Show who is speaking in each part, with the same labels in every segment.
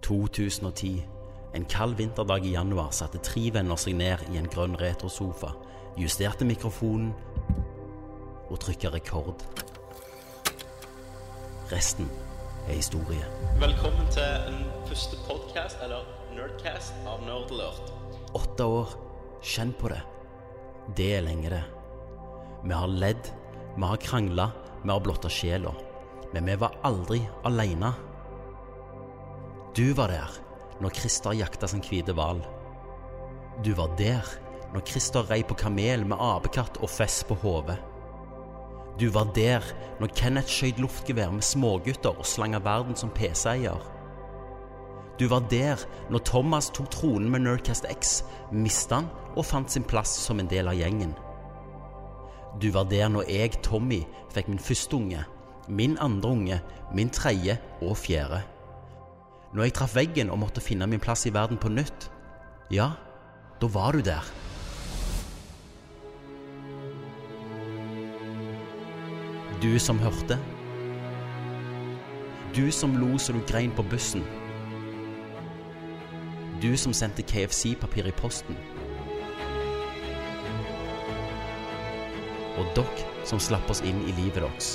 Speaker 1: 2010. En kald vinterdag i januar satte tre venner seg ned i en grønn retrosofa, justerte mikrofonen og trykket rekord. Resten er historie.
Speaker 2: Velkommen til en første podcast, eller nerdcast, av Nerdlert.
Speaker 1: Åtte år. Kjenn på det. Det er lenge, det. Vi har ledd, vi har krangla, vi har blotta sjela. Men vi var aldri aleine. Du var der når Christer jakta sin hvite hval. Du var der når Christer rei på kamel med apekatt og fess på hodet. Du var der når Kenneth skjøt luftgevær med smågutter og slanga verden som PC-eier. Du var der når Thomas tok tronen med Nerdcast X, mista han og fant sin plass som en del av gjengen. Du var der når jeg, Tommy, fikk min første unge, min andre unge, min tredje og fjerde. Når jeg traff veggen og måtte finne min plass i verden på nytt, ja, da var du der. Du som hørte. Du som lo så du grein på bussen. Du som sendte KFC-papir i posten. Og dere som slapp oss inn i livet deres.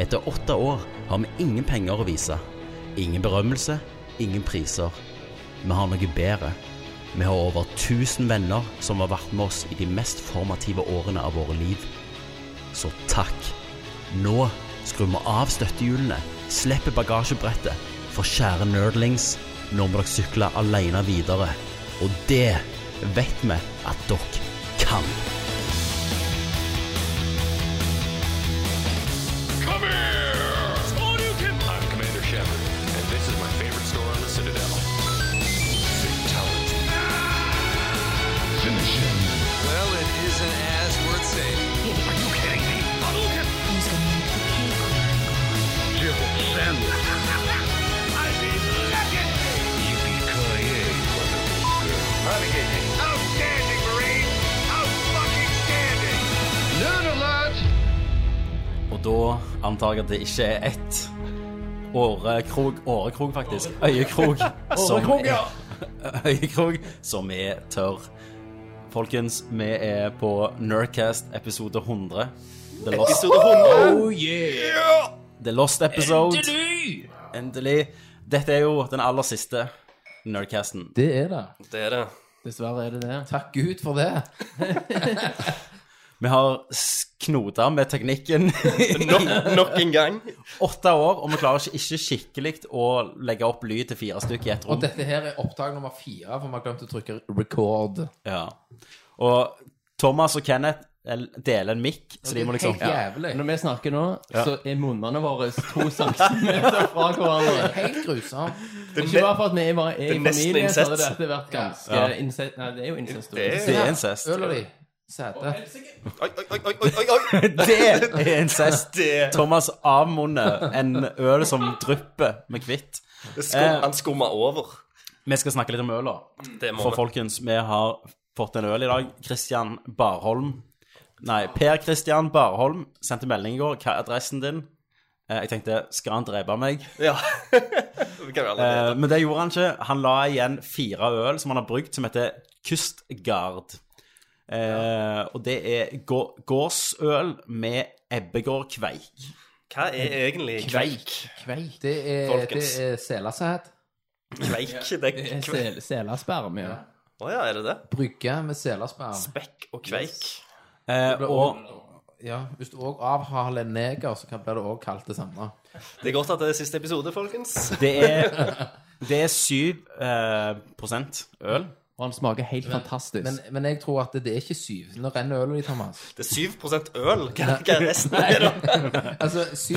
Speaker 1: Etter åtte år har vi ingen penger å vise. Ingen berømmelse, ingen priser. Vi har noe bedre. Vi har over 1000 venner som har vært med oss i de mest formative årene av våre liv. Så takk. Nå skrur vi av støttehjulene, slipper bagasjebrettet, for kjære nerdlings, nå må dere sykle alene videre. Og det vet vi at dere kan.
Speaker 3: Come here! I'm Commander Shepard, and this is my favorite store on the Citadel. Fatality. Finish him.
Speaker 4: Well, it isn't as worth saying.
Speaker 3: Are you kidding me?
Speaker 5: Who's gonna make the cake run?
Speaker 3: Civil sandwich. I mean, legacy! Yippee-ki-yay, motherfucker. Renegade. Outstanding, Marine! Out-fucking-standing! Nerd alert!
Speaker 1: Og da antar jeg at det ikke er ett årekrog Årekrog, faktisk. Øyekrog. Årekrog, ja. Øyekrog som er tørr. Folkens, vi er på Nerdcast episode 100. The Lost,
Speaker 2: Episode 100.
Speaker 1: Oh, The Lost Episode. Endelig! Endelig. Dette er jo den aller siste Nerdcasten.
Speaker 6: Det er det.
Speaker 2: Det er det.
Speaker 6: Dessverre er det det. Takk Gud for det.
Speaker 1: Vi har s- knota med teknikken i
Speaker 2: Nok, nok en gang.
Speaker 1: åtte år, og vi klarer ikke, ikke skikkelig å legge opp lyd til fire stykker i ett rom.
Speaker 6: Og dette her er opptak nummer fire, for vi har glemt å trykke record.
Speaker 1: Ja. Og Thomas og Kenneth el- deler en mikk, så de må liksom
Speaker 6: Helt jævlig.
Speaker 7: Når vi snakker nå, så er munnene våre to centimeter fra
Speaker 6: Det
Speaker 7: hverandre.
Speaker 6: er Helt grusom.
Speaker 7: Ikke bare for at vi bare er i
Speaker 2: nesten
Speaker 7: familie, så hadde
Speaker 2: incest.
Speaker 7: dette vært ganske
Speaker 1: Ja.
Speaker 7: incest. Nei, det er jo incest.
Speaker 1: Det er incest.
Speaker 6: Øl og de. Sæte.
Speaker 2: Oi, oi, oi, oi, oi, oi.
Speaker 1: Det er incest.
Speaker 2: Det-
Speaker 1: Thomas avmunner en øl som drypper med hvitt.
Speaker 2: Det skum, han skummer over.
Speaker 1: Vi skal snakke litt om øla.
Speaker 2: Det må
Speaker 1: For
Speaker 2: vi.
Speaker 1: folkens, vi har fått en øl i dag. Christian Barholm. Nei, Per Christian Barholm sendte melding i går. Hva er adressen din? Eh, Jeg tenkte, skal han drepe meg?
Speaker 2: Ja. Vi kan være
Speaker 1: Eh,
Speaker 2: allerede.
Speaker 1: Men det gjorde han ikke. Han la igjen fire øl som han har brukt, som heter Kustgard. Eh, Og det er gå- gårdsøl med ebbegård kveik.
Speaker 2: Hva er egentlig kveik?
Speaker 7: Kveik.
Speaker 6: Det er, det
Speaker 2: Folkens.
Speaker 6: er selasæt.
Speaker 2: Kveik, det er
Speaker 7: Det er
Speaker 2: kveik.
Speaker 7: sel selasperm, ja.
Speaker 2: Å ja, er det det?
Speaker 6: Brygge med selasperm.
Speaker 2: Bekk og kveik.
Speaker 1: Eh, Og
Speaker 6: Ja, hvis du òg avhaler en neger, så kan- blir det òg kalt det samme.
Speaker 2: Det er godt at det er siste episode, folkens.
Speaker 1: det er, det er 7 eh, prosent øl.
Speaker 7: Og han smaker helt fantastisk.
Speaker 6: Men, men jeg tror at det er ikke syv. Nå renner ølet ditt, Thomas.
Speaker 2: Det er 7 øl. Hva, hva er resten? Er det?
Speaker 6: Altså, 7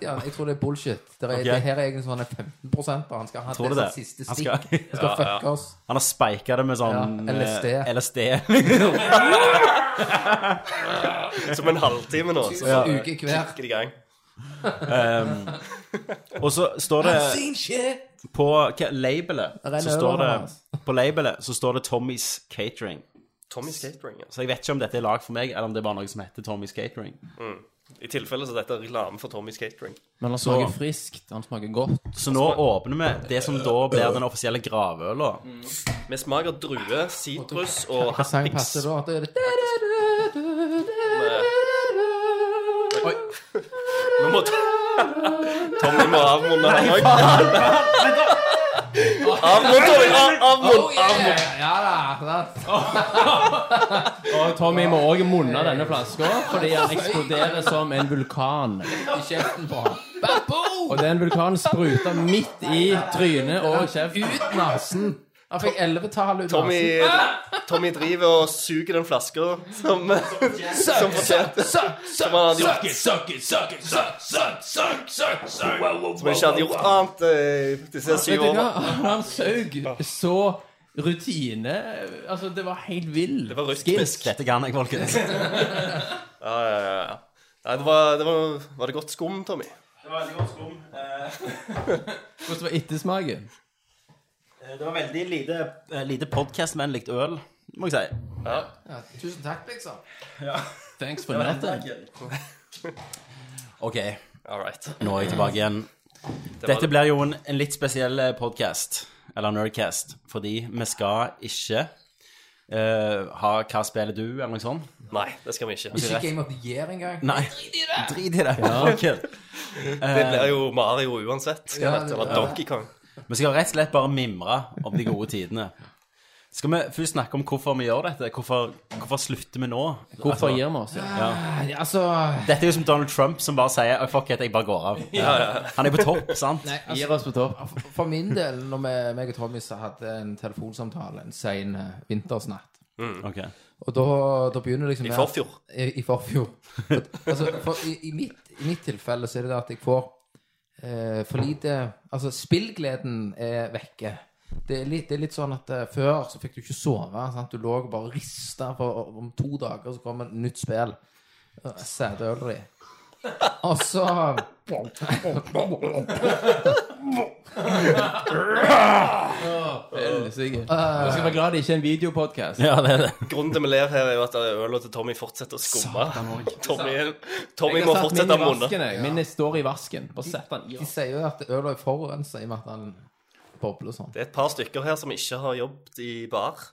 Speaker 6: ja. Jeg tror det er bullshit. Det, er, det her er egentlig sånn 15 og han skal ha
Speaker 1: Tror
Speaker 6: det,
Speaker 1: du
Speaker 6: som
Speaker 1: det?
Speaker 6: siste
Speaker 1: Han
Speaker 6: stikk.
Speaker 1: skal-
Speaker 6: Han skal, fucke oss.
Speaker 1: Han har speika det med sånn
Speaker 6: Ja, LSD.
Speaker 1: eh, LSD.
Speaker 2: Som en halvtime nå. Så
Speaker 6: Ja. Uke hver.
Speaker 2: kikker det i gang.
Speaker 1: Og så står det
Speaker 6: Sin shit!
Speaker 1: på hva, labelet
Speaker 6: Renner
Speaker 1: så står
Speaker 6: over,
Speaker 1: det,
Speaker 6: Thomas.
Speaker 1: På labelet så står det Tommy's Catering.
Speaker 2: Tommy Skatebring, altså.
Speaker 1: Så jeg vet ikke om dette er lag for meg, eller om det er bare noe som heter Tommy's Catering.
Speaker 8: I tilfelle så er dette reklame for Tommy's Catering.
Speaker 7: Men han smaker friskt, han smaker godt.
Speaker 9: Så nå åpner vi det som da blir den offisielle gravøla.
Speaker 8: Vi smaker drue, sitrus og
Speaker 6: Hva sang
Speaker 8: hattings.
Speaker 6: passer da? Da er det
Speaker 8: Oi. Nå må Tommy må avmunne han òg. Avmunn, Tommy! av- Avmunn!
Speaker 6: Ja da. sant.
Speaker 7: Og Tommy må òg munne denne flaska, fordi han eksploderer som en vulkan.
Speaker 6: I kjeften på ham. Babo!
Speaker 7: Og den vulkanen spruter midt i trynet og kjeften.
Speaker 6: Ut nasen. Han fikk ellevetall ut
Speaker 8: Tommy,
Speaker 6: nasen.
Speaker 8: Tommy driver og suger den flaska som, eh, som fortjente Som han hadde gjort. Som ikke hadde gjort annet eh, disse
Speaker 7: Vet
Speaker 8: syv
Speaker 7: du hva?
Speaker 8: årene.
Speaker 7: Han saug så rutine Altså, det var helt vill.
Speaker 8: Det var rytmisk.
Speaker 9: Dette kan jeg, folkens.
Speaker 8: Ja, ja, ja, ja. Nei, det var, det var, var det godt skum, Tommy?
Speaker 10: Det var veldig godt skum.
Speaker 7: Hvordan var ettersmaken?
Speaker 9: Det var veldig lite, eh, lite podkastvennlig øl, må jeg si.
Speaker 6: Ja, tusen takk, liksom.
Speaker 7: Thanks for natten.
Speaker 9: OK,
Speaker 8: All right.
Speaker 9: nå er jeg tilbake igjen.
Speaker 8: Det
Speaker 9: Dette
Speaker 8: var,
Speaker 9: blir jo en, en litt spesiell podkast, eller nerdcast, fordi vi skal ikke eh, ha 'Hva spiller du?' eller noe sånt.
Speaker 8: nei, det skal vi ikke.
Speaker 6: Ikke Game of the Year engang.
Speaker 9: Nei. Drit i det! Ok.
Speaker 8: Det blir jo Mario uansett.
Speaker 6: Ja,
Speaker 8: Skal dette
Speaker 6: det-
Speaker 8: være Donkey Kong?
Speaker 9: Vi skal rett og slett bare mimre om de gode tidene. Skal vi først snakke om hvorfor vi gjør dette? Hvorfor, hvorfor slutter vi nå? Altså,
Speaker 7: Hvorfor gir vi oss?
Speaker 6: Nei, Altså
Speaker 9: Dette er jo som Donald Trump som bare sier oh, 'fuck it, jeg bare går av'. Han er på topp, sant?
Speaker 6: Nei, altså,
Speaker 7: Gir oss på topp.
Speaker 6: For- For min del, når vi- meg og Tommy så hadde en telefonsamtale en sen eh, vintersnatt
Speaker 7: Mm.
Speaker 9: Ok.
Speaker 6: Og da, da begynner det liksom
Speaker 8: I
Speaker 6: med at-
Speaker 8: forfjor.
Speaker 6: I, i forfjor. altså, for, i, i, mitt, I mitt tilfelle så er det det at jeg får eh, for lite Altså, spillgleden er vekke. Det er, litt, det er litt sånn at eh, Før så fikk du ikke sove. Sant? Du lå og bare rista, for om to dager så kommer et nytt spill. Eh, Sædøleri. Og så
Speaker 7: Helsike. Du skal være glad det ikke er en videopodkast.
Speaker 9: Ja, det er det.
Speaker 8: Grunnen til vi ler her, er jo at øla til Tommy fortsetter å skumme. Tommy, Tommy
Speaker 7: Jeg
Speaker 8: må
Speaker 7: har satt min
Speaker 8: fortsette
Speaker 7: i
Speaker 8: å munne.
Speaker 7: vasken. jeg. Min står i vasken. Bare sett den i
Speaker 6: De sier jo at øl er forurensa i og med at den bobler sånn.
Speaker 8: Det er et par stykker her som ikke har jobbet i bar.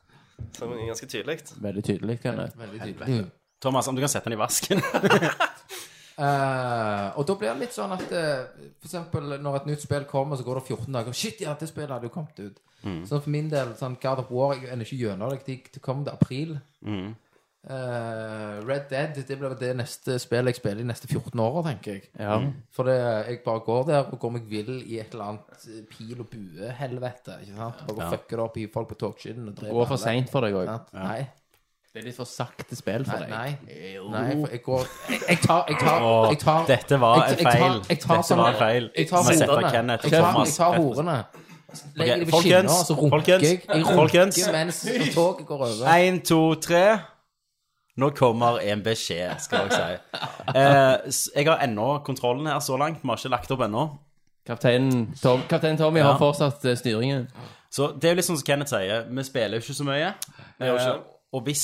Speaker 8: Som er ganske tydelig.
Speaker 7: Veldig tydelig. Kenneth.
Speaker 6: Veldig tydelig.
Speaker 9: Thomas, om du kan sette den i vasken.
Speaker 6: Eh, og da blir det litt sånn at eh, For eksempel når et nytt spill kommer, så går det 14 dager. Shit, ja, det spillet hadde jo kommet ut.
Speaker 9: Mm.
Speaker 6: Sånn for min del, sånn God of War Jeg ender ikke gjennom det. Det- Det kom til april. Eh, Red Dead det blir det neste spillet jeg spiller de neste 14 åra, tenker jeg.
Speaker 7: Ja.
Speaker 6: For det, jeg bare går der og går meg vill i et eller annet eh, pil og bue-helvete. Ikke sant? Bare fucker det opp i folk på togskinnet og dreper
Speaker 7: Går for
Speaker 6: alle.
Speaker 7: seint for deg òg.
Speaker 6: Sant? Nei.
Speaker 7: Det er litt for sakte spill for
Speaker 6: Nei,
Speaker 7: deg.
Speaker 6: nei. nei for jeg går Jeg, jeg tar, jeg tar, jeg tar
Speaker 9: Åh, dette var
Speaker 6: jeg-
Speaker 9: en
Speaker 6: jeg tar-
Speaker 9: feil.
Speaker 6: jeg tar
Speaker 9: Dette var en feil.
Speaker 6: Jeg tar
Speaker 9: Vi setter
Speaker 6: horene.
Speaker 9: Kenneth og
Speaker 6: Jeg tar, jeg
Speaker 9: Thomas
Speaker 6: tar
Speaker 9: rett og slett.
Speaker 6: horene. Legger
Speaker 9: Ok,
Speaker 6: de ved
Speaker 9: folkens,
Speaker 6: skinner, og så runker
Speaker 9: folkens,
Speaker 6: jeg. Jeg runker
Speaker 9: folkens.
Speaker 6: mens toget går over.
Speaker 9: Én, to, tre. Nå kommer en beskjed, skal jeg si. Eh, s- jeg har ennå kontrollen her så langt. Vi har ikke lagt opp ennå.
Speaker 7: Kapteinen Tom, Kaptein Tommy
Speaker 9: Ja.
Speaker 7: har fortsatt eh, styringen.
Speaker 9: Så det er jo litt sånn som Kenneth sier, vi spiller jo ikke så mye.
Speaker 8: gjør ikke
Speaker 9: Eh, og hvis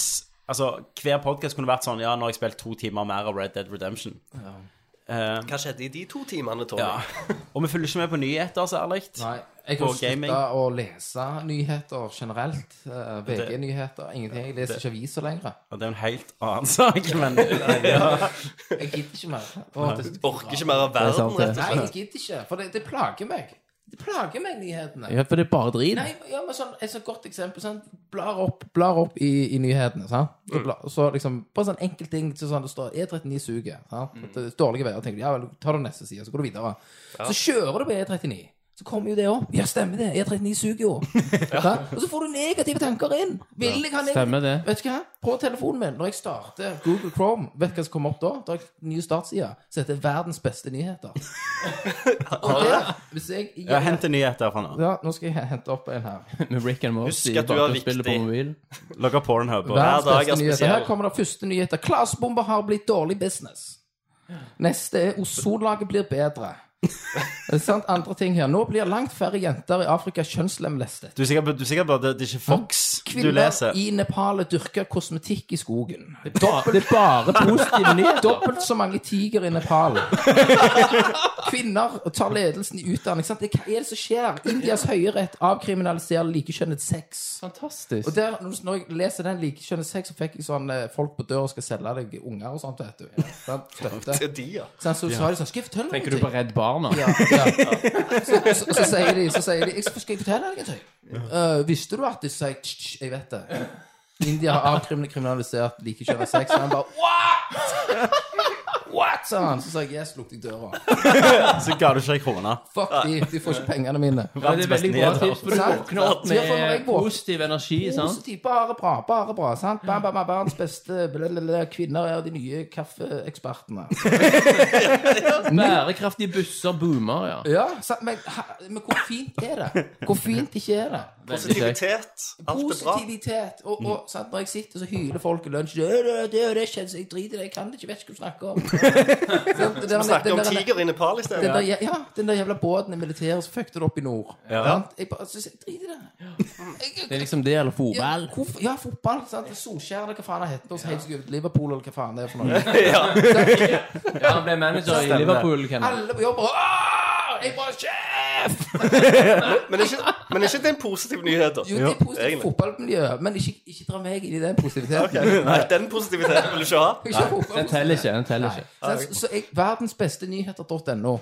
Speaker 9: Altså, hver podkast kunne vært sånn Ja, nå har jeg spilt to timer mer av Red Dead Redemption. Eh,
Speaker 8: Hva skjedde i de to timene, Tommy?
Speaker 9: ja. Og vi følger ikke med på nyheter særlig.
Speaker 6: Nei, jeg
Speaker 9: På
Speaker 6: har slutta
Speaker 9: gaming.
Speaker 6: å lese nyheter generelt. eh, VG-nyheter, ingenting. Jeg leser ikke aviser lenger.
Speaker 9: Og det er jo en helt annen sak, men
Speaker 6: Jeg gidder ikke mer. Åh, det,
Speaker 8: Orker ikke mer av
Speaker 7: er sant,
Speaker 8: verden,
Speaker 7: det.
Speaker 8: rett og
Speaker 6: nei,
Speaker 8: slett.
Speaker 6: jeg gidder ikke. For det, det plager meg. Det plager meg, nyhetene.
Speaker 7: Ja, for det er bare drit.
Speaker 6: Nei, ja, men sånn, Et sånt godt eksempel. Sånn, blar opp, blar opp i, i nyhetene. Sant? Så, bla, så liksom, Bare sånn enkel ting. Så sånn, det står E39 suger. Sant? At det er Dårlige veier. tenker du, ja vel, Ta den neste sida, så går du videre. Så kjører du på E39. Så kommer jo det opp. Ja, stemmer det. E39 suger jo. Sant? Og så får du negative tanker inn. Vil jeg ha negative-
Speaker 7: Stemmer det.
Speaker 6: Vet du hva? På telefonen min, når jeg starter Google Chrome, vet du hva som kommer opp da? Da har jeg nye startsider som heter 'Verdens beste nyheter'. Og der, hvis jeg
Speaker 9: ja, Hent en nyhet derfra nå.
Speaker 6: ja, nå skal jeg hente opp en her.
Speaker 7: Med Rick and Morty.
Speaker 8: Husk at du
Speaker 7: bare
Speaker 8: er
Speaker 7: spiller
Speaker 8: viktig.
Speaker 7: på mobil.
Speaker 9: Logg av Pornhub. og-
Speaker 8: Hver dag er
Speaker 6: beste nyheter.
Speaker 8: spesiell.
Speaker 6: Her kommer det første nyheter. Klasebomber har blitt dårlig business. Neste er ozonlaget blir bedre. Det er sant, andre ting her. Nå blir langt færre jenter i Afrika kjønnslemlestet.
Speaker 9: Du er sikker på, du er sikker på at det, det er ikke Fox du
Speaker 6: Kvinner
Speaker 9: leser?
Speaker 6: i Nepal dyrker kosmetikk i skogen.
Speaker 7: Bare- Det er bare positive nyheter.
Speaker 6: Dobbelt så mange tiger i Nepal. Kvinner tar ledelsen i utdanning. Sant? Det- Hva er det som skjer? Indias høyerett avkriminaliserer likekjønnet sex. Og
Speaker 7: Fantastisk.
Speaker 6: der, når når jeg leser den likekjønnet sex, så fikk jeg sånn eh, folk på døra skal selge deg unger og sånt, vet du. Sant? Støtte.
Speaker 8: De, ja.
Speaker 6: Sant? Så sa de sånn Skal jeg fortelle deg
Speaker 7: Tenker du på
Speaker 6: noe?
Speaker 7: Redd Barna?
Speaker 6: Ja, ja. Så, så, så sier de, så sier de "Jeg skal, 'Skal jeg fortelle deg en ting?' «Øh, 'Visste du at de sier «Tsk, tsk, 'Jeg vet det'. India har avkriminalisert likekjønnet sex. Og han bare 'What?!' What, sa han. Så sa jeg 'Yes', lukket jeg døra.
Speaker 9: Så ga du ikke ei krone.
Speaker 6: Fuck de, de får ikke pengene mine.
Speaker 7: Men det er veldig bra tips, for du
Speaker 6: Sant?
Speaker 7: våkner opp
Speaker 6: Ja, for når
Speaker 7: med
Speaker 6: jeg våkner-
Speaker 7: positiv energi. sant?
Speaker 6: Positiv, bare bra, bare bra. sant? Bam, bam, bam, verdens beste blablabla, kvinner er de nye kaffeekspertene.
Speaker 7: Bærekraftige busser boomer, ja.
Speaker 6: Ja, sant? Men, ha- men hvor fint er det? Hvor fint ikke er det?
Speaker 8: Positivitet. Alt er bra. Mm.
Speaker 6: Positivitet. Og, og sant? når jeg sitter, så hyler folk i lunsj. Det, det, det, det skjedde, så jeg driter i det. Jeg kan det ikke, vet ikke hva du snakker om. Sant? Den der-
Speaker 8: Snakke om
Speaker 6: den der-
Speaker 8: tiger i Nepal i
Speaker 6: Den
Speaker 8: stedet.
Speaker 6: der, ja, den der jævla båten i militæret, så fucket det opp i nord. Sant? Jeg bare så- så- Drit i det. Jeg-
Speaker 7: Det er liksom det, eller fotball.
Speaker 6: Ja, hvorfor, ja, fotball. Sant? Solskjær eller hva faen han heter. Og så heiv seg ut Liverpool eller hva faen det er for noe.
Speaker 7: Ja, han ble manager i Liverpool, Kenneth.
Speaker 6: Alle på jobb og «Åh, Jeg bare sjef!
Speaker 8: Men er ikke, men er ikke det en positiv nyhet, da?
Speaker 6: Jo, det er positivt
Speaker 8: egentlig.
Speaker 6: fotballmiljø, men ikke, ikke dra meg inn i den positiviteten.
Speaker 8: Nei, den positiviteten vil du ikke ha.
Speaker 6: Ikke fotball-
Speaker 7: Den teller ikke. den teller
Speaker 6: Nei.
Speaker 7: ikke.
Speaker 6: Så, så jeg, verdensbestenyheter.no.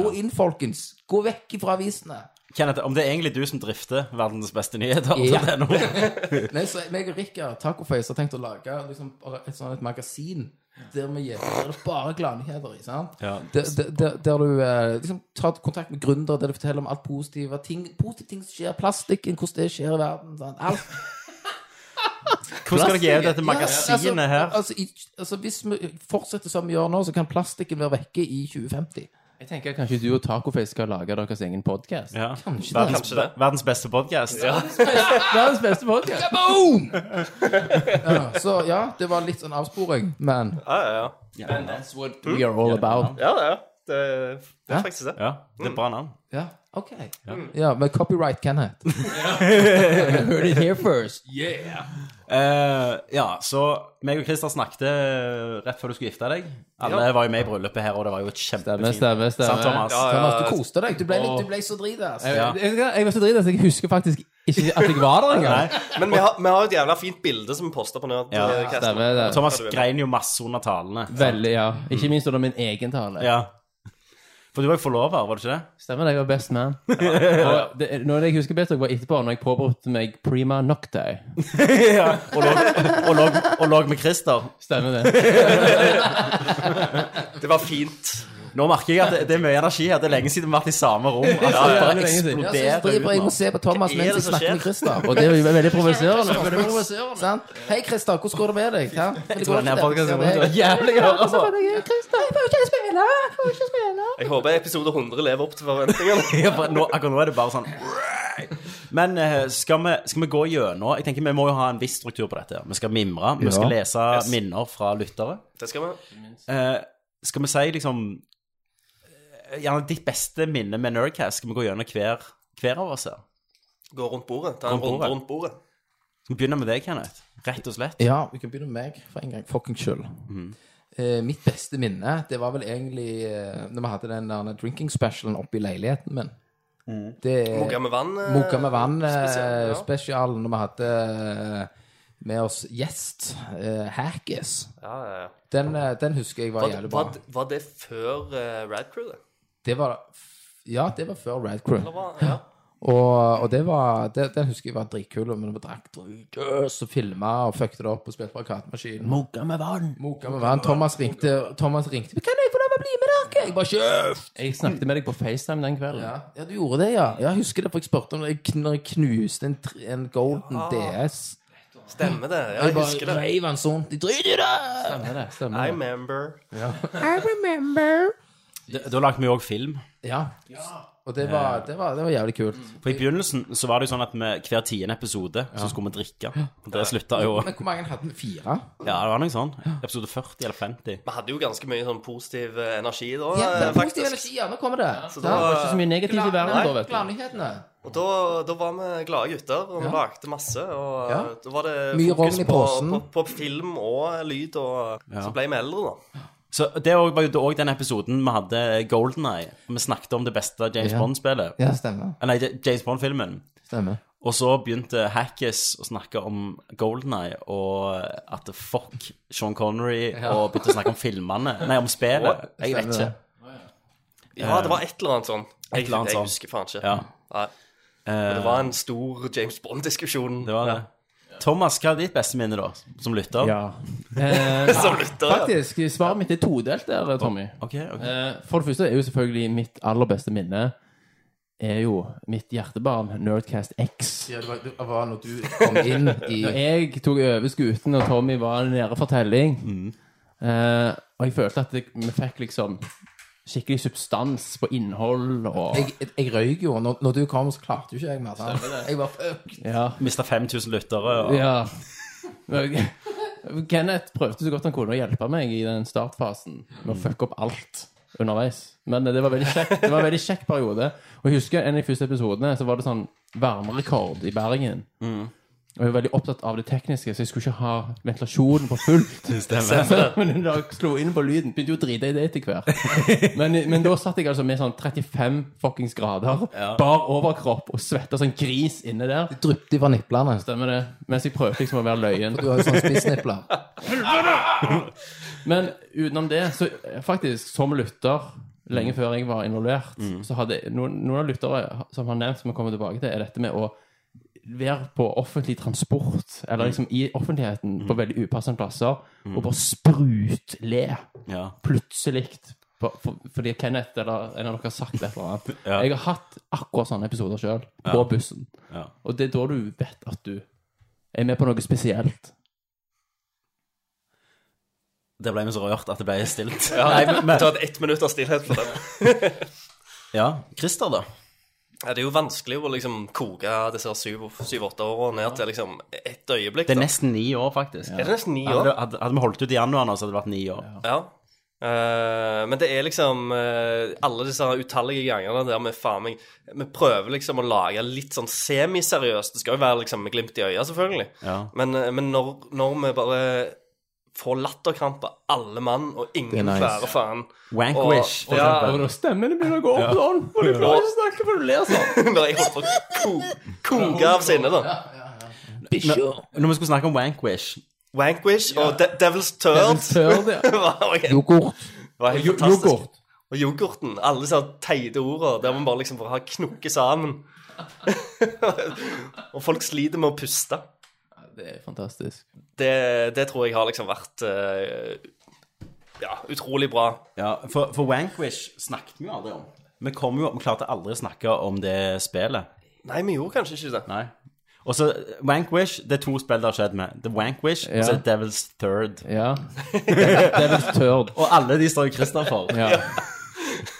Speaker 6: Gå inn, folkens. Gå vekk fra avisene.
Speaker 9: Kenneth, om det er egentlig du som drifter verdens beste nyheter
Speaker 6: Ja.
Speaker 9: det er noe.
Speaker 6: Nei, så meg og Rikard, Tacoface, har tenkt å lage liksom, bare et sånn et magasin der vi gir der det er bare gladnyheter i. sant? Der, der, der, der du eh, liksom, tar kontakt med gründere, der du forteller om alt positive ting, positive ting som skjer, plastikken, hvordan det skjer i verden. sant? Alt.
Speaker 9: Hvordan skal dere gi ut dette
Speaker 6: Ja,
Speaker 9: magasinet her?
Speaker 6: Altså, altså, i, altså, hvis vi fortsetter som vi gjør nå, så kan plastikken være vekke i 2050.
Speaker 7: Jeg tenker kanskje du og Tacoface skal lage deres egen podkast.
Speaker 9: Ja.
Speaker 6: Kanskje det.
Speaker 9: Verdens, verdens beste podkast.
Speaker 7: Verdens beste podkast.
Speaker 6: Boom! ja, så ja, det var litt sånn avsporing, men
Speaker 8: Ja, ja, ja.
Speaker 7: That's what we are all about.
Speaker 8: ja, ja. Det, det er faktisk det.
Speaker 9: Ja, det er bra navn.
Speaker 6: Ja, ok. Ja, men copyright can it.
Speaker 7: Heard it here first.
Speaker 9: Eh, ja, så meg og Christer snakket eh, rett før du skulle gifte deg. Alle var jo med i bryllupet her, og det var jo et
Speaker 7: Stemmer,
Speaker 9: kjempefint.
Speaker 7: stemmer,
Speaker 9: Sant,
Speaker 7: stemmer.
Speaker 9: Thomas?
Speaker 6: Thomas, du koste deg. Du ble, litt, du ble så dritas.
Speaker 7: Jeg, jeg, jeg var så dritt at jeg husker faktisk ikke at jeg var der engang.
Speaker 8: Men vi har, vi har et jævla fint bilde som vi poster på Nerdcasten.
Speaker 7: Stemmer det.
Speaker 9: Thomas grein jo masse under talene.
Speaker 7: Veldig, ja. Ikke minst under min egen tale.
Speaker 9: Ja. For du var jo forlover, var du ikke det?
Speaker 7: Stemmer det, jeg var best man. Og det, noe av det jeg husker best, var etterpå, når jeg påberopte meg prima noctae.
Speaker 9: Og lå, og lå, og lå med Christer.
Speaker 7: Stemmer det.
Speaker 8: Det var fint.
Speaker 9: Nå merker jeg at det, det er mye energi her. Det er lenge siden vi har vært i samme rom. Altså,
Speaker 7: Ja, ja,
Speaker 9: bare
Speaker 7: det er lenge siden.
Speaker 6: Ja,
Speaker 9: eksploderer
Speaker 6: så driver
Speaker 9: ut
Speaker 6: jeg og
Speaker 9: nå.
Speaker 6: ser på Thomas
Speaker 8: Hva er
Speaker 6: mens
Speaker 8: det
Speaker 6: jeg
Speaker 8: som
Speaker 6: snakker
Speaker 8: skjer?
Speaker 6: med Christer.
Speaker 7: Og det er jo veldig provoserende.
Speaker 6: Sant? Hei, Christer, hvordan går det med deg? Hæ? Det går
Speaker 9: Denne
Speaker 6: ikke,
Speaker 9: podcasten
Speaker 6: det.
Speaker 9: kommer til å være jævlig å høre på.
Speaker 8: Jeg håper episode 100 lever opp til forventningene.
Speaker 9: Ja, for nå, akkurat nå er det bare sånn Men eh, skal vi, skal vi gå gjennom Jeg tenker Vi må jo ha en viss struktur på dette. her. Vi skal mimre, vi skal lese
Speaker 8: Yes.
Speaker 9: minner fra lyttere.
Speaker 8: Det skal vi.
Speaker 9: Eh, skal vi si liksom eh, Gjerne ditt beste minne med Nerdcast. Skal vi gå gjennom hver, hver av oss her?
Speaker 8: Gå rundt bordet. Ta en
Speaker 9: Rundt
Speaker 8: runde
Speaker 9: bordet.
Speaker 8: rundt bordet.
Speaker 9: Skal vi begynne med deg, Kenneth? Rett og slett.
Speaker 6: Ja, vi kan begynne med meg for en gang. Fucking skyld. Eh, mitt beste minne, det var vel egentlig eh, Når vi hadde den der drinking specialen oppe i leiligheten min. Det
Speaker 8: Mugga med vann. eh,
Speaker 6: Munka med
Speaker 8: spesial, ja.
Speaker 6: vann-spesialen når vi hadde eh, med oss gjest, eh, Hackis.
Speaker 8: Ja, ja, ja.
Speaker 6: Den, eh, den husker jeg var,
Speaker 8: Var,
Speaker 6: jævlig bra.
Speaker 8: var, var det før eh, Rad Crew, det?
Speaker 6: Det var Ja, det var før Rad Crew.
Speaker 8: Eller var- Ja.
Speaker 6: Og, og det var, det, den husker jeg var dritkul, men vi drakk drøs og filma og fucket det opp og spilte på arkademaskinen. Moka med vann. Moka med vann. Thomas ringte. Thomas ringte. Men 'Kan jeg få lov å bli med dere?' Jeg bare 'Kjeft!'
Speaker 7: Jeg snakket med deg på FaceTime den kvelden.
Speaker 6: Ja, ja, du gjorde det, ja. ja. Jeg husker det, for jeg spurte om det jeg kn- når jeg knuste en, tr- en Golden DS.
Speaker 8: Stemmer det. Ja, jeg
Speaker 6: Jeg
Speaker 8: husker
Speaker 6: bare
Speaker 8: det.
Speaker 6: reiv den sånn. De driter i det!
Speaker 7: Stemmer det,
Speaker 8: I
Speaker 7: stemmer det.
Speaker 8: remember.
Speaker 9: Da, da lagde vi jo òg film.
Speaker 6: Ja. Og det var, det var, det var jævlig kult.
Speaker 9: For I begynnelsen så var det jo sånn at med hver tiende episode så skulle vi drikke. Og det slutta jo
Speaker 6: Men hvor mange hadde vi? Fire?
Speaker 9: Ja, det var noe sånn. Episode 40 eller 50.
Speaker 8: Vi hadde jo ganske mye sånn positiv eh, energi da,
Speaker 6: Ja, det
Speaker 8: eh,
Speaker 6: er
Speaker 8: faktisk.
Speaker 6: positiv energi, ja. Nå kommer det.
Speaker 8: Så
Speaker 6: Ja.
Speaker 8: da,
Speaker 7: Det er ikke så mye negativt i verden da, vet du.
Speaker 6: Gladnyhetene.
Speaker 8: og da, da var vi glade gutter, og vi
Speaker 6: Ja.
Speaker 8: lagde masse. Og eh,
Speaker 6: Ja.
Speaker 8: da var det
Speaker 6: Mye
Speaker 8: fokus
Speaker 6: rogn i
Speaker 8: på,
Speaker 6: posen.
Speaker 8: på, på film og lyd, og så ble vi eldre, da.
Speaker 9: Så det var jo- var jo òg den episoden vi hadde Golden Eye. Vi snakket om det beste James
Speaker 6: Ja.
Speaker 9: Bond-spillet.
Speaker 6: Ja, stemmer.
Speaker 9: Eh, Nei, James Bond-filmen.
Speaker 6: Stemmer.
Speaker 9: Og så begynte Hackis å snakke om Golden Eye og at fuck Sean Connery, og begynte å snakke om filmene. Nei, om spillet. Jeg vet ikke.
Speaker 8: Ja,
Speaker 6: Eh.
Speaker 8: det var et eller annet sånn. Jeg,
Speaker 9: eller annet
Speaker 8: jeg
Speaker 9: sånn.
Speaker 8: husker faen ikke.
Speaker 9: Ja,
Speaker 8: Nei. Men det var en stor James Bond-diskusjon.
Speaker 9: det var det. Thomas, hva er ditt beste minne, da, som lytter?
Speaker 7: Eh,
Speaker 8: Som lytter.
Speaker 7: faktisk, svaret mitt er todelt der, Tommy.
Speaker 9: Ok, ok.
Speaker 7: Eh, for det første er jo selvfølgelig mitt aller beste minne er jo mitt hjertebarn, Nerdcast X.
Speaker 6: Ja, det var, det var når du kom inn i
Speaker 7: Jeg tok over skuten, og Tommy var nede for telling.
Speaker 9: Mm.
Speaker 7: Eh, og jeg følte at det, vi fikk liksom skikkelig substans på innhold og
Speaker 6: Jeg, jeg røyk jo. Når, når du kom, så klarte jo ikke jeg mer. sant? Jeg var fucked.
Speaker 7: Ja.
Speaker 9: Mista 5000 lyttere. Og...
Speaker 7: ja. Men Kenneth prøvde så godt han kunne å hjelpe meg i den startfasen med å
Speaker 9: Mm.
Speaker 7: fucke opp alt underveis. Men det var veldig kjekk, det var en veldig kjekk periode. Og jeg husker en av de første episodene så var det sånn varmerekord i Bergen.
Speaker 9: Mm.
Speaker 7: Og jeg var veldig opptatt av det tekniske, så jeg skulle ikke ha ventilasjonen på fullt. Men da jeg slo inn på lyden, begynte jo å drite i det etter hvert. Men, men da satt jeg altså med sånn 35 fuckings grader, bar overkropp og svetta som en gris inne der.
Speaker 6: Dryppet fra niplene.
Speaker 7: Stemmer det. Mens jeg prøvde liksom å være løyen.
Speaker 6: Du har jo sånn spissnipler.
Speaker 7: Men utenom det, så faktisk, som lytter
Speaker 9: Mm.
Speaker 7: Lenge før jeg var involvert, så hadde noen, noen av lyttere som har nevnt, som vi kommer tilbake til, er dette med å være på offentlig transport,
Speaker 9: Mm.
Speaker 7: eller liksom i offentligheten, på veldig upassende plasser, og bare sprutle
Speaker 9: Ja.
Speaker 7: plutselig på- for- fordi Kenneth eller en av dere har sagt et eller annet.
Speaker 9: Ja.
Speaker 7: Jeg har hatt akkurat sånne episoder sjøl, på bussen.
Speaker 9: Ja.
Speaker 7: Og det er da du vet at du er med på noe spesielt.
Speaker 9: Det ble vi så rørt at det ble stilt.
Speaker 8: Ja, Nei, men, men... Ta et ett minutt av stillhet for den.
Speaker 9: Ja. Christer, da?
Speaker 8: Ja, det er jo vanskelig å liksom koke disse syv-åtte årene ned til liksom ett øyeblikk.
Speaker 9: Det er
Speaker 8: da.
Speaker 9: nesten ni år, faktisk.
Speaker 8: Er det nesten ni år?
Speaker 9: Hadde, hadde, hadde vi holdt ut i januar nå, så hadde det vært ni år.
Speaker 8: Ja. Eh, men det er liksom eh, alle disse her utallige gangene der vi faen meg Vi prøver liksom å lage litt sånn semiseriøst. Det skal jo være liksom med glimt i øyet, selvfølgelig.
Speaker 9: Ja.
Speaker 8: Men, eh, men når, når vi bare får latterkrampe, alle mann, og ingen
Speaker 6: nice.
Speaker 8: klarer faen
Speaker 9: Wankwish,
Speaker 8: Og,
Speaker 9: for
Speaker 8: og, ja,
Speaker 9: eksempel.
Speaker 7: Og da stemmene begynner å gå opp sånn, og du klarer ikke å snakke for du ler sånn.
Speaker 8: Når jeg holdt på å ko- koke av sinne, da.
Speaker 9: Når vi skulle snakke om Wankwish
Speaker 8: Wankwish og De Devil's Turd
Speaker 7: Tør det.
Speaker 8: var, var helt
Speaker 6: Yoghurt.
Speaker 7: Jo-
Speaker 8: fantastisk.
Speaker 7: Yoghurt.
Speaker 8: Og yoghurten. Alle disse teite ordene der man bare liksom bare har knukket sammen. og folk sliter med å puste.
Speaker 7: Det er fantastisk.
Speaker 8: Det, det tror jeg har liksom vært eh, ja, utrolig bra.
Speaker 9: Ja, for, for Wankwish snakket vi jo aldri om. Vi, kom jo, vi klarte aldri å snakke om det spillet.
Speaker 8: Nei, vi gjorde kanskje ikke det.
Speaker 9: Nei. Og så Wankwish, det er to spill det har skjedd med. The Wankwish
Speaker 7: Ja.
Speaker 9: og så er det Devil's Third.
Speaker 7: Ja. Devil's Turd.
Speaker 9: Og alle de står jo Christer for.
Speaker 7: Ja,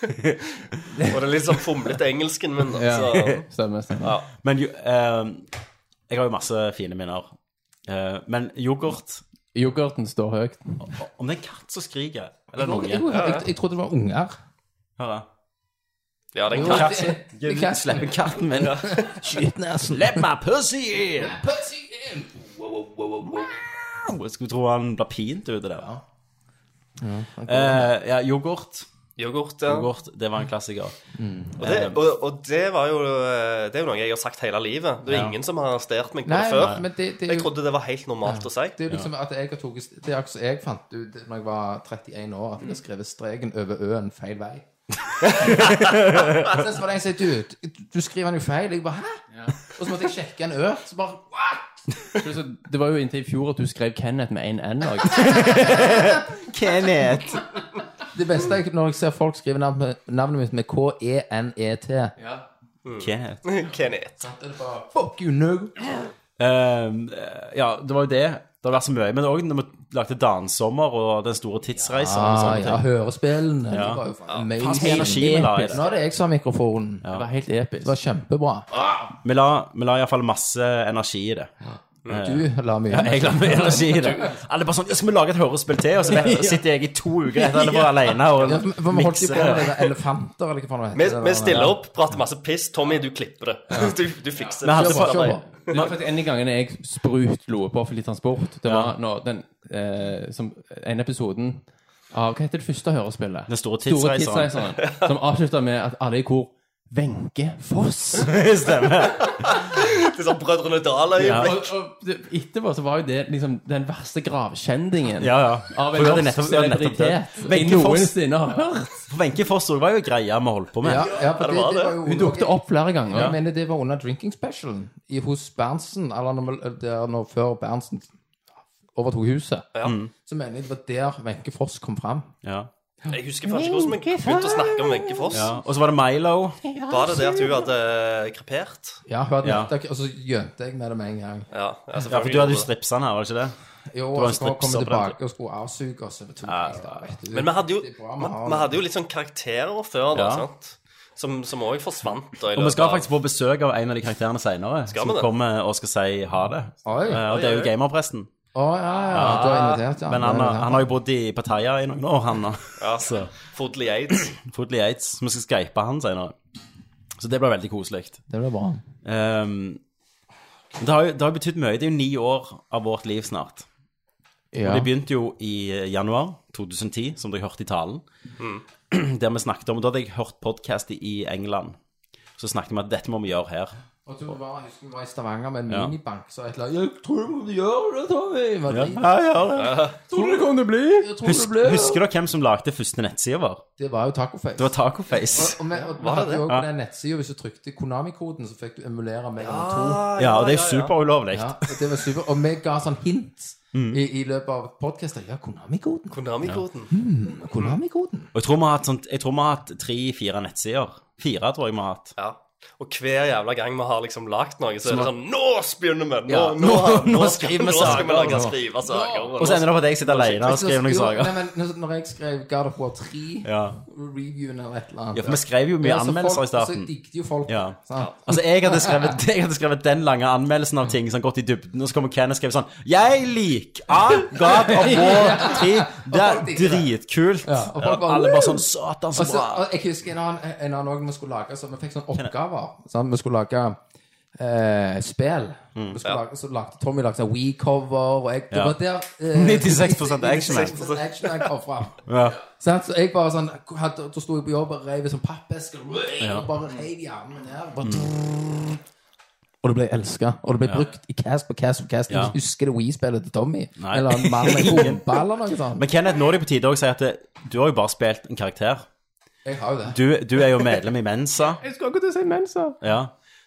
Speaker 8: Og det er litt sånn fomlete engelsken min. altså. da,
Speaker 7: ja.
Speaker 8: så-
Speaker 7: Stemmer. stemmer.
Speaker 9: Men jo, eh, jeg har jo masse fine minner. Eh, men yoghurt
Speaker 7: Yoghurten står høyt.
Speaker 9: Om det er en katt som skriker, eller en
Speaker 6: Jeg, jeg,
Speaker 9: unge
Speaker 6: jeg, jeg trodde det var unger.
Speaker 9: Hør da.
Speaker 8: Ja, den
Speaker 6: Jo,
Speaker 8: kan.
Speaker 6: det- det
Speaker 9: Gud,
Speaker 6: kan-
Speaker 9: Slipp katten min.
Speaker 6: Skyt
Speaker 7: altså,
Speaker 6: nesen.
Speaker 9: Let my pussy in! Wow, Jeg skulle tro han ble pint ute der. Ja, Eh, ja yoghurt.
Speaker 8: Yoghurt, ja.
Speaker 9: Yoghurt, det var en klassiker.
Speaker 8: Og det, og, og det var jo eh, Det er jo noe jeg har sagt hele livet. Det er ingen som har arrestert meg på
Speaker 6: Nei,
Speaker 8: det før.
Speaker 6: men det, det er
Speaker 8: Jeg
Speaker 6: jo
Speaker 8: trodde det var helt normalt å si.
Speaker 6: det er jo liksom at jeg har tatt Det er akkurat som jeg fant ut da jeg var 31 år, at jeg har skrevet streken over øen feil vei. så var det en som sa du, du skriver den jo feil. Jeg bare hæ? Og så måtte jeg sjekke en ø. Så bare what?
Speaker 7: Så Det var jo inntil i fjor at du skrev Kenneth med en N òg.
Speaker 9: Kenneth!
Speaker 6: Det beste er når jeg ser folk skrive navnet, navnet mitt med E K-E-N-E-T.
Speaker 9: Kenneth.
Speaker 8: Kenneth.
Speaker 6: Fuck you, no.
Speaker 9: Ehm, ja, det var jo det. Det har vært så mye. Men òg når vi lagde 'Dansommer' og 'Den store tidsreisen' og
Speaker 6: Ah,
Speaker 9: sånne
Speaker 6: ja,
Speaker 9: ting.
Speaker 6: hørespillene.
Speaker 9: Ja.
Speaker 6: Det var jo faen
Speaker 9: Faen, så mye
Speaker 6: amazing.
Speaker 9: energi vi la i det.
Speaker 6: Nå er det jeg som har mikrofonen.
Speaker 7: Det var helt
Speaker 6: Det
Speaker 7: episk.
Speaker 6: var kjempebra.
Speaker 9: Vi la, vi la iallfall masse energi i det.
Speaker 6: Du la mye.
Speaker 9: Jeg la mye energi i det. Alle bare sånn ja, 'Skal vi lage et hørespill til?' Og så vet- sitter jeg i to uker etter det var alene
Speaker 6: Ja,
Speaker 9: og
Speaker 6: for- for vi holdt jo
Speaker 9: mikser.
Speaker 6: på med det der elefanter, eller hva faen det heter.
Speaker 8: Vi,
Speaker 6: det
Speaker 8: vi
Speaker 6: der.
Speaker 8: stiller opp, prater masse piss. Tommy, du klipper det. Du, du fikser
Speaker 9: Vi
Speaker 8: det.
Speaker 9: hadde
Speaker 6: Kjør på,
Speaker 9: for-
Speaker 6: kjør på.
Speaker 7: Det var faktisk en av gangene jeg sprut lo på offentlig transport. Det var når den eh, som, en episoden av Hva heter det første hørespillet?
Speaker 9: Den store
Speaker 7: Store
Speaker 9: tidsreiseren.
Speaker 7: tidsreiseren. Som avslutta med at alle i kor Wenche Foss.
Speaker 8: Det er sånn Brødrene Dal-øyeblikk.
Speaker 7: Og, og det- etterpå så var jo det liksom den verste gravkjendingen
Speaker 9: Ja, ja.
Speaker 7: av
Speaker 9: For
Speaker 7: en
Speaker 9: hun hadde
Speaker 7: norsk
Speaker 9: nettopp- hun hadde nettopp dødd.
Speaker 7: celebritet jeg
Speaker 9: Wenche Foss.
Speaker 7: noensinne har hørt.
Speaker 9: For Wenche Foss også var jo greia vi holdt på med.
Speaker 6: Ja, ja, for det,
Speaker 8: var
Speaker 6: det
Speaker 8: det.
Speaker 6: var jo
Speaker 7: Hun dukket opp flere ganger.
Speaker 6: Jeg mener det var under drinking specialen i, hos Berntsen, eller når, der, når før Berntsen overtok huset.
Speaker 7: Mm.
Speaker 6: Så mener jeg det var der Wenche Foss kom fram.
Speaker 9: Ja.
Speaker 8: Jeg husker faktisk ikke hvordan vi begynte å snakke om Wenche Foss.
Speaker 9: Ja. Og så var det Milo.
Speaker 8: Var det det at hun hadde eh, krepert?
Speaker 6: Ja, hun hadde
Speaker 9: Ja.
Speaker 6: nettopp, Og så gjønte jeg med det med en gang.
Speaker 8: Ja, ja,
Speaker 9: Ja, for du hadde jo
Speaker 8: selvfølgelig.
Speaker 9: stripsene her, var det ikke det?
Speaker 6: Jo,
Speaker 9: var
Speaker 6: og
Speaker 9: en
Speaker 6: så kom- kom
Speaker 9: stripser
Speaker 6: jeg
Speaker 9: på den
Speaker 6: tilbake og skulle avsuge oss. over to dager, vet du.
Speaker 8: Men vi hadde jo,
Speaker 6: Det er bra vi
Speaker 8: vi,
Speaker 6: har-
Speaker 8: vi hadde jo litt sånn karakterer før, da,
Speaker 9: Ja.
Speaker 8: sant? Som, som også forsvant. da, i
Speaker 9: Og vi
Speaker 8: løpet
Speaker 9: skal
Speaker 8: av-
Speaker 9: faktisk få besøk av en av de karakterene senere.
Speaker 8: Skal
Speaker 9: Som
Speaker 8: vi det?
Speaker 9: kommer og skal si ha det.
Speaker 6: Oi.
Speaker 9: Eh, Og det er jo gamerpresten.
Speaker 6: Å, ja, ja. Du har invitert, ja.
Speaker 9: Men han, har- han har jo bodd i Pattaya i noen år, han nå.
Speaker 8: Ja, Fodley Aids.
Speaker 9: Foodly Aids. Så vi skal skype han senere. Så det blir veldig koselig.
Speaker 6: Det ble bra.
Speaker 9: Ehm, men det har jo det har jo betydd mye. Det er jo ni år av vårt liv snart.
Speaker 6: Ja.
Speaker 9: Og det begynte jo i eh, januar 2010, som dere hørte i talen.
Speaker 8: Mm.
Speaker 9: Der vi snakket om, og Da hadde jeg hørt podkast i England. Så snakket vi om at dette må vi gjøre her.
Speaker 6: Og du var, jeg husker vi var i Stavanger med en
Speaker 9: Ja.
Speaker 6: minibank, så et eller annet 'Jeg tror du må gjøre det, Tommy!' Var det drit?
Speaker 7: Tror du det kom til å bli?
Speaker 6: Jeg tror det
Speaker 9: Husk,
Speaker 6: ble
Speaker 9: husker dere hvem som lagde første nettsida vår?
Speaker 6: Det var jo tacoface.
Speaker 9: Det var Tacoface.
Speaker 6: Og, og, med, og vi hadde jo også på den nettsida, hvis du trykte Konami-koden, så fikk du emulere Megan 2.
Speaker 9: Ja, og det er jo superulovlig.
Speaker 6: Ja, og det var super. Og vi ga sånn hint
Speaker 9: Mm.
Speaker 6: i, i løpet av podkaster. Ja, Konami-koden.
Speaker 8: Konami-koden.
Speaker 6: Konami-koden.
Speaker 9: Og jeg tror vi har hatt, sånt- jeg tror vi har hatt tre-fire nettsider. Fire tror jeg vi har hatt.
Speaker 8: Ja. Og hver jævla gang vi har liksom lagt noe, så er det sånn Nå begynner vi! Nå,
Speaker 9: Ja.
Speaker 8: nå,
Speaker 9: Nå- nå
Speaker 8: skal-
Speaker 9: skriver vi
Speaker 8: nå skal
Speaker 9: saker,
Speaker 8: vi lage
Speaker 9: nå.
Speaker 8: skrive saker.
Speaker 9: Og så ender det på at jeg sitter alene og skriver noen
Speaker 6: Jo,
Speaker 9: saker.
Speaker 6: Nei, men når- når jeg skrev God of War 3,
Speaker 9: Ja.
Speaker 6: reviewen eller et eller annet
Speaker 9: ja, for vi skrev jo mye
Speaker 6: Ja, så
Speaker 9: anmeldelser
Speaker 6: folk-
Speaker 9: i starten.
Speaker 6: Så digget jo folk
Speaker 9: Ja.
Speaker 6: sant?
Speaker 9: Altså, jeg hadde, skrevet, jeg hadde skrevet den lange anmeldelsen av ting som gått i dybden, og så kommer Ken og skrev sånn Jeg liker ah, God of War 3. Det er dritkult.
Speaker 6: og folk bare,
Speaker 9: Alle bare sånn Satan, så
Speaker 6: Og så,
Speaker 9: bra.
Speaker 6: Altså, og jeg husker en annen, en annen også vi skulle lage så Vi fikk sånne oppgaver sant? Vi skulle lage eh, spill Vi skulle lage, Så lagde Tommy lagde sånn We-cover Og jeg, det
Speaker 9: Mm, Ja.
Speaker 6: var der eh,
Speaker 9: 96% action.
Speaker 6: 96% action jeg kom fra
Speaker 9: Ja.
Speaker 6: Sant? Så jeg bare sånn hadde, Da sto jeg på jobb og reiv i sånn pappesker Og bare reiv hjernen min her
Speaker 9: Mm.
Speaker 6: bare, Og det ble elsket Og det ble brukt i cast på cast på cast
Speaker 9: Ja.
Speaker 6: Jeg husker det Wii-spillet til Tommy
Speaker 9: Nei.
Speaker 6: Eller en mann med bomba eller noe sånt
Speaker 9: Men Kenneth, nå er det på tide å si at eh, du har jo bare spilt en karakter.
Speaker 6: Jeg har jo det
Speaker 9: Du, du er jo medlem i Mensa.
Speaker 7: Jeg skal ikke til å si mensa.
Speaker 9: Ja.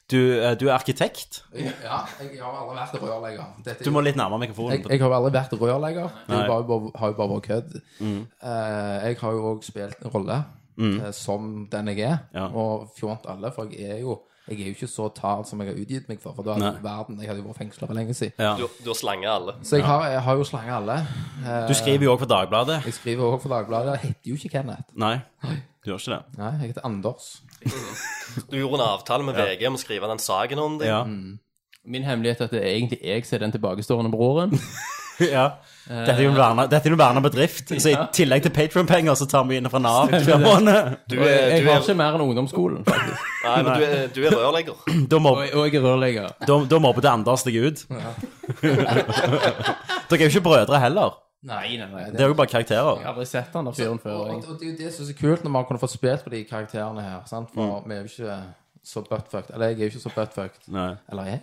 Speaker 9: Du, eh, du er arkitekt.
Speaker 6: Ja, jeg har aldri vært rørlegger. Dette er
Speaker 9: Du
Speaker 6: jo-
Speaker 9: må litt nærmere mikrofonen.
Speaker 6: jeg, jeg har jo aldri vært rørlegger. Det
Speaker 9: Nei. Mm.
Speaker 6: var jo bare, har jo bare vært kødd. Eh, jeg har jo òg spilt en rolle eh, som den jeg er,
Speaker 9: Ja.
Speaker 6: og fjont alle, for jeg er jo jeg er jo ikke så tard som jeg har utgitt meg for, for da hadde verden Jeg hadde jo vært fengsla for lenge siden.
Speaker 9: Ja.
Speaker 8: Du, du har slange alle.
Speaker 6: Så jeg har, jeg har jo slange alle. Eh,
Speaker 9: Du skriver jo òg for Dagbladet.
Speaker 6: jeg skriver òg for Dagbladet. Jeg heter jo ikke Kenneth.
Speaker 9: Nei, du gjør ikke det.
Speaker 6: Nei, jeg heter Anders.
Speaker 8: Du gjorde en avtale med VG om å skrive den saken om deg.
Speaker 9: Ja.
Speaker 7: Min hemmelighet er at det er egentlig jeg som er den tilbakestående broren.
Speaker 9: ja. Dette er jo en verna- dette er jo en verna bedrift, så i tillegg til Patron-penger så tar vi inn fra Nav hver måned.
Speaker 8: Du
Speaker 7: Og jeg,
Speaker 8: er,
Speaker 7: jeg
Speaker 8: du
Speaker 7: har
Speaker 8: er,
Speaker 7: ikke mer enn ungdomsskolen, faktisk.
Speaker 8: nei, men du er, du er rørlegger.
Speaker 9: Da må,
Speaker 7: Og, jeg- og jeg er rørlegger.
Speaker 9: da, da må det Anders deg ut. Dere er jo ikke brødre heller.
Speaker 7: Nei, nei, nei.
Speaker 9: Det er jo bare karakterer.
Speaker 7: Jeg har aldri sett han der fyren før.
Speaker 6: Og,
Speaker 7: jeg.
Speaker 6: og det er jo det som er så kult når man kunne fått spilt på de karakterene her. Sant? For
Speaker 9: Mm.
Speaker 6: vi er jo ikke så buttfucked. Eller jeg er jo ikke så buttfucked.
Speaker 9: Nei,
Speaker 6: Eller er jeg?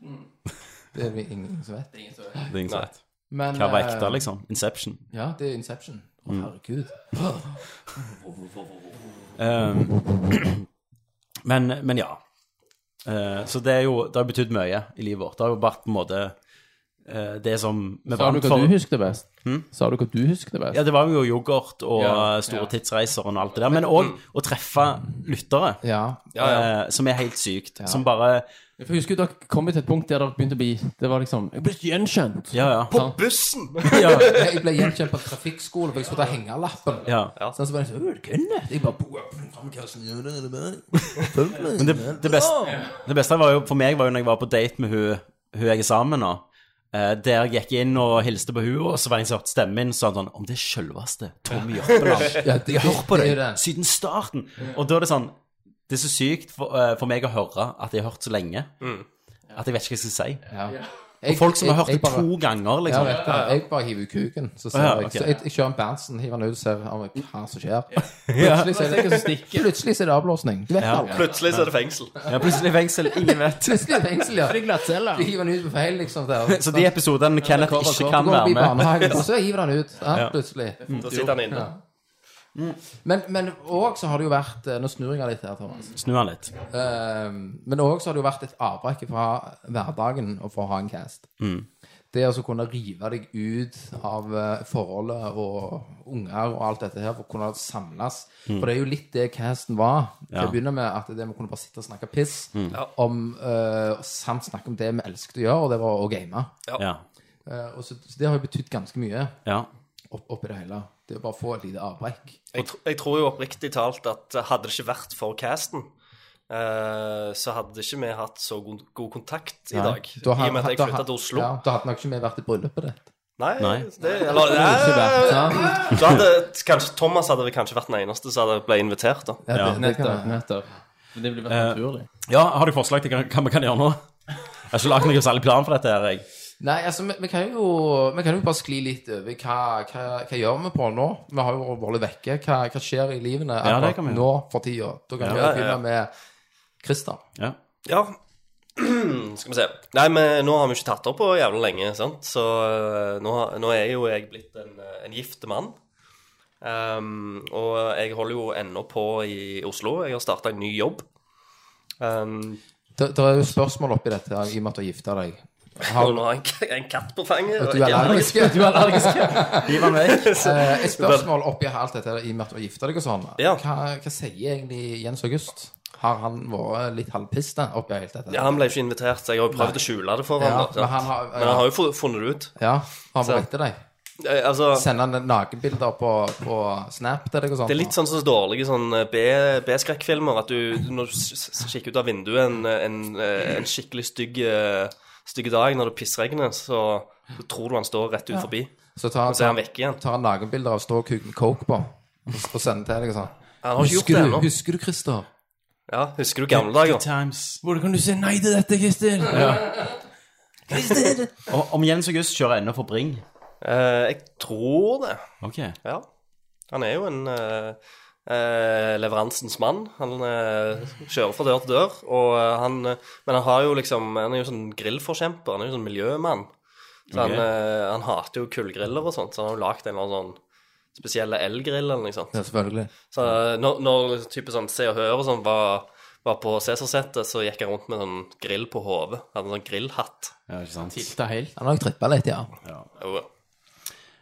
Speaker 6: Det er Mm. det ingen som vet.
Speaker 9: det er ingen sant.
Speaker 6: Men,
Speaker 9: Hva var
Speaker 6: eh,
Speaker 9: ekte, liksom? Inception.
Speaker 6: Ja, det er Inception. Å,
Speaker 9: Mm.
Speaker 6: herregud.
Speaker 9: Um, men, men ja. Eh, så det er jo Det har betydd mye i livet vårt. Det har jo vært på en måte eh, det som vi
Speaker 7: Sa du
Speaker 9: brant
Speaker 7: hva du
Speaker 9: for.
Speaker 7: husket best? Sa du hva du husket best?
Speaker 9: Ja, det var jo yoghurt og
Speaker 7: Ja,
Speaker 9: eh, store tidsreiser og alt det der. Men òg å treffe lyttere,
Speaker 6: Ja.
Speaker 9: eh, som er helt sykt. Som bare
Speaker 7: For jeg husker jo dere kom til et punkt der det begynte å bli Det var liksom Jeg ble gjenkjent.
Speaker 9: Ja, ja.
Speaker 8: På bussen!
Speaker 6: Jeg ble gjenkjent på trafikkskole, for jeg skulle ta hengelappen.
Speaker 9: ja.
Speaker 6: Sånn så bare så, «Å, Kenneth!» Jeg bare «Bo, faen, hva som gjør det, det bare?» Følg meg.
Speaker 9: Men det, det, beste, det beste var jo, for meg var jo når jeg var på date med hun, hun jeg er sammen med. Uh, der jeg gikk inn og hilste på hun, og så var det en som hørte stemmen min, så sa han sånn Om det er selveste Tommy Jørpeland.
Speaker 6: Ja, det,
Speaker 9: Jeg har hørt på
Speaker 6: det er
Speaker 9: deg
Speaker 6: jo det.
Speaker 9: siden starten. Og da er det sånn Det er så sykt for, eh, for meg å høre at jeg har hørt så lenge. At jeg vet ikke hva jeg skal si.
Speaker 6: Jeg-
Speaker 9: Folk som har
Speaker 6: jeg-
Speaker 9: hørt
Speaker 6: jeg
Speaker 9: det
Speaker 6: bare-
Speaker 9: to ganger,
Speaker 6: Ja,
Speaker 9: liksom.
Speaker 6: vet du, jeg bare hiver ut kuken. Så, ser
Speaker 9: Å, ja,
Speaker 6: jeg,
Speaker 9: ok.
Speaker 6: så jeg, jeg kjører en Berntsen, hiver den ut og ser om jeg- hva som skjer.
Speaker 9: Ja.
Speaker 6: Plutselig så er det, plutselig så er det avblåsning. Du vet aldri.
Speaker 8: Plutselig så er det fengsel.
Speaker 9: Ja, plutselig i fengsel. Ingen vet.
Speaker 6: Plutselig er det fengsel, ja. Du hiver den ut på feil, liksom. Der.
Speaker 9: Så de episodene Kenneth ikke kan
Speaker 6: Så går vi
Speaker 9: være
Speaker 6: i
Speaker 9: med
Speaker 6: barnehagen, og så hiver den ut. Ja, Mm. plutselig.
Speaker 8: Da sitter han inne.
Speaker 6: Men, men òg så har det jo vært eh, Nå snur jeg litt her, Thomas.
Speaker 9: Snu han litt.
Speaker 6: Eh, men òg så har det jo vært et avbrekk fra hverdagen og for å ha en cast. Det å så kunne rive deg ut av eh, forholdet og unger og alt dette her, for å kunne samles. For det er jo litt det casten var. Til å begynne med at det med å kunne bare sitte og snakke piss, om, eh, samt snakke om det vi elsket å gjøre, og det var å game.
Speaker 9: Ja.
Speaker 6: Eh, og så, så det har jo betydd ganske mye
Speaker 9: ja.
Speaker 6: opp, oppi det hele. Det å bare få et lite avbrekk.
Speaker 8: Jeg, tr- jeg tror jo oppriktig talt at hadde det ikke vært for casten, eh, så hadde ikke vi hatt så god, god kontakt i dag. I
Speaker 6: Da
Speaker 8: og
Speaker 6: har-
Speaker 8: med at jeg
Speaker 6: da
Speaker 8: flytta
Speaker 6: har-
Speaker 8: til Oslo.
Speaker 6: Ja, da hadde nok ikke vi vært i bryllupet ditt.
Speaker 8: Nei,
Speaker 9: Nei.
Speaker 8: Det, eller, nei,
Speaker 6: Ja,
Speaker 8: så hadde, kanskje, Thomas hadde vel kanskje vært den eneste som hadde ble invitert, da.
Speaker 6: ja, det, det kan
Speaker 7: Nettopp.
Speaker 6: være.
Speaker 7: nettopp. Men det blir veldig naturlig.
Speaker 9: ja, har du forslag til hva hva vi kan gjøre nå? Jeg har ikke lagd noen særlig plan for dette. her, jeg.
Speaker 6: Nei, altså, vi, vi, kan jo, vi kan jo bare skli litt over hva, hva, hva gjør vi på nå? Vi har jo vært litt vekke. Hva, hva skjer i livene
Speaker 9: Ja, det
Speaker 6: akkurat
Speaker 9: kan vi gjøre.
Speaker 6: nå for tida? Da kan vi
Speaker 8: Ja, ja,
Speaker 6: begynne
Speaker 8: ja.
Speaker 6: med Christer.
Speaker 9: Ja.
Speaker 8: Ja. Skal vi se. Nei, men nå har vi ikke tatt opp på jævlig lenge, sant? så eh, nå, har- nå er jo jeg blitt en, eh, en gift mann. Um, og jeg holder jo ennå på i Oslo. Jeg har starta en ny jobb. Um,
Speaker 6: Det det er jo spørsmål oppi dette her, i og med at du har gifta deg.
Speaker 8: og
Speaker 6: Har,
Speaker 8: nå har jeg en, en katt på fanget.
Speaker 6: at
Speaker 8: og
Speaker 6: du er
Speaker 8: jeg-
Speaker 6: allergisk.
Speaker 7: Du er allergisk.
Speaker 9: Hiv han vekk.
Speaker 6: Eh, Et spørsmål oppi her, alt dette her, i og med at du har gifta deg og sånn.
Speaker 8: Ja.
Speaker 6: Hva, hva sier egentlig Jens August? Har han vært litt halvpiste oppi helt dette?
Speaker 8: Ja, Han ble ikke invitert, så jeg har jo prøvd å skjule det for
Speaker 6: Ja,
Speaker 8: ham. da,
Speaker 6: men
Speaker 8: sant?
Speaker 6: han har-
Speaker 8: men han har jo fu- funnet det ut.
Speaker 6: ja han var etter deg?
Speaker 8: Eh, Altså,
Speaker 6: Sender han nakenbilder på, på Snap til deg og sånn?
Speaker 8: Det er litt sånn som så dårlige sånn eh, B- B-skrekkfilmer. At du, du- når du s- s- kikker ut av vinduet en, en, eh, en skikkelig stygg eh, stygg dag når det pissregner, så, så tror du han står rett ut forbi.
Speaker 6: Så tar,
Speaker 8: Og så er han vekk igjen.
Speaker 6: tar han nakenbilder av ståkuk med coke på og sender til deg og sånn.
Speaker 8: Han har ikke gjort
Speaker 6: Husker
Speaker 8: det
Speaker 6: du,
Speaker 8: ennå.
Speaker 6: husker du, Christer?
Speaker 8: Ja, husker du gamle dager?
Speaker 9: Times.
Speaker 7: Hvordan kan du si nei til dette, Kristin?
Speaker 9: Og om Jens August kjører ennå for Bring.
Speaker 8: Eh, jeg tror det.
Speaker 9: Ok.
Speaker 8: Ja. Han er jo en eh, eh, leveransens mann. Han eh, kjører fra dør til dør. Og, eh, han, eh, men han, har jo liksom, han er jo sånn grillforkjemper. Han er jo sånn miljømann. Så han,
Speaker 9: Ok.
Speaker 8: eh, han hater jo kullgriller og sånt, så han har jo lagd en eller annen sånn spesiell elgrill eller noe sånt.
Speaker 6: Ja, selvfølgelig.
Speaker 8: Så eh, når, når type sånn Se og Hør og sånn var, var på Cæsarsetet, så gikk han rundt med sånn grill på hodet. Han Hadde en sånn grillhatt.
Speaker 9: Ja, ikke sant.
Speaker 7: helt.
Speaker 6: Han har jo trippa litt, ja.
Speaker 8: Jo,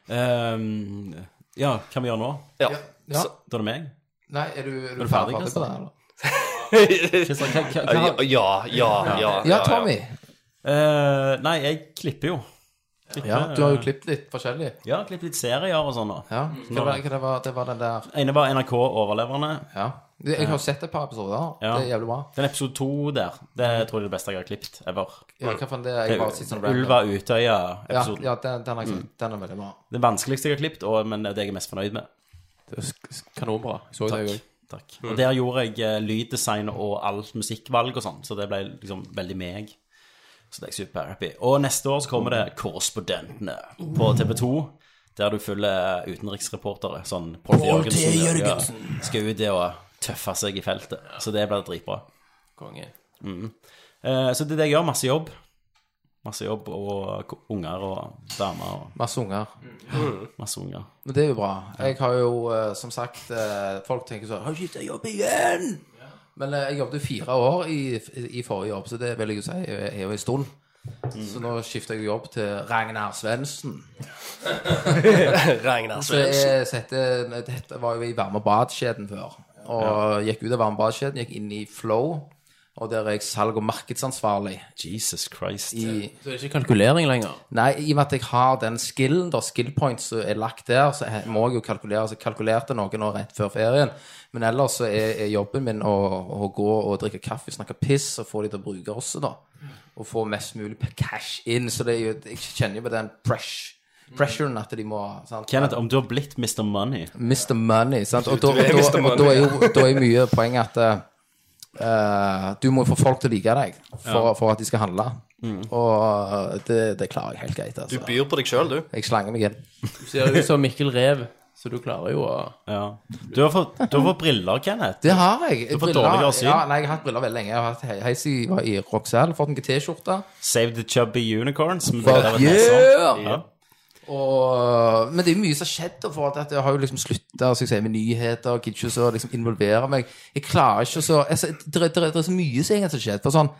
Speaker 9: Ehm, ja, hva vi gjør nå?
Speaker 8: Ja.
Speaker 6: ja.
Speaker 8: Så-
Speaker 9: Da er det meg.
Speaker 6: Nei, er du, er du
Speaker 9: ferdig,
Speaker 6: ferdig, på
Speaker 9: Christer?
Speaker 6: det? eller?
Speaker 9: Kristian, hva, hva, hva,
Speaker 8: Ja, ja, ja. ja,
Speaker 6: Ja, Tommy.
Speaker 9: Eh, nei, jeg klipper jo.
Speaker 6: Ja, du har jo klippet litt forskjellig.
Speaker 9: Ja, klipper litt serier og sånn. da.
Speaker 6: Ja, hva var, hva det, var, det var den der
Speaker 9: Ene var NRK Overleverne.
Speaker 6: Ja. Jeg har jo sett et par episoder.
Speaker 9: Ja.
Speaker 6: Det er jævlig bra.
Speaker 9: Den episode to der, det tror jeg er det beste jeg har klippet ever.
Speaker 6: Ja, hva faen det er? Jeg bare sitter sånn random.
Speaker 9: Ulva
Speaker 6: Ja,
Speaker 9: Utøya-episoden.
Speaker 6: ja den, den, har jeg sett. den er veldig bra.
Speaker 9: Det vanskeligste jeg har klippet, og, men det er det jeg er mest fornøyd med.
Speaker 7: Kanonbra. Jeg så det, jeg òg.
Speaker 9: Takk. Og der gjorde jeg eh, lyddesign og alt musikkvalg og sånn, så det ble liksom veldig meg. Så det er jeg superhappy. Og neste år så kommer det Korrespondentene på TV2. Der du følger utenriksreportere. Sånn Pål T. Jørgensen. ja, Skal ut det og tøffe seg i feltet. Så det blir dritbra.
Speaker 7: Konge.
Speaker 9: Eh, Så det er det jeg gjør. Masse jobb. Masse jobb og k- unger og damer og
Speaker 6: Masse unger.
Speaker 9: masse unger.
Speaker 6: Men det er jo bra. Jeg har jo, eh, som sagt eh, Folk tenker sånn 'Har du skifta jobb igjen?' Men eh, jeg jobbet jo fire år i, i forrige jobb, så det vil jeg jo si er er jo en stund. Så nå skifter jeg jobb til Ragnar Svendsen.
Speaker 8: Ragnar
Speaker 7: Altså,
Speaker 6: Så
Speaker 8: Svendsen.
Speaker 6: jeg setter, dette var jo i varme- og badkjeden før. Og gikk ut av varme- og badkjeden, gikk inn i Flow, og der er jeg salg- og markedsansvarlig.
Speaker 9: Jesus Christ.
Speaker 6: I,
Speaker 7: Så det er ikke kalkulering lenger.
Speaker 6: nei, i og med at jeg har den skillen, da, skill points som er lagt der, så he- må jeg jo kalkulere. Så jeg kalkulerte noe nå rett før ferien. Men ellers så er, er jobben min å, å gå og drikke kaffe, snakke piss og få de til å bruke oss, da. Og få mest mulig cash inn. Så det er jo, jeg kjenner jo på den press, pressuren at de må sant?
Speaker 9: Kenneth, om du har blitt Mr. Money
Speaker 6: Mr. Money, sant? Og, da, og,
Speaker 8: Du er Mr.
Speaker 6: da, og da,
Speaker 8: Money,
Speaker 6: er jo, da er mye poeng at eh, du må få folk til å like deg for, for at de skal handle. Og eh, det, det klarer jeg helt greit.
Speaker 8: Du
Speaker 6: Altså.
Speaker 8: byr på deg sjøl, du.
Speaker 6: Jeg slanger meg inn.
Speaker 7: Du ser ut som Mikkel Rev, så du klarer jo å
Speaker 9: Ja. Du har fått, du har fått briller, Kenneth.
Speaker 6: Det har jeg.
Speaker 9: Du får
Speaker 6: Briller-
Speaker 9: dårligere syn.
Speaker 6: Ja, nei, jeg har hatt briller veldig lenge. Jeg har hatt he- heis i, var i Roxelle, fått en GT-skjorte.
Speaker 9: Save the chubby unicorns. med
Speaker 6: Fuck
Speaker 9: bilder av et
Speaker 6: yeah!
Speaker 9: nesa. Ja.
Speaker 6: Og, men det er jo mye som har skjedd. da, For at jeg har jo liksom slutta med nyheter. og Gidder ikke så liksom involvere meg. Jeg klarer ikke så altså, det, er- det, er- det er så mye som egentlig har skjedd. For sånn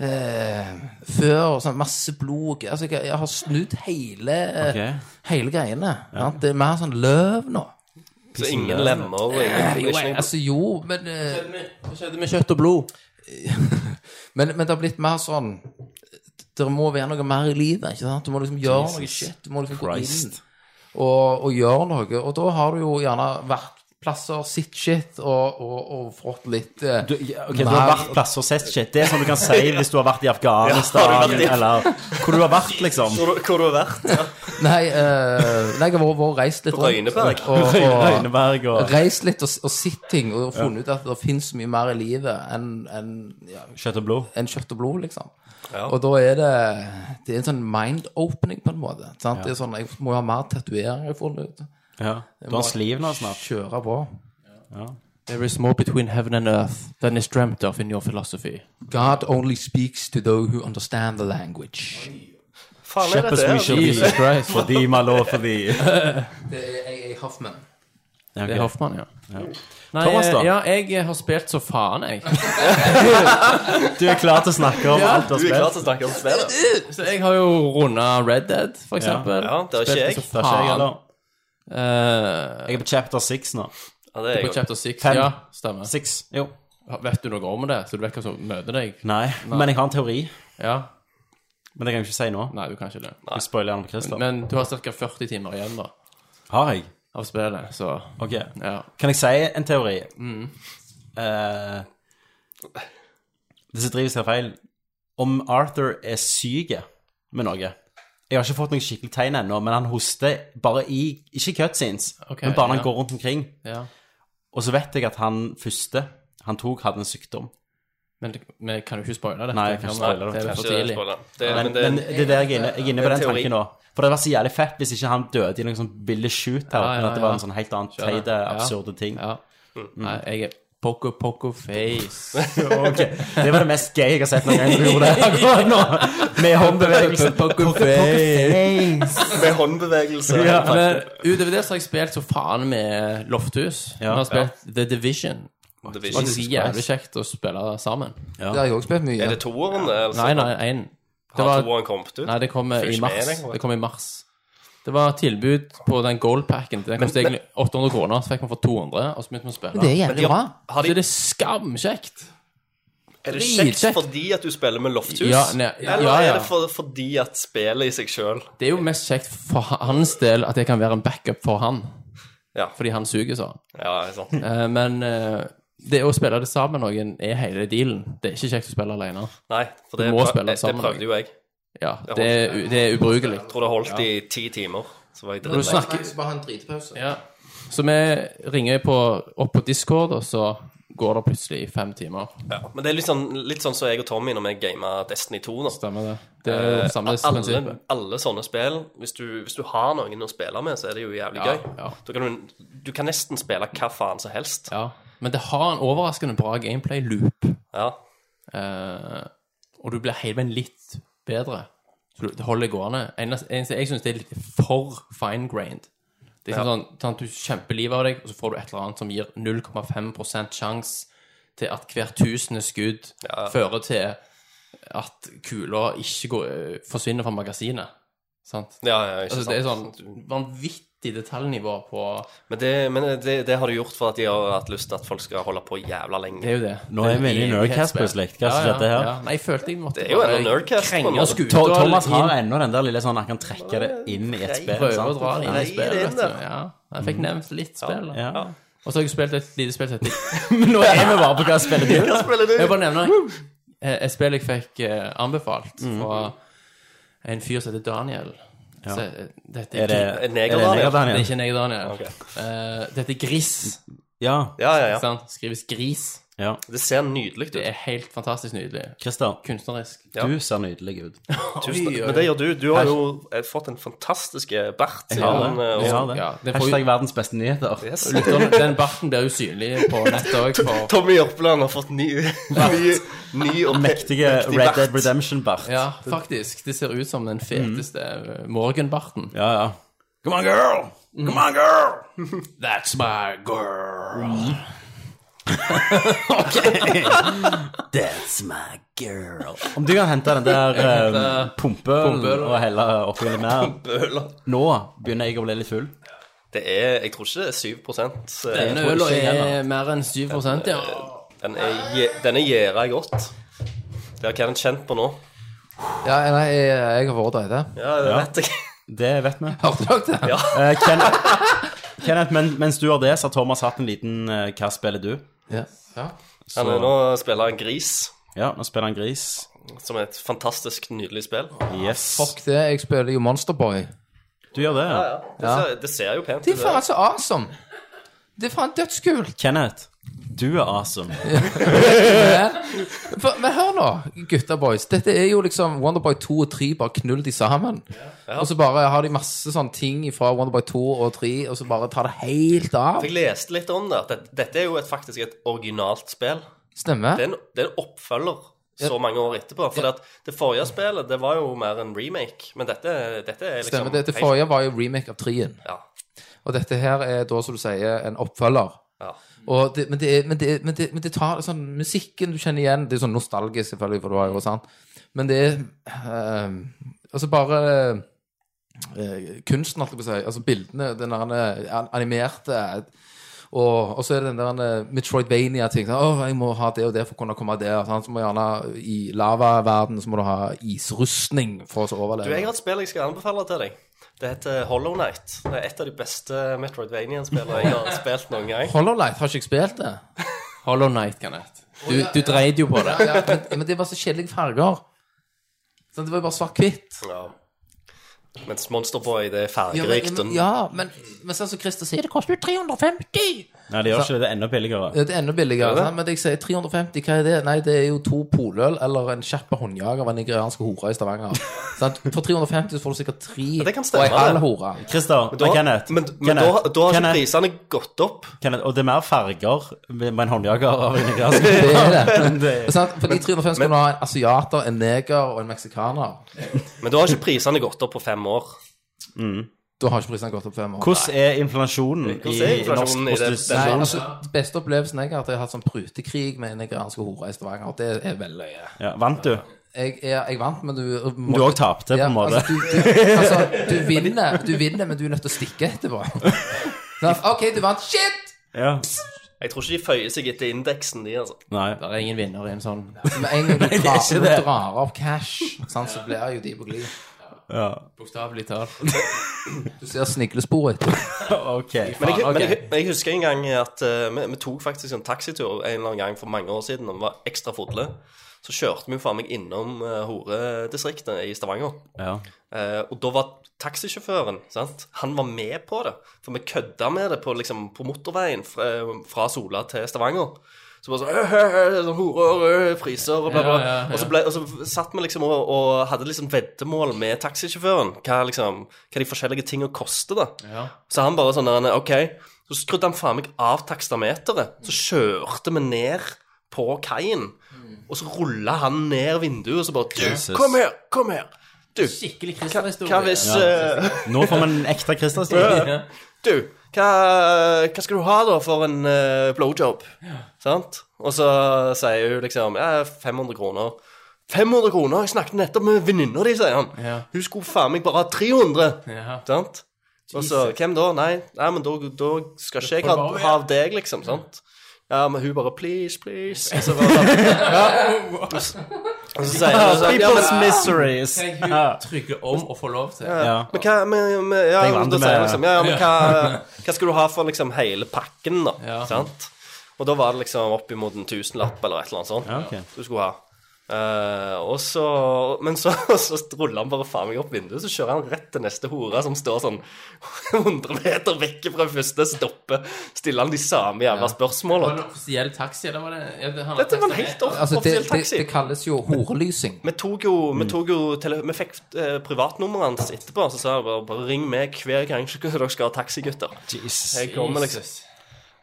Speaker 6: eh, Før sånn masse blod altså, jeg, jeg har snudd hele, eh,
Speaker 9: Ok.
Speaker 6: hele greiene. sant? Det er mer sånn løv nå.
Speaker 8: Så ingen lemmer og ingen
Speaker 6: Jo,
Speaker 8: ikke noe-
Speaker 6: altså, jo, men eh,
Speaker 7: Hva skjedde med kjøtt og blod?
Speaker 6: Men, men det har blitt mer sånn Det må være noe mer i livet. ikke sant? Du må liksom gjøre noe shit. Du må liksom
Speaker 9: Christ.
Speaker 6: gå inn og, og gjøre noe. Og da har du jo gjerne vært plasser, sett shit, og, og, og fått litt eh,
Speaker 9: Du, ja, ok, du har
Speaker 6: mer-
Speaker 9: vært plasser og sett shit. Det er sånn du kan si hvis du har vært i Afghanistan,
Speaker 8: Ja, har du vært i-
Speaker 9: eller hvor du har vært, liksom.
Speaker 8: Hvor, du- hvor du har vært. Ja.
Speaker 6: Nei, eh, nei jeg har vært- vært og reist litt
Speaker 8: På Røyneberg.
Speaker 6: Og, og,
Speaker 9: Røyneberg og
Speaker 6: reist litt og, og sett ting, og funnet ut at det finnes mye mer i livet enn enn- ja,
Speaker 9: kjøtt og blod.
Speaker 6: enn kjøtt og blod, liksom.
Speaker 8: Ja.
Speaker 6: Og da er det Det er en sånn mind-opening, på en måte. Sant? Det er sånn, Jeg må jo ha mer tatoveringer, funnet ut.
Speaker 9: Ja. Du har sliv nå snart.
Speaker 6: Kjøre på.
Speaker 7: There is more between heaven and earth than is dreamt of in your philosophy.
Speaker 6: God only speaks to those who understand the language.
Speaker 8: Faen er
Speaker 9: Kjøpes
Speaker 8: dette
Speaker 9: mye
Speaker 8: her?
Speaker 9: av de
Speaker 7: Jesus Christ.
Speaker 9: for de man lov for de.
Speaker 6: Det er A.A. Hoffman.
Speaker 9: Ja,
Speaker 7: Det er
Speaker 9: ok.
Speaker 7: Hoffmann, ja. Nei, eh,
Speaker 9: Thomas, da?
Speaker 7: ja, jeg har spilt så faen, jeg.
Speaker 9: Du er klar til å snakke om alt du har
Speaker 8: Du er klar
Speaker 9: spilt?
Speaker 8: til å snakke om spillet?
Speaker 7: Så jeg har jo runda Red Dead, for eksempel.
Speaker 8: Ja, det er ikke jeg.
Speaker 9: Det
Speaker 7: Spilt så
Speaker 9: er ikke jeg,
Speaker 7: faen.
Speaker 9: heller. jeg er på chapter six nå.
Speaker 8: Ja, det er
Speaker 7: Eh, på
Speaker 8: jeg.
Speaker 7: chapter 6,
Speaker 9: Fem.
Speaker 7: ja, stemmer.
Speaker 9: Six, jo.
Speaker 7: Vet du noe om det, så du vet hva som møter deg?
Speaker 9: Nei, men jeg har en teori.
Speaker 7: Ja?
Speaker 9: Men det kan jeg ikke si nå.
Speaker 7: Nei, du kan ikke det.
Speaker 9: Jeg spoiler den på Christer.
Speaker 7: Men du har ca. 40 timer igjen da
Speaker 9: Har jeg?
Speaker 7: av spillet, så
Speaker 9: Ok.
Speaker 7: ja.
Speaker 9: Kan jeg si en teori? Mm. Eh, det som drives av feil Om Arthur er syk med noe Jeg har ikke fått noen skikkelig tegn ennå, men han hoster bare i Ikke cutscenes,
Speaker 7: Ok,
Speaker 9: men bare når
Speaker 7: ja.
Speaker 9: han går rundt omkring.
Speaker 7: ja.
Speaker 9: Og så vet jeg at han første han tok, hadde en sykdom.
Speaker 7: Men, men kan du ikke spoile det?
Speaker 9: Nei, jeg kan ikke spoile det.
Speaker 7: Det er
Speaker 8: Kanskje
Speaker 7: for
Speaker 8: det er
Speaker 7: tidlig.
Speaker 8: spoiler. Det er-
Speaker 9: Men,
Speaker 8: men det er-
Speaker 9: men det er der jeg er inne, jeg er inne på den
Speaker 8: teori.
Speaker 9: tanken nå. For det hadde vært så jævlig fett hvis ikke han døde i noen sånn ville shoot her,
Speaker 7: Ja, ja,
Speaker 9: men at det var
Speaker 7: ja.
Speaker 9: en sånn helt annen
Speaker 7: Skjønner.
Speaker 9: teite, Mm.
Speaker 7: Ja.
Speaker 9: absurde ting.
Speaker 7: Ja. Nei, jeg er poco poco face.
Speaker 9: Ok, Det var det mest gøy jeg har sett noen gang du gjorde det akkurat nå. Med håndbevegelse.
Speaker 7: Poco face.
Speaker 8: Med håndbevegelse.
Speaker 9: Ja,
Speaker 7: Men utover det så har jeg spilt så faen med Lofthus. Vi
Speaker 9: Ja.
Speaker 7: har spilt The Division. Det
Speaker 8: Division.
Speaker 7: var så jævlig kjekt å spille sammen.
Speaker 9: Ja.
Speaker 6: Det har jeg også spilt mye.
Speaker 8: Er det toeren, det? eller så-
Speaker 7: Nei, nei, én. Det
Speaker 8: Har
Speaker 7: var
Speaker 8: toeren kommet ut?
Speaker 7: Nei, det kom
Speaker 8: Følger
Speaker 7: i
Speaker 8: ikke med,
Speaker 7: mars.
Speaker 8: jeg, eller?
Speaker 7: Det kom i mars. Det var tilbud på den goldpacken. Den kostet egentlig 800 kroner, så fikk man for 200, og så begynte vi å
Speaker 6: Men det er
Speaker 8: Men
Speaker 7: spille.
Speaker 8: de
Speaker 6: jævlig bra.
Speaker 8: har, har
Speaker 7: Så
Speaker 8: de,
Speaker 7: det er skamkjekt.
Speaker 8: er det
Speaker 7: dritkjekt.
Speaker 8: kjekt fordi at du spiller med Lofthus?
Speaker 7: Ja, nei, ja,
Speaker 8: Eller
Speaker 7: ja.
Speaker 8: er det for, fordi at spillet i seg sjøl
Speaker 7: Det er jo mest kjekt for hans del at jeg kan være en backup for han,
Speaker 8: Ja,
Speaker 7: fordi han suger sånn.
Speaker 8: ja, ikke sant.
Speaker 7: Eh, Men eh, det å spille det sammen med noen er hele dealen. Det er ikke kjekt å spille alene.
Speaker 8: Nei, for
Speaker 7: Du
Speaker 8: det,
Speaker 7: må
Speaker 8: prøv-
Speaker 7: spille
Speaker 8: det, det
Speaker 7: sammen.
Speaker 8: prøvde jo jeg.
Speaker 7: Ja, det er, u- det er ubrukelig.
Speaker 8: Jeg tror det holdt i ti timer. Så var jeg
Speaker 7: Når du
Speaker 8: drittlei.
Speaker 7: snakker
Speaker 6: Bare ha en dritpause.
Speaker 7: Ja. Så vi ringer på, opp på Discord, og så går det plutselig fem timer.
Speaker 8: Ja. Men det er litt sånn, litt sånn som jeg og Tommy når vi gamer Destiny 2 nå.
Speaker 7: Stemmer det. Det er jo samme
Speaker 8: Eh, alle,
Speaker 7: prinsippet.
Speaker 8: alle sånne spill hvis du, hvis du har noen å spille med, så er det jo jævlig
Speaker 7: Ja,
Speaker 8: gøy.
Speaker 7: ja.
Speaker 8: Da kan du, du kan nesten spille hva faen som helst.
Speaker 7: Ja. Men det har en overraskende bra gameplay-loop,
Speaker 8: Ja.
Speaker 7: eh, og du blir hele veien litt bedre. Så du- det holder gående. Eneste, eneste jeg syns det er litt for fine-grained. Det er sånn, sånn at du kjemper livet av deg, og så får du et eller annet som gir 0,5 sjanse til at hvert tusende skudd fører til at kula ikke går, eh, forsvinner fra magasinet. Sant?
Speaker 8: Ja, ja, ikke
Speaker 7: Altså,
Speaker 8: sant.
Speaker 7: det er sånn vanvittig detaljnivå på
Speaker 8: Men, det, men det, det har du gjort for at de har hatt lyst til at folk skal holde på jævla lenge.
Speaker 7: Det er jo det.
Speaker 9: Nå er vi inne i Nerdcast plutselig. Hva som skjedde her?
Speaker 7: Nei, jeg følte jeg måtte
Speaker 8: Det er jo
Speaker 7: bare
Speaker 8: en nerdcast, på en
Speaker 7: krenge
Speaker 8: måte.
Speaker 7: skuta
Speaker 9: To- Thomas
Speaker 7: litt inn.
Speaker 9: har ennå den der lille sånn Han kan trekke det inn i et spill.
Speaker 7: Prøve å
Speaker 9: sant?
Speaker 7: dra det inn
Speaker 8: Nei,
Speaker 7: i spillet.
Speaker 8: det er det.
Speaker 7: vet du. Ja. Jeg fikk nevnt litt spill. da.
Speaker 9: Ja.
Speaker 7: Og så har jeg spilt et lite spill som heter Men nå er vi bare på hva spillet til.
Speaker 8: Hva spiller du?
Speaker 7: Jeg vil bare nevner et spill jeg fikk eh, anbefalt
Speaker 8: Mm.
Speaker 7: fra en fyr som heter Daniel. Så, eh, dette
Speaker 9: Er det,
Speaker 8: Er
Speaker 9: er
Speaker 8: det
Speaker 9: det
Speaker 8: neger,
Speaker 9: neger,
Speaker 7: Det er
Speaker 9: Daniel?
Speaker 7: ikke en jeg, Daniel.
Speaker 8: Ok.
Speaker 7: Eh, dette er gris.
Speaker 9: Ja.
Speaker 8: Ja, ja, ja.
Speaker 7: Sant? Skrives gris.
Speaker 9: ja.
Speaker 8: Det ser nydelig ut.
Speaker 7: Det er helt fantastisk nydelig.
Speaker 9: Christer,
Speaker 7: Kunstnerisk.
Speaker 8: Ja.
Speaker 9: du ser nydelig ut.
Speaker 8: Tusen takk. Men det gjør du. Du har jo eh, fått en fantastisk eh, bart.
Speaker 9: Jeg har
Speaker 8: siden,
Speaker 9: det.
Speaker 8: eh,
Speaker 9: Jeg
Speaker 8: og-
Speaker 9: har det.
Speaker 7: Ja, det får jo-
Speaker 9: Hashtag verdens beste nyheter.
Speaker 8: Yes.
Speaker 7: Lytterne- Den barten blir usynlig på nettet òg.
Speaker 8: Tommy Jørpeland har fått ny, ny, ny og
Speaker 9: Mektige
Speaker 8: mektig
Speaker 9: Red
Speaker 8: bart.
Speaker 9: Dead Redemption-bart.
Speaker 7: Ja, faktisk. Det ser ut som
Speaker 8: Mm.
Speaker 7: den feteste eh, morgenbarten.
Speaker 9: Ja, ja. Come on, girl! Come on, girl!
Speaker 7: That's my girl.
Speaker 9: That's my girl. Om du kan hente den der eh, pumpeølen
Speaker 7: Pumpeølen.
Speaker 9: og helle oppi litt mer
Speaker 8: Bøler.
Speaker 9: Nå begynner jeg å bli litt full.
Speaker 8: Det er, jeg tror ikke det er 7 eh,
Speaker 7: Denne
Speaker 9: tror
Speaker 7: øla
Speaker 9: ikke jeg
Speaker 7: er
Speaker 9: heller.
Speaker 7: mer enn 7 ja.
Speaker 8: Den er, gje- den er gjæra godt. Det har Kevin kjent på nå.
Speaker 6: Ja, nei, jeg, jeg har vært der i det.
Speaker 8: Ja, det vet jeg.
Speaker 9: Det vet vi.
Speaker 6: Hørte dere det?
Speaker 8: Ja.
Speaker 9: Eh, Ken, Kenneth, men, mens du har det, så har Thomas hatt en liten eh, Hva spiller du?
Speaker 6: Ja. ja.
Speaker 8: Han er nå spiller han Gris,
Speaker 9: Ja, nå spiller han gris.
Speaker 8: som er et fantastisk nydelig spill.
Speaker 7: Ah,
Speaker 9: Yes.
Speaker 6: Fuck det, jeg spiller jo Monsterboy.
Speaker 9: Du gjør det, ja.
Speaker 8: Det ser, det ser jo pent
Speaker 6: Det
Speaker 8: ut.
Speaker 6: er faen så awesome! Det er faen dødskult!
Speaker 9: Kenneth, du er awesome.
Speaker 6: For, men hør nå, gutta boys. Dette er jo liksom Wonderboy 2 og 3 bare knull de sammen. Og så bare har de masse sånne ting fra Wonderboy 2 og 3, og så bare tar det helt av.
Speaker 8: Jeg leste litt om det. at det- Dette er jo et, faktisk et originalt spill. Det
Speaker 6: Stemmer?
Speaker 8: er en, det er en oppfølger så mange år etterpå. For at det forrige spillet det var jo mer en remake, men dette, dette er liksom
Speaker 6: Stemmer. Dette
Speaker 8: helt-
Speaker 6: forrige var jo remake av 3-en.
Speaker 8: ja,
Speaker 6: Og dette her er da, som du sier, en oppfølger.
Speaker 8: ja.
Speaker 6: Og det, men, det, er- men, det, er- men, det, men det tar sånn Musikken du kjenner igjen, det er sånn nostalgisk, selvfølgelig, for du har jo sant. Men det er ehm, Altså bare eh, kunsten, holdt jeg på å si. Altså bildene, den der eh, animerte og, og så er det den der eh, Metroidvania-ting. sånn, Åh, jeg må ha det og det for å kunne komme der. Sant? Så må du gjerne I lavaverden så må du ha isrustning for å så
Speaker 8: Du, jeg
Speaker 6: overleve.
Speaker 8: har et spill jeg skal anbefale til deg. Det heter Hollow Night. Det er et av de beste Metroidvania-spillene jeg har spilt noen gang.
Speaker 6: Hollow Light, har ikke jeg spilt det?
Speaker 7: Hollow Night, Kenneth. Du, du dreide jo på det.
Speaker 6: Ja, men, men det var så kjedelige farger. Sånn, det var jo bare svart-hvitt.
Speaker 8: Ja. Mens Monsterboy, det
Speaker 6: Ja,
Speaker 8: er fargerikt.
Speaker 6: men,
Speaker 8: og-
Speaker 6: ja, men, men sånn som Christer sier, det koster jo 350!
Speaker 9: Nei, det gjør ikke det. Det er enda billigere.
Speaker 6: Ja, det er enda billigere. sant? Men jeg sier 350, hva er det? Nei, det er jo to poløl eller en kjapp håndjager av en nigeriansk hore i Stavanger. sant? For 350 så får du sikkert tre
Speaker 8: det kan
Speaker 6: og
Speaker 8: stemme,
Speaker 6: en halv
Speaker 8: det.
Speaker 6: hore.
Speaker 9: Christer,
Speaker 8: Da,
Speaker 9: nei, Kenneth.
Speaker 8: men men
Speaker 9: Kenneth,
Speaker 8: da, da har ikke
Speaker 9: Kenneth,
Speaker 8: prisene gått opp.
Speaker 9: Kenneth, og det er mer farger med med en håndjager av en gras.
Speaker 6: Det er det.
Speaker 9: det er-
Speaker 6: sant? For de 350 skal du ha en asiater, en neger og en meksikaner.
Speaker 8: Men da har ikke prisene gått opp på fem år.
Speaker 6: Da har ikke prisene gått opp fem år.
Speaker 9: Hvordan er inflasjonen i
Speaker 8: Hvordan er
Speaker 9: norsk
Speaker 8: inflasjonen i det-
Speaker 9: prostitusjon?
Speaker 6: Nei, altså, den beste opplevelsen jeg har, hatt, er at jeg har hatt sånn prutekrig med en nigeriansk hore i Stavanger. Det er veldig løye.
Speaker 9: Ja, vant du?
Speaker 6: jeg, jeg, jeg vant, men du uh, må,
Speaker 9: Du òg tapte, på en måte.
Speaker 6: Altså, du, du, altså, du, vinner, du vinner, men du er nødt til å stikke etterpå. Sånn, OK, du vant. Shit!
Speaker 9: Ja.
Speaker 8: Jeg tror ikke de føyer seg etter indeksen, de, altså.
Speaker 9: Nei.
Speaker 7: Det er ingen vinner i en sånn
Speaker 6: Med en gang du,
Speaker 9: det er
Speaker 6: drar,
Speaker 9: ikke
Speaker 6: du
Speaker 9: det.
Speaker 6: drar av cash, sant, så blir jo de på glid.
Speaker 9: Ja.
Speaker 7: bokstavelig talt.
Speaker 6: Du ser sneglesporet.
Speaker 9: OK.
Speaker 8: Men jeg,
Speaker 7: Faen,
Speaker 8: men
Speaker 7: ok.
Speaker 8: jeg, jeg husker en gang at eh, vi, vi tok faktisk en taxitur en eller annen gang for mange år siden, og vi var ekstra fulle. Så kjørte vi jo faen meg innom eh, horedistriktet i Stavanger.
Speaker 9: Ja.
Speaker 8: Eh, og da var taxisjåføren sant? Han var med på det. For vi kødda med det på, liksom, på motorveien fra, fra Sola til Stavanger. Så bare sånn «Ø, hø, hø», sånn Horer, ø, friser og bla, bla.
Speaker 7: Ja, ja, ja.
Speaker 8: Og, så ble, og så satt vi liksom og, og hadde liksom veddemål med taxisjåføren. Hva, liksom, hva de forskjellige tingene koster, da.
Speaker 7: Ja.
Speaker 8: Så han bare sånn der, han er, OK. Så skrudde han faen meg av takstameteret. Så kjørte vi ned på kaien. Og så rulla han ned vinduet og så bare du,
Speaker 9: Jesus.
Speaker 8: Kom her! Kom her! Du,
Speaker 7: Skikkelig
Speaker 8: hva hvis eh,
Speaker 9: Nå får man en ekte Christer-stil.
Speaker 8: Du, hva, hva skal du ha da for en eh, blowjob? Sant? Og så sier hun liksom ja, 500 kroner. 500 kroner, jeg snakket nettopp med venninna di, sier han.
Speaker 7: Ja.
Speaker 8: Hun skulle faen meg bare ha 300.
Speaker 7: Ja.
Speaker 8: Sant? Og så,
Speaker 7: Jesus.
Speaker 8: hvem da? Nei, nei men da, da skal ikke jeg ha, ha av deg, liksom, sant? Ja, men hun bare, please, please. Og så bare, sånn, ja. Og så sier hun sånn, ja, men,
Speaker 9: People's miseries.
Speaker 6: Tenk hun trygge om å få lov til.
Speaker 8: ja. men hva, men, men, ja,
Speaker 9: Jeg vant
Speaker 8: da
Speaker 9: med-
Speaker 8: sier hun liksom, ja, ja, men hva, hva skal du ha for liksom hele pakken da, sant? Og da var det liksom oppimot en tusenlapp eller et eller annet sånt
Speaker 9: Ja, ok.
Speaker 8: du skulle ha. Eh, og så, men så, så ruller han bare faen meg opp vinduet, så kjører han rett til neste hore som står sånn 100 meter vekk fra første stoppet. Stiller han de samme jævla
Speaker 7: Var det
Speaker 8: spørsmålene.
Speaker 7: en offisiell taxi, eller var det ja, det- han-
Speaker 8: Dette var en helt off
Speaker 6: Altså, det,
Speaker 8: offisiell
Speaker 6: det,
Speaker 8: taxi.
Speaker 6: det kalles jo horelysing.
Speaker 8: Vi tok jo,
Speaker 9: Mm.
Speaker 8: vi tok jo tele Vi fikk eh, privatnummeret hans etterpå, så sa jeg bare, bare ring meg hver gang dere skal ha taxi, gutter.
Speaker 9: Jesus.
Speaker 8: Jeg kommer, liksom.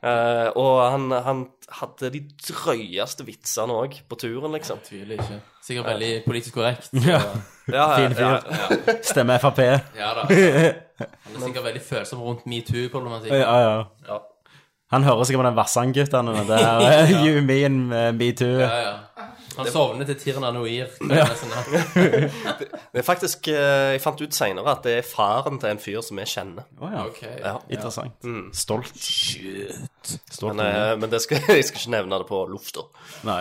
Speaker 8: Eh, og han, han hadde de drøyeste vitsene òg på turen, liksom.
Speaker 7: Tviler ikke. Sikkert veldig politisk korrekt.
Speaker 9: Ja.
Speaker 8: Ja, ja,
Speaker 9: Fin fyr.
Speaker 8: ja.
Speaker 9: Stemmer Frp.
Speaker 7: Ja da. Han er sikkert veldig følsom rundt metoo-problematikken.
Speaker 9: Ja, ja.
Speaker 7: Ja.
Speaker 9: Han hører sikkert på den Vassang-guttene. Det er You mean uh, me too.
Speaker 7: Ja, ja. Han sovnet til Tirna Noir. Ja.
Speaker 8: Det er faktisk, eh, Jeg fant ut seinere at det er faren til en fyr som jeg kjenner.
Speaker 9: Å, ja.
Speaker 7: Ok. Mm.
Speaker 8: Ja.
Speaker 9: Interessant. Stolt. Shit. Stolt.
Speaker 8: Men, eh, men det skal, jeg skal ikke nevne det på lufta.
Speaker 9: Nei.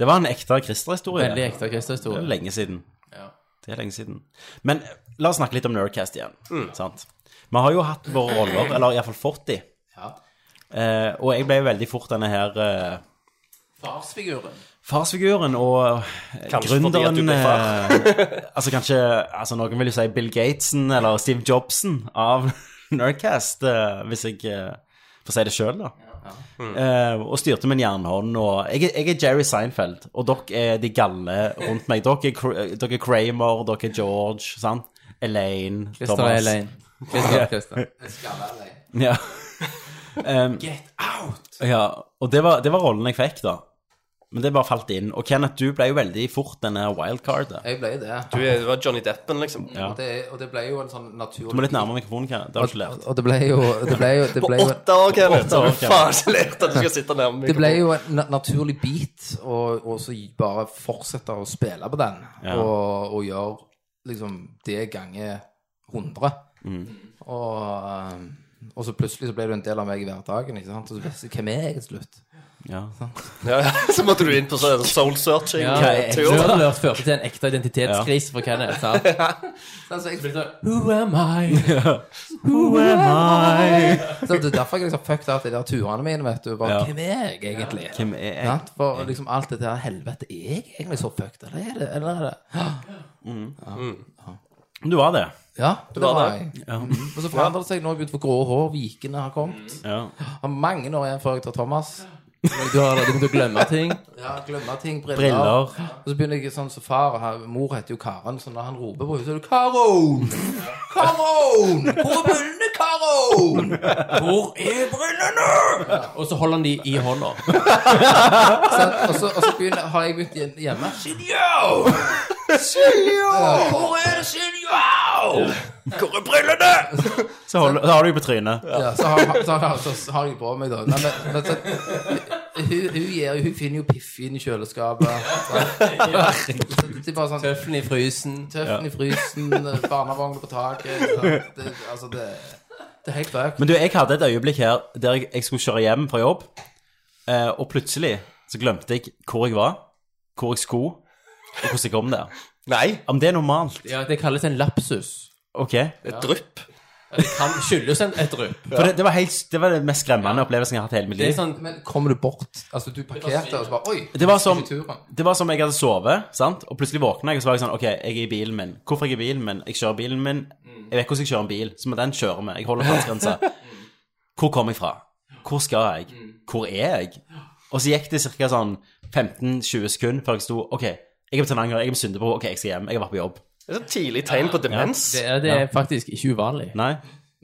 Speaker 9: Det var en ekte Christer-historie.
Speaker 7: Veldig ekte
Speaker 9: Det er
Speaker 7: orkesterhistorie.
Speaker 9: lenge siden.
Speaker 7: Ja.
Speaker 9: Det er lenge siden. Men eh, la oss snakke litt om Nerdcast igjen.
Speaker 7: Mm.
Speaker 9: Sant? Vi har jo hatt våre roller, eller iallfall fått de.
Speaker 7: Ja.
Speaker 9: Eh, og jeg ble jo veldig fort denne her eh,
Speaker 7: Farsfiguren.
Speaker 9: farsfiguren og eh,
Speaker 8: Kanskje fordi at du
Speaker 9: gründeren
Speaker 8: ble
Speaker 9: eh, Altså kanskje altså Noen vil jo si Bill Gatesen eller Steve Jobsen av Nerdcast, eh, hvis jeg eh, får si det sjøl, da.
Speaker 8: Mm.
Speaker 9: Eh, og styrte med en jernhånd. Og jeg, er- jeg er Jerry Seinfeld, og dere er de galle rundt meg. Dere er, Kr- dere er Kramer, dere er George, sant? Elaine,
Speaker 7: Christer og Elaine. Christer og Christer.
Speaker 9: Ja. um, Get out! Ja, og det var, det var rollen jeg fikk, da. Men det bare falt inn. Og Kenneth, du ble jo veldig fort denne wildcardet.
Speaker 6: Jeg ble det.
Speaker 8: Du er, du er Johnny Deppen, liksom.
Speaker 9: Ja.
Speaker 6: Og det, og det ble jo en sånn naturlig
Speaker 9: Du må litt nærmere mikrofonen, Kenneth. Det har du ikke lært.
Speaker 6: Og det ble jo Det ble jo, det
Speaker 8: På
Speaker 6: ble jo,
Speaker 8: åtte år, Kenneth!
Speaker 9: Åtte
Speaker 8: Så
Speaker 9: år,
Speaker 8: har du
Speaker 9: Kenneth.
Speaker 8: faen ikke lært at du skal sitte nærme
Speaker 6: det ble
Speaker 8: mikrofonen.
Speaker 6: jo en na naturlig beat, og, og så bare fortsette å spille på den.
Speaker 9: Ja.
Speaker 6: Og, og gjøre liksom det ganger 100.
Speaker 9: Mm.
Speaker 6: Og, um, og så plutselig så ble du en del av meg i hverdagen. Ikke sant? Og så visste jeg hvem er jeg til slutt.
Speaker 9: Ja.
Speaker 8: Ja, ja. Så måtte du inn på sånn soul searching.
Speaker 7: Ja,
Speaker 8: eh, tur.
Speaker 7: Nerdlurt førte til en ekte identitetskrise for Kenneth. sant?
Speaker 6: Altså, jeg,
Speaker 7: sånn, Who am I?
Speaker 6: så det er derfor jeg liksom fucket av de der turene mine, vet du. Bare,
Speaker 9: Ja.
Speaker 6: Hvem er jeg egentlig?
Speaker 9: Hvem er jeg?
Speaker 6: Sant? For liksom alt det der helvete Er jeg egentlig så fucked, eller er det, eller er det?
Speaker 9: Mm. Du var det.
Speaker 6: Ja, det
Speaker 8: var
Speaker 6: var
Speaker 8: det.
Speaker 6: jeg. Mm. Og så forandrer det seg nå begynte å få grå hår, vikene har kommet.
Speaker 9: Ja.
Speaker 6: Har mange år igjen før jeg tar Thomas.
Speaker 7: Du har allerede begynt å glemme ting.
Speaker 6: Ja, Glemmer ting, briller.
Speaker 9: Briller.
Speaker 6: Og så begynner jeg sånn som far og her- mor heter jo Karen, så når han roper på henne, så er det Karon! Karon! Hvor er brillene, Karon?
Speaker 7: Hvor er brillene?! Og så holder han de i hånda.
Speaker 6: Sånn, og så, og så begynner, har jeg begynt hjem- hjemme.
Speaker 8: Hvor er brillene?!
Speaker 9: Så hold, da har du jo på trynet.
Speaker 6: Ja, så har, så har, så har jeg på meg, da. Men, men, men så, hun, hun, gir, hun finner jo Piffin i kjøleskapet. Så, det er bare sånn
Speaker 7: Tøffen i frysen.
Speaker 6: Tøffen i frysen, barnevogner på taket sant? det, Altså, det, det er helt fucked.
Speaker 9: Men du, jeg hadde et øyeblikk her der jeg, jeg skulle kjøre hjem fra jobb, eh, og plutselig så glemte jeg hvor jeg var, hvor jeg skulle, og hvordan jeg kom der.
Speaker 8: Nei,
Speaker 9: Om det er normalt?
Speaker 7: Ja, det kalles en lapsus.
Speaker 9: Ok.
Speaker 8: et drypp.
Speaker 7: Det kan skyldes en, et drypp.
Speaker 9: For det, det, var helt, det var den mest skremmende opplevelsen jeg har hatt i hele mitt
Speaker 7: Det
Speaker 9: liv.
Speaker 7: er sånn
Speaker 6: Men kommer du bort Altså, du parkerte, og så bare Oi!
Speaker 9: Det var som,
Speaker 6: ikke turen.
Speaker 9: det var som jeg hadde sovet, sant? og plutselig våkna jeg, og så var jeg sånn OK, jeg er i bilen min. Hvorfor er jeg i bilen min? Jeg kjører bilen min. Jeg vet hvordan jeg kjører en bil, så må den kjøre meg. Jeg holder fartsgrensa. Hvor kommer jeg fra? Hvor skal jeg? Hvor er jeg? Og så gikk det ca. sånn 15-20 sekunder før jeg sto OK, jeg er på Tananger, jeg er på Syndebo, OK, jeg skal hjem, jeg har vært på jobb.
Speaker 8: Det er sånn tidlig tegn på demens.
Speaker 7: Det er, det er faktisk ikke uvanlig.
Speaker 9: Nei?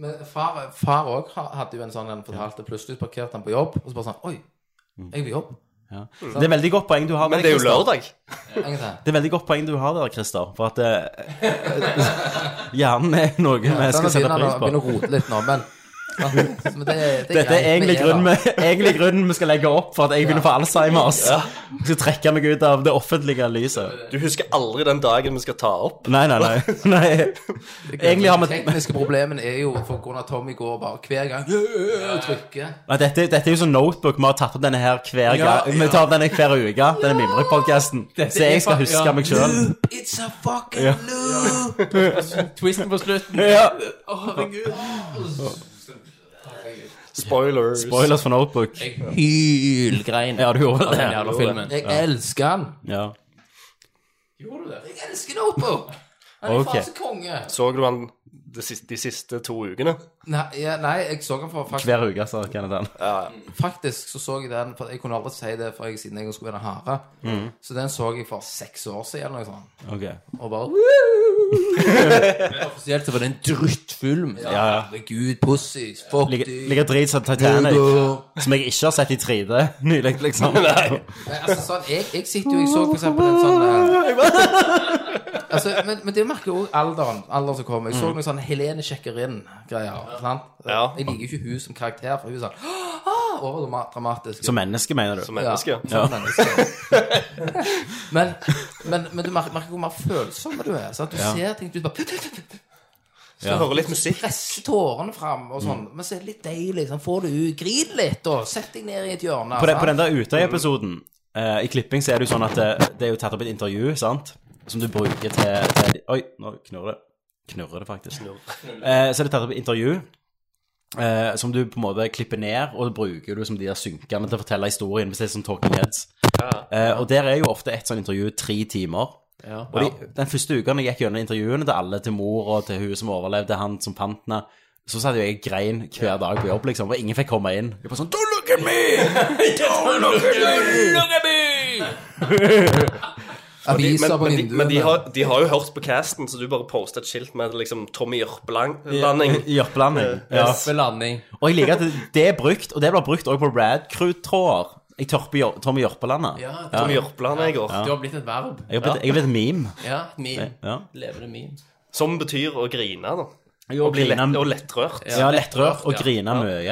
Speaker 6: Men far far òg hadde jo en sånn en fortalte plutselig parkerte han på jobb, og så bare sånn Oi! Jeg er på jobb.
Speaker 9: Ja. Det er veldig godt poeng du har.
Speaker 8: Men det er jo
Speaker 9: Christer.
Speaker 8: lørdag.
Speaker 6: En gang til.
Speaker 9: Det er veldig godt poeng du har der, Christer, for at eh, hjernen er noe vi
Speaker 6: Sånn,
Speaker 9: skal
Speaker 6: nå
Speaker 9: sette
Speaker 6: begynner han å-
Speaker 9: pris på.
Speaker 6: begynner å rote litt nå, men Men det, det
Speaker 9: Dette er
Speaker 6: greit,
Speaker 9: egentlig
Speaker 6: vi er
Speaker 9: grunnen,
Speaker 6: der.
Speaker 9: vi- egentlig grunnen vi skal legge opp for at jeg begynner å få Alzheimers. Jeg skal trekke meg ut av det offentlige lyset.
Speaker 8: Du husker aldri den dagen vi skal ta opp.
Speaker 9: Nei, nei, nei. nei. Egentlig har
Speaker 6: De
Speaker 9: vi
Speaker 6: tekniske problemene er jo for grunn av Tommy går bare hver gang og trykker.
Speaker 9: Nei, dette, dette er jo sånn notebook. Vi har tatt opp denne her hver
Speaker 6: Ja,
Speaker 9: gang. Vi tar opp denne hver uke. Denne mimrepodkasten. Så jeg skal huske meg sjøl.
Speaker 6: It's a fucking loop!
Speaker 7: Twisten på slutten.
Speaker 9: Ja.
Speaker 8: Spoilers.
Speaker 9: Spoilers for notebook.
Speaker 7: Hylgrein.
Speaker 9: Ja, du gjorde
Speaker 7: Den
Speaker 9: det.
Speaker 7: jævla filmen.
Speaker 6: Jeg elsker han.
Speaker 9: Ja.
Speaker 6: Jeg elsker Notebook! Han er
Speaker 9: Ok.
Speaker 6: faen så konge.
Speaker 8: Så du han de siste, de siste to ukene?
Speaker 6: Nei, ja, nei, jeg så han for faktisk,
Speaker 9: Hver uke, sa Kenneth. han.
Speaker 6: faktisk så så jeg den for Jeg kunne aldri si det for jeg, siden jeg skulle være hare. Så den så jeg for seks år siden eller noe sånt.
Speaker 9: Ok.
Speaker 6: Og bare Offisielt så var det en druttfilm. Ja, herregud, pussy, fuck
Speaker 9: Ligger-
Speaker 6: you.
Speaker 9: Ligger drit som Titanic, som jeg ikke har sett i 3D nylig, liksom. Nei.
Speaker 6: Nei, altså sånn, jeg, jeg sitter jo, jeg så for eksempel en sånn eh, altså, men, men det merker jo også alderen, alderen som kommer. Jeg så noen sånn Helene sjekker inn-greier. sant?
Speaker 8: Ja.
Speaker 6: Jeg liker jo ikke hun som karakter, for hun er sånn «Åh, overdramatisk.
Speaker 9: Som menneske, mener du?
Speaker 8: Som menneske?
Speaker 6: Ja, som menneske. men, men, men du merker, merker hvor mer følsom du er. Sant? Du ser ting du bare
Speaker 8: Så hører litt musikk.
Speaker 6: presser tårene fram og sånn. Men så er det litt deilig. Sånn, får det ut. Grin litt, da. Sett deg ned i et hjørne.
Speaker 9: På, den-
Speaker 6: sant?
Speaker 9: på den der Utøya-episoden, eh, i klipping, så er det jo sånn at det, det er jo tatt opp et intervju, sant? Som du bruker til, til Oi, nå knurrer det. Knurrer det, faktisk. Eh, så er det tatt opp et intervju. eh, som du på en måte klipper ned, og bruker du som de der synkene til å fortelle historien. Hvis det er sånn talking heads. Eh, og der er jo ofte et sånt intervju tre timer. Og de, den første uka når jeg gikk gjennom intervjuene til alle, til mor og til hun som overlevde, han som fant henne, så satt jo jeg og grein hver dag på jobb, liksom, og ingen fikk komme inn. Jeg bare sånn Don't look at me! Don't look at me!
Speaker 6: Aviser
Speaker 8: Men,
Speaker 6: på
Speaker 8: men, de,
Speaker 6: vinduene.
Speaker 8: men de, har, de har jo hørt på casten, så du bare posta et skilt med liksom Tommy Jørpeland-landing.
Speaker 9: I oppblanding. Ja.
Speaker 7: Ved landing.
Speaker 9: Og jeg liker at det er brukt, og det blir brukt også på Radcrew-tråder. Jeg tørper Jør- Tommy Jørpelandet.
Speaker 7: Ja,
Speaker 8: Tommy Jørpeland i går.
Speaker 7: Du har blitt et verb.
Speaker 9: Jeg har blitt- jeg har blitt et meme.
Speaker 7: Ja, et meme.
Speaker 9: Ja.
Speaker 7: Levende meme.
Speaker 8: Som betyr å grine, da. Og bli lett,
Speaker 9: grine-
Speaker 8: og lettrørt.
Speaker 9: Ja, lettrørt og
Speaker 7: Ja.
Speaker 9: grine
Speaker 7: Ja.
Speaker 9: mye.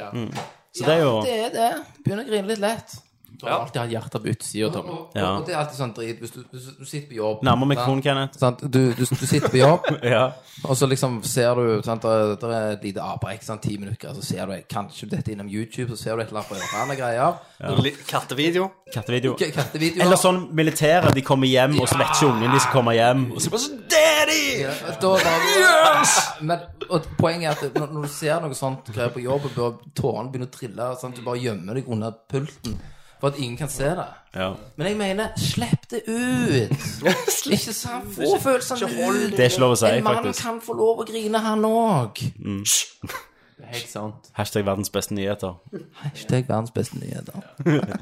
Speaker 7: Ja.
Speaker 9: Mm. Så det er jo
Speaker 6: Det er det. Begynner å grine litt lett.
Speaker 7: Du har alltid hatt hjertet på utsida, Tommy.
Speaker 6: Og,
Speaker 9: Ja.
Speaker 6: og det er alltid sånn drit hvis du, hvis du sitter på jobb.
Speaker 9: Nærmer
Speaker 6: sant?
Speaker 9: mikrofonen, Kenneth.
Speaker 6: Sant? Du, du, du sitter på jobb,
Speaker 9: Ja.
Speaker 6: og så liksom ser du sant? Der, der er et lite avbrekk, sant? ti minutter, så ser du kanskje dette innom YouTube, så ser du et eller annet på hjørnet og greier.
Speaker 8: Li- Kattevideo.
Speaker 9: Kattevideo.
Speaker 6: K- Kattevideoer.
Speaker 9: Eller sånn militære, de kommer hjem, og så vet ikke ungen de skal komme hjem. Og så bare sånn Daddy!
Speaker 6: Ja, da var det- Men og poenget er at når, når du ser noe sånt greier på jobb, og bør- tårene begynner å trille, sant? du bare gjemmer deg under pulten for at ingen kan se det.
Speaker 9: Ja.
Speaker 6: Men jeg mener, slipp det ut! Ikke sant? Få følelsene ut!
Speaker 9: Det er ikke lov å si,
Speaker 6: En mann
Speaker 9: faktisk.
Speaker 6: kan få lov å grine, han òg.
Speaker 7: Det er helt sant.
Speaker 9: Hashtag verdens beste nyheter.
Speaker 6: Hashtag verdens beste nyheter.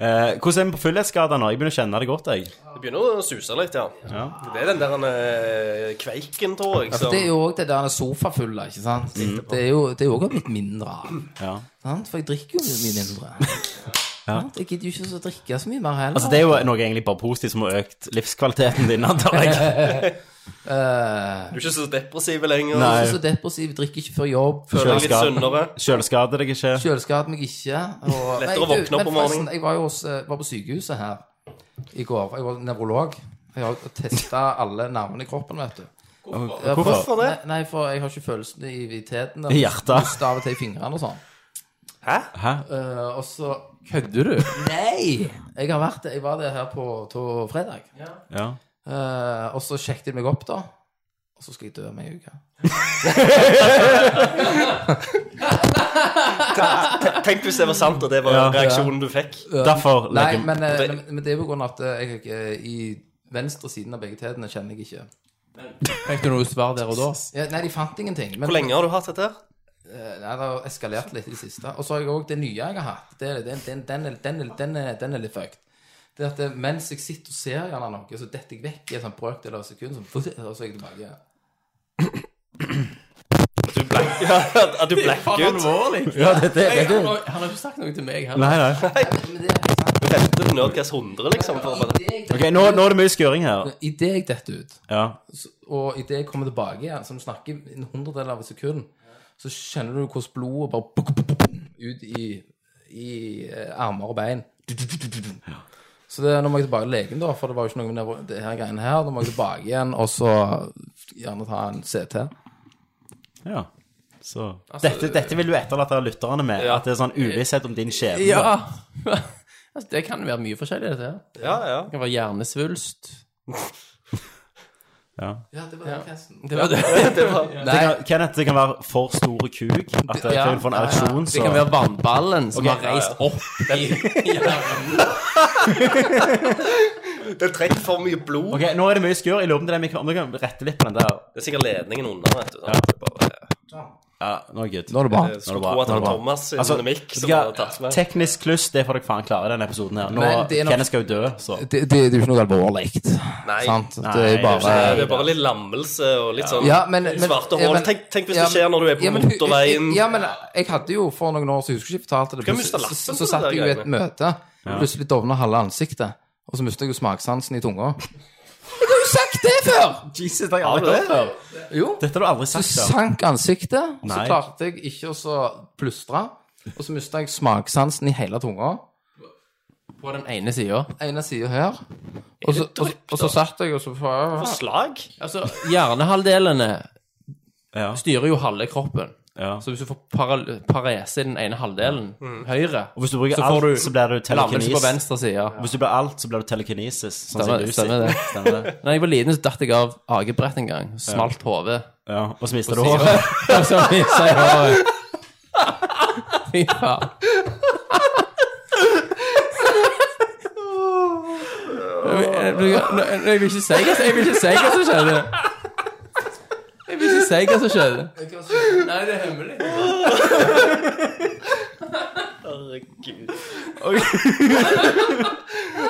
Speaker 9: Eh, hvordan er vi på fullhetsskader nå? Jeg begynner å kjenne det godt, jeg.
Speaker 8: Det begynner å suse litt, ja. Det er den der eh, kveiken, tror jeg.
Speaker 6: Det er
Speaker 8: Som,
Speaker 6: jo òg det der sofafullet, ikke sant? Det er jo det er jo også blitt mindre av.
Speaker 9: Ja.
Speaker 6: sant? For jeg drikker jo mye mindre. Sant? Jeg gidder jo ikke så å drikke så mye mer heller.
Speaker 9: Altså, det er jo noe egentlig bare positivt som har økt livskvaliteten din, antar jeg.
Speaker 8: du er ikke så depressiv lenger.
Speaker 9: Nei.
Speaker 6: jeg er ikke så depressiv, drikker ikke før jobb.
Speaker 8: Føler deg litt
Speaker 9: Kjøleskap.
Speaker 8: sunnere.
Speaker 9: Kjølskader deg ikke.
Speaker 6: Kjøleskadet meg ikke. Og...
Speaker 8: Lettere
Speaker 6: Nei,
Speaker 8: å våkne
Speaker 6: du, men
Speaker 8: opp om morgenen.
Speaker 6: forresten, Jeg var jo hos, eh, var på sykehuset her i går. Jeg var nevrolog. Jeg har testa alle nervene i kroppen, vet du. Ja, for-
Speaker 9: Hvorfor?
Speaker 8: det?
Speaker 6: Nei, nei, for jeg har ikke følelsen i i teten.
Speaker 9: I hjertet.
Speaker 6: Host av og til i fingrene og sånn.
Speaker 9: Hæ?
Speaker 6: Eh, og så
Speaker 7: Kødder du?
Speaker 6: Nei! Jeg har vært det. Jeg var det her på på fredag.
Speaker 9: Ja.
Speaker 6: Eh, og så sjekket de meg opp, da. Og så skal jeg dø om ei uke.
Speaker 8: Tenk hvis det var sant, og det var
Speaker 9: Ja.
Speaker 8: reaksjonen du fikk.
Speaker 9: Derfor
Speaker 6: Nei,
Speaker 9: legger
Speaker 6: men, eh,
Speaker 8: det-
Speaker 6: men- men det er på grunn av at eh, jeg eh, i venstre siden av begge tetene kjenner jeg ikke.
Speaker 7: Fikk du noe svar der og da?
Speaker 6: Ja, nei, de fant ingenting. Men
Speaker 8: Hvor lenge har du hatt dette? her?
Speaker 6: Eh, Nei, det har eskalert litt i det siste. Og så har jeg òg det nye jeg har hatt. Det, er- den, den, den, er- den, er- den, er- den er litt fucked. Det er at det, mens jeg sitter og ser gjerne noe, så detter jeg vekk i en sånn brøkdel av et sekund. Sånn, og så er jeg tilbake. igjen.
Speaker 8: Du black, ja, du black ut.
Speaker 7: alvorlig!
Speaker 9: Ja, det, det, det,
Speaker 7: Han har han har ikke sagt noe til meg heller.
Speaker 9: Nei, nei.
Speaker 6: Men det er sant.
Speaker 8: Venter på Nerdcast 100, liksom. For å bare...
Speaker 6: Idet jeg,
Speaker 9: Ok, nå, nå er det mye skuring her.
Speaker 6: i det jeg detter ut,
Speaker 9: Ja.
Speaker 6: så- og idet jeg kommer tilbake igjen, som snakker en hundredel av et sekund, så kjenner du hvordan blodet bare buk, buk, buk, buk, ut i, i eh, armer og bein. Du, du, du, du, du, du. Så det, nå må jeg tilbake til legen, da, for det var jo ikke noe med nevro- det her greiene her. Da må jeg tilbake igjen, og så gjerne ta en CT.
Speaker 9: Ja. Så dette, dette vil du etterlate lytterne med. At det er sånn uvisshet om din skjebne.
Speaker 7: altså, det kan være mye forskjellig, dette her.
Speaker 8: Ja, ja.
Speaker 7: Det kan være hjernesvulst.
Speaker 9: Ja.
Speaker 6: Ja, det var ja.
Speaker 7: Det var det.
Speaker 9: Det kan, Kenneth, det kan være for store kuk. At det
Speaker 7: Ja.
Speaker 9: kan få en ereksjon.
Speaker 7: Det kan
Speaker 9: Så.
Speaker 7: være vannballen som
Speaker 9: Ok,
Speaker 7: har reist opp i, i
Speaker 8: Det trekker for mye blod.
Speaker 9: Ok, Nå er det mye skur. Jeg lurer på om det er mikro- om du kan rette litt på den der.
Speaker 8: Det er sikkert ledningen under, vet du. sant? Det er Bare,
Speaker 9: Ja, nå er det good.
Speaker 6: Nå er det bra.
Speaker 8: jeg
Speaker 9: Nå er det
Speaker 8: skulle
Speaker 9: bra,
Speaker 8: tro at
Speaker 9: nå er det
Speaker 8: det var
Speaker 9: bra.
Speaker 8: Thomas sin
Speaker 9: Altså,
Speaker 8: mimikk som
Speaker 9: skal-
Speaker 8: hadde tatt med.
Speaker 9: Teknisk kluss, det får dere faen klare i denne episoden her. Nå,
Speaker 6: Men det er nok-
Speaker 9: Kenneth skal jo dø, så
Speaker 6: Det, det, det er jo ikke noe alvorlig.
Speaker 8: Nei.
Speaker 6: Sant?
Speaker 9: Nei,
Speaker 6: Det er
Speaker 9: det
Speaker 6: jo
Speaker 9: er
Speaker 6: bare
Speaker 8: Nei, Det er bare litt lammelse og litt sånn
Speaker 6: Ja, men- men-
Speaker 8: svarte
Speaker 6: ja,
Speaker 8: hål.
Speaker 6: men-
Speaker 8: tenk, tenk hvis
Speaker 6: ja,
Speaker 8: det skjer når du er på
Speaker 6: ja, men-
Speaker 8: motorveien.
Speaker 6: Ja, men eh, jeg hadde jo for noen år siden, jeg husker ikke jeg fortalte det,
Speaker 8: Skal jeg miste
Speaker 6: plutselig- så,
Speaker 8: lappen
Speaker 6: så
Speaker 8: på
Speaker 6: satt
Speaker 8: det
Speaker 6: jeg jo i et
Speaker 8: greiene?
Speaker 6: møte, plutselig dovna halve ansiktet, og så mistet jeg jo smaksansen i tunga. Jeg har jo sagt det før!
Speaker 9: Jesus, det har jeg
Speaker 8: Har du
Speaker 9: aldri
Speaker 8: det?
Speaker 9: hørt før.
Speaker 6: Jo.
Speaker 9: Dette har du aldri
Speaker 6: Så
Speaker 9: sagt før.
Speaker 6: sank ansiktet, og så
Speaker 9: Nei.
Speaker 6: klarte jeg ikke å så plystre, og så mistet jeg smaksansen i hele tunga.
Speaker 7: På den ene sida.
Speaker 6: Ene sida her. Og så, og, og så satt jeg og så
Speaker 8: Slag?
Speaker 7: Altså, hjernehalvdelene
Speaker 9: Ja,
Speaker 7: styrer jo halve kroppen.
Speaker 9: ja.
Speaker 7: Så hvis du får paral parese i den ene halvdelen, høyre
Speaker 9: Og hvis du bruker
Speaker 7: så
Speaker 9: alt,
Speaker 7: får du
Speaker 9: så blir du
Speaker 7: Lammelse på
Speaker 9: telekinesis.
Speaker 7: venstre side.
Speaker 9: Hvis du blir alt, så blir du telekinesis. Sånn
Speaker 7: Stemmer-
Speaker 9: som du sier.
Speaker 7: stemmer det.
Speaker 9: Stemmer det.
Speaker 7: Da jeg var liten, så datt jeg av akebrett en gang. Smalt hodet.
Speaker 9: Ja, og så mister du håret.
Speaker 7: Og så mista jeg håret. Fy faen. Jeg vil jeg vil ikke si hva som- jeg vil ikke si hva som skjedde. Jeg vil ikke si hva som skjedde. Nei, det er hemmelig.
Speaker 8: Herregud.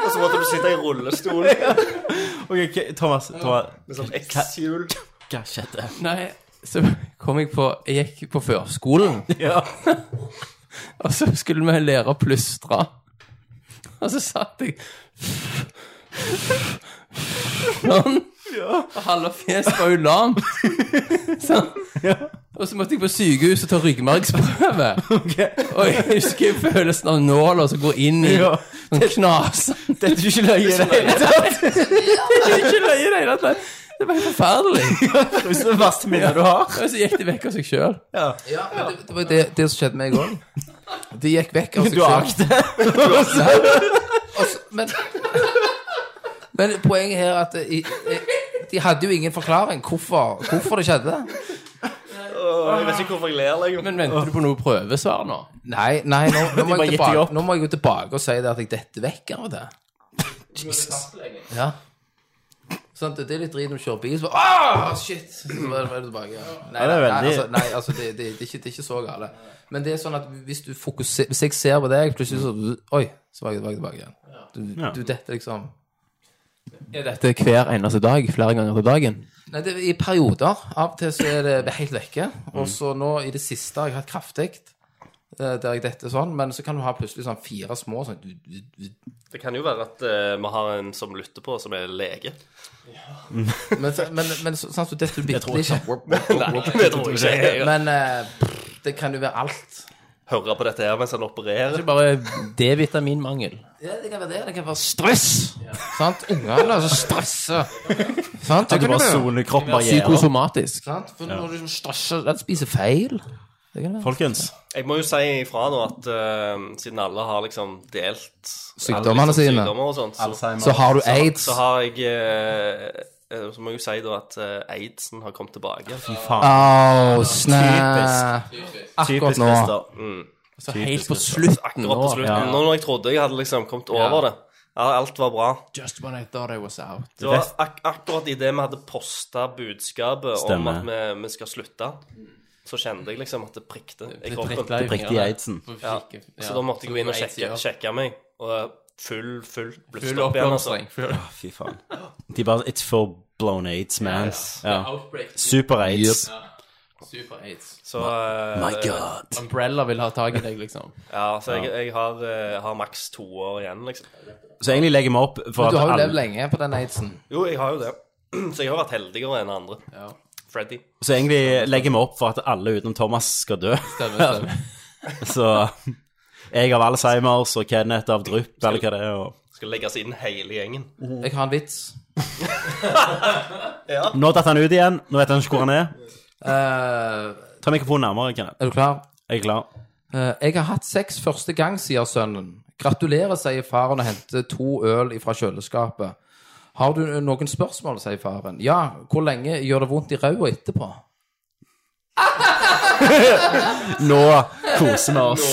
Speaker 8: og så måtte du sitte i rullestol med
Speaker 9: Ok, ok, Thomas, Thomas.
Speaker 8: sånn X-hjul.
Speaker 9: Hva skjedde?
Speaker 7: Nei, så kom jeg på Jeg gikk på førskolen.
Speaker 9: Ja.
Speaker 7: Og så skulle vi lære å plystre. Og så satt jeg sånn. Og halve fjeset var jo lamt. Sånn. Og så måtte jeg på sykehuset og ta ryggmargsprøve. Og jeg husker følelsen av nåla som går inn i
Speaker 9: Ja.
Speaker 7: sånn knasen.
Speaker 9: Dette er jo ikke løye i det hele tatt.
Speaker 7: Det er ikke løye i det hele tatt. Det var helt forferdelig.
Speaker 9: Hvis det er verste minnet du har.
Speaker 7: Og så gikk det vekk av seg sjøl.
Speaker 6: Ja, men det, det var det, det som skjedde meg òg. Det gikk vekk av seg
Speaker 9: Du har
Speaker 6: selv. Og så- Men, men poenget her er at i, i, de hadde jo ingen forklaring hvorfor, hvorfor det skjedde.
Speaker 8: Åh, Jeg vet ikke hvorfor jeg ler lenger.
Speaker 7: Men venter du på noe prøvesvar nå?
Speaker 6: Nei, nei, nå, nå, må,
Speaker 9: bare
Speaker 6: jeg
Speaker 9: gitt deg opp.
Speaker 6: tilbake, nå må jeg gå tilbake og si det at jeg detter vekk av det. Ja. Sånn, det er litt drit når du kjører bil, så bare Åh, shit! Så bare er du tilbake. Ja. Nei,
Speaker 9: det er
Speaker 6: nei,
Speaker 9: veldig-
Speaker 6: altså, nei, altså det, det, det, er ikke, det er ikke så gale. Men det er sånn at hvis du fokuserer Hvis jeg ser på deg, plutselig så Oi, så var jeg var jeg tilbake igjen. Du,
Speaker 9: Ja.
Speaker 6: du detter liksom
Speaker 7: Er dette hver eneste dag? Flere ganger til dagen?
Speaker 6: Nei, det er i perioder. Av og til så er det helt vekke. Og så nå i det siste har jeg hatt kraftig. eh, Der jeg detter sånn, men så kan du ha plutselig sånn fire små sånn du, du, du.
Speaker 8: Det kan jo være at eh, vi har en som lytter på, som er lege.
Speaker 6: Men, så- men, men så- sånn at du detter bitte
Speaker 9: tror
Speaker 6: litt
Speaker 9: ikke.
Speaker 6: sånn wop, wop, wop,
Speaker 8: Nei,
Speaker 6: wop.
Speaker 8: det tror jeg ikke. Jeg
Speaker 6: Men eh, pff, det kan jo være alt.
Speaker 8: hører på dette her mens han opererer.
Speaker 7: Det er bare D-vitaminmangel.
Speaker 6: Ja, det kan være det. Det kan være stress. Sant? Ungene altså stresser. Sant? Det
Speaker 9: Du bare
Speaker 6: kan det være.
Speaker 9: soner kropp barriere.
Speaker 7: Psykosomatisk.
Speaker 6: Sant? For når du liksom stresser, den spiser feil. Det kan det være.
Speaker 9: Folkens,
Speaker 8: Jeg må jo si ifra nå at eh, siden alle har liksom delt
Speaker 6: Sykdommene
Speaker 8: alle liksom
Speaker 6: sine.
Speaker 8: Sykdommer og sånt, så,
Speaker 6: Så har du aids.
Speaker 8: så har jeg eh, eh, Så må jeg jo si da at eh, aidsen har kommet tilbake.
Speaker 9: fy faen.
Speaker 6: Au, snap. Akkurat
Speaker 9: Typisk
Speaker 6: nå.
Speaker 9: Christer.
Speaker 7: Så helt på slutten
Speaker 8: Akkurat på
Speaker 7: nå.
Speaker 8: slutten. Nå når jeg trodde jeg hadde liksom kommet over det. Ja, alt var bra.
Speaker 7: Just when I thought I was out.
Speaker 8: Det var ak akkurat idet vi hadde posta budskapet
Speaker 9: Stemmer.
Speaker 8: om at vi, vi skal slutte, så kjente jeg liksom at det prikte i kroppen.
Speaker 7: Prikla i
Speaker 9: Riktig
Speaker 7: fingrene.
Speaker 9: Aidsen.
Speaker 8: Ja. Så da måtte jeg gå inn og sjekke, sjekke meg. Og eh, full, full
Speaker 7: Full
Speaker 8: bluss opp igjen, altså.
Speaker 7: oppblomstring. Full
Speaker 9: Fy faen. De bare It's for blown aids, man.
Speaker 8: Yes.
Speaker 9: Ja.
Speaker 7: outbreak.
Speaker 9: Super-aids.
Speaker 7: Super aids.
Speaker 8: Så, eh,
Speaker 9: My god.
Speaker 7: Umbrella vil ha tak i deg, liksom.
Speaker 8: ja, så jeg, jeg har, eh, har maks to år igjen, liksom.
Speaker 9: Så egentlig legger vi opp for
Speaker 6: Du
Speaker 9: at
Speaker 6: har jo levd
Speaker 9: alle
Speaker 6: lenge på den aidsen.
Speaker 8: Jo, jeg har jo det. Så jeg har vært heldigere enn andre.
Speaker 7: Ja.
Speaker 8: Freddy.
Speaker 9: Så egentlig legger vi opp for at alle utenom Thomas skal dø. Så jeg av Alzheimers og Kenneth av drypp, eller hva det er. Og...
Speaker 8: Skal legges inn hele gjengen.
Speaker 6: Jeg har en vits.
Speaker 9: Nå datt han ut igjen. Nå vet han ikke hvor han er.
Speaker 6: Eh,
Speaker 9: Ta mikrofonen nærmere, Kenneth.
Speaker 6: er du klar?
Speaker 9: Jeg er klar.
Speaker 6: Eh, jeg har hatt sex første gang, sier sønnen. Gratulerer, sier faren og henter to øl fra kjøleskapet. Har du noen spørsmål, sier faren. Ja, hvor lenge gjør det vondt i ræva etterpå?
Speaker 9: Nå koser vi oss.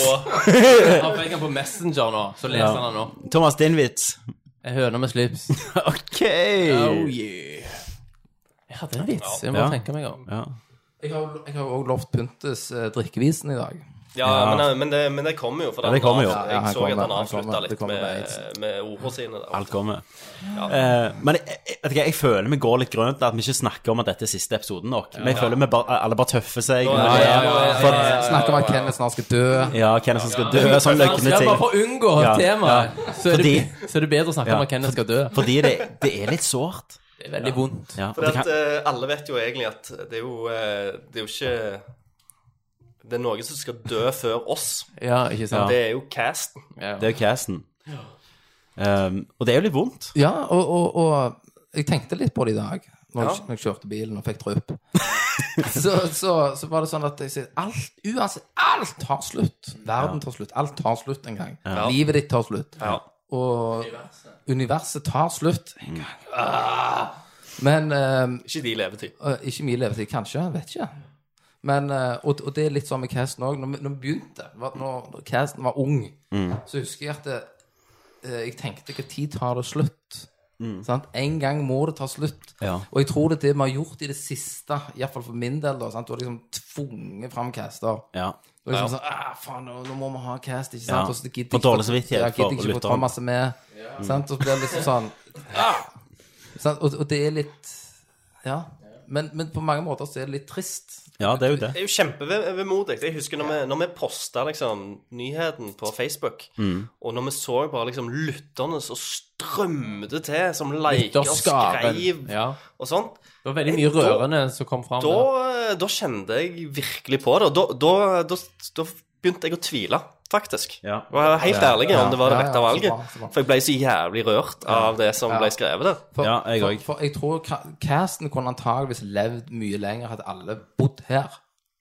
Speaker 7: Han fikk han på Messenger nå, så leser
Speaker 9: Ja.
Speaker 7: han den opp.
Speaker 9: Thomas, din vits.
Speaker 7: Ei høne med slips.
Speaker 9: OK.
Speaker 7: yeah. Jeg hadde en vits. Jeg må
Speaker 9: Ja.
Speaker 7: tenke meg om.
Speaker 9: Ja.
Speaker 6: Jeg har jo- jeg har jo også lovt Pyntes eh, drikkevisen i dag.
Speaker 8: Ja, Men, men, det, men det kommer jo. For
Speaker 9: Ja, det kommer jo.
Speaker 8: Jeg
Speaker 6: Ja, han
Speaker 8: så
Speaker 6: kommer,
Speaker 8: at han
Speaker 6: han
Speaker 8: avslutta
Speaker 6: kommer, det
Speaker 8: litt
Speaker 6: kommer med
Speaker 8: med,
Speaker 6: aids.
Speaker 8: med ordene sine. Der.
Speaker 9: Alt kommer. Eh, men jeg, jeg, vet ikke, jeg føler vi går litt grønt, at vi ikke snakker om at dette er siste episoden nok. Men jeg føler vi bare, alle bare tøffer seg.
Speaker 8: Ja, ja, ja, ja,
Speaker 9: For,
Speaker 8: ja,
Speaker 6: Snakker om at Kenneth snart skal dø.
Speaker 9: ja hvem som skal dø, sånn løgne
Speaker 7: Ja,
Speaker 9: ting.
Speaker 7: bare for å unngå
Speaker 9: Ja,
Speaker 7: temaet, så, er det,
Speaker 9: Fordi-
Speaker 7: så er det bedre å snakke
Speaker 9: Ja.
Speaker 7: om at Kenneth skal dø.
Speaker 9: Fordi det, det er litt sårt.
Speaker 7: Det er veldig vondt.
Speaker 9: Ja, og
Speaker 8: For
Speaker 9: det
Speaker 8: at,
Speaker 9: kan,
Speaker 8: eh, alle vet jo egentlig at det er jo, eh, det er jo ikke Det er noen som skal dø før oss.
Speaker 7: Ja, ikke sant?
Speaker 8: Det er jo casten.
Speaker 9: det er jo casten. Um, og det er jo litt vondt.
Speaker 6: Ja, og, og, og jeg tenkte litt på det i dag når, jeg, når jeg kjørte bilen og fikk drypp. så, så, så var det sånn at jeg sier alt, uansett, alt tar slutt. Verden tar slutt. Alt tar slutt en gang. Livet ditt tar slutt.
Speaker 8: Ja.
Speaker 6: Og universet tar slutt en gang. Ah! Men eh,
Speaker 8: Ikke de levetid.
Speaker 6: Eh, Ikke min levetid, kanskje. Vet ikke. Men, eh, og, og det er litt sånn med casten òg. Når, vi- når vi begynte, var- når, når casten var ung, så husker jeg at det, eh, jeg tenkte hva tid tar det slutt? Sant? En gang må det ta slutt.
Speaker 9: Ja.
Speaker 6: Og jeg tror det er det vi har gjort i det siste, iallfall for min del, da, sant? du har liksom tvunget fram caster.
Speaker 9: Ja.
Speaker 6: Du er liksom sånn, ah, faen, nå, nå må vi ha cast, ikke
Speaker 9: Ja.
Speaker 6: sant? Og så gidder
Speaker 9: For
Speaker 6: jeg ikke-
Speaker 9: dårlig samvittighet
Speaker 6: Ja, gidder
Speaker 9: for
Speaker 6: jeg ikke å få
Speaker 9: lytteren.
Speaker 6: Thomas med. Sant? Og så blir det liksom sånn ah! sant? Og, og det er litt Ja. Men, men på mange måter så er det litt trist.
Speaker 9: ja, det er jo det.
Speaker 8: Det er jo kjempevemodig. Jeg husker når vi, når vi posta liksom, nyheten på Facebook, og når vi så bare liksom, lytterne som strømte til, som liker og
Speaker 7: Lytterskapen.
Speaker 8: skreiv
Speaker 7: Ja.
Speaker 8: og sånt,
Speaker 7: Det var veldig mye rørende som kom fram.
Speaker 8: da,
Speaker 7: der.
Speaker 8: da kjente jeg virkelig på det. Og da, da, da, da begynte jeg å tvile, faktisk.
Speaker 9: Ja.
Speaker 8: Og jeg var helt ærlig om det var
Speaker 6: Ja,
Speaker 8: det
Speaker 6: ja,
Speaker 8: rette
Speaker 6: så
Speaker 8: valget.
Speaker 6: bra, så bra.
Speaker 8: For jeg ble så jævlig rørt av det som
Speaker 6: Ja.
Speaker 8: ble skrevet der.
Speaker 6: For,
Speaker 9: Ja, jeg
Speaker 6: for,
Speaker 9: òg.
Speaker 6: for jeg tror ka- casten kunne antageligvis levd mye lenger hadde alle bodd her.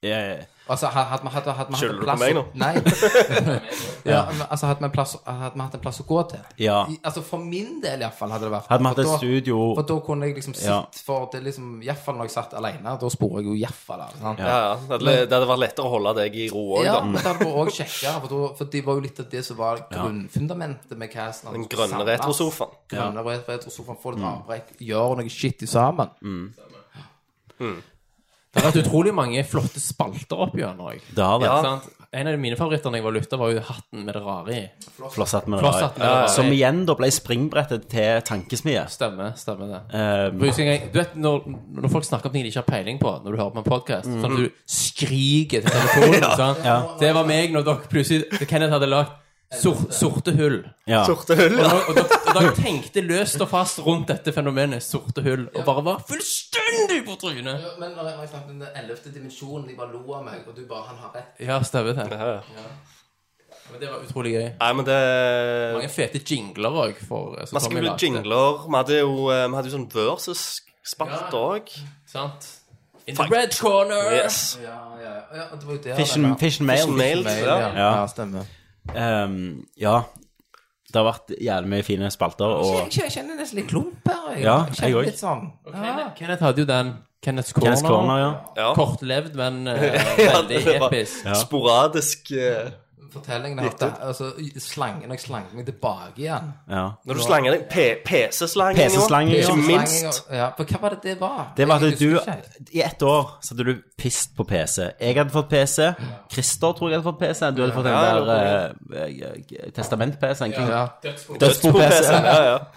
Speaker 9: Ja, ja.
Speaker 6: Altså, had- hadde vi hatt hadde vi hatt
Speaker 8: Skylder
Speaker 6: en
Speaker 8: du på
Speaker 6: plass
Speaker 8: meg
Speaker 6: å-
Speaker 8: nå?
Speaker 6: Nei. ja, men, altså, hadde vi en plass- hadde vi hatt en plass å gå til?
Speaker 9: Ja.
Speaker 6: I, altså, for min del iallfall hadde det vært
Speaker 9: Hadde vi hatt
Speaker 6: for
Speaker 9: et
Speaker 6: da-
Speaker 9: studio
Speaker 6: For da kunne jeg liksom sitte
Speaker 9: Ja.
Speaker 6: for det er liksom, Iallfall når jeg satt alene, da sporer jeg jo iallfall av. sant?
Speaker 8: Ja, ja. Det, hadde, det hadde vært lettere å holde deg i ro òg,
Speaker 6: Ja,
Speaker 8: da.
Speaker 6: men da hadde vi òg sjekka, for, da- for det var jo litt av det som var grunnfundamentet med casten. at
Speaker 8: Den
Speaker 6: vi skulle
Speaker 8: grønne
Speaker 6: samles.
Speaker 8: retrosofaen.
Speaker 6: Grønne ret- retrosofaen, få litt
Speaker 7: Mm.
Speaker 6: avbrekk, gjøre noe shit i sammen.
Speaker 7: Det har vært utrolig mange flotte spalter opp gjennom òg.
Speaker 9: Det har det.
Speaker 8: Ja.
Speaker 7: Sant? En av mine favoritter da jeg var lytter, var jo hatten med det rare i.
Speaker 9: Flosshatt med det
Speaker 7: Flosshatt med det
Speaker 9: rare.
Speaker 7: rare.
Speaker 9: Som igjen da ble springbrettet til tankesmie.
Speaker 7: Stemmer, stemmer det.
Speaker 9: Um,
Speaker 7: For jeg husker en gang- Du vet når, når folk snakker om ting de ikke har peiling på, når du hører på en podkast, sånn
Speaker 9: Mm.
Speaker 7: at du skriker til telefonen sant? Det var meg når dere plutselig Kenneth hadde lagt sor, sorte hull.
Speaker 9: ja.
Speaker 7: Og, dere- og, dere- og dere tenkte løst og fast rundt dette fenomenet sorte hull, og bare var fullstendig på trynet.
Speaker 6: Men når jeg snakket om den ellevte dimensjonen, de bare lo av meg, og du bare Han har rett.
Speaker 7: Ja, stemmer det.
Speaker 8: Ja, ja.
Speaker 7: Men det var utrolig gøy.
Speaker 8: Nei, men det
Speaker 7: Mange fete jingler eh, òg.
Speaker 8: Vi skulle bli jingler. Vi hadde jo, eh, vi hadde jo sånn versus-spalt òg.
Speaker 7: Sant? In the red corner!
Speaker 8: Yes.
Speaker 6: Ja, ja, ja, og det var jo der
Speaker 9: Fish and, fish and mail.
Speaker 8: Fish and mail.
Speaker 6: det var.
Speaker 8: Ja.
Speaker 6: Ja, ja, stemmer.
Speaker 9: Um, ja. Det har vært jævlig mye fine spalter.
Speaker 6: Jeg
Speaker 9: Og
Speaker 6: kjenner- jeg kjenner nesten litt klump her. Jeg,
Speaker 9: Ja, jeg
Speaker 6: kjenner
Speaker 9: òg.
Speaker 6: litt sånn.
Speaker 7: Kenneth, Kenneth hadde jo den Kenneth Corner.
Speaker 9: Kenneth Corner, ja.
Speaker 8: Ja.
Speaker 7: Kortlevd, men eh,
Speaker 8: Ja,
Speaker 7: veldig
Speaker 8: det var-
Speaker 7: episk.
Speaker 8: Sporadisk eh,
Speaker 6: fortellingen er at det- altså, i- slangen, når jeg slang meg tilbake igjen
Speaker 9: ja.
Speaker 8: Når du slanger deg P- PC-slanging
Speaker 9: PC-slanging,
Speaker 8: òg,
Speaker 9: ja.
Speaker 8: ikke
Speaker 6: Slangen
Speaker 8: minst.
Speaker 6: og- Ja, for hva var det det var?
Speaker 9: Det var
Speaker 6: Jeg
Speaker 9: at
Speaker 6: husker
Speaker 9: du
Speaker 6: ikke helt.
Speaker 9: I ett år så hadde du pist på PC. Jeg hadde fått PC. Christer tror jeg hadde fått PC. Du hadde fått den
Speaker 8: Ja, ja,
Speaker 9: der eh, eh, testament-PC-en. King-
Speaker 6: Ja.
Speaker 9: Dødsbo-PC.
Speaker 8: Ja, ja.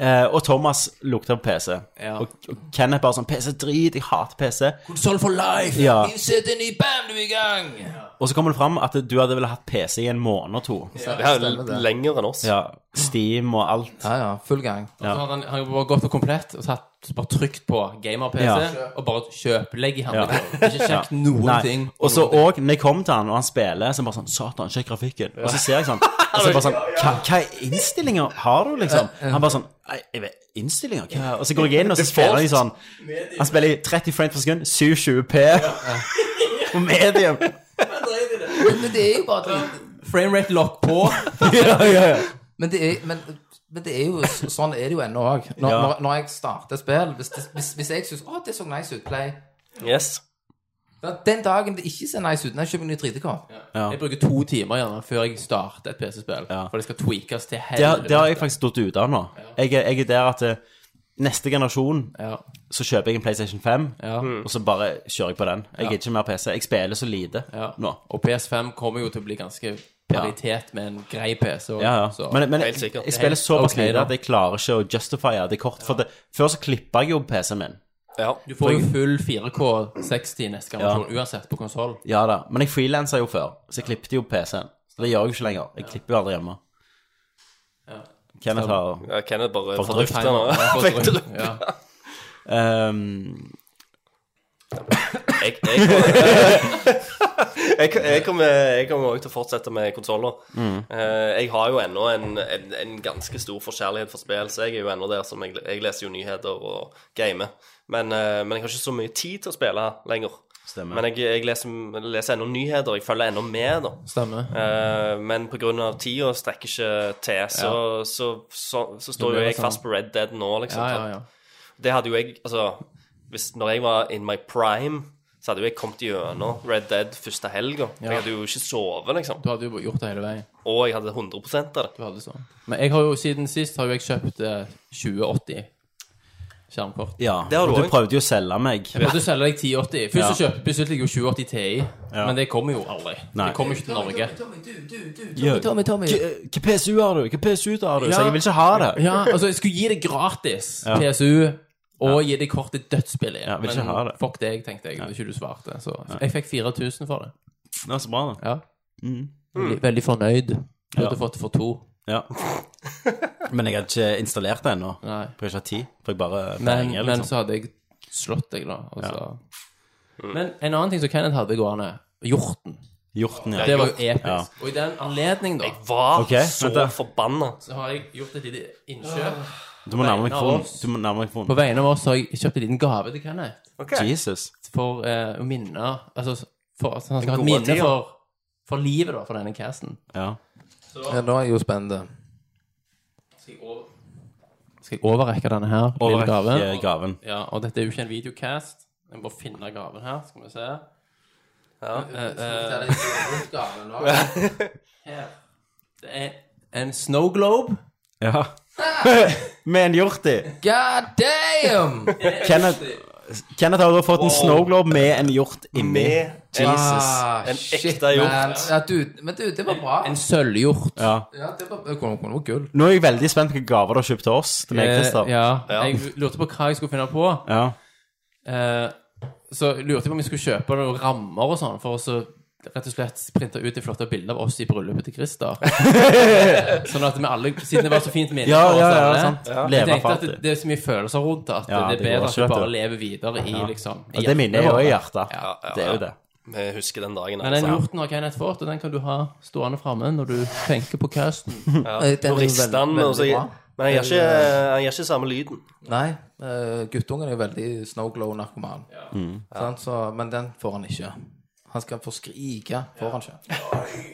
Speaker 9: Eh, og Thomas lukta på PC.
Speaker 7: Ja.
Speaker 9: Og, og Kenneth bare sånn PC drit, jeg hater PC.
Speaker 7: Konsoll for life!
Speaker 9: Ja.
Speaker 7: Innsett en ny band, du er i gang!
Speaker 9: Og så kommer det fram at du hadde vel hatt PC i en måned og to.
Speaker 8: Det er
Speaker 6: Stemmer det.
Speaker 8: jo lenger enn oss.
Speaker 9: Ja, Steam og alt.
Speaker 6: Ja, ja. Full gang.
Speaker 7: Så hadde han, han bare gått og komplett og tatt, bare trykt på gamer-PC
Speaker 9: Ja.
Speaker 7: og bare kjøp. Legg i
Speaker 9: Ja.
Speaker 7: handelen. Ikke sjekk noen
Speaker 9: Nei.
Speaker 7: ting.
Speaker 9: Og så òg, når jeg kom til han, og han spiller, så bare sånn Satan, sjekk grafikken. Og så ser jeg sånn og så bare sånn, Hva, hva er innstillinger har du, liksom? Han bare sånn «Nei, jeg vet, Innstillinger? Hva? Og så går jeg inn, og så spiller jeg sånn Han spiller i 30 frames per sekund, 720P. På medium.
Speaker 6: Men det er jo bare drit.
Speaker 7: Framerate lock på.
Speaker 9: Ja, ja, ja.
Speaker 6: Men det er, men, men det er jo, så- sånn er det jo ennå òg. Når,
Speaker 9: Ja.
Speaker 6: når, når jeg starter spill, hvis, det, hvis, hvis jeg syns 'Å, det så nice ut', Play
Speaker 8: Yes.
Speaker 6: Da- Den dagen det ikke ser nice ut, nei, kjøper jeg ny 3D-kort.
Speaker 7: Jeg bruker to timer gjerne før jeg starter et PC-spill.
Speaker 9: Ja.
Speaker 7: For det skal tweakes til
Speaker 9: Det har,
Speaker 7: helvete.
Speaker 9: det har jeg faktisk stått ut av nå. Jeg, er- jeg er der at eh, neste generasjon
Speaker 7: Ja.
Speaker 9: så kjøper jeg en PlayStation 5,
Speaker 7: Ja.
Speaker 9: og så bare kjører jeg på den. Jeg gidder ikke mer PC. Jeg spiller så lite
Speaker 7: Ja.
Speaker 9: nå.
Speaker 7: Og PS5 kommer jo til å bli ganske paritet med en grei PC. Og,
Speaker 9: Ja, ja.
Speaker 7: Så.
Speaker 9: Men, men
Speaker 8: Helt
Speaker 9: jeg,
Speaker 8: sikkert.
Speaker 9: jeg spiller såpass
Speaker 7: Ok, da.
Speaker 9: lite at jeg klarer ikke å justifiere det kort. For det, før så klippa jeg jo PC-en min.
Speaker 8: Ja.
Speaker 7: du får jo full 4K 60 neste generasjon uansett på konsoll.
Speaker 9: Ja da. Men jeg frilansa jo før, så jeg klippet jo PC-en. Så det gjør jeg jo ikke lenger. Jeg klipper jo aldri hjemme. Kenneth har
Speaker 8: Ja, Kenneth bare
Speaker 9: For
Speaker 8: fordrifter nå.
Speaker 7: Ja.
Speaker 9: ehm,
Speaker 8: Jeg, jeg, kommer- jeg, jeg kommer jeg kommer også til å fortsette med konsoller.
Speaker 7: Mm.
Speaker 8: Eh, Jeg har jo ennå en, en, en ganske stor forkjærlighet for spill, så jeg er jo ennå der som jeg, jeg leser jo nyheter og gamer. Men, eh, men jeg har ikke så mye tid til å spille lenger.
Speaker 9: Stemmer.
Speaker 8: Men jeg, jeg leser, leser ennå nyheter, jeg følger ennå med, da.
Speaker 7: Stemmer.
Speaker 8: Eh, men pga. tida strekker ikke til, så, så, så, så står
Speaker 7: blir
Speaker 8: jo
Speaker 7: det
Speaker 8: jeg
Speaker 7: sånn.
Speaker 8: fast på Red Dead nå, liksom.
Speaker 7: Ja,
Speaker 8: sant?
Speaker 7: ja, ja.
Speaker 8: Det hadde jo jeg Altså, hvis, når jeg var in my prime, så hadde jo jeg kommet gjennom Red Dead første helga. Jeg hadde jo ikke sovet, liksom.
Speaker 7: Du hadde jo gjort det hele veien.
Speaker 8: Og jeg hadde 100 av det.
Speaker 7: Du hadde sånn. Men jeg har jo siden sist har jo jeg kjøpt eh, 2080 skjermkort.
Speaker 9: ja.
Speaker 8: Det har du
Speaker 9: Og du
Speaker 8: også.
Speaker 9: prøvde jo å selge meg.
Speaker 7: Jeg måtte selge deg 1080. Først så
Speaker 9: Ja.
Speaker 7: kjøpte bestilte jeg jo 2080 Ti, men det kommer jo aldri.
Speaker 9: Nei.
Speaker 7: Det kommer jo ikke til Norge.
Speaker 9: Gjør-
Speaker 6: Tommy, Tommy.
Speaker 9: Hva hva PSU har du? Hva PSU har du?
Speaker 7: Ja.
Speaker 9: Så jeg vil ikke ha det.
Speaker 7: Ja, altså, jeg skulle gi det gratis,
Speaker 9: Ja.
Speaker 7: PSU, og gi det kortet dødsbillig.
Speaker 9: Ja, vil ikke
Speaker 7: men
Speaker 9: ha det.
Speaker 7: fuck deg, tenkte jeg, når ikke du svarte. Så jeg fikk 4000 for det.
Speaker 9: Det var så bra, da. Mm.
Speaker 7: Ja. Veldig, veldig fornøyd. Du
Speaker 9: Ja.
Speaker 7: hadde fått det for to.
Speaker 9: Ja. Men jeg hadde ikke installert det ennå.
Speaker 7: Nei.
Speaker 9: For jeg har ikke hatt tid. For jeg bare
Speaker 7: Men,
Speaker 9: penger,
Speaker 7: men
Speaker 9: liksom.
Speaker 7: så hadde jeg slått deg, da. Og så. Men en annen ting som Kenneth hadde gående, hjorten.
Speaker 9: Hjorten, ja.
Speaker 7: Det var jo
Speaker 8: Hjorten.
Speaker 7: episk.
Speaker 9: Ja.
Speaker 7: Og i den anledning, da,
Speaker 8: Jeg var
Speaker 9: Ok,
Speaker 8: så
Speaker 9: vent da.
Speaker 8: forbanna.
Speaker 7: så har jeg gjort et lite innkjøp.
Speaker 9: Du må nærme deg
Speaker 7: Vegne av
Speaker 9: kronen.
Speaker 7: oss.
Speaker 9: Du må nærme deg kronen.
Speaker 7: På vegne av oss har jeg kjøpt en liten gave til Kenneth.
Speaker 9: Jesus.
Speaker 7: For eh, å minne Altså, for, så han skal ha et
Speaker 8: gode
Speaker 7: minne
Speaker 8: tida.
Speaker 7: for, for livet, da, for denne casten.
Speaker 9: Ja.
Speaker 6: Ja, nå er jeg jo spent.
Speaker 7: Skal jeg, over... skal jeg overrekke denne her? lille gaven?
Speaker 9: Overrekk gaven.
Speaker 7: Ja, og dette er jo ikke en videocast. Jeg må bare finne gaven her, skal vi se. Her. Det er en snow globe.
Speaker 9: Ja. Med en hjort i.
Speaker 6: God damn!
Speaker 9: Kenneth, Kenneth har da fått en snowglobe med en hjort inni.
Speaker 8: Med Jesus.
Speaker 6: Ah,
Speaker 8: En
Speaker 6: shit,
Speaker 8: ekte
Speaker 6: man.
Speaker 8: hjort.
Speaker 6: Ja, du, men du, det var bra.
Speaker 7: En sølvhjort.
Speaker 9: Ja.
Speaker 6: Ja, det var, det kunne- kunne vært gull.
Speaker 9: Nå er jeg veldig spent på hvilke gaver du har kjøpt til oss. Til meg, Christer.
Speaker 7: ja. Jeg lurte på hva jeg skulle finne på.
Speaker 9: Ja.
Speaker 7: Eh, så lurte jeg på om vi skulle kjøpe noen rammer og sånn, for å så rett og slett printe ut de flotte bildene av oss i bryllupet til Christer. sånn at vi alle, siden det var så fint minne
Speaker 9: Ja,
Speaker 7: for oss
Speaker 9: ja, ja,
Speaker 7: alle,
Speaker 9: sant. Ja.
Speaker 7: jeg
Speaker 9: Leve for
Speaker 7: tenkte at det,
Speaker 9: alltid.
Speaker 7: det er så mye følelser rundt det, at
Speaker 9: Ja,
Speaker 7: det er
Speaker 9: det går
Speaker 7: bedre at
Speaker 9: ikke,
Speaker 7: du
Speaker 9: vet
Speaker 7: bare
Speaker 9: du.
Speaker 7: lever videre i liksom i
Speaker 9: Og det minner jeg jo i
Speaker 7: hjertet vårt.
Speaker 9: hjertet.
Speaker 8: ja,
Speaker 9: Det er jo
Speaker 8: ja.
Speaker 9: det.
Speaker 8: Vi husker den dagen.
Speaker 7: Men den
Speaker 8: Altså.
Speaker 7: hjorten har Kenneth fått, og den kan du ha stående framme når du tenker på casten.
Speaker 8: Ja.
Speaker 6: Eh, den er jo
Speaker 8: Nå rister
Speaker 6: veldig-
Speaker 8: han, og så
Speaker 6: veldig bra.
Speaker 8: altså, Men han gjør ikke, han gjør ikke samme lyden.
Speaker 6: Nei, eh, guttungen er jo veldig snowglow-narkoman. Sant, så- Men den får han ikke. Han skal få skrike, får han ikke.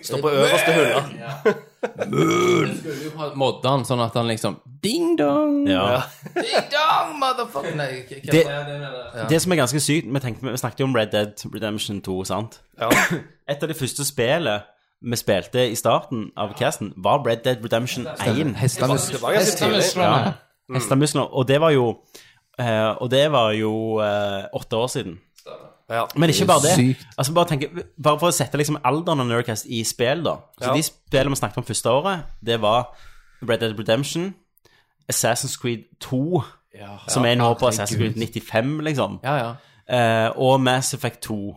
Speaker 8: Står på øverste hylla.
Speaker 7: Du skulle jo ha modda den sånn at han liksom Ding dong!
Speaker 9: Ja.
Speaker 6: Ding dong, motherfucker! Nei, hva- hva-
Speaker 9: Det,
Speaker 6: Ja.
Speaker 9: det som er ganske sykt Vi, tenkte, vi snakket jo om Red Dead Redemption 2, sant?
Speaker 8: Ja.
Speaker 9: Et av de første spillene vi spilte i starten av casten, var Red Dead Redemption 1.
Speaker 6: Hestemus.
Speaker 8: Det var ganske tidlig.
Speaker 9: Ja. Hestemusler. Og det var jo eh, Og det var jo eh, åtte år siden.
Speaker 8: Ja.
Speaker 9: Men ikke bare det.
Speaker 6: sykt.
Speaker 9: Altså bare, tenke, bare for å sette liksom alderen av Nerdcast i spill, da. Så
Speaker 8: Ja.
Speaker 9: de spillene vi snakket om første året, det var Red Dead Redemption, Assassin's Creed 2, som er nå på Assassin's Creed 95, liksom,
Speaker 7: Ja, ja.
Speaker 9: eh, og Mass Effect 2.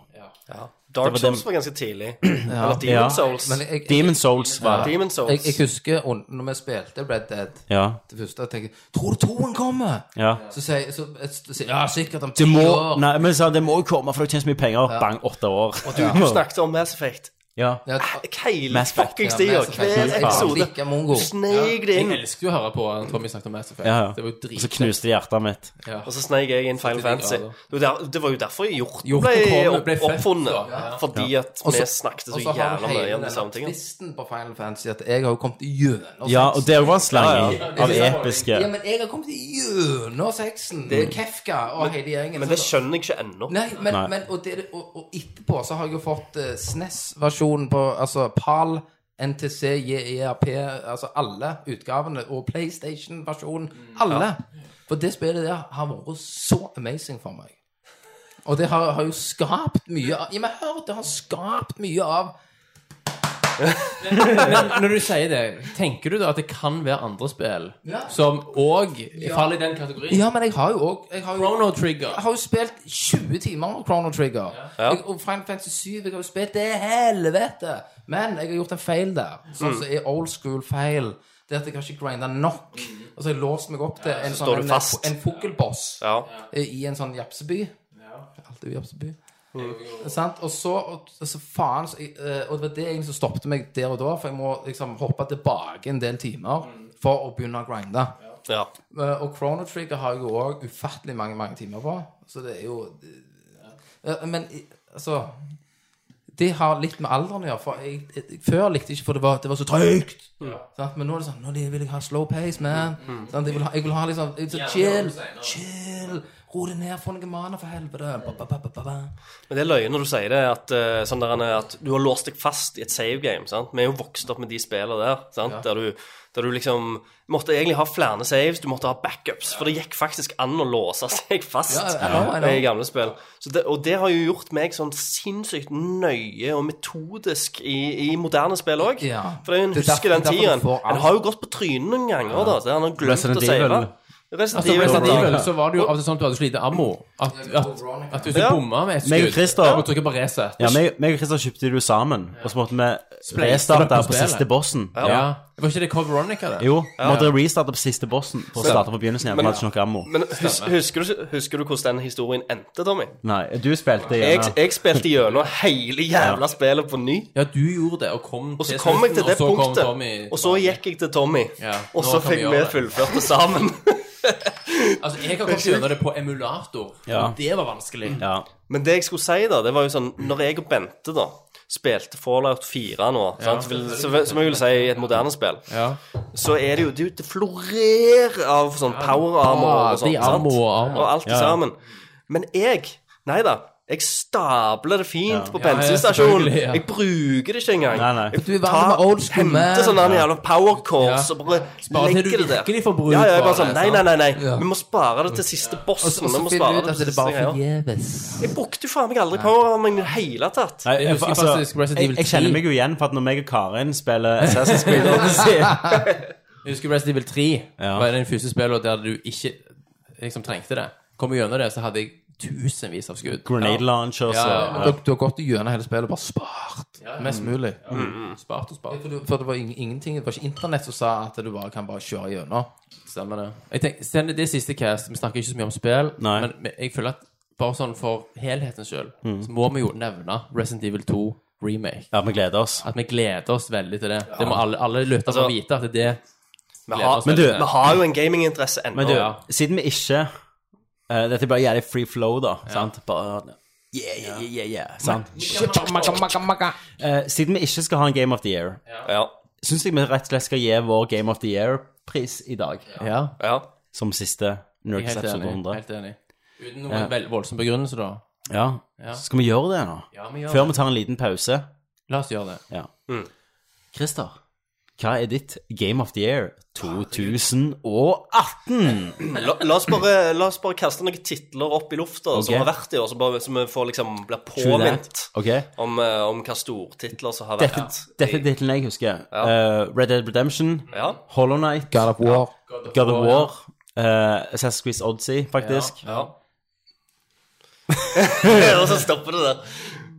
Speaker 8: Dark
Speaker 9: var
Speaker 8: Souls
Speaker 9: dem-
Speaker 8: var ganske tidlig. Eller Demon
Speaker 9: Ja.
Speaker 8: Souls.
Speaker 6: Men jeg, jeg,
Speaker 9: Demon Souls var
Speaker 8: Demon Souls.
Speaker 6: jeg, jeg husker un- når vi spilte Red Dead
Speaker 9: Ja.
Speaker 6: det første, jeg tenker Tror du toen kommer?
Speaker 9: ja.
Speaker 6: Så sier så, så, sier- Ja, sikkert om
Speaker 9: Det
Speaker 6: ti
Speaker 9: må,
Speaker 6: år.
Speaker 9: nei, men jeg sa, det må jo komme, for det tjener så mye penger. Bang, åtte år.
Speaker 8: Du, du snakket om Mass Effect
Speaker 9: Ja.
Speaker 6: Ja,
Speaker 8: hele
Speaker 9: Mass Effect,
Speaker 8: fuckings
Speaker 6: ja,
Speaker 8: tida.
Speaker 6: Mass Effect.
Speaker 8: Hver
Speaker 6: Ja,
Speaker 8: episode.
Speaker 6: klikka mongo.
Speaker 8: Du sneik det
Speaker 7: Jeg
Speaker 8: inn.
Speaker 7: elsker jo å høre på han Tommy snakket om Mass Effect.
Speaker 9: Ja, ja.
Speaker 7: Det var jo
Speaker 9: Og så
Speaker 7: drit.
Speaker 9: knuste de hjertet mitt.
Speaker 7: Ja.
Speaker 8: Og så sneik jeg inn Final
Speaker 7: 49
Speaker 8: Fantasy.
Speaker 7: grader.
Speaker 8: Det var der- det var jo derfor Hjorten
Speaker 7: Hjorten
Speaker 8: ble,
Speaker 7: kom,
Speaker 8: opp,
Speaker 7: ble født,
Speaker 8: oppfunnet.
Speaker 7: da. Ja.
Speaker 8: Fordi at
Speaker 6: Og så-
Speaker 8: vi snakket så
Speaker 6: Og så har
Speaker 8: jævla
Speaker 6: du
Speaker 8: mye
Speaker 6: hele
Speaker 8: om de samme
Speaker 6: den
Speaker 8: tingene.
Speaker 6: tvisten på Final Fantasy at jeg har jo kommet gjennom
Speaker 9: Ja, og
Speaker 6: sexen.
Speaker 9: det var en slange
Speaker 8: Ja,
Speaker 9: av
Speaker 6: Ja,
Speaker 9: episke
Speaker 6: Ja, men jeg har kommet gjennom sexen med Kefka og hele gjengen.
Speaker 8: Men det
Speaker 6: sant?
Speaker 8: skjønner jeg ikke ennå.
Speaker 6: Nei, men,
Speaker 9: Mm. Nei.
Speaker 6: men og, det, og, og etterpå så har jeg jo fått eh, SNES-versjonen på Altså PAL, NTC, JERP Altså alle utgavene. Og PlayStation-versjonen.
Speaker 8: Mm.
Speaker 6: Alle. For det spillet der har vært så amazing for meg. Og det har, har jo skapt mye av Ja, men hør, det har skapt mye av
Speaker 7: Men når du sier det, tenker du da at det kan være andre spill
Speaker 6: Ja.
Speaker 7: som òg faller i den kategorien?
Speaker 6: Ja, men jeg har jo òg Jeg har jo
Speaker 7: Chrono
Speaker 6: Jeg
Speaker 7: Trigger.
Speaker 6: har jo spilt 20 timer med Chrono Trigger. Jeg, og Final Fantasy 7 jeg har jo spilt det er helvete. Men jeg har gjort en feil der. Sånn som
Speaker 8: Mm.
Speaker 6: er old school feil. Det at jeg har ikke grinda nok. Og så har jeg låst meg opp til en,
Speaker 8: Mm. står
Speaker 6: sånn,
Speaker 8: du
Speaker 6: en,
Speaker 8: fast.
Speaker 6: en fugleboss
Speaker 8: Ja.
Speaker 6: eh, i en sånn japseby. Alltid japseby. Sant? Og så, og, og så faen så, jeg- eh, Og det var det egentlig som stoppet meg der og da, for jeg må liksom hoppe tilbake en del timer for å begynne å grinde.
Speaker 8: ja.
Speaker 6: Eh, Og Chrono Trigger har jeg jo òg ufattelig mange mange timer på. Så det er jo Eh, Men i- altså Det har litt med alderen å gjøre. For jeg, jeg, før likte jeg ikke, for det var, det var så trøyt. Sant? Men nå er det sånn Nå vil jeg ha slow pace, man.
Speaker 7: Mm.
Speaker 6: Sant? Jeg, vil ha, jeg vil ha liksom jeg, så Chill. Chill. Ro deg ned. Få noen maner, for helvete. Ba, ba, ba, ba, ba, ba.
Speaker 8: Men det er løgn når du sier det, at, eh, sånn der, en- at du har låst deg fast i et save game. sant? Vi er jo vokst opp med de spillene der. sant? Der, du, der du liksom måtte egentlig ha flere saves, du måtte ha backups. For det gikk faktisk an å låse seg fast
Speaker 6: Ja, jeg know, jeg know.
Speaker 8: i gamle spill. Så det, og det har jo gjort meg sånn sinnssykt nøye og metodisk i, i moderne spill òg.
Speaker 6: Ja.
Speaker 8: For en
Speaker 6: Det er
Speaker 8: husker
Speaker 6: derfor-
Speaker 8: den
Speaker 6: derfor du
Speaker 8: tiden.
Speaker 6: får alt.
Speaker 8: En har jo gått på trynet noen ganger, da. Så han har glemt
Speaker 9: Resident
Speaker 8: å save.
Speaker 9: Evil.
Speaker 8: Resident
Speaker 7: Altså,
Speaker 8: Evil.
Speaker 7: Resident Evil, så var det jo av og til sånn at du hadde så lite ammo at, at, at du ikke
Speaker 8: Ja.
Speaker 7: bomma med et
Speaker 9: Meg og
Speaker 7: skudd.
Speaker 9: Christer-
Speaker 7: Du må trykke på reset.
Speaker 9: Ja, meg, meg og Kristian kjøpte det jo sammen, og så måtte vi
Speaker 7: Spleiste
Speaker 9: restarte
Speaker 7: dere
Speaker 9: på
Speaker 7: spillet?
Speaker 9: siste bossen.
Speaker 7: Ja. Var ikke det Coveronica, det?
Speaker 9: Jo, måtte restarte på siste bossen for å starte på begynnelsen igjen. for Vi hadde ikke noe ammo.
Speaker 8: Men hus, husker, du, husker du hvordan den historien endte, Tommy?
Speaker 9: Nei, du spilte
Speaker 8: Jeg,
Speaker 9: igjen.
Speaker 8: jeg spilte gjennom hele jævla spillet på ny.
Speaker 7: Ja, du gjorde det, og kom
Speaker 8: Og så kom jeg til det
Speaker 7: og så kom
Speaker 8: punktet,
Speaker 7: Tommy
Speaker 8: og så gikk jeg til Tommy.
Speaker 7: Ja,
Speaker 8: Og
Speaker 7: nå
Speaker 8: så
Speaker 7: kan vi
Speaker 8: fikk vi
Speaker 7: gjøre det.
Speaker 8: fullført det sammen.
Speaker 7: Altså, jeg har kommet gjennom det på emulator,
Speaker 9: Ja.
Speaker 7: og det var vanskelig.
Speaker 9: Ja.
Speaker 8: Men det jeg skulle si, da, det var jo sånn Når jeg og Bente da spilte Fallout 4 nå, sant? Vil- så- som jeg vil si i et moderne spill,
Speaker 7: Ja.
Speaker 8: så er det jo Det, det florerer av sånn power armor og
Speaker 7: Ah, de
Speaker 8: sånt. sant?
Speaker 7: armor og armor.
Speaker 8: Og alt
Speaker 9: Ja.
Speaker 8: det sammen. Men jeg Nei da. Jeg stabler det fint på
Speaker 7: Ja, ja,
Speaker 8: bensinstasjonen.
Speaker 7: selvfølgelig, ja.
Speaker 8: Jeg bruker det ikke engang.
Speaker 9: Nei, nei.
Speaker 8: Jeg
Speaker 6: Du er vant med old school, man.
Speaker 8: henter sånn der jævla power course og bare
Speaker 7: Spare til du
Speaker 8: legger det der.
Speaker 7: virkelig får bruk
Speaker 8: ja, ja, jeg bare
Speaker 7: for
Speaker 8: sånn,
Speaker 7: det,
Speaker 8: nei, nei,
Speaker 7: sant?
Speaker 8: nei, nei.
Speaker 6: Ja.
Speaker 8: Vi må spare det til siste
Speaker 6: Og så
Speaker 8: bossen.
Speaker 6: og så
Speaker 8: Vi må
Speaker 6: finner du
Speaker 8: spare
Speaker 6: ut
Speaker 8: det
Speaker 6: at
Speaker 8: til
Speaker 6: det er
Speaker 8: siste
Speaker 6: bare
Speaker 8: greier.
Speaker 6: forgjeves.
Speaker 8: Jeg brukte jo faen meg aldri power arming i det hele tatt.
Speaker 9: Nei,
Speaker 7: Jeg
Speaker 9: for,
Speaker 7: husker faktisk
Speaker 9: altså,
Speaker 7: Resident
Speaker 9: jeg,
Speaker 7: Evil
Speaker 9: jeg kjenner
Speaker 7: 3.
Speaker 9: meg jo igjen for at når meg og Karin spiller Assassin's Creed Odyssey
Speaker 7: Jeg husker Resident Evil 3
Speaker 9: Ja.
Speaker 7: var den første spillet der du ikke liksom trengte det. Kom jeg gjennom det, så hadde jeg tusenvis av skudd.
Speaker 9: Grenade launcher så
Speaker 7: Ja,
Speaker 6: Du, du har gått gjennom hele spillet og bare spart mest mulig.
Speaker 7: Spart og spart.
Speaker 6: For, du, for det var ing- ingenting Det var ikke internett som sa at du bare kan bare kjøre gjennom.
Speaker 7: Stemmer det. Jeg tenker, Send det er siste cast. Vi snakker ikke så mye om spill,
Speaker 9: Nei.
Speaker 7: men men jeg føler at bare sånn for helhetens skyld, så må vi jo nevne Resident Evil 2 remake.
Speaker 9: Ja, vi gleder oss.
Speaker 7: At vi gleder oss veldig til det. Det må alle, alle lytte
Speaker 8: Altså-
Speaker 7: og vite at det er det.
Speaker 8: Vi
Speaker 7: gleder
Speaker 8: har,
Speaker 7: oss
Speaker 9: Men du-
Speaker 7: veldig til.
Speaker 8: vi har jo en gaminginteresse ennå.
Speaker 9: Men du,
Speaker 8: Ja.
Speaker 9: siden vi ikke eh, Dette er bare jævlig free flow, da. Sant? Bare Yeah, yeah, yeah, yeah. Sant? Eh, siden vi ikke skal ha en Game of the Year,
Speaker 8: Ja.
Speaker 9: syns jeg vi rett og slett skal gi vår Game of the Year-pris i dag.
Speaker 7: Ja,
Speaker 8: ja.
Speaker 9: Som siste
Speaker 7: jeg er
Speaker 9: Nerds
Speaker 7: helt
Speaker 9: episode
Speaker 7: enig.
Speaker 9: 100.
Speaker 7: Helt enig. Uten noen vel, voldsom begrunnelse, da.
Speaker 9: Ja. Så skal vi gjøre det nå?
Speaker 7: Ja, vi gjør
Speaker 9: Før vi tar en liten pause.
Speaker 7: La oss gjøre det.
Speaker 9: Ja. Christer, hva er ditt Game of the Year 2018?
Speaker 8: La, la, oss bare, la oss bare kaste noen titler opp i lufta
Speaker 9: Ok.
Speaker 8: som har vært i år, så, bare, så vi får liksom blir
Speaker 9: True
Speaker 8: påminnet
Speaker 9: that. Ok.
Speaker 8: om, eh, om hva stortitler som har vært.
Speaker 9: Dette, dette er tittelen jeg husker. Eh, Red Dead Redemption,
Speaker 8: Ja.
Speaker 9: Hollow Night,
Speaker 6: God of War.
Speaker 9: God of War, eh, Assassin's Creed Odyssey, faktisk.
Speaker 8: Ja. og så stopper det der.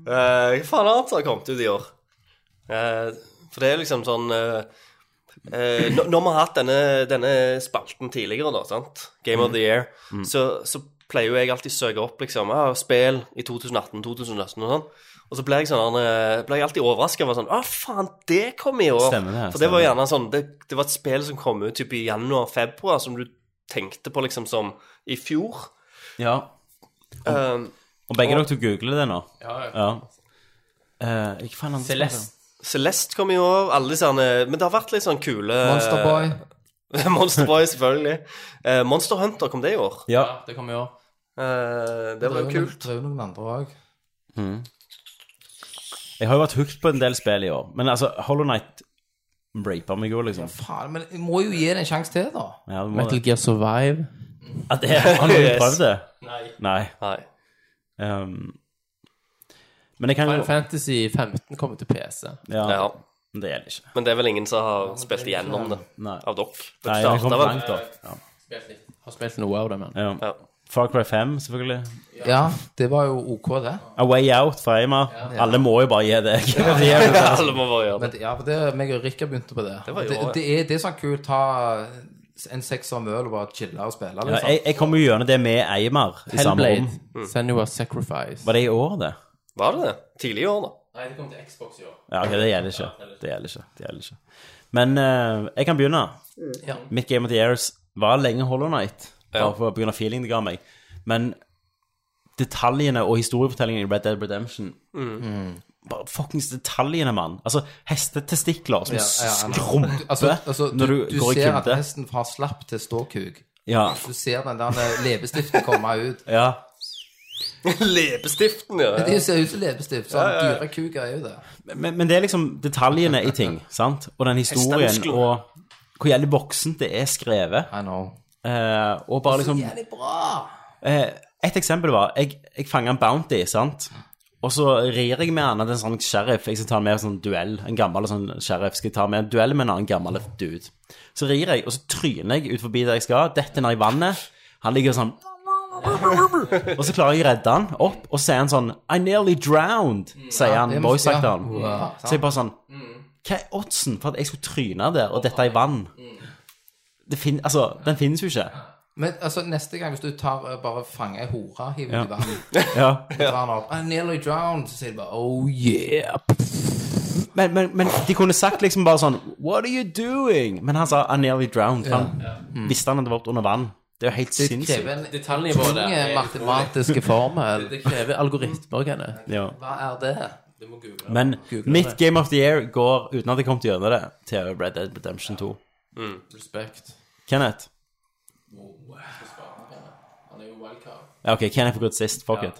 Speaker 8: Eh, hva faen annet har kommet ut i år? Eh, for det er liksom sånn eh, eh, når, når vi har hatt denne, denne spalten tidligere, da, sant? Game of the Year,
Speaker 11: Mm.
Speaker 8: så, så pleier jo jeg alltid å søke opp liksom, ah, spill i 2018, 2019 og sånn. Og så ble jeg, sånn, eh, ble jeg alltid overraska over sånn Å, faen, det kom i år!
Speaker 11: Stemmer det,
Speaker 8: For det var
Speaker 11: stemmer.
Speaker 8: gjerne sånn Det, det var et spill som kom ut typ, i januar-februar, som du tenkte på liksom som i fjor.
Speaker 11: Ja.
Speaker 8: Eh,
Speaker 11: Og begge dere to googler det nå? Ja. ja. Eh, hva faen er det?
Speaker 8: Celeste kom i år, alle disse herne Men det har vært litt sånn kule
Speaker 6: Monster
Speaker 7: Eh,
Speaker 6: Boy.
Speaker 8: Monster Boy, selvfølgelig. Eh, Monster Hunter kom det i år.
Speaker 11: Ja.
Speaker 7: Det kommer i år.
Speaker 8: Eh, det var jo
Speaker 6: er noen-
Speaker 8: kult.
Speaker 6: Det er jo noen andre òg.
Speaker 11: Jeg har jo vært hooked på en del spill i år. Men altså, Hollow Night raper meg jo, liksom.
Speaker 6: Faen, men jeg må jo gi det en sjanse til, da.
Speaker 11: Ja, du må
Speaker 7: Metal
Speaker 11: det.
Speaker 7: Gear Survive.
Speaker 11: At det er, har noen
Speaker 8: Yes.
Speaker 11: prøvd det?
Speaker 7: Nei.
Speaker 11: Nei.
Speaker 8: Nei.
Speaker 11: ehm, men jeg kan jo
Speaker 7: Final Fantasy 15 kommer til PC.
Speaker 11: Ja,
Speaker 8: Ja,
Speaker 11: men det gjelder ikke.
Speaker 8: men det er vel ingen som har spilt igjennom det,
Speaker 11: Nei.
Speaker 8: av dere. Det
Speaker 11: Nei, jeg
Speaker 8: startet
Speaker 11: kom
Speaker 8: vel-
Speaker 11: langt opp. Ja.
Speaker 7: Har spilt noe av det, men.
Speaker 11: Ja.
Speaker 8: Ja.
Speaker 11: Far Cry 5, selvfølgelig.
Speaker 6: Ja, det var jo OK, det.
Speaker 11: A Way Out fra Eima. Alle må jo bare gi deg. De er jo der.
Speaker 8: Alle må bare gjøre det.
Speaker 6: Men det, ja, for det, meg og Rikka begynte på det.
Speaker 8: Det var jo
Speaker 6: det,
Speaker 8: også, ja.
Speaker 6: det, er, det er sånn kult å ta en sekser med øl og bare chille og spille,
Speaker 11: Ja,
Speaker 6: liksom.
Speaker 11: jeg, jeg kom jo gjennom det med Eimar i samme rom.
Speaker 7: Hellblade. Senua Sacrifice.
Speaker 11: Var det i år, det?
Speaker 8: Var det det? Tidlig i år, da.
Speaker 7: Nei, det kommer til Xbox i år.
Speaker 11: Ja, ok, det gjelder ikke. Det gjelder ikke. Det gjelder ikke. Men eh, jeg kan begynne.
Speaker 6: Ja.
Speaker 11: Mitt Game of the Years var lenge Hollow Night,
Speaker 8: Ja.
Speaker 11: bare for- på grunn av feeling det ga meg. Men detaljene og historiefortellingen i Red Dead Redemption
Speaker 6: Mm.
Speaker 11: mm, Bare fuckings detaljene, mann. Altså hestetestikler som
Speaker 6: Ja, ja, ja.
Speaker 11: skrumper
Speaker 6: Altså, altså, du,
Speaker 11: når du,
Speaker 6: du,
Speaker 11: går i
Speaker 6: ser at
Speaker 11: kulde.
Speaker 6: hesten har slapp til ståkuk.
Speaker 11: Ja.
Speaker 6: Du ser den der leppestiften komme ut.
Speaker 11: ja.
Speaker 8: Leppestiften, ja.
Speaker 6: Det ser ut som leppestift. Sånn dyrekuk er jo det.
Speaker 11: Men, men det er liksom detaljene i ting, sant? Og den historien,
Speaker 8: Hestemuskler.
Speaker 11: og hvor jævlig voksent det er skrevet.
Speaker 6: I know.
Speaker 11: Eh, og bare liksom
Speaker 6: Jævlig bra!
Speaker 11: Eh, et eksempel var Jeg, jeg fanger en Bounty, sant? Og så rir jeg med han at en sånn sheriff Jeg skal ta med en sånn duell. En gammel sånn sheriff skal ta med en duell med en annen gammel dude. Så rir jeg, og så tryner jeg ut forbi der jeg skal. Detter ned i vannet. Han ligger sånn Og så klarer jeg å redde han opp, og så er han sånn I nearly drowned, sier han,
Speaker 6: Mm. det må-
Speaker 11: voice actoren.
Speaker 6: ja. Wow.
Speaker 11: Så jeg bare sånn Hva er oddsen for at jeg skulle tryne der, og dette er i vann?
Speaker 6: Mm.
Speaker 11: Det fin altså, den finnes jo ikke.
Speaker 6: Men altså, neste gang hvis du tar, eh, bare fanger ei hore, hiver den i vannet,
Speaker 11: Ja.
Speaker 6: drar den opp I nearly drowned, så sier de bare oh yeah.
Speaker 11: Men, men, men de kunne sagt liksom bare sånn What are you doing? Men han sa I nearly drowned. for Han
Speaker 9: Mm.
Speaker 11: visste han hadde vært under vann. Det er jo helt
Speaker 6: Det
Speaker 11: sinnssykt.
Speaker 6: krever en
Speaker 7: Detaljnivået der
Speaker 6: tung
Speaker 7: er
Speaker 6: matematiske formel.
Speaker 7: Det krever algoritmer, Kenneth.
Speaker 11: Ja.
Speaker 6: Hva er det?
Speaker 7: Du må google.
Speaker 11: Men mitt Game of the Year går, uten at jeg kom til gjennom det, til Red Dead Redemption 2.
Speaker 7: Respekt.
Speaker 11: Kenneth?
Speaker 7: Han er jo wildcard.
Speaker 11: Ja, OK, Kenneth fikk gått sist. Fuck it.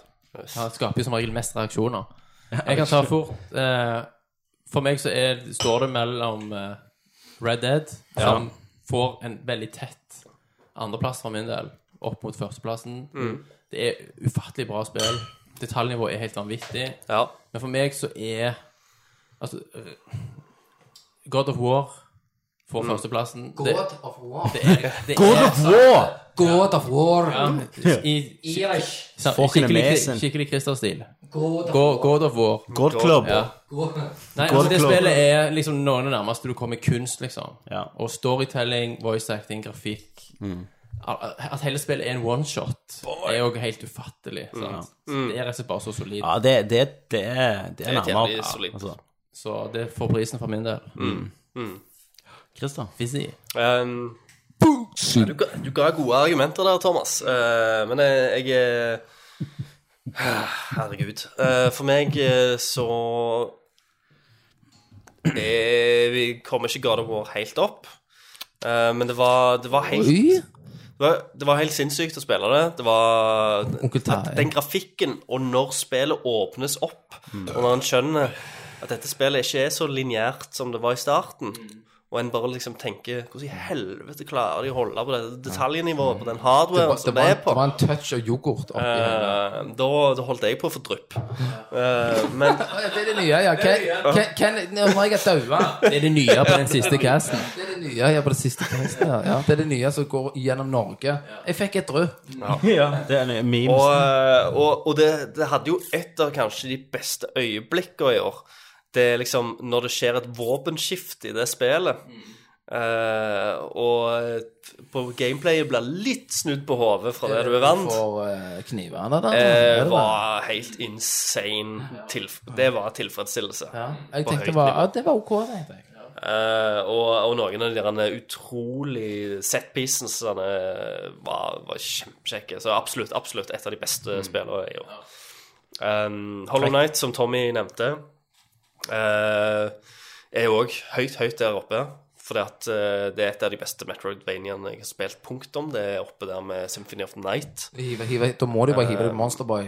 Speaker 7: Han skaper jo som regel mest reaksjoner. Jeg kan ta fort eh, For meg så er, står det mellom eh, Red Dead, som får en veldig tett andreplass for min del, opp mot førsteplassen.
Speaker 6: Mm.
Speaker 7: Det er ufattelig bra spill. Detaljnivået er helt vanvittig.
Speaker 8: ja.
Speaker 7: Men for meg så er Altså eh, God of War får førsteplassen. Det,
Speaker 6: God of war.
Speaker 7: det er, det er
Speaker 11: Wow!
Speaker 6: God of war.
Speaker 7: Ja, i, i,
Speaker 6: Irish.
Speaker 7: sa-
Speaker 11: Fucking
Speaker 7: skikkelig,
Speaker 11: amazing.
Speaker 7: skikkelig Christer-stil.
Speaker 6: God of
Speaker 7: God, God of War.
Speaker 11: Gold Club.
Speaker 7: Ja.
Speaker 6: God.
Speaker 7: Nei, altså det
Speaker 11: Club.
Speaker 7: spillet er liksom noe av det nærmeste du kommer kunst, liksom.
Speaker 11: Ja.
Speaker 7: Og storytelling, voice acting, grafikk.
Speaker 9: Mm.
Speaker 7: Al- At hele spillet er en one-shot, er jo helt ufattelig.
Speaker 9: Mm.
Speaker 7: Sant? Så Det er rett og slett bare så solid.
Speaker 11: Ja, det, det, det, er- det er
Speaker 8: et
Speaker 11: nærmere.
Speaker 8: jævlig
Speaker 11: Ja,
Speaker 8: solid.
Speaker 11: altså.
Speaker 7: Så det får prisen for min del.
Speaker 9: Mm.
Speaker 11: Christer?
Speaker 7: Fizzy.
Speaker 8: Ehm, du, ga, du ga gode argumenter der, Thomas. Eh, men jeg, jeg er- Herregud. Eh, for meg eh, så er, Eh, Vi kommer ikke God of War helt opp. Eh, men det var, det var helt det var, det var helt sinnssykt å spille det. Det var
Speaker 6: Onkel Tai.
Speaker 8: at Den grafikken, og når spillet åpnes
Speaker 6: Mm.
Speaker 8: opp, og når en skjønner at dette spillet ikke er så lineært som det var i starten, Og en bare liksom tenker Hvordan i helvete klarer de å holde på dette detaljnivået på den hardwaren
Speaker 6: det,
Speaker 8: som
Speaker 6: var
Speaker 8: vi
Speaker 6: en,
Speaker 8: er på?
Speaker 6: det var en touch av yoghurt oppi her.
Speaker 8: Eh, da, da holdt jeg på å få drypp. Eh, men
Speaker 6: Ah, Ja, Det er det nye, ja. Ken, Ken, Ken, nå må jeg daua.
Speaker 7: Det er det nye på den siste casten.
Speaker 6: Det er det nye ja, på det siste casten her. Ja. Det er det nye som går gjennom Norge. Jeg fikk et rødt.
Speaker 9: Ja, det er en meme.
Speaker 8: Og, eh, og, og det, det hadde jo et av kanskje de beste øyeblikkene i år. Det er liksom når det skjer et våpenskift i det spillet. Eh, og eh, på gameplayet blir litt snudd på hodet fra det du er vant.
Speaker 6: For eh, knivene der.
Speaker 8: Det
Speaker 6: er det det?
Speaker 8: var helt insane tilf Det var tilfredsstillelse.
Speaker 6: ja. Jeg
Speaker 8: på høyt
Speaker 6: tenkte det var,
Speaker 8: nivå.
Speaker 6: ja, det var ok, tenkte jeg.
Speaker 8: Eh, og, og noen av de der utrolig setpiecene var, var kjempekjekke. Så absolutt, absolutt et av de
Speaker 6: Mm.
Speaker 8: beste spillene i år. Um, Hollow Knight, som Tommy nevnte, eh, er jo òg høyt, høyt der oppe. Fordi at eh, det er et av de beste Metroidvaniaene jeg har spilt, punktum. Det er oppe der med Symphony of the Night.
Speaker 6: Hive, hive, da må du bare hive det på Monsterboy.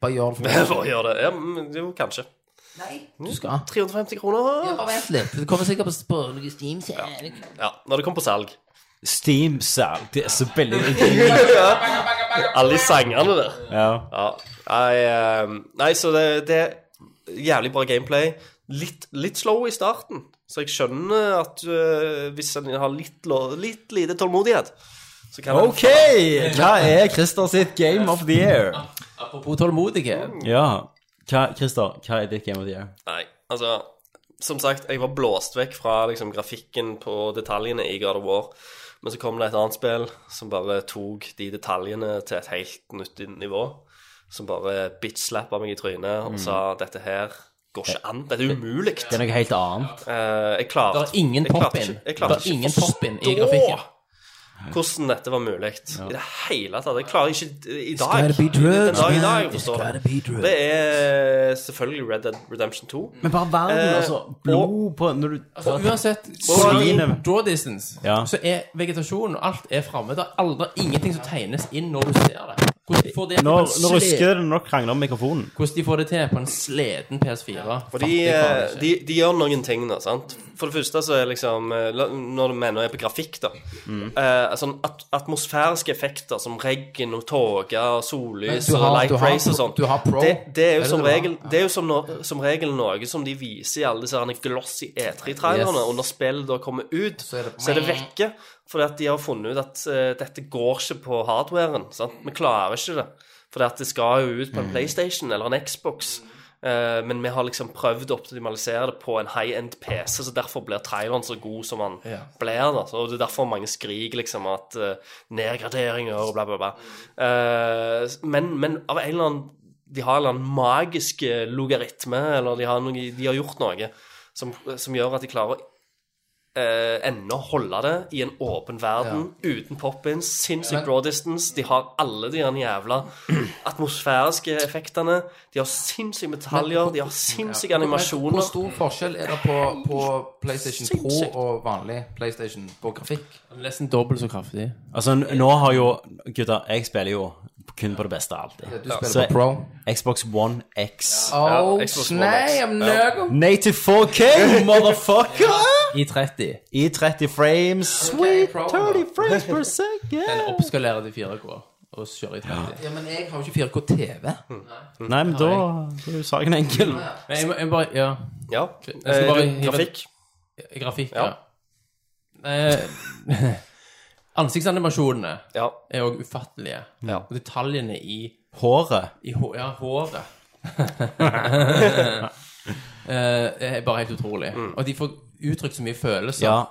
Speaker 6: Bare gjør det for
Speaker 8: For å gjøre det. Ja, men jo, kanskje. Mm.
Speaker 6: meg. Du skal.
Speaker 8: 350 kroner.
Speaker 6: Bare vent litt. Det kommer sikkert på, på noe Steam. sier jeg.
Speaker 8: Ja, når det kom på salg.
Speaker 9: Steam-salg. Det er så billig.
Speaker 8: Alle de sangene der.
Speaker 9: Ja.
Speaker 8: Ja. Nei, ehm, nei så det, det er jævlig bra gameplay. Litt, litt slow i starten, så jeg skjønner at øh, hvis en har litt, lo- litt lite tålmodighet, så kan
Speaker 9: OK! Hva er Christer sitt game of the year?
Speaker 7: Apropos tålmodighet.
Speaker 6: Mm,
Speaker 9: Ja. Hva, Christer, hva er ditt game of the year?
Speaker 8: en Nei, altså Som sagt, jeg var blåst vekk fra liksom, grafikken på detaljene i God of War. Men så kom det et annet spill som bare tok de detaljene til et helt nytt nivå. Som bare bitch-slappa meg i trynet og sa dette her går ikke an. Dette er umulig.
Speaker 9: Mm. Det er noe helt annet.
Speaker 8: Eh, jeg klarte
Speaker 7: Det er ingen
Speaker 8: jeg klarte
Speaker 7: pop-in.
Speaker 8: ikke- Jeg klarte
Speaker 7: Det er ingen
Speaker 8: ikke å
Speaker 7: pop-in i
Speaker 8: forstå
Speaker 7: grafikken.
Speaker 8: Hvordan dette var mulig i det hele tatt. Jeg klarer ikke i dag
Speaker 6: gotta be drugs,
Speaker 8: Den dag i dag, jeg
Speaker 6: man. It's
Speaker 8: forstår
Speaker 6: gotta be drugs.
Speaker 8: det. Det er selvfølgelig Red Dead Redemption 2.
Speaker 9: Men bare verden,
Speaker 8: Eh,
Speaker 9: altså. Blod på Når du
Speaker 7: For Altså, uansett
Speaker 9: Svinet.
Speaker 7: draw distance,
Speaker 9: Ja.
Speaker 7: så er vegetasjonen og alt er framme. Det er aldri ingenting som tegnes inn når du ser det. Hvordan får de det
Speaker 9: Nå,
Speaker 7: på en
Speaker 9: nå
Speaker 7: sle-
Speaker 9: rusker det når du krangler om mikrofonen.
Speaker 7: Hvordan de får det til på en sleden PS4.
Speaker 8: For de, eh, de, de gjør noen ting, da. sant? For det første så er liksom eh, la- Når vi ennå er på grafikk, da.
Speaker 6: Mm.
Speaker 8: Eh, sånn at, atmosfæriske effekter som regn og tåke og sollys
Speaker 6: Men du
Speaker 8: og
Speaker 6: har-
Speaker 8: light
Speaker 6: du har
Speaker 8: rays og
Speaker 6: pro-
Speaker 8: sånn,
Speaker 6: du har pro.
Speaker 8: det, det er
Speaker 6: Er
Speaker 8: jo
Speaker 6: det
Speaker 8: som
Speaker 6: det du har?
Speaker 8: regel Det er jo som, no, som regel noe som de viser i alle disse her glossy E E3-trailerne,
Speaker 7: Yes.
Speaker 8: og når spillet da kommer ut, så
Speaker 6: er
Speaker 8: er
Speaker 6: det-
Speaker 8: det, mm. vekke. Fordi at de har funnet ut at eh, dette går ikke på hardwaren. sant? Vi klarer ikke det. Fordi at det skal jo ut på en PlayStation eller en Xbox. Eh, men vi har liksom prøvd å optimalisere det på en high-end PC, så derfor blir traileren så god som han blir. Da. Så det er derfor mange skriker liksom at eh, nedgraderinger og bla, bla, bla. Eh, men, men av en eller annen De har en eller annen magisk eh, logaritme, eller de har, noe, de har gjort noe som, som gjør at de klarer å eh, ennå holde det i en åpen verden, uten pop-ins, sinnssykt broad distance. De har alle de der jævla atmosfæriske effektene. De har sinnssyke detaljer, de har sinnssyke
Speaker 6: Hvor
Speaker 8: animasjoner.
Speaker 6: stor forskjell er det på, på PlayStation Pro
Speaker 8: Sinnssykt.
Speaker 6: og vanlig PlayStation på grafikk?
Speaker 7: Nesten dobbelt så kraftig.
Speaker 9: Altså, n- nå har jo Gutter, jeg spiller jo kun på det beste alltid.
Speaker 6: Du spiller
Speaker 9: Så
Speaker 6: på Pro.
Speaker 9: Xbox One X.
Speaker 6: Oh,
Speaker 8: Xbox One X.
Speaker 6: snap, nøgo.
Speaker 9: Native 4K, motherfucker!
Speaker 7: I 30.
Speaker 9: I 30 frames. Sweet
Speaker 6: Pro,
Speaker 9: 30 frames per second.
Speaker 7: Oppskalere til 4K og kjøre i 30.
Speaker 6: Ja, men jeg har jo ikke 4K TV.
Speaker 9: Nei, men da da er jo saken enkel.
Speaker 7: Men jeg, må, jeg bare Ja.
Speaker 8: Ja.
Speaker 7: skal
Speaker 8: Eh,
Speaker 7: bare
Speaker 8: du-
Speaker 7: hive-
Speaker 8: grafikk.
Speaker 7: Grafikk, ja.
Speaker 8: Ja.
Speaker 7: Eh, ansiktsanimasjonene
Speaker 8: Ja.
Speaker 7: er òg ufattelige.
Speaker 8: Ja.
Speaker 7: Og detaljene i
Speaker 9: Håret.
Speaker 7: I hå ja, håret. Eh, det er bare helt utrolig. Og de får uttrykt så mye følelser.
Speaker 9: Ja.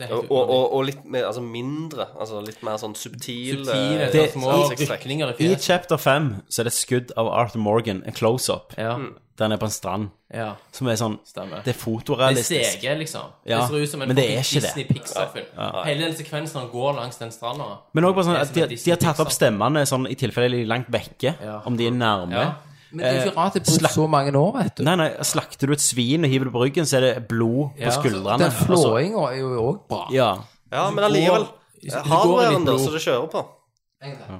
Speaker 7: Det er
Speaker 8: Og,
Speaker 7: helt
Speaker 8: og, og, og litt mer, altså mindre. Altså litt mer sånn subtil
Speaker 7: Subtile,
Speaker 8: eh,
Speaker 7: det,
Speaker 9: det-
Speaker 7: små
Speaker 8: ansiktstrekk.
Speaker 7: rykninger i
Speaker 9: I
Speaker 7: fjeset.
Speaker 9: chapter 5 så er det et skudd av Arthur Morgan, en close-up.
Speaker 7: Ja,
Speaker 9: Den er på en strand.
Speaker 7: ja,
Speaker 9: Som er sånn
Speaker 7: stemmer.
Speaker 9: Det er
Speaker 7: Det er
Speaker 9: fotorealistisk.
Speaker 7: CG, liksom.
Speaker 9: Ja,
Speaker 7: Det ser ut som en
Speaker 9: men det er ikke det.
Speaker 7: Disney Pixar-film. Hele den sekvensen når han går langs den stranda.
Speaker 9: Men òg bare sånn at
Speaker 7: Det
Speaker 9: de,
Speaker 7: er som en
Speaker 9: de har tatt opp
Speaker 7: Disney-pixar.
Speaker 9: stemmene sånn i tilfelle de er langt vekke.
Speaker 7: Ja.
Speaker 9: Om de er nærme.
Speaker 7: Ja.
Speaker 6: Men det er jo ikke rart det er brukt
Speaker 9: Eh, Slapp.
Speaker 6: så mange år, vet du.
Speaker 9: Nei, nei, slakter du et svin og hiver det på ryggen, så er det blod på
Speaker 7: Ja.
Speaker 9: skuldrene.
Speaker 6: Den flåinga er jo òg bra.
Speaker 9: Altså, ja.
Speaker 8: Ja, men allikevel. Eh,
Speaker 7: Hvis du går litt
Speaker 8: Hardwaren da,
Speaker 7: blod-
Speaker 8: som det kjører på.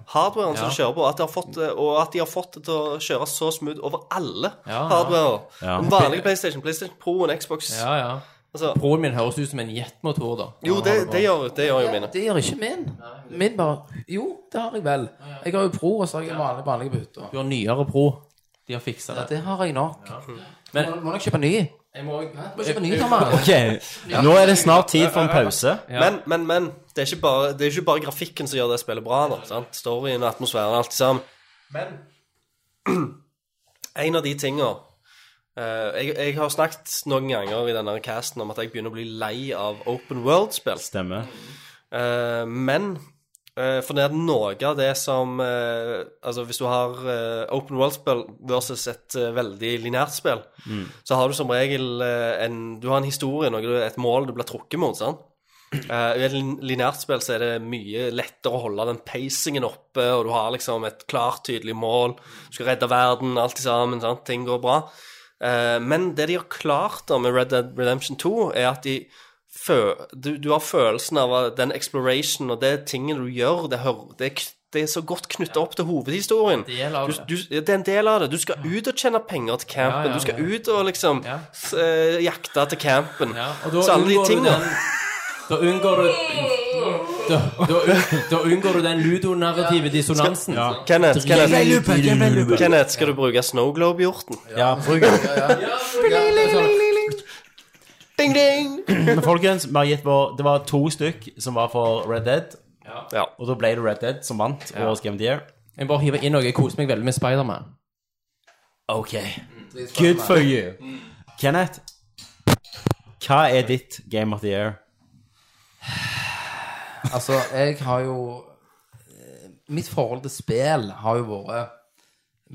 Speaker 8: Hardwaren som det kjører på, at de har fått, eh, og at de har fått det til å kjøre så smooth over alle
Speaker 7: Ja, ja.
Speaker 8: hardwarer.
Speaker 9: Ja.
Speaker 8: Den vanlige PlayStation, PlayStation Pro og Xbox.
Speaker 7: Ja, ja.
Speaker 8: Altså,
Speaker 7: Broen min høres ut som en jetmotor, da.
Speaker 8: jo, det, det, gjør, det gjør jo mine.
Speaker 6: Det gjør ikke min. Min bare Jo, det har jeg vel. Jeg har jo pro, og så har jeg en vanlig vanlig på hytta.
Speaker 7: Du har nyere Pro. De har fiksa
Speaker 6: Ja,
Speaker 7: det.
Speaker 6: det har jeg nok.
Speaker 7: Men-
Speaker 6: Men må nok kjøpe ny.
Speaker 7: Jeg må
Speaker 6: Må kjøpe ny, Thomas.
Speaker 9: Ok, nå er det snart tid for en pause.
Speaker 8: Men, men, men det er, ikke bare, det er ikke bare grafikken som gjør det spillet bra. Da, sant? Storyen, atmosfæren, alt sammen. Men en av de tinga jeg, jeg har snakket noen ganger i denne casten om at jeg begynner å bli lei av open world-spill.
Speaker 9: Stemmer.
Speaker 8: Eh, men eh, for det er noe av det som eh, Altså, hvis du har eh, open world-spill versus et eh, veldig lineært spill, så har du som regel eh, en Du har en historie, noe, du- et mål du blir trukket mot, sant? Eh, I et lin- lineært spill så er det mye lettere å holde den pacingen oppe, og du har liksom et klart, tydelig mål. Du skal redde verden, alt i sammen, sant? ting går bra. Eh, men det de har klart da med Red Dead Redemption 2, er at de fø du, du har følelsen av at den exploration og det tingene du gjør, det, hører, det, er k- det er så godt knytta opp til hovedhistorien.
Speaker 7: del av
Speaker 8: Du,
Speaker 7: det.
Speaker 8: du, ja, det er en del av det. Du skal ut og tjene penger til campen.
Speaker 7: ja,
Speaker 8: Du skal ut og liksom
Speaker 7: Ja.
Speaker 8: s- eh, jakte til campen.
Speaker 7: Ja, og da
Speaker 8: så alle de
Speaker 7: unngår du
Speaker 8: tingene
Speaker 7: den- Da unngår du Da, da, un- da unngår du den ludonarrative dissonansen.
Speaker 8: Kenneth, Kenneth,
Speaker 9: Gameplay-looper.
Speaker 8: Kenneth, skal du bruke snowglobe-hjorten?
Speaker 9: Ja, bruk den.
Speaker 8: Ding, ding!
Speaker 9: Men folkens, vi har gitt vår, det var to stykk som var for Red Dead.
Speaker 8: Ja.
Speaker 9: Og da ble det Red Dead som vant årets Game of the Year.
Speaker 7: Jeg bare hiver inn noe. Jeg koser meg veldig med Spiderman.
Speaker 6: Mm,
Speaker 9: Ok. Good for you. Mm. Kenneth, hva er ditt Game of the Year?
Speaker 6: Altså, jeg har jo eh, Mitt forhold til spill har jo vært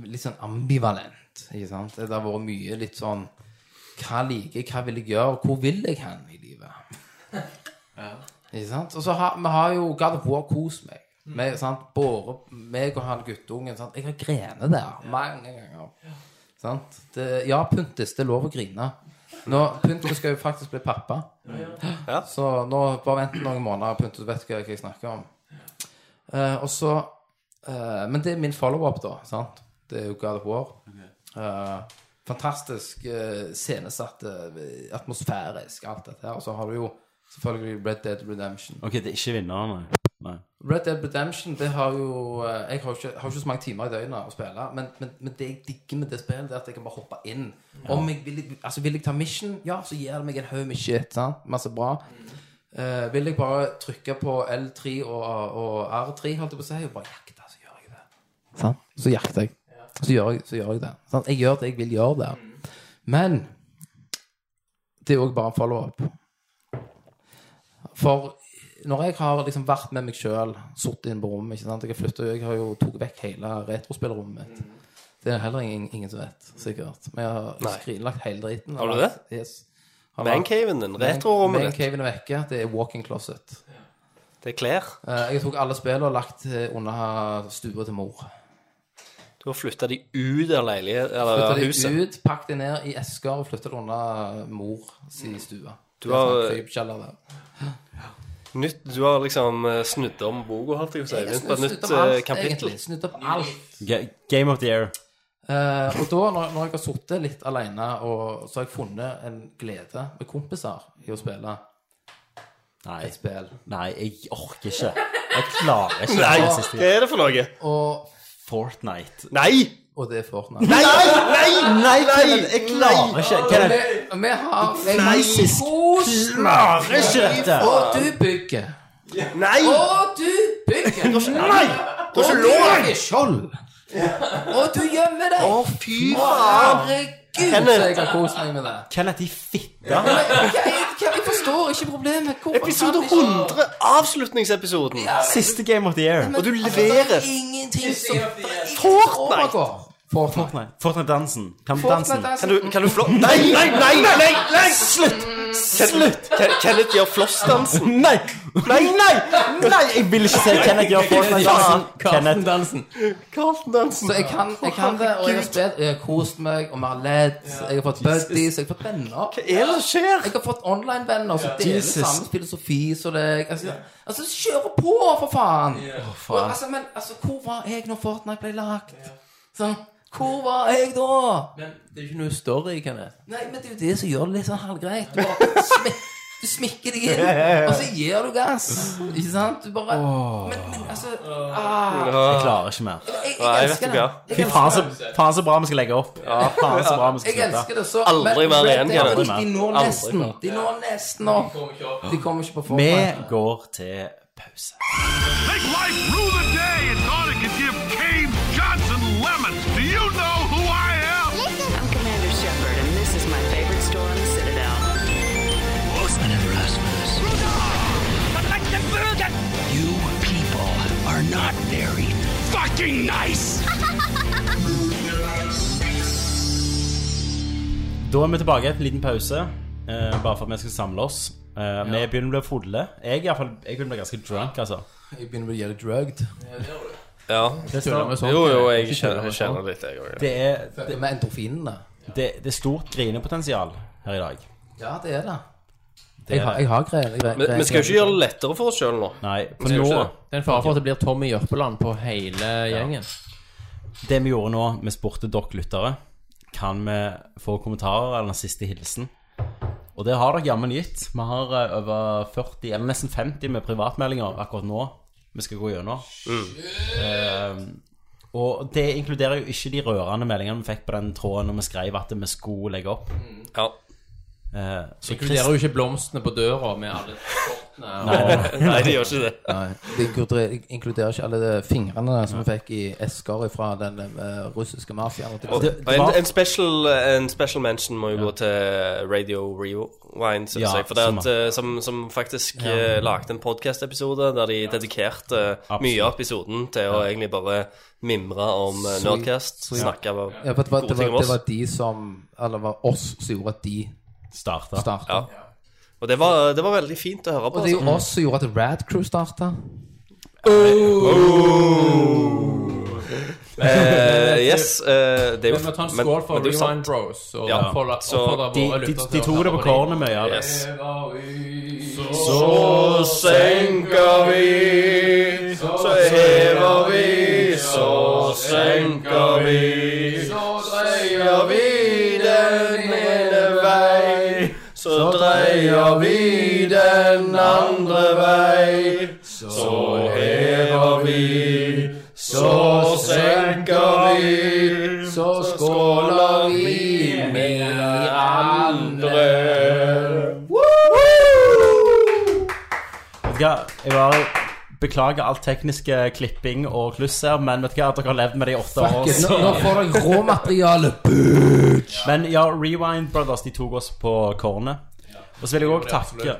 Speaker 6: litt sånn ambivalent. Ikke sant? Det har vært mye litt sånn Hva liker jeg, hva vil jeg gjøre, hvor vil jeg hen i livet? Ikke sant? Og så har vi har jo God of War kost meg. Med, sant? Båre, meg og han guttungen. Sant? Jeg har grenet der mange ganger. Sant? Det, ja, Puntis, det er lov å grine. Nå, Puntis skal jo faktisk bli pappa. Så nå bare vent noen måneder, Puntis vet hva jeg snakker om. Eh, og så eh, Men det er min follow-up, da. Sant? Det er jo God of War. Eh, fantastisk eh, scenesatt, eh, atmosfærisk, alt dette her. Og så har du jo selvfølgelig Red Dead Redemption.
Speaker 9: Ok, det er ikke vinnerne. Nei.
Speaker 6: Red Dead Redemption, det har jo eh, Jeg har jo ikke, har jo ikke så mange timer i døgnet å spille, men, men, men det jeg digger med det spillet, det er at jeg kan bare hoppe inn. Om jeg vil, altså, vil jeg ta mission, ja, så gir det meg en haug med shit. Sant? Masse bra. Eh, vil jeg bare trykke på L3 og, og R3, holdt jeg på å si, og bare jakte, så gjør jeg det. Sant? Så jakter jeg. Så gjør jeg, så gjør jeg det. Sant? Jeg gjør det jeg vil gjøre der. Men det er òg bare follow-up. For når jeg har liksom vært med meg sjøl, sittet inne på rommet ikke sant? Jeg har flyttet, jeg har jo tatt vekk hele retrospillrommet mitt. Det er heller ingen, ingen som vet, sikkert. Men jeg har skrinlagt hele driten.
Speaker 8: Har du det?
Speaker 6: Yes.
Speaker 8: Mancaven din. Retrorommet ditt.
Speaker 6: Mancaven er vekke. Det er walk-in closet.
Speaker 8: Det er klær.
Speaker 6: Eh, Jeg tok alle spillene og lagt eh, under stua til mor.
Speaker 8: Du har flytta de ut av leilighet, eller
Speaker 6: Flytta
Speaker 8: av
Speaker 6: de
Speaker 8: huset.
Speaker 6: ut, pakket de ned i esker og flytta det under mor si stue.
Speaker 8: Du
Speaker 6: Det er
Speaker 8: har-
Speaker 6: sånn krypkjeller der.
Speaker 8: Nytt, du har liksom eh, snudd om boka, holdt jeg på å si.
Speaker 6: Jeg har
Speaker 8: Begynt på
Speaker 6: snudd
Speaker 8: et nytt
Speaker 6: opp alt,
Speaker 8: eh, kapittel.
Speaker 6: egentlig. Snudd opp alt.
Speaker 9: Ga- Game of the Year.
Speaker 6: Eh, og da, når, når jeg har sittet litt alene, og så har jeg funnet en glede med kompiser i å spille
Speaker 9: Nei.
Speaker 6: et spill
Speaker 9: Nei, jeg orker ikke. Jeg klarer ikke.
Speaker 8: Nei,
Speaker 9: det siste.
Speaker 8: hva er det for noe?
Speaker 6: Og,
Speaker 9: Fortnite.
Speaker 8: Nei!
Speaker 6: og det er Fortnite.
Speaker 9: Nei, nei, nei, Kenneth, jeg klarer ikke. Kenneth,
Speaker 6: Vi, vi har vi har-
Speaker 9: Nei,
Speaker 6: Kos meg!
Speaker 9: klarer ikke dette.
Speaker 6: Og du bygger.
Speaker 8: Nei!
Speaker 6: Og du bygger.
Speaker 8: Nei!
Speaker 6: Og du lager skjold. Og du gjemmer deg.
Speaker 8: Å, fy faen!
Speaker 6: Herregud, så jeg kan kose meg med det.
Speaker 9: Kenneth, de fitta.
Speaker 6: Men Jeg, jeg, jeg forstår ikke problemet. Hvor-
Speaker 8: Episode 100! Avslutningsepisoden.
Speaker 9: Siste Game of the Year.
Speaker 8: Og du
Speaker 6: Altså, Det
Speaker 8: leverer
Speaker 6: er ingenting som
Speaker 8: Fortnite!
Speaker 6: overgår Fortnite.
Speaker 9: Fortnite. Fortnite-dansen. Kan dansen.
Speaker 6: Fortnite er
Speaker 8: Kan du, kan du flå... Nei, nei, nei, nei, nei, nei! Slutt! Slutt! Ken- Kenneth gjør flossdansen.
Speaker 9: Nei! Nei, nei! Nei, jeg vil ikke se Kenneth gjøre Fortnite-dansen. Kenneth.
Speaker 7: Karsten-dansen.
Speaker 6: Så jeg kan, jeg kan det, og jeg har spilt, jeg har kost meg, og vi har ledd. Jeg har fått buddies, jeg har fått venner.
Speaker 8: Hva er det som skjer?
Speaker 6: Jeg har fått online-venner som deler
Speaker 9: Jesus.
Speaker 6: samme filosofi som deg. Altså, altså kjøre på, for faen! Og, altså, men altså, hvor var jeg når Fortnite ble lagt? Sånn, Hvor var jeg da?
Speaker 7: Men det er jo ikke noe story, Kenneth.
Speaker 6: Nei, men det er jo det som gjør det litt sånn halvgreit. Du bare smi du smikker deg inn, og så gir du gass. Ikke sant? Du bare Men, men altså ah,
Speaker 9: Jeg klarer ikke mer.
Speaker 6: jeg, jeg,
Speaker 8: Nei, jeg vet
Speaker 6: elsker
Speaker 8: ikke,
Speaker 6: det.
Speaker 8: ja.
Speaker 6: Jeg
Speaker 9: Fy faen
Speaker 6: elsker
Speaker 9: så,
Speaker 6: det.
Speaker 9: faen så bra vi skal legge opp. Ja, faen så bra vi skal
Speaker 6: Jeg
Speaker 9: slutte.
Speaker 6: elsker det så
Speaker 8: Aldri
Speaker 6: men
Speaker 8: mer
Speaker 6: Red
Speaker 8: igjen,
Speaker 6: Dead,
Speaker 8: Kenneth.
Speaker 6: De når
Speaker 8: Aldri
Speaker 6: nesten.
Speaker 8: mer.
Speaker 6: De når nesten opp. De kommer ikke på
Speaker 9: Vi
Speaker 6: forhånd.
Speaker 9: går til pause.
Speaker 3: Make life rue the day and thought it could give Cave Johnson lemons. Do you know who I am?
Speaker 5: I'm Commander Shepard, and this is my favorite store on the Citadel. I never asked for this. You people are not very
Speaker 3: Fucking nice!
Speaker 9: Da er vi tilbake etter en liten pause, eh, bare for at vi skal samle oss. Eh, Vi begynner å bli fulle. Jeg, i hvert fall, jeg begynner å bli ganske drunk, altså.
Speaker 6: Jeg begynner å gjøre drugged.
Speaker 8: Ja.
Speaker 9: Det, står,
Speaker 7: sånn.
Speaker 8: Jo, jo, jeg kjenner, kjenner litt, jeg òg.
Speaker 9: det, er,
Speaker 6: Det med endorfinene.
Speaker 9: det, det er stort grinepotensial her i dag.
Speaker 6: Ja, det er det. Jeg har, jeg har greier. Jeg,
Speaker 8: Men vi skal jo ikke gjøre det lettere for oss sjøl nå.
Speaker 9: Nei, for
Speaker 8: Skal vi
Speaker 9: nå
Speaker 8: ikke det?
Speaker 7: Det er en fare for at det blir Tommy Jørpeland på hele gjengen.
Speaker 9: Det vi gjorde nå, vi spurte dere lyttere Kan vi få kommentarer eller en siste hilsen. Og det har dere jammen gitt. Vi har eh, over 40, eller nesten 50 med privatmeldinger akkurat nå. Vi skal gå gjennom.
Speaker 8: Mm.
Speaker 9: Eh, og det inkluderer jo ikke de rørende meldingene vi fikk på den tråden når vi skrev at vi skulle legge opp.
Speaker 8: Ja.
Speaker 9: Eh, så
Speaker 7: Det er jo ikke blomstene på døra med alle kortene. og-
Speaker 8: Nei, de gjør ikke det.
Speaker 6: Det inkluderer, inkluderer ikke alle de fingrene som vi fikk i esker fra den eh, russiske mafiaen.
Speaker 8: Og,
Speaker 9: Det- det var-
Speaker 8: en, en, special, eh, en special mention må jo gå til Radio Rewind, synes
Speaker 9: Ja,
Speaker 8: jeg. For det at,
Speaker 9: som-
Speaker 8: eh, som, som faktisk eh, lagde en podcast-episode der de dedikerte eh, mye av episoden til å egentlig bare mimre om eh, Nerdcast. Snakke om
Speaker 6: Ja, for det var, det,
Speaker 8: gode ting
Speaker 6: var,
Speaker 8: om
Speaker 6: det
Speaker 8: oss.
Speaker 6: var de som Eller det var oss som gjorde at de
Speaker 9: starta.
Speaker 6: starta.
Speaker 8: Ja. Og det var, det var veldig fint å høre på.
Speaker 6: Og det er
Speaker 8: Altså.
Speaker 6: jo oss som gjorde at Rad Crew starta.
Speaker 8: Eh, yes, eh, det er jo
Speaker 7: Vi må ta en
Speaker 8: men-
Speaker 7: skål for
Speaker 8: men det er jo sant.
Speaker 7: Rewind Bros. Og
Speaker 8: Ja.
Speaker 7: oppfordre-
Speaker 8: Så
Speaker 7: oppfordre
Speaker 9: De,
Speaker 7: våre
Speaker 9: de,
Speaker 7: lyttere til
Speaker 9: de
Speaker 7: å
Speaker 9: tok
Speaker 7: høre
Speaker 9: det på
Speaker 7: på de.
Speaker 9: kornet mye. Ja.
Speaker 8: Yes.
Speaker 9: Så
Speaker 8: senker vi, så hever vi, så senker vi. Så dreier vi den ene vei, så dreier vi den andre vei. Så hever vi, så senker vi, så skåler vi med andre.
Speaker 9: Vet du hva, jeg bare beklager alt tekniske klipping og kluss her, men vet du hva, at dere har levd med det i åtte år.
Speaker 6: Nå,
Speaker 9: Så.
Speaker 6: nå får dere råmateriale.
Speaker 9: Men ja, Rewind Brothers, de tok oss på kornet. Og så vil jeg òg takke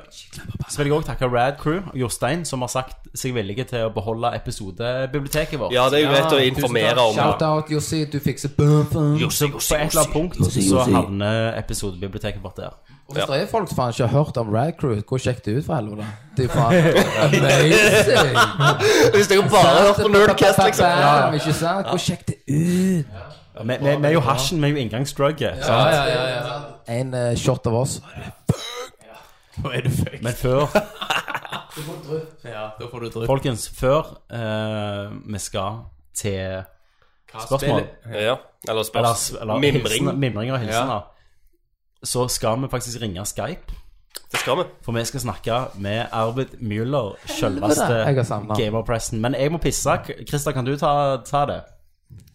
Speaker 9: Så vil jeg også takke Rad Crew og Jostein, som har sagt seg villige til å beholde episodebiblioteket vårt.
Speaker 8: Ja, det er jo greit å informere om.
Speaker 6: Shout-out, Jossi. Du fikser bumpen.
Speaker 9: Så på et eller annet punkt så havner episodebiblioteket vårt der.
Speaker 6: Og Hvis det er folk som faen ikke har hørt om Rad Crew, hvor sjekk det ut, for helvete. Det er faen amazing.
Speaker 8: Hvis dere bare har hørt på Nerdcast, liksom.
Speaker 6: Bam, ikke sant? Hvor sjekk det ut.
Speaker 9: Vi vi- vi er jo hasjen, vi er jo inngangsdrugget. sant?
Speaker 7: Ja, ja, ja, ja.
Speaker 6: En eh, shot av oss.
Speaker 7: Nå er du fake.
Speaker 9: Men før
Speaker 7: Ja, da får du drypp.
Speaker 9: Folkens, før eh, vi skal til spørsmål
Speaker 8: Ja, eller
Speaker 9: Eller,
Speaker 8: spørs.
Speaker 9: eller
Speaker 8: Mimring.
Speaker 9: hilsen- mimringer og hilsener, så skal vi faktisk ringe Skype.
Speaker 8: Det skal vi.
Speaker 9: For vi skal snakke med Arvid Müller,
Speaker 6: jeg har
Speaker 9: selveste
Speaker 6: savnet han.
Speaker 9: gamerpressen. Men jeg må pisse. K- Christer, kan du ta, ta det?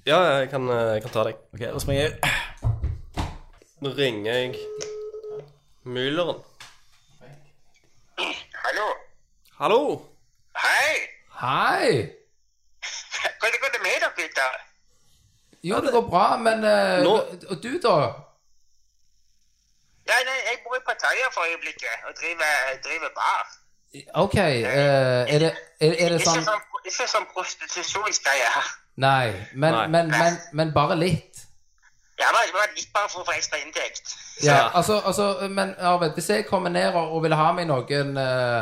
Speaker 8: Ja, jeg kan, eh, jeg kan ta deg.
Speaker 9: Ok, Da springer jeg.
Speaker 8: Nå ringer jeg Mülleren.
Speaker 12: Hallo.
Speaker 8: Hallo!
Speaker 12: Hei.
Speaker 6: Hei!
Speaker 12: Hvordan går det med dere, gutter?
Speaker 6: Jo, det går bra, men eh,
Speaker 8: Nå-
Speaker 6: Og du, da?
Speaker 12: Ja, nei, jeg bor i Pattaya for øyeblikket og driver, driver bar.
Speaker 6: OK, eh, er, det, er, er det
Speaker 12: Ikke
Speaker 6: sånn
Speaker 12: sånn, ikke sånn prostitusjonsgreie her.
Speaker 6: Nei, men,
Speaker 8: Nei.
Speaker 6: men, men, men bare litt.
Speaker 12: Ja, men det var litt bare for å få ekstra inntekt.
Speaker 6: Ja, altså, altså Men Arvid, hvis jeg kommer ned og og vil ha meg noen eh,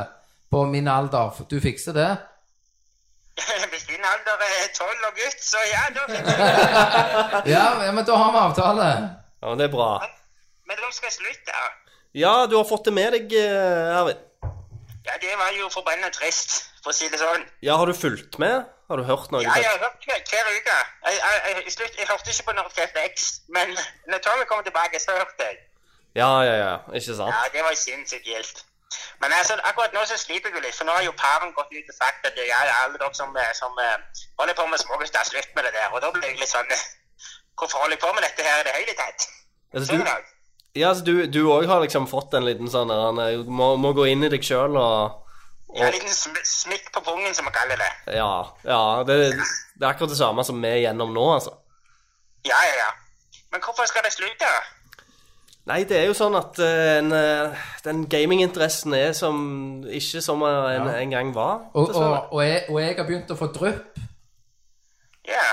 Speaker 6: på min alder, f- du fikser det?
Speaker 12: Hvis din alder er tolv og gutt, så ja, da finner jeg
Speaker 6: Ja, ja, men da har vi avtale.
Speaker 8: Ja, men det er bra.
Speaker 12: Men dere skal slutte.
Speaker 8: Ja, du har fått det med deg, eh, Arvid.
Speaker 12: Ja, det var jo forbanna trist, for å si det sånn.
Speaker 8: Ja, har du fulgt med? Har du hørt noe?
Speaker 12: Ja, jeg har hørt hver, hver uke. Jeg, jeg, jeg, i slutt, jeg hørte ikke på Nordcast X, men når Tommy kom tilbake, så hørte jeg.
Speaker 8: ja, ja, ja. Ikke
Speaker 12: Ja,
Speaker 8: sant?
Speaker 12: det var sinnssykt gildt. Men altså, akkurat nå så sliter du litt, for nå har jo paven gått ut og sagt at jeg er alle dere som, eh, som eh, holder på med smågutt, det er slutt med det der. Og da blir jeg litt sånn eh, Hvorfor holder jeg på med dette her i det hele tatt?
Speaker 8: Altså,
Speaker 12: Så
Speaker 8: du,
Speaker 12: da,
Speaker 8: ja, altså, du, du også har liksom fått en liten sånn der, han, eh, må, må gå inn i deg sjøl og,
Speaker 12: jeg har en
Speaker 8: og
Speaker 12: liten sm smikk på pungen, som man kaller det.
Speaker 8: Ja. ja det, det er akkurat det samme som vi er gjennom nå, altså.
Speaker 12: Ja, ja, ja. Men hvorfor skal det slutte?
Speaker 8: Nei, det er jo sånn at eh, en, eh, den gaminginteressen er som ikke som eh, en, en gang var, sånn
Speaker 6: Og, og,
Speaker 8: dessverre.
Speaker 6: og, jeg, og jeg har begynt å få drypp.
Speaker 12: Ja.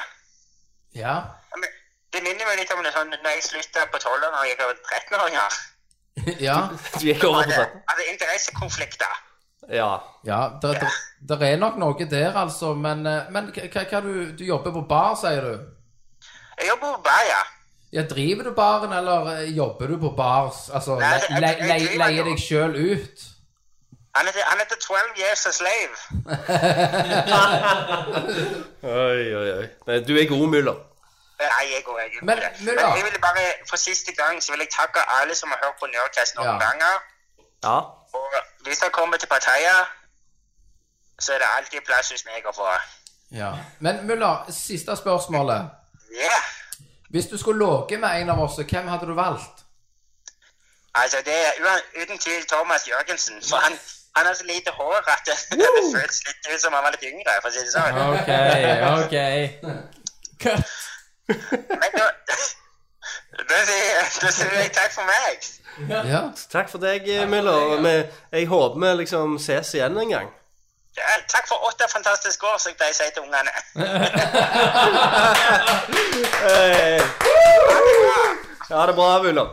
Speaker 6: Ja.
Speaker 12: Men det minner meg litt om det sånn når jeg slutta på 12-åringer og gikk over til 13-åringer.
Speaker 6: ja.
Speaker 8: Du gikk over på
Speaker 12: Altså,
Speaker 8: sånn.
Speaker 12: altså interessekonflikter.
Speaker 8: Ja.
Speaker 6: Ja, der, der, der er nok noe der, altså. Men, eh, men hva- hva hva du, du jobber på bar, sier du?
Speaker 12: Jeg jobber på bar, ja.
Speaker 6: Ja, Driver du baren, eller eh, jobber du på bars? Altså,
Speaker 12: Nei, jeg-
Speaker 6: le- le-
Speaker 12: jeg
Speaker 6: le-
Speaker 12: driver
Speaker 6: leier
Speaker 12: jo.
Speaker 6: deg sjøl ut?
Speaker 12: Han heter, han heter 12 Years a Slave.
Speaker 8: Oi, oi, oi. Nei, du er god, Muller.
Speaker 12: Eh, Nei, jeg går ikke
Speaker 6: Men,
Speaker 12: med det.
Speaker 6: men
Speaker 12: Men
Speaker 6: da-
Speaker 12: jeg vil bare, for siste gang så vil jeg takke alle som har hørt på Nerdcast noen
Speaker 6: Ja.
Speaker 12: ganger.
Speaker 8: Ja.
Speaker 12: Og hvis dere kommer til partier, så er det alltid plass hos meg å få.
Speaker 6: Ja. Men Muller, siste spørsmålet.
Speaker 12: Ja,
Speaker 6: Hvis du skulle ligget med en av oss, hvem hadde du valgt?
Speaker 12: altså det er ua- uten tvil Thomas Jørgensen, for han, han har så lite hår at det, det føles litt ut som han var litt yngre, for å si det sånn.
Speaker 7: OK, OK. Cut.
Speaker 12: Men da, da, sier, da sier jeg takk for meg.
Speaker 6: Ja.
Speaker 8: Takk for deg, Muller. Vi- Jeg håper vi liksom ses igjen en gang.
Speaker 12: Ja, takk for åtte fantastiske år, som jeg pleier å si til ungene.
Speaker 8: Hey. Ja, det er bra, Muller.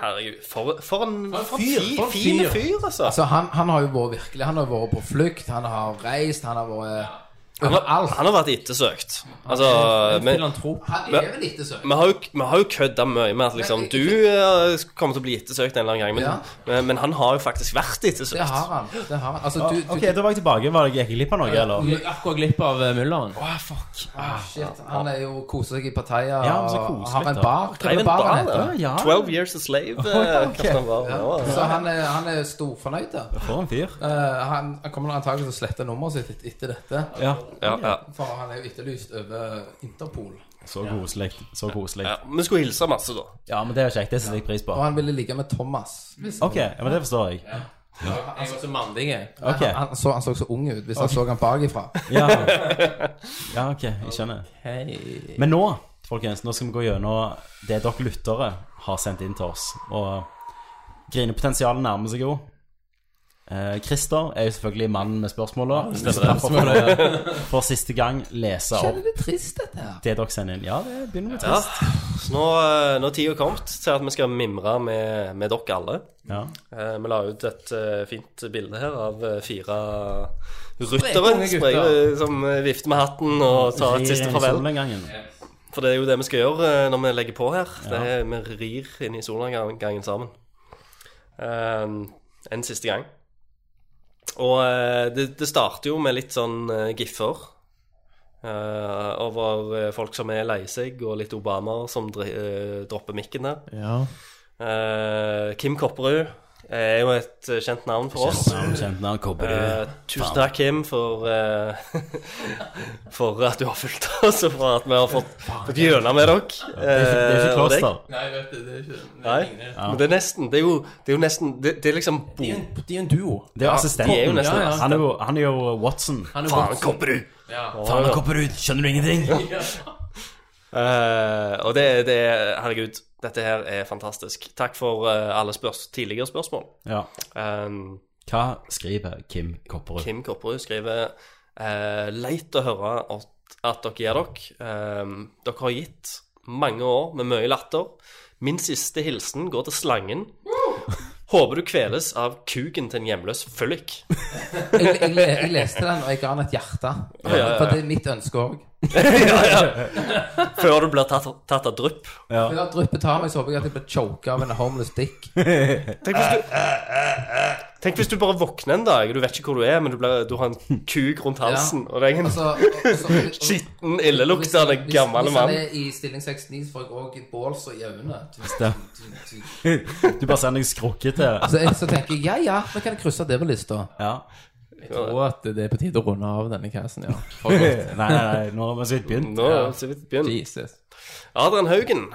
Speaker 8: Herregud, for, for en, for en
Speaker 7: fyr,
Speaker 8: fi-
Speaker 7: for en
Speaker 8: fin
Speaker 7: fyr.
Speaker 8: fyr, altså.
Speaker 6: Altså, han, han har jo vært virkelig Han har jo vært på flukt, han har reist, han har vært
Speaker 8: Han har,
Speaker 6: overalt.
Speaker 8: han har vært ettersøkt. Altså,
Speaker 7: En
Speaker 8: men,
Speaker 7: filantrop.
Speaker 6: Han er vel litt søt.
Speaker 8: Vi har jo, vi har jo kødda mye med at liksom,
Speaker 6: Men-
Speaker 8: du eh, kommer til å bli ettersøkt en eller annen gang, men,
Speaker 6: Ja.
Speaker 8: men, men han har jo faktisk vært
Speaker 6: Det
Speaker 8: ettersøkt.
Speaker 6: har han. det har han Altså, du, du
Speaker 9: Ok, da var jeg tilbake. Var jeg ikke glipp av noe, eller?
Speaker 7: Gikk akkurat glipp av eh, Mulleren.
Speaker 6: Ah, fuck. Ah, shit. Han er jo koser seg i partiet
Speaker 9: Ja, men så
Speaker 6: og
Speaker 9: koselig,
Speaker 6: har en
Speaker 9: da.
Speaker 6: bar. Hva
Speaker 8: Drev
Speaker 6: er
Speaker 8: en bar,
Speaker 6: baren
Speaker 8: da.
Speaker 6: heter?
Speaker 9: ja.
Speaker 8: 12 Years a Slave. eh,
Speaker 9: ok.
Speaker 8: kalte han bar. Ja, altså.
Speaker 6: Så han er, han er storfornøyd, da.
Speaker 9: For en fyr.
Speaker 6: Eh, han, han kommer antakelig til å slette nummeret sitt et- etter dette.
Speaker 9: Ja.
Speaker 8: ja, ja.
Speaker 6: For han er jo etterlyst over Interpol.
Speaker 9: Så koselig. Så koselig.
Speaker 8: ja. Vi skulle hilse masse, da.
Speaker 9: Ja, men det er kjekt. Det setter jeg pris på.
Speaker 6: Og han ville ligge med Thomas. Hvis
Speaker 9: Ok, ja, men det forstår jeg.
Speaker 7: Jeg var så mandig, jeg.
Speaker 9: Ok.
Speaker 6: han, han, så, han så så ung ut hvis han så han bakifra.
Speaker 9: Ja, ja ok. Jeg skjønner.
Speaker 7: Hei.
Speaker 9: Men nå, folkens, nå skal vi gå gjennom det dere lyttere har sendt inn til oss. Og grinepotensialet nærmer seg jo. Eh, Christer er jo selvfølgelig mannen med spørsmåla. Derfor får dere for siste gang lese
Speaker 6: Er
Speaker 9: opp
Speaker 6: det litt trist, dette her?
Speaker 9: det dere sender inn. Ja, det begynner med
Speaker 8: Ja.
Speaker 9: trist.
Speaker 8: Så nå, eh, nå er tida kommet til at vi skal mimre med, med dere alle.
Speaker 9: Ja.
Speaker 8: Eh, Vi la ut et eh, fint bilde her av eh, fire ruttere
Speaker 7: unge gutter.
Speaker 8: spreke- som eh, vifter med hatten og tar et siste farvel.
Speaker 9: Solnedgangen.
Speaker 8: For det er jo det vi skal gjøre eh, når vi legger på her. Det er, vi rir inn i solnedgangen sammen. Ehm, en siste gang. Og eh, det, det starter jo med litt sånn eh, giffer. eh, over eh, folk som er lei seg, og litt obamaer som dri, eh, dropper mikken der.
Speaker 7: Ja.
Speaker 8: Eh, Kim Kopperud er jo et eh, kjent navn for oss.
Speaker 9: Navn, Kjent navn, Kobberud.
Speaker 8: Eh, tusen takk, Kim, for, eh, for at du har fulgt oss, og for at vi har fått, fått gjennom med
Speaker 9: Det
Speaker 8: dere.
Speaker 9: er ikke- det er
Speaker 8: eh,
Speaker 9: ikke
Speaker 8: og deg.
Speaker 9: kloster.
Speaker 7: Nei, vet du, det er ikke
Speaker 8: Nei, men det er nesten. Det er jo, det er jo nesten Det, det er liksom bo...
Speaker 7: De er en, de er en
Speaker 9: Det er
Speaker 7: duo.
Speaker 9: jo
Speaker 8: de er jo
Speaker 9: assistenten.
Speaker 8: nesten
Speaker 7: Ja, ja.
Speaker 9: Han er jo, han er jo Watson.
Speaker 7: Han er
Speaker 8: Faen,
Speaker 7: voksen.
Speaker 8: Kopperud!
Speaker 9: Faen, Kobberud, skjønner du ingenting?
Speaker 8: Eh, og det, det er Herregud, dette her er fantastisk. Takk for eh, alle spørs, tidligere spørsmål.
Speaker 9: Ja.
Speaker 8: Um,
Speaker 9: Hva skriver Kim Kopperud?
Speaker 8: Kim Kopperud skriver eh, Leit å høre at, at dere gir dere. Ehm, dere har gitt mange år med mye latter. Min siste hilsen går til slangen. Håper du kveles av kuken til en hjemløs fyllik.
Speaker 6: Jeg, jeg, jeg leste den, og jeg ga han et hjerte.
Speaker 8: ja, ja.
Speaker 6: For det er mitt ønske òg.
Speaker 8: ja, ja. Før du blir tatt, tatt av drypp.
Speaker 6: Men da dryppet tar meg, så håper jeg at jeg blir choka av en homeless dick.
Speaker 8: Tenk hvis, du, tenk hvis du bare våkner en dag, du vet ikke hvor du er, men du, blir, du har en kuk rundt halsen, og det er en
Speaker 6: Altså, og- så-
Speaker 8: skitten,
Speaker 6: Hvis-
Speaker 8: illeluktende
Speaker 6: hvis-
Speaker 8: gammel mann.
Speaker 6: Hvis han er i stilling 69, så får jeg også balls og i øynene.
Speaker 9: Du bare sender deg skrukke til
Speaker 6: Så, jeg, så tenker jeg ja, ja, nå kan jeg krysse det på lista.
Speaker 9: Ja.
Speaker 7: Og at det er på tide å runde av denne casen, ja.
Speaker 9: Nei, nei, nei, nå har vi så vidt begynt.
Speaker 8: Nå, så vidt begynn.
Speaker 7: Jesus.
Speaker 8: Adrian Haugen.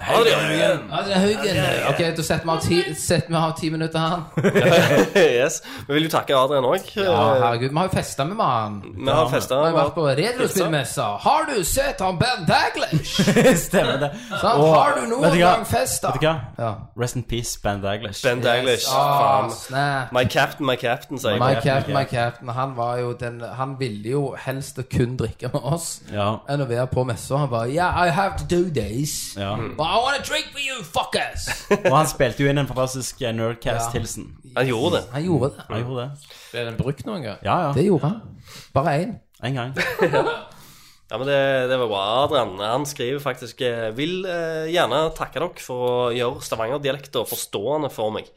Speaker 8: Adrian Haugen.
Speaker 6: Adrian Haugen. Ok, da setter vi av ti, setter vi av ti minutter her.
Speaker 8: yes. Vi vil jo takke Adrian òg.
Speaker 6: Ja, herregud, vi har jo festa med mannen.
Speaker 8: Vi har festa.
Speaker 6: Vi har jo vært på retrospillmessa. Har du sett han Ben Daglish?
Speaker 9: Stemmer det.
Speaker 6: Sant?
Speaker 9: Og-
Speaker 6: Har du
Speaker 9: vet
Speaker 6: noen
Speaker 9: du hva?
Speaker 6: gang festa?
Speaker 9: Vet du hva?
Speaker 6: Ja.
Speaker 9: Rest in peace, Ben Daglish.
Speaker 8: Ben Daglish.
Speaker 6: Ah,
Speaker 8: Faen.
Speaker 6: snap.
Speaker 8: My captain, my captain, sier jeg.
Speaker 6: My captain, my captain. Han var jo den Han ville jo helst å kun drikke med oss
Speaker 9: Ja.
Speaker 6: enn å være på messa. Han bare Yeah, I have to do this.
Speaker 9: ja.
Speaker 6: But I wanna drink with you, fuckers!
Speaker 9: Og han spilte jo inn en fantastisk eh, Nerdcast-hilsen.
Speaker 8: Han gjorde det.
Speaker 6: Han gjorde det.
Speaker 9: Han gjorde det.
Speaker 7: Ble den brukt noen gang?
Speaker 9: Ja, ja.
Speaker 6: Det gjorde han. Bare én.
Speaker 9: En gang.
Speaker 8: Ja, men det, det var bra. Adrian han skriver faktisk eh, Vil eh, gjerne takke dere for å gjøre stavangerdialekter forstående for meg.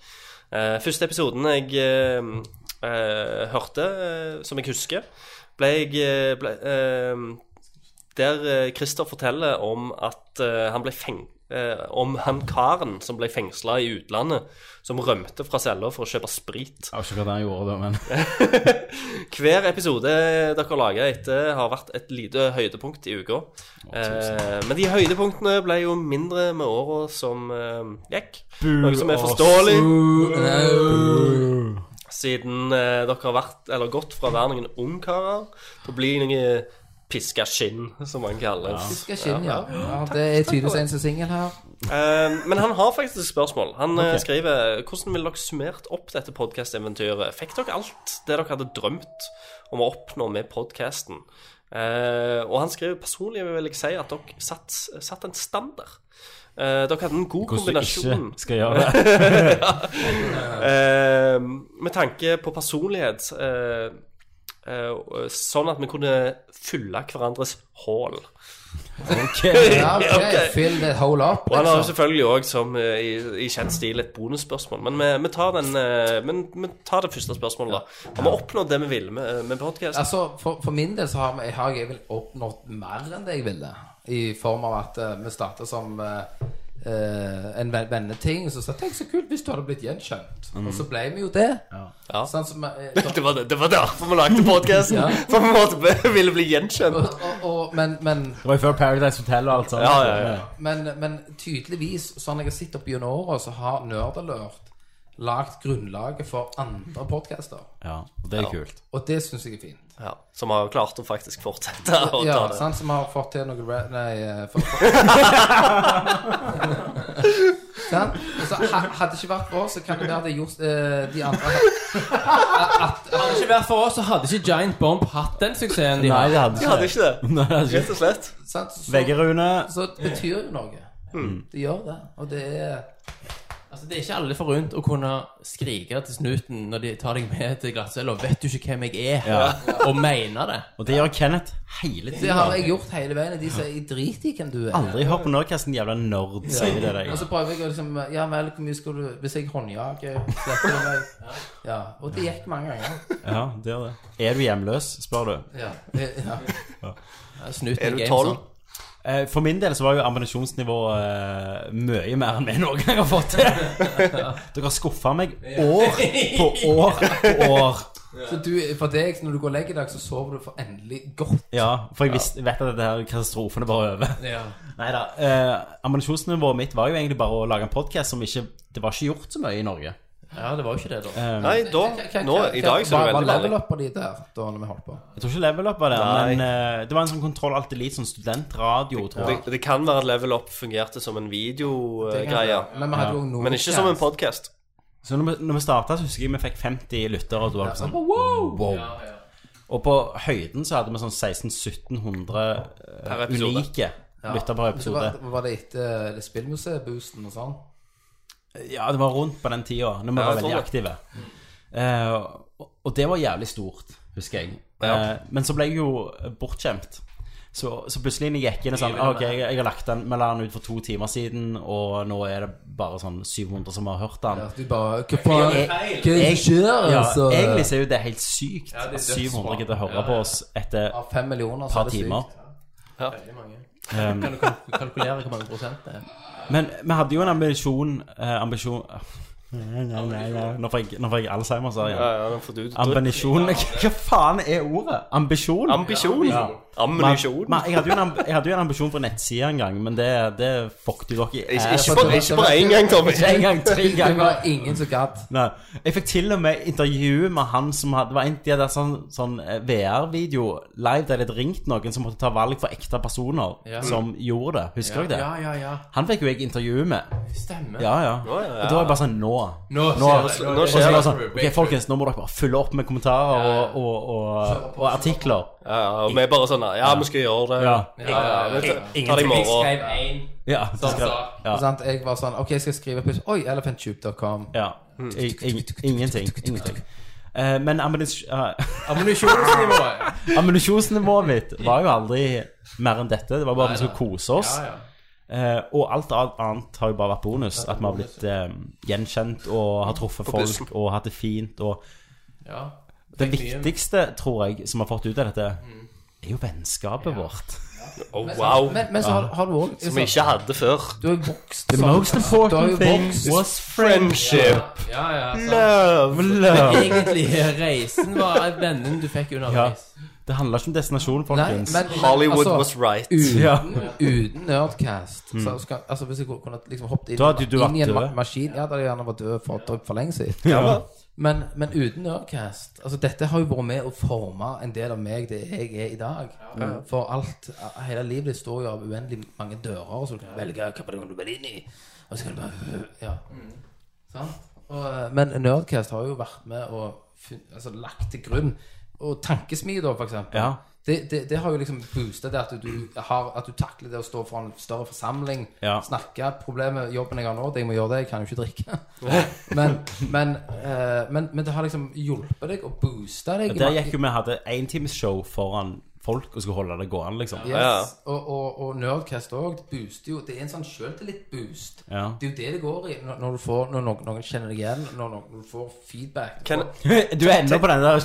Speaker 8: Eh, første episoden jeg eh, eh, hørte, eh, som jeg husker, ble jeg eh, ble, eh, Der eh, Christer forteller om at eh, han ble feng... eh, om han karen som ble fengsla i utlandet, som rømte fra cella for å kjøpe sprit.
Speaker 9: Jeg vet ikke hva han gjorde da, men
Speaker 8: Hver episode dere lager etter har vært et lite høydepunkt i uka. Eh, men de høydepunktene ble jo mindre med åra som eh, gikk. Noe som er forståelig, siden eh, dere har vært, eller gått fra å være noen ungkarer til å bli noen piska skinn, som man kaller det.
Speaker 6: Skal skinne, ja. ja. Det er tydeligvis en som er singel her.
Speaker 8: Eh, men han har faktisk et spørsmål. Han eh, skriver Hvordan ville dere summert opp dette podkasteventyret? Fikk dere alt det dere hadde drømt om å oppnå med podkasten? og han skriver personlig vil jeg si at dere satt, satt en standard. Eh, dere hadde en god
Speaker 9: hvordan du ikke
Speaker 8: kombinasjon.
Speaker 9: skal gjøre det.
Speaker 8: Eh, med tanke på personlighet eh, eh, Sånn at vi kunne fylle hverandres hull.
Speaker 6: Ja, ok,
Speaker 8: Ok.
Speaker 6: Fill that hole up.
Speaker 8: Og han har jo
Speaker 6: Liksom.
Speaker 8: selvfølgelig òg, som eh, i, i kjent stil, et bonusspørsmål. Men vi, vi, tar den, eh, men, vi tar det første spørsmålet, da. Har vi oppnådd det vi ville med, eh, med podkasten?
Speaker 6: Altså, for, for min del så har, vi- har jeg vel oppnådd mer enn det jeg ville. I form av at eh, vi starta som eh, eh, en ven- venneting. Så sa jeg tenk så kult hvis du hadde blitt gjenkjent. Og så ble vi jo det.
Speaker 8: Mhm. Ja.
Speaker 6: Sånn som, eh, så-
Speaker 8: Det var, det- det var derfor vi lagde podkasten! For vi måtte, ville bli gjenkjent.
Speaker 6: og, og, og, men, men,
Speaker 9: Det var jo før Paradise Hotel og alt sånt.
Speaker 8: Ja, ja, ja.
Speaker 6: men, men tydeligvis, sånn jeg har sett opp gjennom åra, så har Nerdalert lagt grunnlaget for andre podcaster.
Speaker 9: Ja, og det er kult.
Speaker 6: Og det syns jeg er fint.
Speaker 8: Ja, så vi har klart å faktisk fortsette å ta
Speaker 6: Ja,
Speaker 8: det.
Speaker 6: sant, som har fått til noe ra- Nei eh, for, for. Sant? Og så ha- Hadde det ikke vært for oss, så kan det være det gjort eh, de andre
Speaker 7: Hadde det ikke vært for oss, så hadde ikke Giant Bomb hatt den suksessen de
Speaker 9: Nei,
Speaker 7: har.
Speaker 9: det hadde
Speaker 8: Vi
Speaker 9: ikke
Speaker 8: hadde ikke det,
Speaker 9: Nei, det hadde ikke
Speaker 8: rett og slett.
Speaker 6: sant? Så,
Speaker 9: Begge, Rune.
Speaker 6: så det betyr jo noe. Det gjør det. Og det er
Speaker 7: Altså, det er ikke alle forunt å kunne skrike til snuten når de tar deg med til glattcella. Vet du ikke hvem jeg er? Og mener det.
Speaker 9: Og det gjør Kenneth hele tiden.
Speaker 6: Det har jeg gjort hele veien. og De sier 'jeg driter i hvem du er'.
Speaker 9: Aldri hør på Nordcasten, jævla nerd, sier det deg.
Speaker 6: Og så prøver jeg å liksom Ja vel, hvor mye skal du Hvis jeg håndjager sletter du meg? Ja. Og det gikk mange ganger.
Speaker 9: Ja, det gjør det. Er du hjemløs, spør du.
Speaker 6: Ja. ja.
Speaker 7: Snuten
Speaker 8: Er du
Speaker 7: game,
Speaker 8: tolv?
Speaker 7: sånn.
Speaker 9: Eh, For min del så var jo ambisjonsnivået eh, mye mer enn vi noen gang har fått til. Dere har skuffa meg år på år på år.
Speaker 6: Så du, for deg, når du går og legger deg, så sover du for endelig godt.
Speaker 9: Ja, for jeg visste, vet at dette her katastrofen er bare over.
Speaker 7: Ja.
Speaker 9: Neida, eh, Ambisjonsnivået mitt var jo egentlig bare å lage en podkast som ikke Det var ikke gjort så mye i Norge.
Speaker 7: ja, det var jo ikke det, da.
Speaker 8: Nei, da, nå, i dag så er
Speaker 6: Hva- Hva
Speaker 8: det veldig vanlig.
Speaker 6: level upper de der, da når vi holdt på?
Speaker 9: Jeg tror ikke Level Up var det,
Speaker 8: Nei.
Speaker 9: men eh, det var en sånn Kontroll Alt Elite, sånn studentradio, tror
Speaker 8: Det,
Speaker 9: jeg.
Speaker 8: det kan være at level up fungerte som en videogreie,
Speaker 6: Men vi hadde jo noen
Speaker 8: men ikke som en podkast.
Speaker 9: Så når vi, når vi starta, husker jeg vi fikk 50 lyttere. Og det var sånn,
Speaker 6: Wow!
Speaker 9: wow. Og på høyden så hadde vi sånn 1600-1700
Speaker 8: Per episode.
Speaker 9: unike lyttere per
Speaker 6: Så
Speaker 9: episode.
Speaker 6: var, var det etter uh, spillmuseet-boosten og sånn?
Speaker 9: Ja, det var rundt på den tida, når vi
Speaker 8: Ja,
Speaker 9: var
Speaker 8: jeg tror
Speaker 9: veldig
Speaker 8: det.
Speaker 9: aktive. Eh, og- og det var jævlig stort, husker jeg.
Speaker 8: Ja.
Speaker 9: Eh, men så ble jeg jo bortskjemt.
Speaker 11: Så, så plutselig når jeg gikk inn og sånn Ok, jeg, jeg har lagt den, vi la den ut for to timer siden, og nå er det bare sånn 700 som har hørt den.
Speaker 6: Ja, du bare Hva faen? Hva er det som skjer?
Speaker 11: Ja,
Speaker 6: altså?
Speaker 11: egentlig så er jo det helt sykt
Speaker 13: det er
Speaker 11: at 700 gidder å høre på oss etter
Speaker 6: Av fem millioner, så
Speaker 11: par
Speaker 6: er det
Speaker 11: timer.
Speaker 6: sykt.
Speaker 13: Veldig mange.
Speaker 11: Um,
Speaker 13: Kan du kalk- kalkulere hvor mange prosent det er?
Speaker 11: Men vi hadde jo en ambisjon eh, Ambisjon Nei, nei, nei, nei. Nå får jeg, nå får jeg Alzheimer, sa jeg.
Speaker 8: Ja, ja, den får du.
Speaker 11: Ambisjon Hva faen er ordet? Ambisjon?
Speaker 8: Ambisjon.
Speaker 11: Ja.
Speaker 8: Ammunisjon.
Speaker 11: Men, men jeg, hadde jo en, amb- jeg hadde jo en ambisjon for nettsida en gang, men det, det fucket jo dere i
Speaker 8: Ikke,
Speaker 11: ass.
Speaker 8: ikke, bare, ikke bare én gang, Tommy.
Speaker 11: En gang, tre
Speaker 6: Det
Speaker 11: ganger.
Speaker 6: var ingen som gadd.
Speaker 11: Nei. Jeg fikk til og med intervju med han som hadde Det var en de hadde sånn, sånn eh, VR-video live der de hadde ringt noen som måtte ta valg for ekte personer som gjorde det. Husker dere det?
Speaker 6: Ja, ja, ja.
Speaker 11: Han fikk jo jeg intervju med.
Speaker 6: Stemmer.
Speaker 11: Ja, ja.
Speaker 8: ja,
Speaker 11: Og da var jeg bare sånn Nå.
Speaker 6: Nå,
Speaker 8: Nå
Speaker 11: Og så
Speaker 8: skjer
Speaker 11: var
Speaker 8: det.
Speaker 11: jeg sånn Ok, folkens, nå må dere bare fylle opp med kommentarer og, og, og, og artikler.
Speaker 8: Ja, ja, og vi er bare sånn Ja, vi skal gjøre det.
Speaker 11: Ja.
Speaker 8: Ta det i morgen.
Speaker 13: én
Speaker 11: ja, så skal- ja.
Speaker 6: Sant? Jeg var sånn OK, skal jeg skrive plutselig Oi, Mm. elephantube.com.
Speaker 11: ja. I- ing- Ingenting. Ingenting. Eh, Men ammunis- eh,
Speaker 13: Ammunisjonsnivået.
Speaker 11: ammunisjonsnivået mitt var jo aldri mer enn dette. Det var bare at vi skulle kose oss. Eh, og alt alt annet har jo bare vært bonus. At vi har blitt eh, gjenkjent og har truffet
Speaker 8: bussen.
Speaker 11: folk og hatt det fint. Og
Speaker 13: Ja.
Speaker 11: det viktigste, tror jeg, som vi har fått ut av dette,
Speaker 8: Mm.
Speaker 11: er jo vennskapet vårt.
Speaker 8: Å, Oh, wow.
Speaker 6: Men, men så har, har du òg
Speaker 8: Som vi ikke hadde før.
Speaker 6: Du har jo vokst
Speaker 11: The
Speaker 6: sånn.
Speaker 11: most
Speaker 6: Du har jo
Speaker 11: important thing
Speaker 6: vokst.
Speaker 11: was friendship.
Speaker 8: Friendship.
Speaker 13: Ja, ja.
Speaker 8: Love.
Speaker 11: Love.
Speaker 13: Egentlig reisen var vennen du fikk underveis.
Speaker 11: Det handler ikke om destinasjon,
Speaker 6: Nei,
Speaker 11: folkens.
Speaker 6: men- men
Speaker 8: Hollywood
Speaker 6: altså,
Speaker 8: was right.
Speaker 11: ja. Mm.
Speaker 6: Uten Nerdcast så skal, altså Hvis jeg kunne liksom hoppet inn,
Speaker 11: Da hadde du vært
Speaker 6: inn i en ma
Speaker 11: død.
Speaker 6: maskin Ja, da hadde jeg gjerne vært død for, for lenge siden.
Speaker 11: Ja.
Speaker 6: Men, men uten Nerdcast altså Dette har jo vært med å forme en del av meg det jeg er i dag. For alt, hele livet ditt står jo av uendelig mange dører, og så du kan velge hvilken du vil inn i. Og så kan du bare Ja. Mm. Sant? Og, eh, men Nerdcast har jo vært med og fun- altså, lagt til grunn Og tankesmider, for eksempel.
Speaker 11: Ja.
Speaker 6: Det, det, det har jo liksom boosta det at du, du har, at du takler det å stå foran en større forsamling,
Speaker 11: Ja.
Speaker 6: snakke Problemet, jobben jeg har nå, det jeg må gjøre det, jeg kan jo ikke drikke. men, men, eh, men, men det har liksom hjulpet deg og boosta deg. i
Speaker 11: Der
Speaker 6: ma-
Speaker 11: gikk jo vi og hadde éntimesshow foran folk og skulle holde det gående, liksom.
Speaker 6: Yes,
Speaker 8: Ja.
Speaker 6: Og, og, og Nerdcast òg. Det booster jo Det er en sånn sjøltillit-boost.
Speaker 11: Ja.
Speaker 6: Det er jo det det går i når, når, du får, når noen, noen kjenner deg igjen, når noen får feedback. Du
Speaker 8: Kan-
Speaker 6: får-
Speaker 11: Du er ennå på den der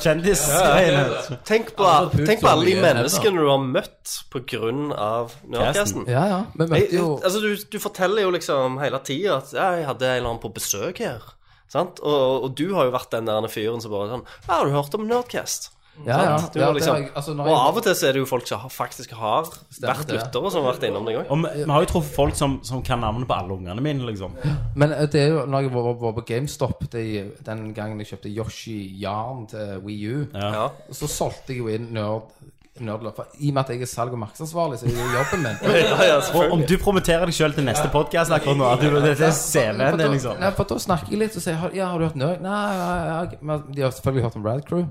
Speaker 11: kjendisgreiene.
Speaker 8: Tenk på,
Speaker 6: Altså,
Speaker 13: Aldri vært
Speaker 8: tenk
Speaker 13: fullt
Speaker 8: på
Speaker 13: så
Speaker 8: alle de
Speaker 13: mye
Speaker 8: menneskene du har møtt på grunn av Nerdcasten.
Speaker 6: Ja, ja. Vi
Speaker 8: Jeg-
Speaker 6: møtte jo
Speaker 8: Altså, du, du forteller jo liksom hele tida at ja, 'jeg hadde en eller annen på besøk her'. Sant? Og, og du har jo vært den der fyren som bare sånn 'Ja, har du hørt om Nerdcast?'
Speaker 6: Ja, ja.
Speaker 8: Sant? Du
Speaker 6: ja,
Speaker 8: har
Speaker 6: det
Speaker 8: liksom,
Speaker 6: har jeg- altså, når
Speaker 8: og
Speaker 6: jeg-
Speaker 8: av og til så er det jo folk som har- faktisk har vært
Speaker 6: det.
Speaker 8: lyttere, som har vært innom deg òg.
Speaker 11: Og vi vi har jo truffet folk som, som kan navnet på alle ungene mine, liksom.
Speaker 6: Men eh, det er jo når jeg var, var på GameStop det, den gangen jeg kjøpte Yoshi Yarn til Wii U,
Speaker 8: Ja.
Speaker 6: så solgte jeg jo inn nerd, nerdløp. For I og med at jeg er salg- og markedsansvarlig, så er det jo jobben min.
Speaker 8: Ja, ja,
Speaker 11: Og om
Speaker 8: selvfølgelig.
Speaker 11: du promoterer deg sjøl til neste podkast akkurat nå, at du, det er CV-en din, liksom.
Speaker 6: Nei, for da snakker jeg litt og sier har- Ja, har du hørt Nerd? Nei, ja, ja, ja. Men de har selvfølgelig hørt om Rad Crew.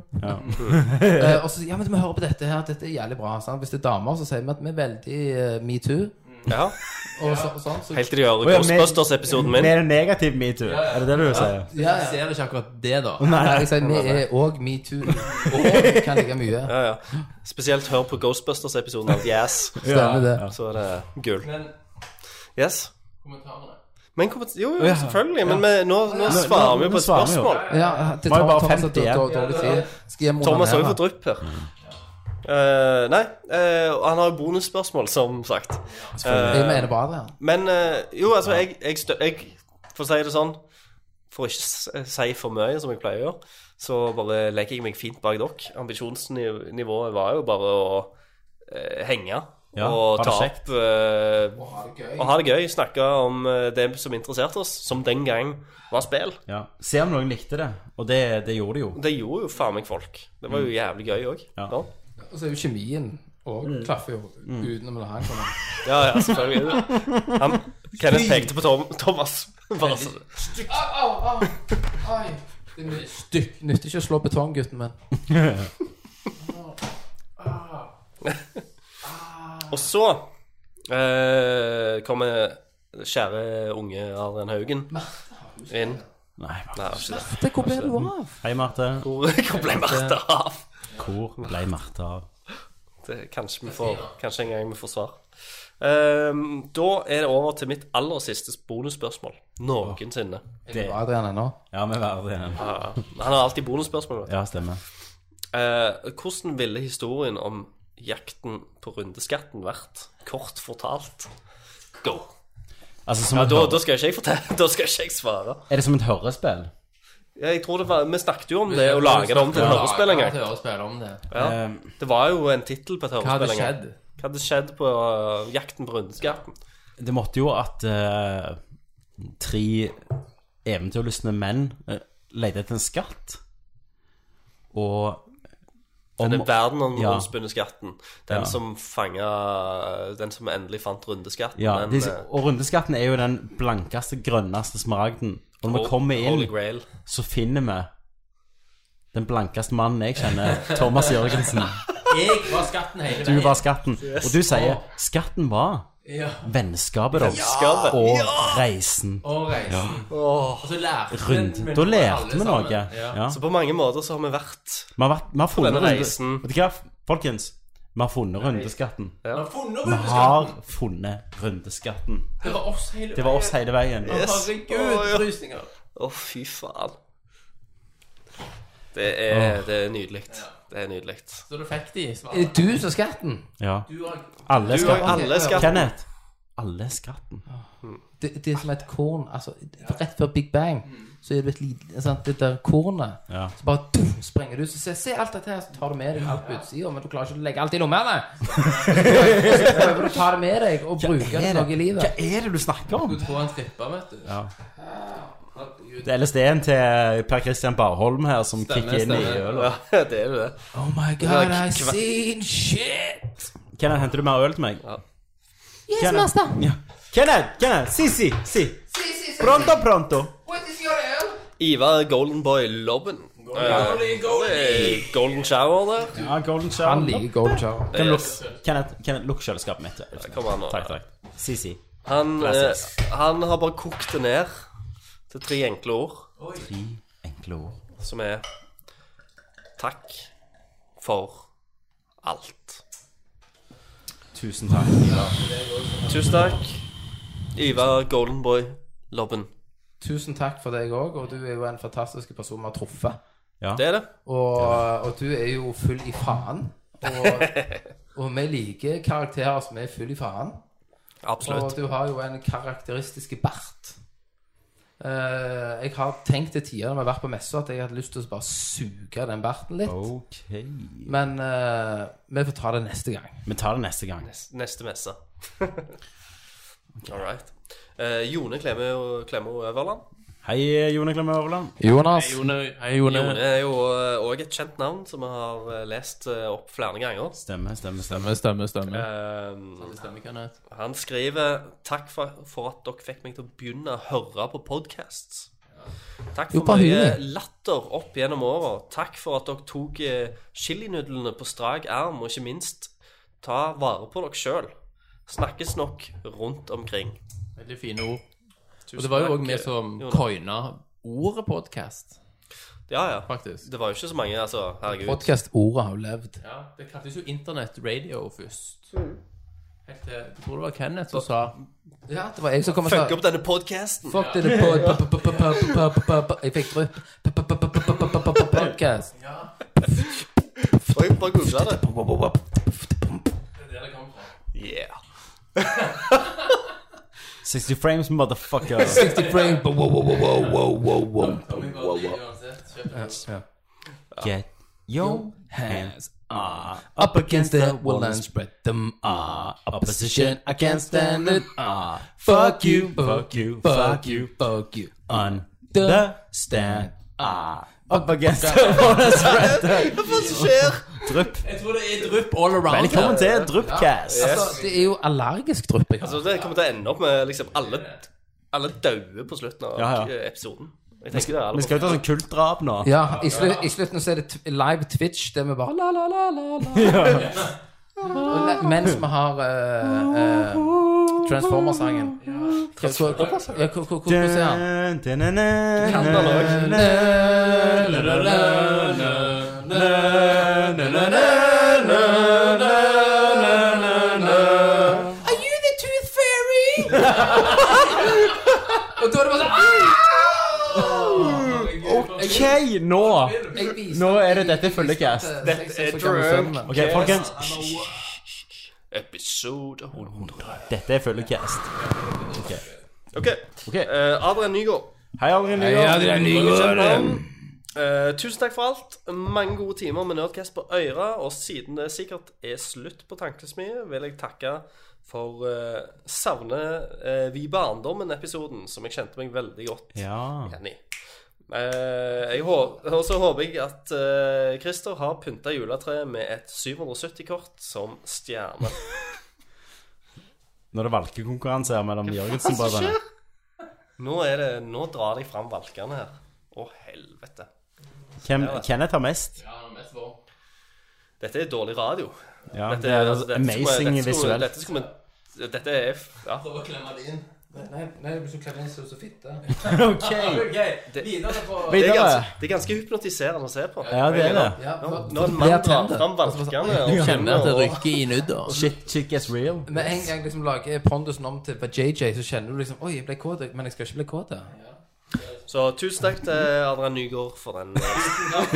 Speaker 6: Eh, og så sier jeg, ja, men vi hører på dette her, dette er jævlig bra. Sant? Hvis det er damer, så sier vi at vi er veldig eh, metoo.
Speaker 8: Ja.
Speaker 6: Og så, og sånn, så,
Speaker 8: Helt til de hører
Speaker 11: Å, ja, men-
Speaker 8: Ghostbusters-episoden min.
Speaker 11: Mer negativ metoo, er det det du sier?
Speaker 6: ja,
Speaker 13: Jeg
Speaker 6: ja.
Speaker 13: ser ikke akkurat det, da.
Speaker 6: Nei, jeg sier vi er òg metoo. Og kan ligge mye.
Speaker 8: Ja, ja. Spesielt hør på Ghostbusters-episoden av Yes,
Speaker 6: Stemmer det.
Speaker 8: så er det gull. Yes.
Speaker 13: Kommentarene.
Speaker 8: Men kom, jo, jo, selvfølgelig. Men vi- nå, nå svarer vi
Speaker 11: nå
Speaker 8: på et
Speaker 11: svarer vi jo.
Speaker 8: spørsmål.
Speaker 6: Ja, det
Speaker 11: Var jo
Speaker 6: tar
Speaker 11: bare
Speaker 6: tar altså
Speaker 11: 50
Speaker 6: dår-
Speaker 11: igjen.
Speaker 6: dår- dårlig tid. Skal hjem og
Speaker 8: Thomas har jo
Speaker 6: onanere.
Speaker 8: fått drypp her. Eh, nei, eh, og han har jo bonusspørsmål, som sagt.
Speaker 6: Jeg mener bare Adrian.
Speaker 8: Men eh, jo, altså, jeg, jeg, stø jeg For å si det sånn For å ikke s- eh, si for mye, som jeg pleier å gjøre, så bare legger jeg meg fint bak dere. Ambisjonsnivået var jo bare å eh, henge
Speaker 11: Ja,
Speaker 8: og
Speaker 11: ha det
Speaker 8: ta
Speaker 11: kjekt.
Speaker 8: opp eh, og ha det gøy. Snakke om eh, det som interesserte oss, som den gang var spill.
Speaker 11: Ja. Se om noen likte det, og det, det gjorde de jo. Mm.
Speaker 8: Det gjorde jo faen meg folk. Det var jo jævlig gøy Sånn. òg.
Speaker 11: Ja.
Speaker 8: Ja.
Speaker 6: Og så er jo kjemien og klaffer jo utenom det her. kommer.
Speaker 8: Ja, ja, selvfølgelig. Han, Kenneth pekte på Tom, Thomas. Bare så-
Speaker 6: Au, au, ai. Det er mye stykk. Nytter ikke å slå betong, gutten min.
Speaker 8: Og så eh, kommer kjære unge Adrian Haugen inn.
Speaker 11: Nei,
Speaker 8: Nei, det var ikke det.
Speaker 6: Det, hvor ble du av?
Speaker 11: Hei, Marte.
Speaker 8: Hvor hvor ble Marte av?
Speaker 11: Hvor ble Marte av?
Speaker 8: det, kanskje, vi får, kanskje en gang vi får svar. Ehm, da er det over til mitt aller siste bonusspørsmål noensinne.
Speaker 6: Det var Adrian ennå.
Speaker 9: Ja, vi er igjen.
Speaker 8: Ja, han har alltid bonusspørsmål. vet du.
Speaker 9: Ja, stemmer.
Speaker 8: Eh, hvordan ville historien om jakten på rundeskatten vært, kort fortalt? Go.
Speaker 9: Altså, som
Speaker 8: Ja,
Speaker 9: et
Speaker 8: da,
Speaker 9: hør-
Speaker 8: da skal ikke jeg fortelle, da skal ikke jeg svare.
Speaker 9: Er det som et hørespill?
Speaker 8: Ja, Jeg tror det var, Vi snakket jo om det, å lage det om til et hørespill en gang.
Speaker 6: Hørespill om det.
Speaker 8: Ja. Det var jo en tittel på et
Speaker 6: Hva hadde
Speaker 8: hørespill en gang.
Speaker 6: skjedd?
Speaker 8: Hva hadde skjedd på eh, jakten på rundeskatten?
Speaker 9: Det måtte jo at eh, tre eventyrlystne menn uh, lette etter en skatt. Og om,
Speaker 8: Den verden om
Speaker 9: Ja.
Speaker 8: rundspunneskatten. Den
Speaker 9: Ja.
Speaker 8: som fanga Den som endelig fant rundeskatten.
Speaker 9: ja,
Speaker 8: den,
Speaker 9: de,
Speaker 8: eh,
Speaker 9: og rundeskatten er jo den blankeste, grønneste smaragden. Og når vi kommer inn,
Speaker 8: Holy Grail.
Speaker 9: så finner vi den blankeste mannen jeg kjenner, Thomas Jørgensen.
Speaker 6: Jeg var skatten hele
Speaker 9: Du var skatten. Og du sier skatten var
Speaker 6: Ja.
Speaker 9: vennskapet deres
Speaker 8: Skabbet.
Speaker 9: og reisen.
Speaker 6: Og reisen. Og så lærte
Speaker 9: Rundt. Da lærte vi noe. Ja.
Speaker 8: Så på mange måter så har vi vært
Speaker 9: Vi har, vært, vi har funnet
Speaker 8: denne
Speaker 9: runde-
Speaker 8: reisen.
Speaker 9: Vet du hva, folkens? Vi har funnet rundeskatten.
Speaker 6: Funnet
Speaker 9: Vi har funnet rundeskatten.
Speaker 6: Det var oss hele
Speaker 9: Det var oss hele veien.
Speaker 8: Å,
Speaker 6: Herregud,
Speaker 8: ja.
Speaker 6: frysninger.
Speaker 8: Å, fy faen. Det er, det er nydelig. Det er nydelig.
Speaker 7: Så du fikk de
Speaker 6: Er det du som er skatten?
Speaker 9: Ja.
Speaker 6: Du har-
Speaker 9: Alle er
Speaker 8: Du og
Speaker 9: skatten.
Speaker 8: alle skal
Speaker 9: Kenneth. Alle er skatten.
Speaker 6: Det, det er som
Speaker 9: Ah.
Speaker 6: et korn. Altså, rett før Big Bang
Speaker 9: Mm.
Speaker 6: så er det et lite sant? Det der kornet.
Speaker 9: Ja.
Speaker 6: Så bare tuff, sprenger du ut. Så se, se alt dette her, så tar du med deg alt på utsida, men du klarer ikke å legge alt i lommene. Så prøver du å ta det med deg og bruke det til noe i
Speaker 9: Hva
Speaker 6: livet.
Speaker 9: er det du snakker om?
Speaker 7: Få en stripper, vet du.
Speaker 9: Det er LSD-en til eh, Per Christian Barholm her som kicker inn i øl.
Speaker 8: Ja, det er jo det.
Speaker 6: Oh my god, I've seen shit!
Speaker 9: Kenneth, henter du mer øl til meg?
Speaker 8: Ja.
Speaker 9: Yes, Kenneth. master. Ja. Kenneth, Kenneth, si, si, si. Pronto, pronto.
Speaker 8: Ivar Golden Boy Lobben. Eh, eh, Golden Shower der.
Speaker 9: Ja, golden
Speaker 6: Han
Speaker 9: shower.
Speaker 6: liker Gold Show.
Speaker 9: Kan luk,
Speaker 8: Yes.
Speaker 9: Kenneth, Kenneth, lukk kjøleskapet mitt.
Speaker 8: Kom an nå.
Speaker 9: Takk, takk. Si, si.
Speaker 8: Han, eh,
Speaker 9: Classics.
Speaker 8: han har bare kokt det ned til tre enkle ord,
Speaker 9: Tre enkle ord.
Speaker 8: som er takk for alt.
Speaker 9: Tusen takk.
Speaker 8: Tusen takk, Ivar Golden Boy Lobben.
Speaker 6: Tusen takk for deg òg, og du er jo en fantastisk person vi har truffet.
Speaker 8: Det er det.
Speaker 6: Og, og du er jo full i faen. Og, og vi liker karakterer som er full i faen. Og
Speaker 8: Absolutt.
Speaker 6: du har jo en karakteristisk bart. Eh, jeg har tenkt til tider når vi har vært på messa, at jeg hadde lyst til å bare suge den barten litt.
Speaker 1: Oh.
Speaker 9: Ok.
Speaker 6: Men eh, vi får ta det neste gang.
Speaker 9: Vi tar det neste gang.
Speaker 8: Neste messe. All right. Eh, Jone Klemo, Klemo Øverland.
Speaker 9: Hei, Jone Klemme Overland.
Speaker 6: Jonas.
Speaker 7: Hei, Jone.
Speaker 8: Jone er jo òg et kjent navn som vi har eh, lest eh, opp flere ganger.
Speaker 9: Stemme, stemme, stemme.
Speaker 7: Stemme, stemme, stemme.
Speaker 8: Eh,
Speaker 7: Stemme, Kenneth.
Speaker 8: Han skriver 'Takk for, for at dere fikk meg til å begynne å høre på podcasts'. Takk
Speaker 6: Jo,
Speaker 8: for
Speaker 6: bare
Speaker 8: mye
Speaker 6: hyggelig.
Speaker 8: latter opp gjennom åra. Takk for at dere tok eh, chilinudlene på strak arm, og ikke minst ta vare på dere sjøl. Snakkes nok rundt omkring.
Speaker 7: Veldig fine ord.
Speaker 8: Tusen
Speaker 7: Og det var jo
Speaker 8: takk,
Speaker 7: òg vi
Speaker 8: eh,
Speaker 7: som
Speaker 8: Jonas.
Speaker 7: coina ordet podcast,
Speaker 8: Ja, ja.
Speaker 7: faktisk.
Speaker 8: Det var jo ikke så mange, altså. Herregud.
Speaker 6: Podcast-ordet har jo levd.
Speaker 7: Ja, det kaltes jo internett-radio først.
Speaker 8: Mm.
Speaker 6: eh,
Speaker 7: Helt til Jeg tror det var Kenneth som sa
Speaker 6: Ja, det var jeg som kom og sa
Speaker 8: Fuck opp denne podcasten.
Speaker 6: Fuck det, det pod... Jeg fikk drypp. Podcast.
Speaker 8: Oi, bare googla det. Yeah.
Speaker 9: 60 frames, motherfucker.
Speaker 6: 60 frame. Wow, wow, wow, wow, wow, wow, wow.
Speaker 9: Get your hands up.
Speaker 6: Up against the wall and spread them ah opposition. I can't stand it. Ah, fuck you, fuck you, fuck you, fuck you.
Speaker 9: on
Speaker 6: the
Speaker 9: stand ah, up against the bonus
Speaker 8: Hva som skjer?
Speaker 9: Drypp.
Speaker 7: Jeg tror det er drypp all around.
Speaker 9: Velkommen til Dryppcast.
Speaker 6: Altså, det er jo allergisk drypp jeg
Speaker 8: Altså,
Speaker 6: har.
Speaker 8: det kommer til å ende opp med liksom alle, alle daue på slutten av
Speaker 9: Ja, ja.
Speaker 8: eh, episoden. Jeg tenker det er alle
Speaker 9: Vi skal jo ta sånn kultdrap nå.
Speaker 6: Ja, i, slu, i slutten så er det t live Twitch der vi bare la, la, la, la, la. Og le- Mens vi har eh, eh, Transformer-sangen. Hva- hva- hva- ja, hva- hva- Hvordan er den?
Speaker 9: Skandaløk.
Speaker 6: Og da er det bare sånn «Ah!»
Speaker 9: OK, nå!
Speaker 6: Jeg viste-
Speaker 9: Nå er det dette
Speaker 6: jeg viste
Speaker 9: følgecast.
Speaker 6: at, eh,
Speaker 8: Dette
Speaker 6: seks- seks
Speaker 8: er
Speaker 6: år gamle
Speaker 8: drunk.
Speaker 6: sønnen.
Speaker 9: Ok, folkens.
Speaker 8: Episode 100.
Speaker 9: Dette er følgecast.
Speaker 8: OK. Eh, Adrian Nygaard.
Speaker 9: Hei, Adrian
Speaker 6: Ja,
Speaker 9: Nygaard.
Speaker 6: det er ny
Speaker 8: Eh, tusen takk for alt. Mange gode timer med Nerdcast på Øyra. Og siden det sikkert er slutt på Tankesmie, vil jeg takke for uh, Savne eh, vi barndommen-episoden, som jeg kjente meg veldig godt
Speaker 9: Ja.
Speaker 8: enig i. Eh, jeg hå- og så håper jeg at eh, Christer har pynta juletreet med et 770-kort som stjerne.
Speaker 9: Når det er valkekonkurranse her mellom Jørgensen-brødrene.
Speaker 8: Nå, er det, nå drar de fram valkene her. Å, helvete.
Speaker 9: Hvem Kenneth har mest?
Speaker 8: Dette er dårlig radio.
Speaker 9: Ja,
Speaker 8: Dette,
Speaker 9: det er
Speaker 8: altså, dette skulle-
Speaker 9: amazing
Speaker 8: dette skulle-
Speaker 9: visuelt.
Speaker 8: Dette, skulle, dette er f- ja.
Speaker 6: Nei, nei, du blir så klemt inn så så fitte.
Speaker 9: OK.
Speaker 8: Det er,
Speaker 9: Videre.
Speaker 8: ganske, det er ganske hypnotiserende å se på.
Speaker 9: Ja, det er det.
Speaker 6: Ja, for,
Speaker 8: Når en mann drar
Speaker 6: tenner.
Speaker 8: fram valkene og
Speaker 7: Kjenner at det
Speaker 8: kjenner og
Speaker 7: rykker i nudder.
Speaker 9: Shit, shit gets real.
Speaker 6: med en gang liksom lager pondusen om til JJ, så kjenner du liksom Oi, jeg ble kåt, men jeg skal ikke bli kåt. da."
Speaker 8: Så tusen takk til Adrian Nygaard for den.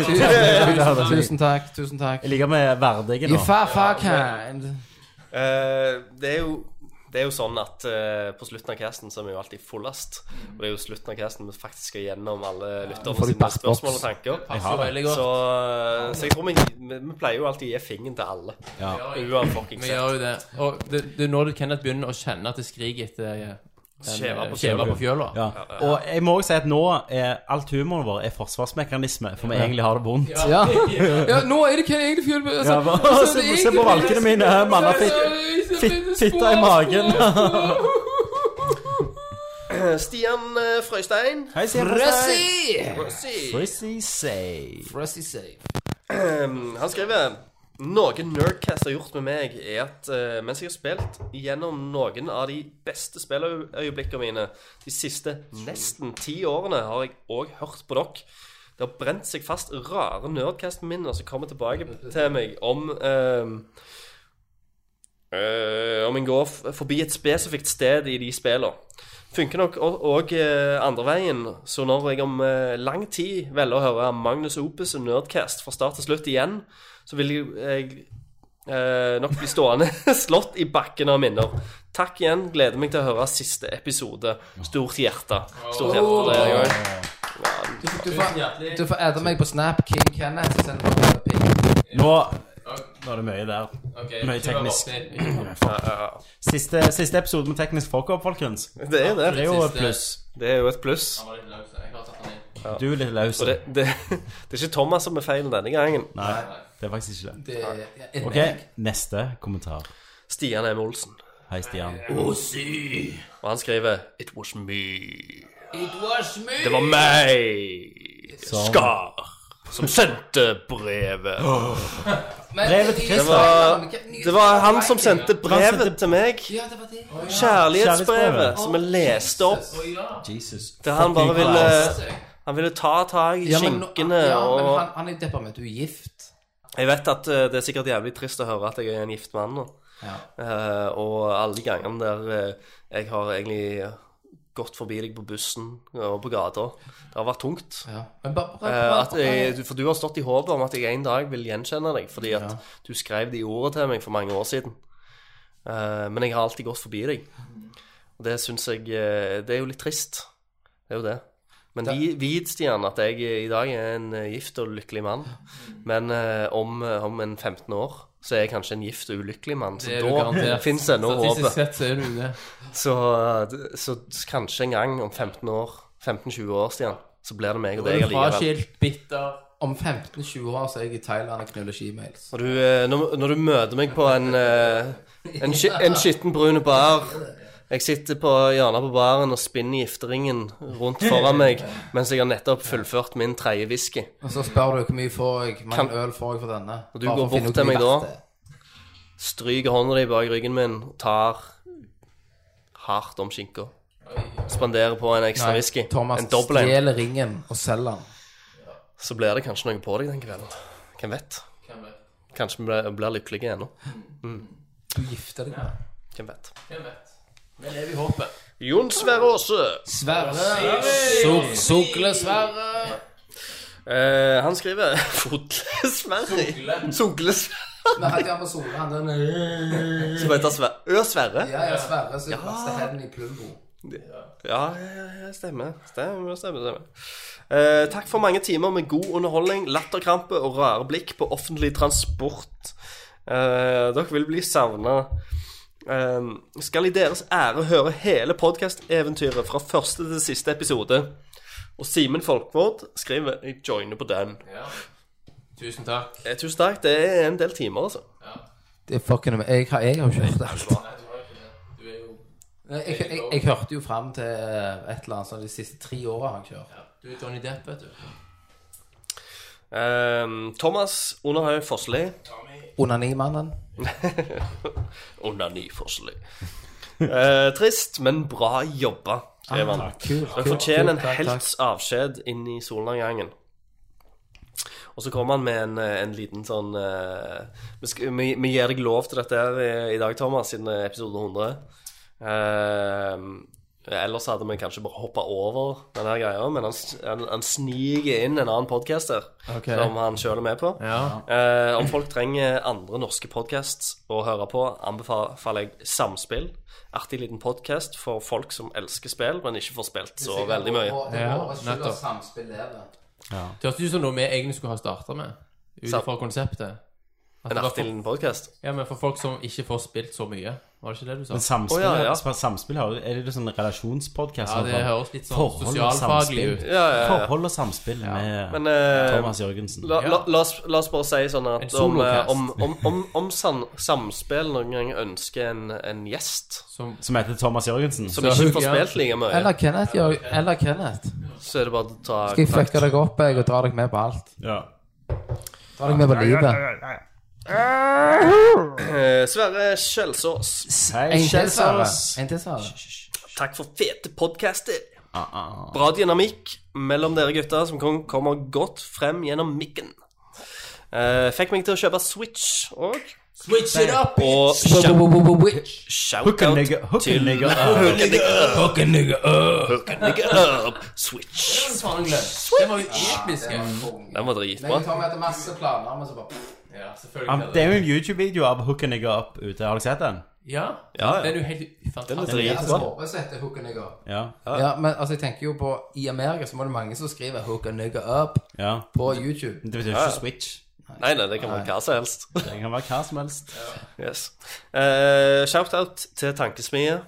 Speaker 6: Tusen- Tusen takk. Tusen takk.
Speaker 9: Jeg liker med verdige
Speaker 6: You
Speaker 9: nå.
Speaker 6: far far kind.
Speaker 8: Eh, det, er jo, det er jo sånn at eh, på slutten av casten så er vi jo alltid fullest. Og det er jo slutten av casten vi faktisk skal gjennom alle lytterne
Speaker 9: de
Speaker 8: sine
Speaker 9: bart box.
Speaker 8: spørsmål og tanker.
Speaker 9: har det.
Speaker 8: Så, eh, så jeg tror vi, vi, vi pleier jo alltid å gi fingeren til alle.
Speaker 9: Ja.
Speaker 8: Uanfuckings
Speaker 7: Vi
Speaker 8: sett.
Speaker 7: gjør jo det. Og det, det er når du, Kenneth begynner å kjenne at det skriker etter eh, den,
Speaker 8: Skjeva på
Speaker 7: eh, skjeva på fjøla.
Speaker 9: Ja. Og jeg må også si at nå er alt humoren vår er forsvarsmekanisme, for vi egentlig har det vondt.
Speaker 6: Ja. ja, nå er det hva jeg egentlig føler
Speaker 9: Ja,
Speaker 6: altså,
Speaker 9: bare-
Speaker 6: altså,
Speaker 9: se-
Speaker 6: det er
Speaker 9: se på
Speaker 6: egentlig-
Speaker 9: valkene mine, hæ, manna, fitt-
Speaker 6: Så- så-
Speaker 9: fitt-
Speaker 6: så-
Speaker 9: fitta i magen.
Speaker 8: Stian eh, Frøystein.
Speaker 9: Hei, sier Frøsi!
Speaker 6: Frossi!
Speaker 8: Frøysi.
Speaker 9: Frøsi say.
Speaker 6: Frossi safe.
Speaker 8: Ehm, Han skriver Noe Nerdcast har gjort med meg, er at eh, mens jeg har spilt gjennom noen av de beste spilløyeblikkene mine de siste nesten ti årene, har jeg òg hørt på dere. Det har brent seg fast rare Nerdcast-minner som kommer tilbake til meg om ehm, Eh, om en går f- forbi et spesifikt sted i de spillene. Funker nok òg andre veien, så når jeg om eh, lang tid velger å høre Magnus Opus og Nerdcast fra start til slutt igjen, så vil jeg, jeg eh, nok bli stående slått i bakken av minner. Takk igjen. Gleder meg til å høre siste episode. Stort hjerte. Stort hjerte for det. jeg også.
Speaker 6: Du får- Du får adde meg på Snap, King Kenneth, så sender du meg ping.
Speaker 9: Nå Nå er det mye der. Mye teknisk. Siste, siste episode med teknisk fuck-up, folkens.
Speaker 8: Det er
Speaker 9: Det er
Speaker 8: det.
Speaker 9: jo et pluss.
Speaker 8: Det er jo et pluss.
Speaker 9: Du er litt løs.
Speaker 8: Og det, det, det er ikke Thomas som er feilen denne gangen.
Speaker 9: Nei, det er faktisk ikke det.
Speaker 6: Det er ja, et
Speaker 9: OK, neste kommentar.
Speaker 8: Stian M. Olsen.
Speaker 9: Hei, Stian.
Speaker 8: Og han skriver It was me. It was me. Det var meg, Skar, som sendte brevet.
Speaker 6: Men-
Speaker 9: Brevet til
Speaker 8: Det var, det var han som sendte brevet til meg.
Speaker 6: Ja, det var det.
Speaker 8: Kjærlighetsbrevet
Speaker 9: Kjærlighetsbrevet.
Speaker 8: som jeg leste opp.
Speaker 9: Jesus.
Speaker 8: Der han bare
Speaker 9: Fucking
Speaker 8: ville
Speaker 9: Christ.
Speaker 8: Han ville ta tak i
Speaker 6: Ja, men, nå-
Speaker 8: skinkene
Speaker 6: ja, men han,
Speaker 8: og
Speaker 6: han er deprimert. Du er gift.
Speaker 8: Jeg vet at eh, det er sikkert jævlig trist å høre at jeg er en gift mann nå.
Speaker 6: Ja.
Speaker 8: Eh, og alle de gangene der eh, jeg har egentlig gått forbi deg på bussen og på gata. Det har vært tungt.
Speaker 6: Ja. Men bare, bare,
Speaker 8: Eh,
Speaker 6: bare,
Speaker 8: at jeg, du- for du har stått i håpet om at jeg en dag vil gjenkjenne deg, fordi at du skrev de ordene til meg for mange år siden. Eh, men jeg har alltid gått forbi deg. Og det syns jeg eh, Det er jo litt trist. Det er jo det. Men vi- vit, Stian, at jeg i dag er en eh, gift og lykkelig mann. Men eh, om, eh, om en 15 år så er jeg kanskje en gift og ulykkelig mann. Så
Speaker 7: Det er du
Speaker 8: da
Speaker 7: garantert.
Speaker 8: fins ennå
Speaker 7: Statistisk
Speaker 8: håpet.
Speaker 7: sett så er du det.
Speaker 8: Så, eh, så kanskje en gang om 15 år, 15-20 år, Stian, så blir det meg og
Speaker 7: Du
Speaker 8: deg
Speaker 7: er
Speaker 8: allikevel.
Speaker 7: fraskilt, bitter
Speaker 6: om 15-20 år så er jeg i Thailand og knuller shemales.
Speaker 8: Når du, eh, når, når du møter meg på en, eh, en, ski- en skitten brune bar Jeg sitter på hjørnet på baren og spinner gifteringen rundt foran meg mens jeg har nettopp fullført min tredje whisky.
Speaker 6: Og så spør du hvor mye får jeg, hvor mange
Speaker 8: Kan-
Speaker 6: øl får jeg for denne.
Speaker 8: Og du
Speaker 6: Bare
Speaker 8: går
Speaker 6: for å finne ut
Speaker 8: bort
Speaker 6: hvor
Speaker 8: til meg
Speaker 6: mye
Speaker 8: da?
Speaker 6: verdt det er.
Speaker 8: Stryker hånda di bak ryggen min, tar hardt om skinka. Spanderer på en ekstra
Speaker 6: Nei,
Speaker 8: whisky.
Speaker 6: Thomas
Speaker 8: En dobbel en.
Speaker 6: stjeler ringen og selger den.
Speaker 8: Så blir det kanskje noe på deg den kvelden. Hvem vet? Kanskje vi blir- blir lykkelige ennå.
Speaker 6: Du gifter deg med
Speaker 8: Hvem vet?
Speaker 7: Vi lever i håpet.
Speaker 8: Jon Sverre Aase.
Speaker 6: Sverre. Suk- Sugle Sverre.
Speaker 8: Eh, han skriver Fotle Sverre. Sogle Sverre.
Speaker 6: Vi hadde han på Sola, han der
Speaker 8: Som heter Sverre. Ø Sverre.
Speaker 6: Ja, ja, Sverre som kaster hendene i Plumbo.
Speaker 8: Ja, ja, ja, stemmer. Stemmer, stemmer, stemmer. Eh, takk for mange timer med god underholdning, latterkrampe og rare blikk på offentlig transport. Eh, dere vil bli savna. Eh, skal i deres ære høre hele podkasteventyret fra første til siste episode. Og Simen Folkvord skriver 'Jeg joiner på den'.
Speaker 7: Tusen takk.
Speaker 8: Eh, tusen takk. Det er en del timer, altså.
Speaker 6: Det er fucking Jeg har jeg har jo ikke hørt alt.
Speaker 7: Du er jo
Speaker 6: Jeg, jeg, jeg, jeg hørte jo fram til eh, et eller annet sånn de siste tre åra han kjørt.
Speaker 7: Du er Johnny Depp, vet du.
Speaker 8: Eh, Thomas Underhaug Fossli.
Speaker 6: Onanimannen.
Speaker 8: Onani Fossli. Eh, trist, men bra jobba, skrev han.
Speaker 6: Ah, Kult.
Speaker 8: Han fortjener en helts avskjed inn i solnedgangen. Og så kommer han med en, eh, en liten sånn eh, vi, sk- vi, vi gir deg lov til dette her i, i dag, Thomas, siden eh, episode 100. Eh, ellers hadde vi kanskje bare hoppa over denne her greia, men han, s- han, han sniker inn en annen podcaster
Speaker 7: Ok.
Speaker 8: som han sjøl er med på.
Speaker 7: Ja.
Speaker 8: Eh, om folk trenger andre norske podcasts å høre på, anbefaler jeg Samspill. Artig liten podcast for folk som elsker spill, men ikke får spilt så veldig mye.
Speaker 7: Ja, nettopp.
Speaker 6: nettopp.
Speaker 7: Det hørtes ut som noe vi egentlig skulle ha starta med, ut
Speaker 8: Sant.
Speaker 7: fra konseptet. At
Speaker 8: En
Speaker 7: det var
Speaker 8: artig
Speaker 7: Altså, for,
Speaker 8: liten podcast.
Speaker 7: ja, men for folk som ikke får spilt så mye. Var det ikke det du sa?
Speaker 9: Men samspill,
Speaker 8: Å, ja, ja.
Speaker 9: sp- samspill har jo- er det jo sånn relasjonspodkast?
Speaker 7: Ja, det
Speaker 9: sånn?
Speaker 7: høres litt sånn
Speaker 9: Forhold og
Speaker 7: sosialfaglig
Speaker 9: samspill.
Speaker 7: ut.
Speaker 8: Ja, ja, ja.
Speaker 9: Forhold og samspill med
Speaker 8: Men eh,
Speaker 9: Thomas Jørgensen.
Speaker 8: la, la, la, oss, la oss bare si sånn
Speaker 7: En
Speaker 8: at om, eh,
Speaker 7: solocast.
Speaker 8: om, om, om, om sam, Samspill noen gang ønsker en, en gjest
Speaker 7: Som,
Speaker 9: Som heter Thomas Jørgensen.
Speaker 8: som
Speaker 7: Så
Speaker 8: ikke får
Speaker 7: hugger jeg.
Speaker 8: spilt like mye,
Speaker 6: Eller Kenneth. Gjør, eller Kenneth.
Speaker 8: så er det bare å ta
Speaker 6: Skal jeg
Speaker 8: kontakt.
Speaker 6: fucke deg opp jeg, og dra deg med på alt?
Speaker 9: Ja.
Speaker 6: Dra deg med på livet.
Speaker 8: Eh, Sverre Skjelsås,
Speaker 9: Hei,
Speaker 6: En til, Sverre.
Speaker 9: Kjelsås.
Speaker 6: En til, Sverre.
Speaker 8: takk for fete podcaster.
Speaker 9: Ah,
Speaker 8: Bra dynamikk mellom dere gutter som kom, kommer godt frem gjennom mikken. Eh, fikk meg til å kjøpe Switch og Switch it up! Og shout-
Speaker 6: Witch.
Speaker 9: Hook a
Speaker 8: shoutout
Speaker 9: nigga- hook a
Speaker 8: til
Speaker 9: nigga up.
Speaker 8: Hook a nigga up. Hook a nigga up. Switch.
Speaker 7: Faen, jeg glemte. Det var jo episk. ja.
Speaker 8: Den var
Speaker 6: Meg og
Speaker 8: dritbra.
Speaker 6: Tommy hadde masse planer, men så bare
Speaker 7: Ja,
Speaker 9: Han,
Speaker 7: selvfølgelig.
Speaker 9: Um, det er jo en YouTube-video av Hook and Nigga Up ute. Har dere sett den?
Speaker 7: Ja,
Speaker 8: Ja, ja.
Speaker 7: Den er jo helt fantastisk.
Speaker 8: drit.
Speaker 6: Altså, håper så heter Hook a Nigga Up.
Speaker 9: Ja.
Speaker 6: Ja, men altså, jeg tenker jo på I Amerika så må det mange som skriver Hook a Nigga Up
Speaker 9: ja.
Speaker 6: på YouTube.
Speaker 9: Det betyr ikke Switch.
Speaker 8: Nei, nei, det kan være hva som helst.
Speaker 9: Det kan være hva som helst.
Speaker 8: Yes. Eh, shoutout til Tankesmie.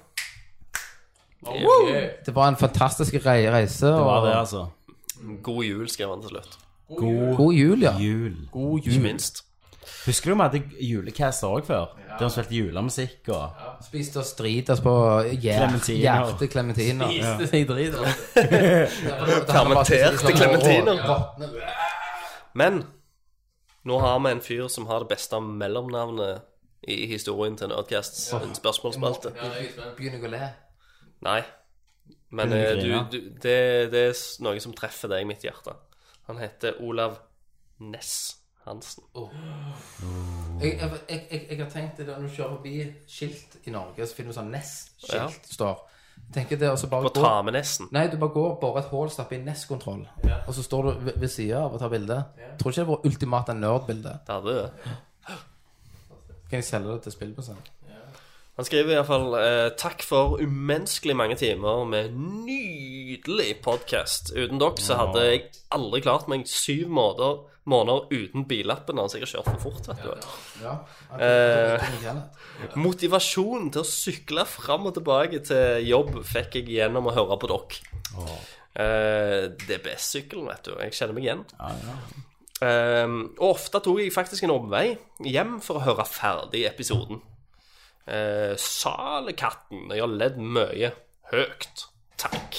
Speaker 7: Woo!
Speaker 6: Det var en fantastisk rei- reise.
Speaker 9: Det var
Speaker 6: Og
Speaker 9: det, altså.
Speaker 8: God jul, skrev han til slutt.
Speaker 9: God
Speaker 6: god jul, ja.
Speaker 9: jul.
Speaker 7: God
Speaker 8: Ikke
Speaker 7: jul.
Speaker 8: minst.
Speaker 9: Husker du vi hadde julecaster òg før? Der vi spilte julemusikk og
Speaker 6: Spiste oss drit oss på hjerte-
Speaker 9: Clementiner.
Speaker 6: hjerte klementiner.
Speaker 7: Spiste seg drit.
Speaker 8: Fermenterte
Speaker 6: liksom
Speaker 8: clementiner.
Speaker 6: klementiner.
Speaker 8: Men nå har vi en fyr som har det beste mellomnavnet i historien til Nerdcasts en spørsmålsspalte.
Speaker 6: Begynner jeg å le?
Speaker 8: Nei. Men
Speaker 9: Kunne du
Speaker 8: eh,
Speaker 9: grine?
Speaker 8: du, du, det, det er s- noe som treffer deg i mitt hjerte. Han heter Olav Ness Hansen.
Speaker 6: Jeg, jeg, jeg, jeg, jeg har tenkt det der når du kjører forbi skilt i Norge, så finner du sånn Ness-skilt
Speaker 8: Ja.
Speaker 6: står. Jeg tenker det, og så bare
Speaker 8: På
Speaker 6: gå-
Speaker 8: Tamenessen.
Speaker 6: Nei, du bare går bare et hull, stapper i NES-kontroll, og så står du ved, ved sida av og tar bilde. Tror ikke det var ultimat en nerd-bilde.
Speaker 8: Det hadde det.
Speaker 6: Kan jeg selge det til spillmuseet?
Speaker 8: Han skriver iallfall eh, 'Takk for umenneskelig mange timer med nydelig podkast'. Uten dere så hadde jeg aldri klart meg syv måneder, måneder uten billappen hans. Jeg har kjørt for fort, vet du.
Speaker 6: Ja.
Speaker 8: Motivasjonen til å sykle fram og tilbake til jobb fikk jeg gjennom å høre på dere. Eh, DBS-sykkelen, vet du. Jeg kjenner meg igjen. Eh, og ofte tok jeg faktisk en omvei hjem for å høre ferdig episoden. Uh, Salekatten. Jeg har ledd mye. Høgt. Takk.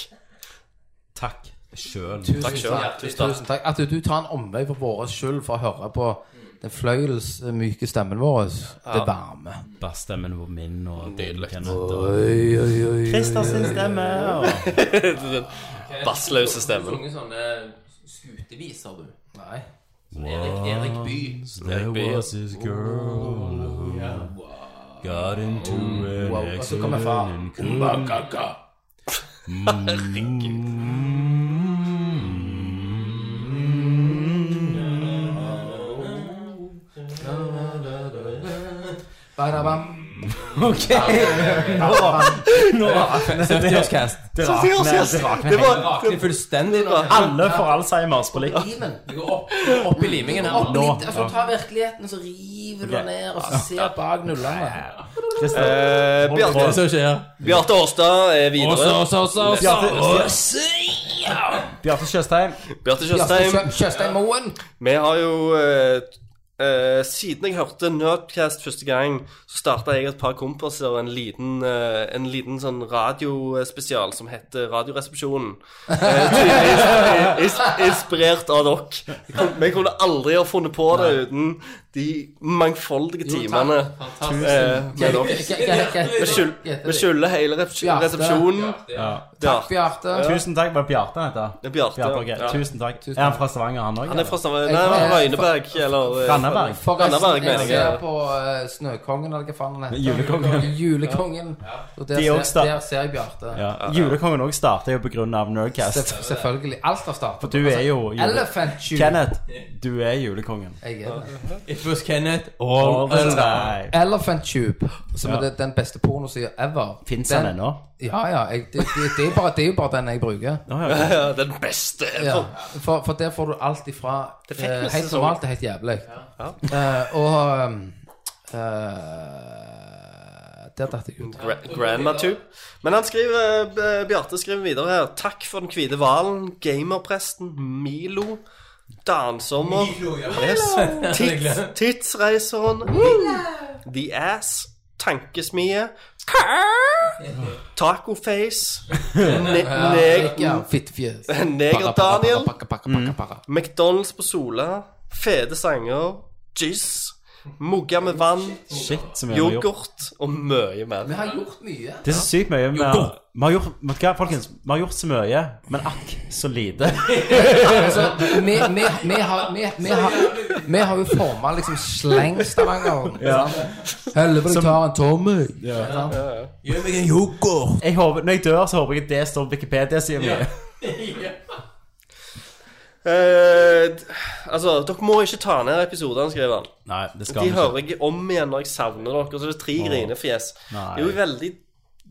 Speaker 9: Takk sjøl.
Speaker 8: Takk
Speaker 6: Tusen
Speaker 8: sjøl.
Speaker 6: takk.
Speaker 8: Tusen takk.
Speaker 6: Tusen takk. At du, du tar en omvei for vår skyld for å høre på den fløyelsmyke stemmen vår. Det varme.
Speaker 9: Bare stemmen vår min og
Speaker 8: Nydelig.
Speaker 9: Kenneth.
Speaker 6: Oi, oi, oi.
Speaker 9: Christer sin stemme. og-
Speaker 8: Den bassløse stemmen.
Speaker 7: Sunget sånne skuteviser, du.
Speaker 6: Nei.
Speaker 7: Erik, Erik By.
Speaker 9: There was this girl
Speaker 1: Got into an
Speaker 6: Wow, og så kommer far.
Speaker 1: accident and couldn't
Speaker 6: Umbakaka. Barabam.
Speaker 9: OK! Nå, nå
Speaker 7: Seriøscast.
Speaker 9: Det rakner. Det rakner. helt.
Speaker 7: Rakner fullstendig nå.
Speaker 9: Alle får Alzheimers på likt.
Speaker 6: Limen.
Speaker 7: Det går opp, opp i limingen her.
Speaker 6: Opp litt, altså Ta virkeligheten, og så river du
Speaker 9: Ok.
Speaker 6: den ned, og så ser bak nullene.
Speaker 8: Eh,
Speaker 7: Det
Speaker 8: Bjarte,
Speaker 7: er det som skjer.
Speaker 8: Bjarte Årstad er
Speaker 7: Også,
Speaker 8: videre.
Speaker 7: også, også,
Speaker 9: Bjarte-
Speaker 7: også.
Speaker 9: Bjarte Tjøstheim.
Speaker 8: Bjarte Tjøstheim.
Speaker 6: Kjø- Kjøstheim Moen.
Speaker 8: Vi har jo eh, eh, Siden jeg hørte Nerdcast første gang, så starta jeg et par kompiser og en liten, eh, en liten sånn radiospesial som heter Radioresepsjonen. Eh, tydelig is- is- Inspirert av dere. Vi kunne- Vi kunne aldri ha funnet på det uten de mangfoldige timene eh, med dere. Vi skyld- vi skylder hele
Speaker 6: Bjarte.
Speaker 8: resepsjon- resepsjonen.
Speaker 6: Takk,
Speaker 8: Bjarte.
Speaker 6: Bjarte.
Speaker 9: Tusen takk. Var det Bjarte han
Speaker 8: Det
Speaker 9: heter?
Speaker 8: er Bjarte,
Speaker 9: Bjarte, ok.
Speaker 8: ja.
Speaker 9: Tusen takk. Er han fra Stavanger, han òg?
Speaker 8: Han er fra Stavanger
Speaker 6: Jeg
Speaker 8: Nei,
Speaker 6: tror-
Speaker 8: han er Røyneberg, eller eh,
Speaker 9: Randaberg.
Speaker 8: Randaberg,
Speaker 6: Forresten,
Speaker 8: mener
Speaker 6: jeg
Speaker 8: jeg.
Speaker 6: ser på eh, Snøkongen, eller hva faen han heter.
Speaker 9: Julekongen.
Speaker 6: Julekongen. Og der,
Speaker 9: De er også
Speaker 6: ser,
Speaker 9: sta-
Speaker 6: der ser jeg Bjarte.
Speaker 9: Ja. Julekongen òg starta jo på grunn av Nerdcast.
Speaker 6: Selv- Selvfølgelig. Alt har startet.
Speaker 9: For du er jo jule-
Speaker 6: Elephant Shoe.
Speaker 9: Kenneth, du er julekongen.
Speaker 6: Jeg er det.
Speaker 7: It was Kenneth
Speaker 9: All
Speaker 7: all
Speaker 9: the
Speaker 7: along.
Speaker 9: time.
Speaker 6: Elephant Tube, som
Speaker 9: Ja.
Speaker 6: er det- den beste pornosida ever.
Speaker 9: Fins han
Speaker 6: Den-
Speaker 9: ennå?
Speaker 6: Ja, ja. Jeg, det, det, det, er bare, det er jo bare den jeg bruker.
Speaker 8: Ja, Den beste.
Speaker 6: Ja. For, for der får du alt ifra
Speaker 8: fikk
Speaker 6: eh,
Speaker 8: vi
Speaker 6: helt
Speaker 8: sesong.
Speaker 6: normalt til helt jævlig. Eh, og um, eh, Der datt jeg ut.
Speaker 8: Gra Grandma Tube. Men han skriver, eh, Bjarte skriver videre her Takk for den hvite hvalen, gamerpresten, Milo, dansommer yes. Tids, Tidsreiseren, The Ass, Tankesmie, Tacoface, ne
Speaker 6: Ja,
Speaker 8: ne
Speaker 6: Fittefjes.
Speaker 8: Neger-Daniel,
Speaker 6: Pakka, pakka, pakka, pakka.
Speaker 8: McDonald's på Sola, fete sanger, jizz, mugger med vann,
Speaker 9: Shit, som vi har gjort.
Speaker 8: yoghurt og mye mer.
Speaker 6: Vi har gjort mye.
Speaker 9: Det er så sykt mye. Vi har, vi har gjort, vet du hva, folkens, vi har gjort så mye, men akk så lite.
Speaker 6: Altså, vi, vi, vi, har, vi, vi, har, vi har jo forma liksom slengstavanger. Ja. Helvete, jeg tar en Tommy. Ja.
Speaker 7: Gjør meg en yoghurt.
Speaker 9: Jeg håper, når jeg dør, så håper jeg at det står på Wikipedia-sida mi.
Speaker 8: Eh, d- altså, dere må ikke ta ned episodene, skrev han.
Speaker 9: Nei, det
Speaker 8: De hører jeg om igjen når jeg savner dere. Så det er tre grinefjes. Det
Speaker 9: Nei.
Speaker 8: er jo veldig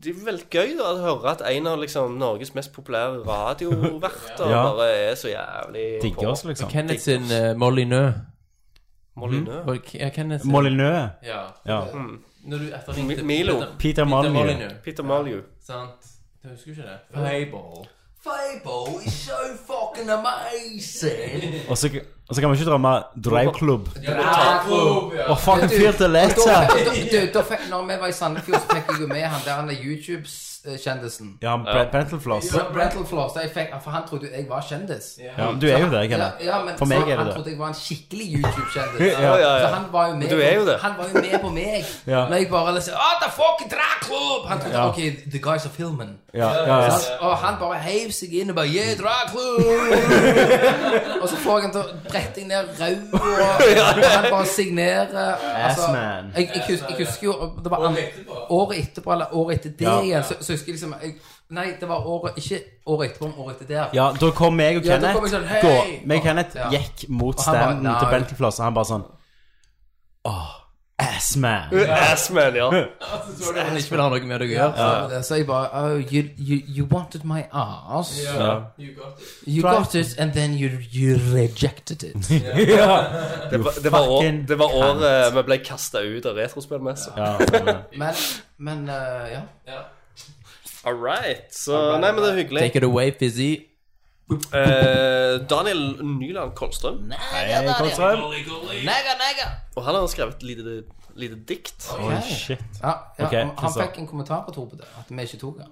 Speaker 8: det er jo veldig gøy da, å høre at en av liksom, Norges mest populære radioverter
Speaker 9: Ja.
Speaker 8: bare er så jævlig
Speaker 9: Digger oss, liksom.
Speaker 7: Kenneth sin eh, Molly Nø.
Speaker 9: Mm.
Speaker 8: Molyneux.
Speaker 7: Var det K- ja, Kenneth sin-
Speaker 9: Molinø.
Speaker 7: Ja.
Speaker 9: Ja.
Speaker 7: Når du etterringte
Speaker 8: Mi- Milo.
Speaker 7: Peter-
Speaker 9: Peter
Speaker 7: Peter
Speaker 9: Molyneux.
Speaker 7: Molyneux.
Speaker 8: Peter Molyu.
Speaker 7: Sant. Du husker ikke det? Fable.
Speaker 6: Fable is so fucking amazing.
Speaker 9: Og så, og så kan vi ikke drømme drivklubb.
Speaker 6: Ja,
Speaker 9: Å, fuck, en fyr til lett
Speaker 6: Da, sånn,
Speaker 9: her.
Speaker 6: da, da, da fikk, når vi var i Sandefjord, så fikk jeg jo med han der han er YouTube-kjendisen.
Speaker 9: Ja, Brent Bentelfloss.
Speaker 6: Brental Floss, da jeg fikk, for han trodde jo jeg var kjendis.
Speaker 9: Ja, du er jo det,
Speaker 6: Ja,
Speaker 9: Kenneth.
Speaker 6: ja, men
Speaker 9: For meg
Speaker 6: så
Speaker 9: er det
Speaker 6: Han
Speaker 9: det.
Speaker 6: trodde jeg var en skikkelig YouTube-kjendis.
Speaker 9: Ja,
Speaker 8: ja, ja.
Speaker 6: Så han var jo med,
Speaker 8: Du er jo det.
Speaker 6: han var jo med på meg.
Speaker 9: Ja.
Speaker 6: Når jeg bare liksom Å, the fucking drag club! Han trodde
Speaker 9: Ja.
Speaker 6: OK, the guys are filming.
Speaker 9: Ja, ja, ja.
Speaker 6: Så- Og han bare heiv seg inn og bare Yeah, drag club! og så får jeg han til å brette jeg ned ræva, og han bare signerer. Altså,
Speaker 9: Assman.
Speaker 6: jeg, jeg, hus, jeg husker jo Det var an, året etterpå, eller året etter det
Speaker 9: Ja.
Speaker 6: igjen, så, så husker jeg liksom jeg, Nei, det var året Ikke året etterpå, men året etter der.
Speaker 9: Ja, da kom jeg og
Speaker 6: Ja, da
Speaker 9: Kenneth,
Speaker 6: kom jeg sånn, hei!
Speaker 9: gå, meg og Kenneth
Speaker 6: Ja.
Speaker 9: gikk mot
Speaker 6: han bare,
Speaker 9: standen
Speaker 6: nei.
Speaker 9: til Bentelfloss, og han bare sånn Åh, assman.
Speaker 8: Assman, ja.
Speaker 7: Så det han ikke ville ha noe med deg å gjøre.
Speaker 6: Så, det- så jeg bare oh, you, you, you wanted my ass. You
Speaker 9: Try-
Speaker 6: got it, and then you, you rejected it.
Speaker 8: Det var, det var, år,
Speaker 9: fucking
Speaker 8: det var året vi ble kasta ut av retrospillmessa.
Speaker 9: Ja, stemmer.
Speaker 6: Men, men eh, ja.
Speaker 8: All right. Så Nei, men det er hyggelig.
Speaker 7: Take it away, Fizzy.
Speaker 8: Eh, Daniel Nyland Kolstrøm.
Speaker 9: Hei, Kolstrøm.
Speaker 8: Og han har skrevet et lite, lite dikt.
Speaker 9: Oi, Oh, shit.
Speaker 6: ja, ja
Speaker 9: Ok,
Speaker 6: han- Han
Speaker 9: Kristian.
Speaker 6: fikk en kommentar på Tor på det, at vi ikke tok den.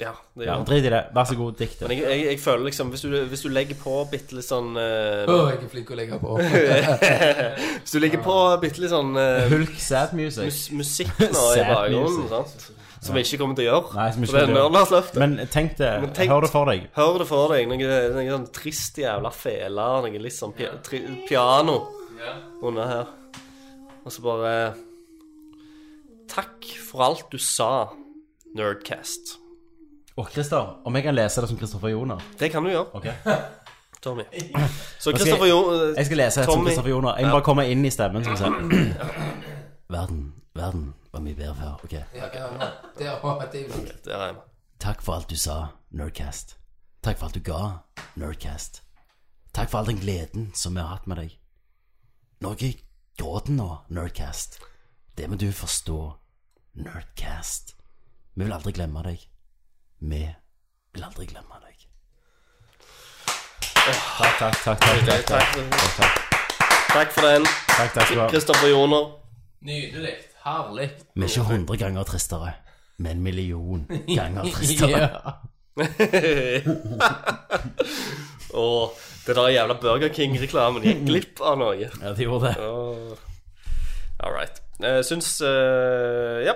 Speaker 8: Ja, det
Speaker 9: Ja,
Speaker 8: gjør han.
Speaker 9: drit i det. Vær så god, diktet.
Speaker 8: Men jeg, jeg, jeg føler liksom Hvis du, hvis du legger på bitte litt sånn eh,
Speaker 6: Åh, jeg er flink å legge på.
Speaker 8: Hvis du legger på bitte litt sånn eh,
Speaker 9: Hulk sad music.
Speaker 8: mus, musikk nå i
Speaker 9: Sad
Speaker 8: bakgrunnen,
Speaker 9: music.
Speaker 8: sant? som vi ikke kommer til å gjøre
Speaker 9: Nei, som vi ikke
Speaker 8: For det
Speaker 9: kommer til
Speaker 8: er
Speaker 9: å gjøre.
Speaker 8: Nørlandsløftet.
Speaker 9: Men tenk det.
Speaker 8: Men tenk-
Speaker 9: Hør det for deg.
Speaker 8: Hør det for deg. Noe, noe sånn trist jævla fele, noe litt sånn pi tri piano under her. Og så bare Takk for alt du sa, Nerdcast.
Speaker 9: Og Christer, om jeg kan lese det som Kristoffer Joner?
Speaker 8: Det kan du gjøre,
Speaker 9: Ok.
Speaker 8: Tommy. Så
Speaker 9: skal jeg-
Speaker 8: Kristoffer Joner
Speaker 9: Jeg skal lese et som
Speaker 8: Tommy.
Speaker 9: Kristoffer Joner. Jeg må bare komme inn i stemmen. Som sagt.
Speaker 1: Verden, verden var mye bedre før. Ok.
Speaker 6: Det er bare- det er-
Speaker 8: Der er jeg.
Speaker 1: Takk for alt du sa, Nerdcast. Takk for alt du ga, Nerdcast. Takk for all den gleden som vi har hatt med deg. Noe i gråten nå, Nerdcast. Det må du forstå, Nerdcast. Vi vil aldri glemme deg. Vi vil aldri glemme deg.
Speaker 9: Takk, takk, takk. takk,
Speaker 8: Ok,
Speaker 9: takk, takk.
Speaker 8: Takk, takk for den,
Speaker 9: takk, takk skal du ha.
Speaker 8: Kristoffer Joner.
Speaker 7: Nydelig. Herlig.
Speaker 1: Vi er ikke hundre ganger tristere, men en million ganger tristere.
Speaker 7: Ja.
Speaker 8: Og det der jævla Burger King-reklamen gikk glipp av noe.
Speaker 1: Ja, de gjorde det.
Speaker 8: Åh. All right. Jeg syns eh, Ja.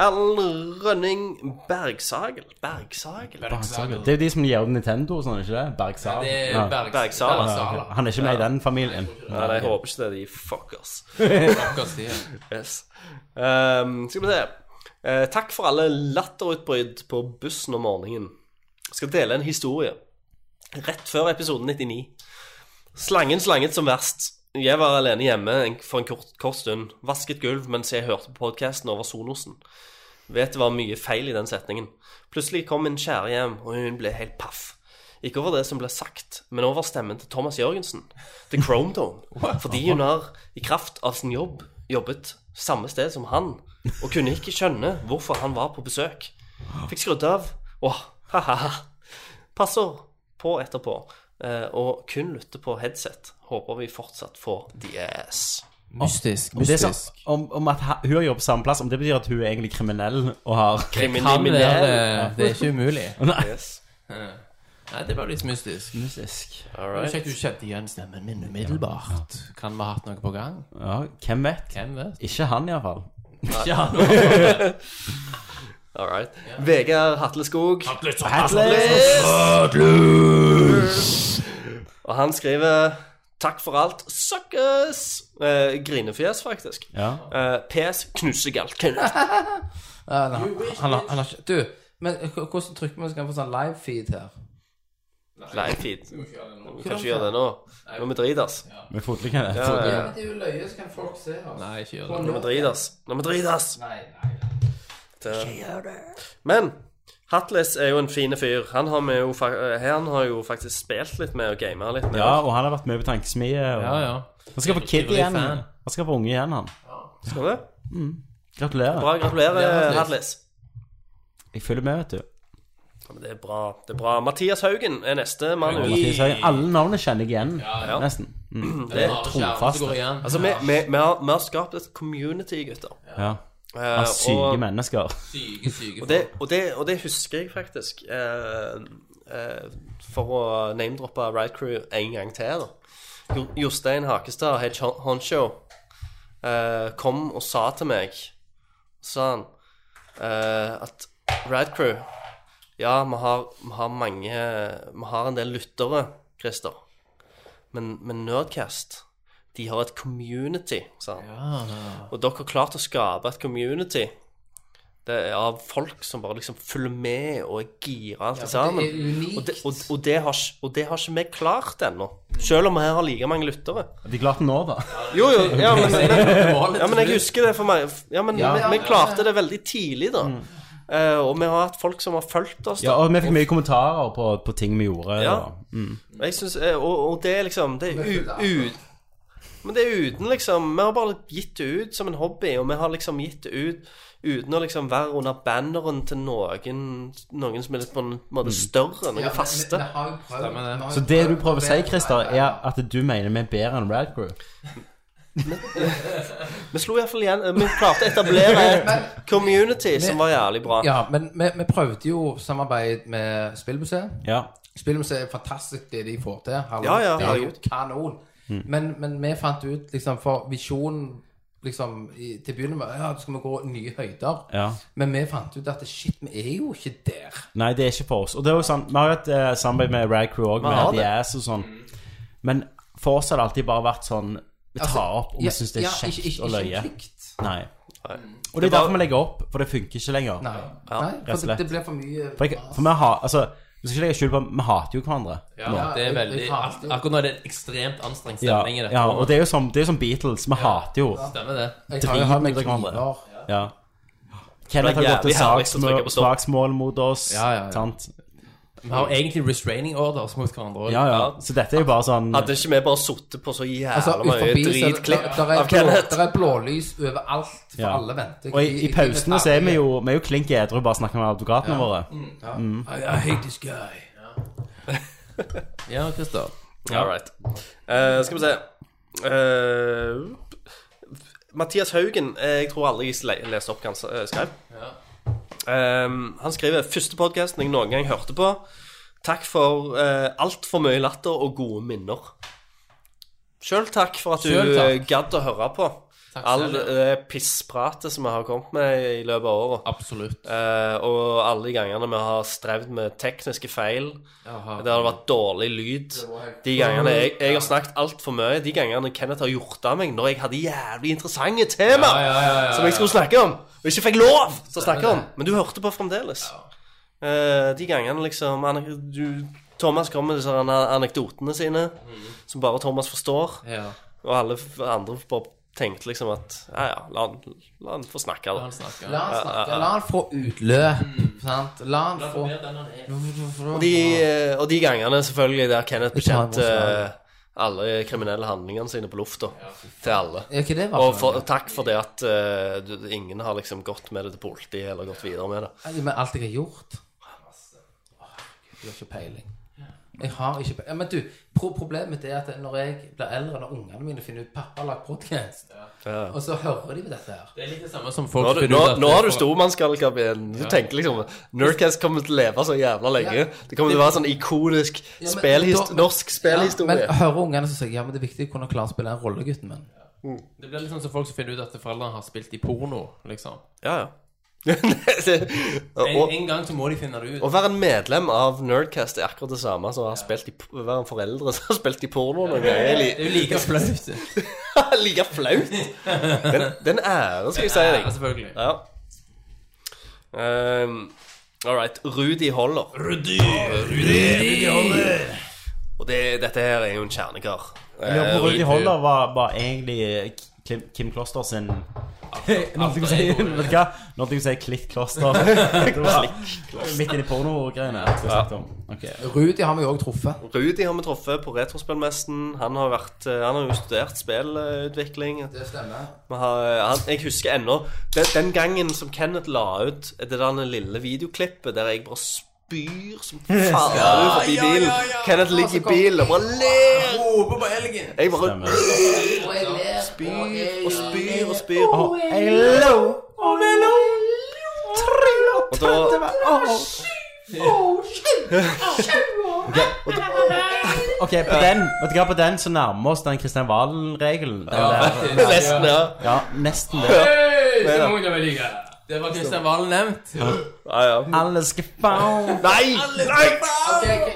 Speaker 8: Erlend Rønning Bergsagel Bergsagel?
Speaker 9: Bergsagel. Det er jo de som gir ut Nintendo og sånn, er det ikke det? Bergsal.
Speaker 6: det er
Speaker 9: Ja.
Speaker 6: Bergs-
Speaker 8: Bergsala.
Speaker 9: Ja, ok. Han er ikke med i den familien.
Speaker 8: Nei, jeg håper ikke det er de fuckers.
Speaker 6: Bergs-
Speaker 8: Yes. Ehm, skal vi se. Eh, takk for alle latterutbrudd på bussen om morgenen. Skal dele en historie. Rett før episode 99. Slangen slanget som verst. Jeg var alene hjemme en, for en kort, kort stund. Vasket gulv mens jeg hørte på podkasten over Sonosen. Vet det var mye feil i den setningen. Plutselig kom min kjære hjem, og hun ble helt paff. Ikke over det som ble sagt, men over stemmen til Thomas Jørgensen. The Chrome Dome. Fordi hun har, i kraft av sin jobb, jobbet samme sted som han, og kunne ikke skjønne hvorfor han var på besøk. Fikk skrudd av. Åh, ha-ha-ha. Passer på etterpå, eh, og kun lytte på headset. Håper vi fortsatt får the ass.
Speaker 7: Mystisk.
Speaker 9: Om, det er
Speaker 7: mystisk.
Speaker 9: så, om, om at ha- hun har jobbet på samme plass, om det betyr at hun er egentlig kriminell og har
Speaker 7: Kan
Speaker 8: Kriminell.
Speaker 7: være Det er ikke umulig.
Speaker 8: Yes.
Speaker 7: Nei, det var litt mystisk.
Speaker 8: All
Speaker 7: Det var
Speaker 8: right.
Speaker 7: Kjekt du kjente igjen stemmen min umiddelbart. Kan vi ha hatt noe på gang?
Speaker 9: Ja, hvem vet?
Speaker 7: Hvem vet?
Speaker 9: Ikke han, iallfall.
Speaker 8: All right. Vegard Hatleskog. Og han skriver Takk for alt, suckers! Eh, grinefjes, faktisk.
Speaker 9: Ja.
Speaker 8: Eh, PS knusegalt. Knut.
Speaker 6: Ja, nei, han, har- han har ikke Du, men h- hvordan trykker man så kan man få sånn live-feed her?
Speaker 8: Nei, fint. Vi kan ikke gjøre det nå. Nå må vi drite oss.
Speaker 9: Med fotlenke.
Speaker 8: Ja, ja, ja.
Speaker 6: Det er jo løye, så kan folk se oss.
Speaker 7: Nei, ikke gjør det.
Speaker 8: Nå må vi drite oss. Nå må vi drite oss.
Speaker 6: Nei, nei.
Speaker 8: eh, Men Hatles er jo en fin fyr. Han har, vi jo, fa- eh, han har jo faktisk spilt litt med og gama litt med.
Speaker 9: ja, og han har vært med på Tankesmie. Og...
Speaker 7: Ja, ja.
Speaker 9: Han skal få kid
Speaker 7: Ivrig
Speaker 9: igjen.
Speaker 7: fan.
Speaker 9: Han skal få unge igjen, han.
Speaker 8: Skal vi?
Speaker 9: Gratulerer.
Speaker 8: Bra. Gratulerer, Hatles.
Speaker 9: Jeg følger med, vet du.
Speaker 8: Ja, men Det er bra. det er bra Mathias Haugen er neste mann ut.
Speaker 9: Mathias Høyen. Alle navnene kjenner jeg igjen,
Speaker 8: ja.
Speaker 9: nesten. Mm.
Speaker 8: Det er
Speaker 7: Kjære som går igjen.
Speaker 8: Altså, vi, vi, vi, har, vi har skapt et community, gutter.
Speaker 9: Ja.
Speaker 8: Eh,
Speaker 9: Av syke
Speaker 8: og-
Speaker 9: mennesker.
Speaker 6: Syke, syke
Speaker 8: Og det, og, det, og det husker jeg faktisk. eh, eh, for å name-droppe Ride Crew en gang til, da. Jo, Jostein Hakestad, Hedge Hon- Honcho, eh, kom og sa til meg Sa han eh, at Ride Crew Ja, vi har, vi har mange Vi har en del lyttere, Christer. Men, men Nerdcast de har et community, sa han. Og dere har klart å skape et community. Det er av folk som bare liksom følger med og er gira alt sammen.
Speaker 6: det er unikt.
Speaker 8: Og det, og, og, det har, ikke- og det har ikke vi klart ennå. Selv om vi her har like mange lyttere.
Speaker 9: De klarte nå, da.
Speaker 8: Jo, jo, ja, men, men, ja, men jeg husker det for meg. Ja, men vi, vi klarte det veldig tidlig, da.
Speaker 9: Mm.
Speaker 8: Eh, og vi har hatt folk som har fulgt oss.
Speaker 9: Ja,
Speaker 8: Da.
Speaker 9: og vi fikk mye kommentarer på, på ting vi gjorde.
Speaker 8: Ja.
Speaker 9: da.
Speaker 8: Og Jeg synes, eh, og, og det er liksom Det er u, u, Men det er uten, liksom Vi har bare gitt det ut som en hobby, og vi har liksom gitt det ut uten å liksom være under banneren til noen Noen som er litt på en måte større, noen faste.
Speaker 9: Så det du prøver å si, Christer, er at du mener vi er bedre enn Rad Crew?
Speaker 8: Vi slo iallfall igjen eh, Vi klarte å etablere et community som var jævlig bra.
Speaker 6: Ja, men vi, vi prøvde jo samarbeid med Spillmuseet.
Speaker 9: Ja.
Speaker 6: Spillmuseet er fantastisk det de får til. Hallo.
Speaker 8: Ja, ja,
Speaker 6: det er jo
Speaker 8: herregud.
Speaker 6: kanon.
Speaker 9: Mm.
Speaker 6: Men, men vi fant ut liksom, For visjonen liksom, i, til å begynne med Ja, skal vi gå nye høyder?
Speaker 9: Ja.
Speaker 6: Men vi fant ut at shit, vi er jo ikke der.
Speaker 9: Nei, det er ikke for oss. Og det er jo sånn, Vi har jo et eh, samarbeid med Rad Crew òg,
Speaker 8: Vi har
Speaker 9: med The
Speaker 8: det.
Speaker 9: Ass og sånn. Men for oss har det alltid bare vært sånn Vi tar opp, og vi
Speaker 6: Altså, Ja,
Speaker 9: syns det er
Speaker 6: ja,
Speaker 9: kjekt
Speaker 6: ikke- ikke-
Speaker 9: å
Speaker 6: ikke
Speaker 9: løye.
Speaker 6: plikt.
Speaker 9: Nei. Og det er derfor vi legger opp, for det funker ikke lenger.
Speaker 6: Nei, Nei
Speaker 9: rett og
Speaker 6: for det,
Speaker 9: slett.
Speaker 6: det blir for mye
Speaker 9: For, jeg, for vi har Altså, du skal ikke legge skjul på Vi hater jo hverandre. nå.
Speaker 14: Det
Speaker 6: Ja,
Speaker 14: er
Speaker 6: jeg- jeg
Speaker 14: veldig,
Speaker 6: hater
Speaker 14: alt,
Speaker 6: det.
Speaker 14: akkurat nå er det en ekstremt anstrengt
Speaker 9: Ja,
Speaker 14: stemning i dette.
Speaker 9: ja, og
Speaker 14: rommet.
Speaker 9: det er jo som, det er jo som Beatles. Vi hater jo
Speaker 14: Stemmer det.
Speaker 6: Jeg har jo hatt meg
Speaker 9: Driter i hverandre.
Speaker 6: kniver.
Speaker 9: Ja. Kenneth har
Speaker 8: Det var
Speaker 9: gått til
Speaker 8: jævlig herlig å trykke
Speaker 9: slagsmål,
Speaker 8: på stopp.
Speaker 9: slagsmål mot oss.
Speaker 6: Ja, ja, ja.
Speaker 9: Sant?
Speaker 14: Vi har egentlig restraining orders mot hverandre òg.
Speaker 9: Ja, ja. Så dette er jo bare sånn
Speaker 8: Hadde ikke vi bare sittet på så jævla
Speaker 6: Altså,
Speaker 8: mye
Speaker 6: utenfor så er det-
Speaker 8: dritklipp
Speaker 6: der- der er
Speaker 8: av
Speaker 6: blå-
Speaker 8: Kenneth?
Speaker 6: Der er blålys overalt, for
Speaker 9: Ja.
Speaker 6: alle venter.
Speaker 9: Og i, i pausene så er vi jo Vi er jo klink edru og bare snakker med advokatene våre.
Speaker 14: I, I hate this guy. Ja, Christer.
Speaker 8: All right. Eh, skal vi se Eh, Mathias Haugen, eh, jeg tror aldri jeg le- leste opp hva han s- eh, skrev. Ehm, han skriver første podkasten jeg noen gang hørte på. Takk for uh, altfor mye latter og gode minner. Sjøl takk for at du
Speaker 14: Selv takk.
Speaker 8: eh, gadd å høre på. All
Speaker 14: selv, ja.
Speaker 8: det pisspratet som vi har kommet med i løpet av året.
Speaker 14: Absolutt.
Speaker 8: Eh, og alle de gangene vi har strevd med tekniske feil.
Speaker 14: Jaha.
Speaker 8: Det har vært dårlig lyd. De gangene jeg, jeg har snakket altfor mye. De gangene Kenneth har gjort av meg når jeg hadde jævlig interessante tema
Speaker 14: Ja, ja, ja, ja,
Speaker 8: som jeg skulle snakke om, og ikke fikk lov til å snakke om. Men du hørte på fremdeles. Eh, de gangene liksom ane- du, Thomas kommer med disse ane- anekdotene sine som bare Thomas forstår,
Speaker 14: Mm. Ja.
Speaker 8: og alle f- andre bare tenkte liksom at ja, ja, la han, la han få snakke, da.
Speaker 14: Han snakker.
Speaker 6: La han snakke, la han få utløp. Sant? La han få
Speaker 8: Og de, eh, og de gangene selvfølgelig der Kenneth
Speaker 6: Jeg tar en
Speaker 8: bekjente
Speaker 6: voldsom.
Speaker 8: eh, alle kriminelle handlingene sine på lufta til alle.
Speaker 6: Er ikke det var
Speaker 8: Og for, takk for det at eh, du, ingen har liksom gått med det til politiet eller gått videre med det.
Speaker 6: Men alt jeg har gjort Åh, Gud, Du har ikke peiling. Jeg har ikke peiling. Men du, pro problemet mitt er at når jeg blir eldre, når ungene mine finner ut 'pappa har lagt podkast', og så hører de på dette her
Speaker 14: Det er litt det samme som folk
Speaker 8: Nå, har du-
Speaker 14: finner
Speaker 8: nå,
Speaker 14: ut at-
Speaker 8: nå har du stormannsgalskapen. Du tenker liksom Nerdcast kommer til å leve så jævla lenge. Det kommer til å være sånn ikonisk
Speaker 6: Ja, men
Speaker 8: spelhist-
Speaker 6: da-
Speaker 8: norsk spelhistorie.
Speaker 6: Ja, men hører ungene som sier 'ja, men det er viktig å kunne klare å spille en rolle, gutten min'.
Speaker 14: Det blir litt sånn som folk som finner ut at foreldrene har spilt i porno, liksom.
Speaker 8: Ja, ja. Det-
Speaker 14: En,
Speaker 8: og,
Speaker 14: en gang så må de finne det ut.
Speaker 8: å være en medlem av Nerdcast er akkurat det samme som å ha spilt i, å være en foreldre som har spilt i porno noen ganger.
Speaker 14: Det er jo like flaut.
Speaker 8: like flaut. Den, den æren skal jeg si
Speaker 14: Ja,
Speaker 8: deg.
Speaker 14: selvfølgelig.
Speaker 8: Ja. Um, all right. Rudi Holler. Rudi, Holler. Og det, dette her er jo en kjernekar.
Speaker 9: Jeg lurer på
Speaker 8: Eh,
Speaker 9: Rudi Holler var, var egentlig eh, Kim, Kim Kloster sin Når du sier Vet du hva? Når du sier Klikk Kloster Det var Midt inni porno-greiene. skal vi snakke om. Ok.
Speaker 6: Rudi har vi jo òg truffet.
Speaker 8: Rudi har vi truffet på Retrospillmessen. Han har, vært, eh, han har jo studert spillutvikling.
Speaker 6: Det stemmer.
Speaker 8: Vi har, eh, han, jeg husker ennå den, den gangen som Kenneth la ut det der den lille videoklippet der jeg bare spyr som faen ut forbi bilen. Kenneth ligger i bilen og bare ler. Jeg bare spyr og spyr og spyr.
Speaker 9: Å, Hello! Oh, hello!
Speaker 8: Og da,
Speaker 9: Ok, på den, vet du hva, på den så nærmer vi oss den Kristian Valen-regelen. Den der-
Speaker 8: nesten, ja.
Speaker 9: Ja, nesten det.
Speaker 14: Det var Kristian Valen nevnt.
Speaker 8: ja, ja.
Speaker 9: Alle skal faen
Speaker 8: Nei!
Speaker 6: Nei!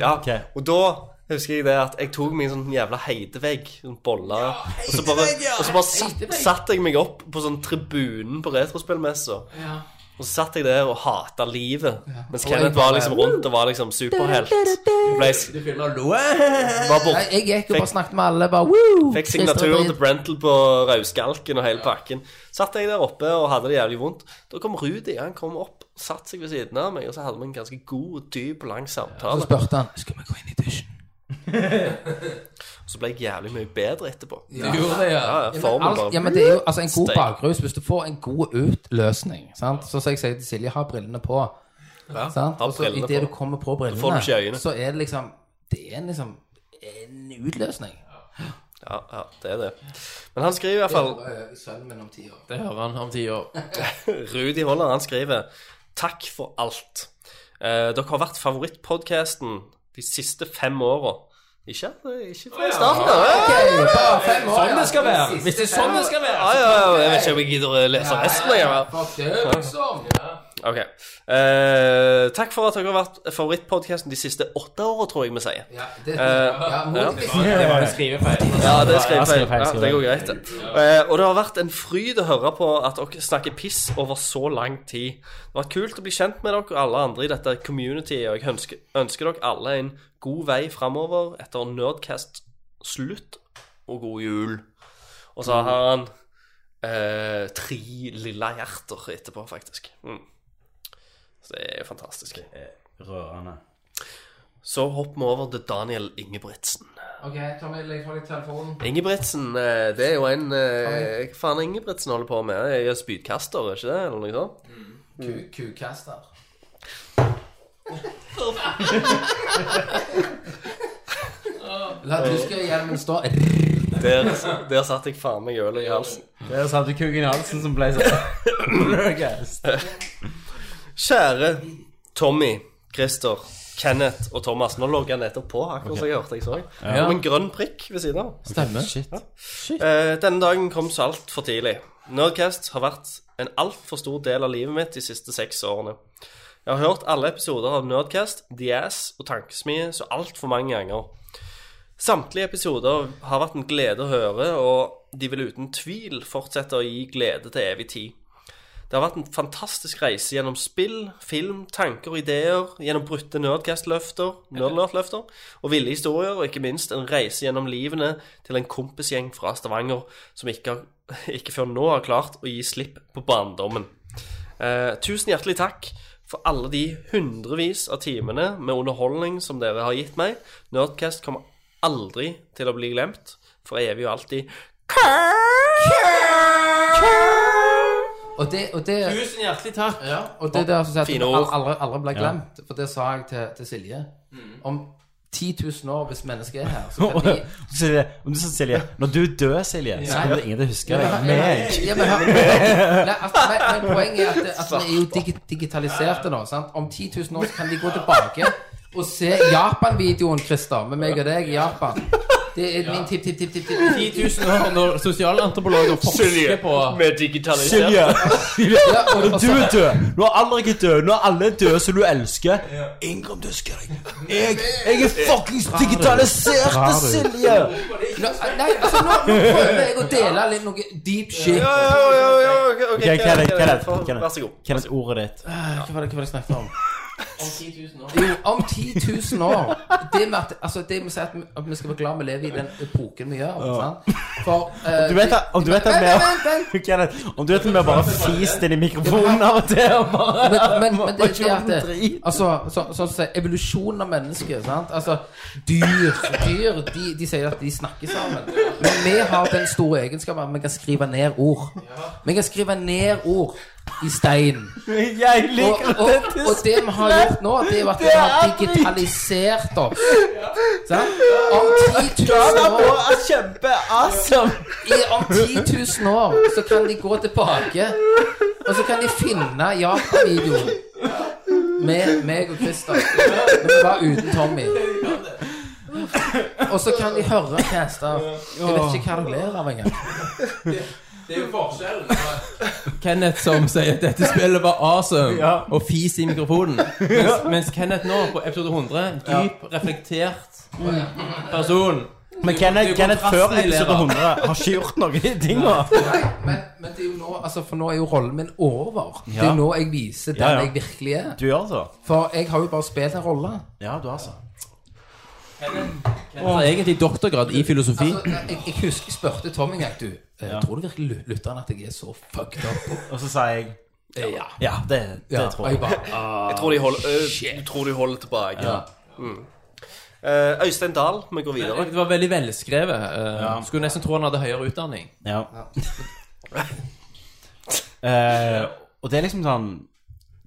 Speaker 8: Ja,
Speaker 9: Ok.
Speaker 8: og da husker jeg det at jeg tok meg en sånn jævla heidevegg, sånn bolle, og så bare, og så bare satt, satt jeg meg opp på sånn tribunen på retrospillmessa. Og så satt jeg der og hata livet, mens Kenneth var liksom rundt og var liksom superhelt. Ble,
Speaker 14: Du filmer lo.
Speaker 8: var bort,
Speaker 6: Jeg gikk jo bare og snakket med alle. Bare, woo!
Speaker 8: fikk signaturen til Brentel på Rauskalken og hele pakken. Satt jeg der oppe og hadde det jævlig vondt. Da kom Rudi, han kom opp, satt seg ved siden av meg, og så hadde vi en ganske god, dyp, lang
Speaker 6: Så
Speaker 8: samtale.
Speaker 6: spurte han Skal vi gå inn i dusjen.
Speaker 8: Og så ble jeg jævlig mye bedre etterpå.
Speaker 14: Du gjorde det, ja.
Speaker 8: Ja, ja, formen
Speaker 6: Alt,
Speaker 8: bare
Speaker 6: ja, men det er jo altså, en god
Speaker 8: Steak.
Speaker 6: bakrus hvis du får en god utløsning. Sant? Så som jeg sier til Silje, ha brillene på. Sant?
Speaker 8: ha
Speaker 6: Og så
Speaker 8: brillene
Speaker 6: idet
Speaker 8: på.
Speaker 6: du kommer på
Speaker 8: får du ikke i
Speaker 6: brillene,
Speaker 8: øynene.
Speaker 6: så er det liksom Det er en, liksom en utløsning.
Speaker 8: Ja, ja, det er det. Men han skriver i hvert fall
Speaker 6: Sønnen min om ti år.
Speaker 14: Det hører han om ti år.
Speaker 8: Rudi Holler, han skriver Takk for alt. Eh, dere har vært favorittpodkasten de siste fem åra. Ikke, ikke fra starten av. eh? Ja,
Speaker 6: Sånn det skal være.
Speaker 14: Hvis det er sånn det skal være.
Speaker 8: ja, ja, jeg vet ikke om jeg gidder å lese resten. Jeg.
Speaker 6: Fuck, det er liksom.
Speaker 8: OK. Eh, takk for at dere har vært favorittpodkasten de siste åtte åra, tror jeg vi sier.
Speaker 6: Ja, det-
Speaker 8: Eh,
Speaker 6: ja, må- Det var jo skrivefeil.
Speaker 8: Ja, det
Speaker 6: Ja,
Speaker 8: er skrivefeil.
Speaker 6: skrivefeil,
Speaker 8: Ja, det går
Speaker 6: skrivefeil.
Speaker 8: greit, det. Eh, og det har vært en fryd å høre på at dere snakker piss over så lang tid. Det har vært kult å bli kjent med dere og alle andre i dette communityet, og jeg ønsker, ønsker dere alle en god vei framover etter Nerdcast slutt, og god jul. Og så har han eh, tre lilla hjerter etterpå, faktisk. Mm. Så det er jo fantastisk.
Speaker 9: Rørende.
Speaker 8: Så hopper vi over til Daniel Ingebrigtsen.
Speaker 6: OK, Tommy, legg fra deg telefonen.
Speaker 8: Ingebrigtsen, eh, det er jo en eh, Hva faen er Ingebrigtsen holder på med? Jeg er spydkaster, er ikke det? Eller noe sånt? Mm.
Speaker 6: Ku- Kukaster. La tysker hjelmen stå.
Speaker 8: Der, der satt jeg faen meg øl i halsen.
Speaker 15: Der satt du kuken i halsen som ble sånn.
Speaker 8: Kjære Tommy, Christer, Kenneth og Thomas. Nå logger jeg nettopp på, akkurat som jeg hørte jeg så.
Speaker 7: Ja.
Speaker 8: Om en grønn prikk ved siden av.
Speaker 7: Stemmer. Shit.
Speaker 8: Eh, denne dagen kom så altfor tidlig. Nerdcast har vært en altfor stor del av livet mitt de siste seks årene. Jeg har hørt alle episoder av Nerdcast, The Ass og Tankesmie så altfor mange ganger. Samtlige episoder har vært en glede å høre, og de vil uten tvil fortsette å gi glede til evig tid. Det har vært en fantastisk reise gjennom spill, film, tanker og ideer, gjennom brutte Nerdcast-løfter, Nerdlert-løfter, og ville historier, og ikke minst en reise gjennom livene til en kompisgjeng fra Stavanger som ikke, har, ikke før nå har klart å gi slipp på barndommen. Eh, tusen hjertelig takk for alle de hundrevis av timene med underholdning som dere har gitt meg. Nerdcast kommer aldri til å bli glemt, for evig og alltid.
Speaker 6: Og det, og det
Speaker 7: Tusen hjertelig takk.
Speaker 6: Ja, og det der som sier at
Speaker 8: Fine
Speaker 6: det
Speaker 8: ord.
Speaker 6: aldri, aldri ble
Speaker 8: Ja.
Speaker 6: glemt, for det sa jeg til, til Silje. Om 10 000 år, hvis mennesket er her, så
Speaker 9: Og-
Speaker 6: kan de
Speaker 9: Silje, om du sa Silje Når du dør, Silje, så
Speaker 6: Ja.
Speaker 9: kommer ingen til å huske
Speaker 6: Ja,
Speaker 9: deg.
Speaker 6: men-
Speaker 9: Meg.
Speaker 6: Ja, men, hør- Nei, altså, men, men poenget er at, at vi er jo digi digitaliserte nå. Sant? Om 10 000 år så kan de gå tilbake og se Japan-videoen, Christer, med meg og deg i Japan. Det er min tipp, tipp, tipp. tipp, tipp.
Speaker 7: 10 000 år når sosialantropologer
Speaker 6: Silje,
Speaker 7: forsker på
Speaker 8: Med digitalisert
Speaker 9: Silje, Silje,
Speaker 6: Ja, og-
Speaker 9: når
Speaker 6: og
Speaker 9: du
Speaker 6: så-
Speaker 9: er død, når alle ikke er døde, når alle er døde som du elsker Ingen kommer til å huske deg. Jeg, jeg er fuckings digitaliserte, Silje!
Speaker 6: Nå, nei, altså, nå, nå prøver jeg å dele litt noe deep shit.
Speaker 8: Ja, ja, ja, ja, ja, ok, ok,
Speaker 9: Ok, Kenneth, Kenneth,
Speaker 8: for-
Speaker 9: Kenneth.
Speaker 8: Vær så god.
Speaker 9: Kenneth, ordet ditt.
Speaker 6: Eh, Hva var det, hva var det jeg snakket om? Jo, om 10 000 år. Det med at, altså, det med å si at, vi, at vi skal være glad vi lever i den epoken vi gjør.
Speaker 9: Ja.
Speaker 6: Sant? For, eh,
Speaker 9: Om du vet at, om du vet at
Speaker 6: Vent, vent, vent!
Speaker 9: vi Kenneth, Om du vet at vi bare fiste inn i mikrofonen av og til og bare
Speaker 6: men, men, men det, det
Speaker 9: bare
Speaker 6: at det, altså, så, sånn som sier, evolusjonen av mennesket sant? Altså, dyr, dyr de, de sier at de snakker sammen. Men vi har den store egenskapen at vi kan skrive ned ord. Vi kan skrive ned ord i stein.
Speaker 9: Jeg
Speaker 6: Og,
Speaker 9: liker
Speaker 6: og,
Speaker 9: dette
Speaker 6: og det vi har gjort nå, det er jo at vi har digitalisert oss. Sant? Om 10 000 år altså.
Speaker 9: Kjempeawesome!
Speaker 6: i, om 10 000 år så kan de gå tilbake, og så kan de finne Japan-videoen med meg og Christer. Men vi var uten Tommy. Og så kan de høre caster. Jeg vet ikke hva det ler av engang.
Speaker 14: Det er jo forskjellen.
Speaker 7: Kenneth som sier at dette spillet var awesome,
Speaker 14: Ja.
Speaker 7: og fis i mikrofonen. Mens, mens Kenneth nå, på episode 100, dyp, reflektert person.
Speaker 9: Men Kenneth, Kenneth før episode 100 har ikke gjort noe i de tinga.
Speaker 6: Men det er jo nå, altså, for nå er jo rollen min over. Det
Speaker 9: Ja.
Speaker 6: er nå jeg viser den
Speaker 9: Ja, ja.
Speaker 6: jeg virkelig er.
Speaker 9: Du gjør så.
Speaker 6: For jeg har jo bare spilt en rolle.
Speaker 9: Ja, du har så.
Speaker 7: Og altså egentlig doktorgrad i filosofi.
Speaker 6: Altså, jeg, jeg husker jeg spurte Tom en gang Du, eh, tror du virkelig lyt- lytterne at jeg er så fucked up?
Speaker 9: Og så sa jeg
Speaker 6: Ja.
Speaker 9: Ja, det, det
Speaker 6: Ja,
Speaker 9: tror
Speaker 6: og
Speaker 9: jeg.
Speaker 6: jeg bare,
Speaker 8: Jeg tror de holder, øh, du tror de holder tilbake.
Speaker 9: Ah, Ja.
Speaker 8: Mm. Eh, Øystein Dahl, vi går videre.
Speaker 7: Det var veldig velskrevet. eh, Skulle nesten tro han hadde høyere utdanning.
Speaker 9: Ja. Eh, og det er liksom sånn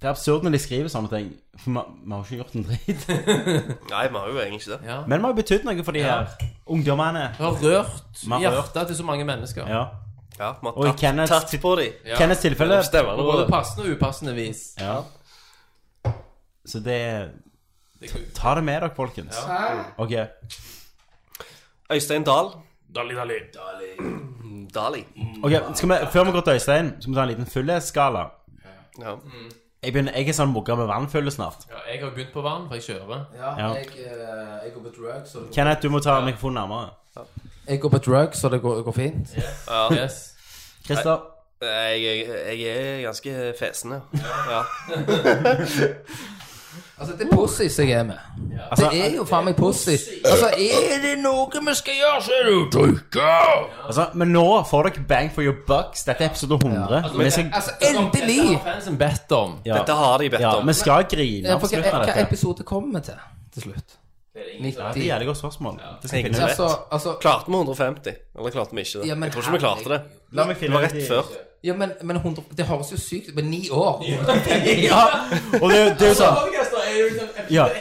Speaker 9: Det er absurd når de skriver sånne ting, for vi vi har jo ikke gjort en dritt.
Speaker 8: Nei, vi har jo egentlig ikke det.
Speaker 9: Men vi har betydd noe for de her ungdommene.
Speaker 7: Du har rørt
Speaker 9: Vi har rørt.
Speaker 7: hjertet til så mange mennesker.
Speaker 9: Ja.
Speaker 8: Ja, vi har
Speaker 9: Og i
Speaker 8: tatt-
Speaker 9: Kenneths-
Speaker 8: tatt på dem.
Speaker 9: Ja. Kenneths tilfelle-
Speaker 8: Stemmer
Speaker 7: På
Speaker 8: det.
Speaker 7: både passende og upassende vis.
Speaker 9: ja. Så det Ta det med dere, folkens. Ok.
Speaker 8: Øystein Dahl.
Speaker 14: Dali, dali.
Speaker 8: Dali.
Speaker 9: Ok, skal vi, Før vi går til Øystein, skal vi ta en liten fullhetsskala.
Speaker 8: Ja.
Speaker 9: Jeg, begynner, jeg er sånn mugga med vannfulle snart.
Speaker 14: Ja, jeg har begynt på vann, for jeg kjører.
Speaker 6: Ja,
Speaker 9: Ja.
Speaker 6: Jeg, eh, jeg går på drugs. og det går-
Speaker 9: Kenneth, du må ta mikrofonen nærmere.
Speaker 6: Jeg går på drugs, så det går, går fint.
Speaker 8: Ja.
Speaker 6: Yes. Christer?
Speaker 8: Nei, Jeg, jeg, jeg er ganske fesen, ja.
Speaker 6: Altså, det er pussies jeg er med. det er jo faen meg pussies. Altså, er det noe vi skal gjøre, så er det jo
Speaker 9: Altså, men nå får dere bang for your bucks. Dette er episode 100. Men jeg skal,
Speaker 6: Altså, endelig!
Speaker 14: Fansen bedt om.
Speaker 9: Ja.
Speaker 8: Dette har de bedt
Speaker 9: Ja,
Speaker 8: om.
Speaker 9: Vi skal grine
Speaker 6: Ja,
Speaker 9: av
Speaker 6: for hva,
Speaker 9: slutten av
Speaker 6: hva
Speaker 9: dette.
Speaker 6: episode kommer vi til til slutt? Altså,
Speaker 9: Det er et jævlig godt spørsmål. Det skal jeg
Speaker 8: Ingen
Speaker 9: finne
Speaker 8: vet.
Speaker 9: ut.
Speaker 8: klarte vi 150? Eller klarte vi ikke det?
Speaker 6: Ja, men
Speaker 8: jeg tror ikke vi klarte det.
Speaker 9: La meg finne
Speaker 8: det var
Speaker 9: ut
Speaker 8: rett
Speaker 9: i-
Speaker 8: før.
Speaker 6: Ja, men, men 100, det høres jo sykt ut. Men ni år?
Speaker 9: Ja, og det, er jo- det er jo sånn
Speaker 8: liksom
Speaker 9: Ja.
Speaker 6: sånn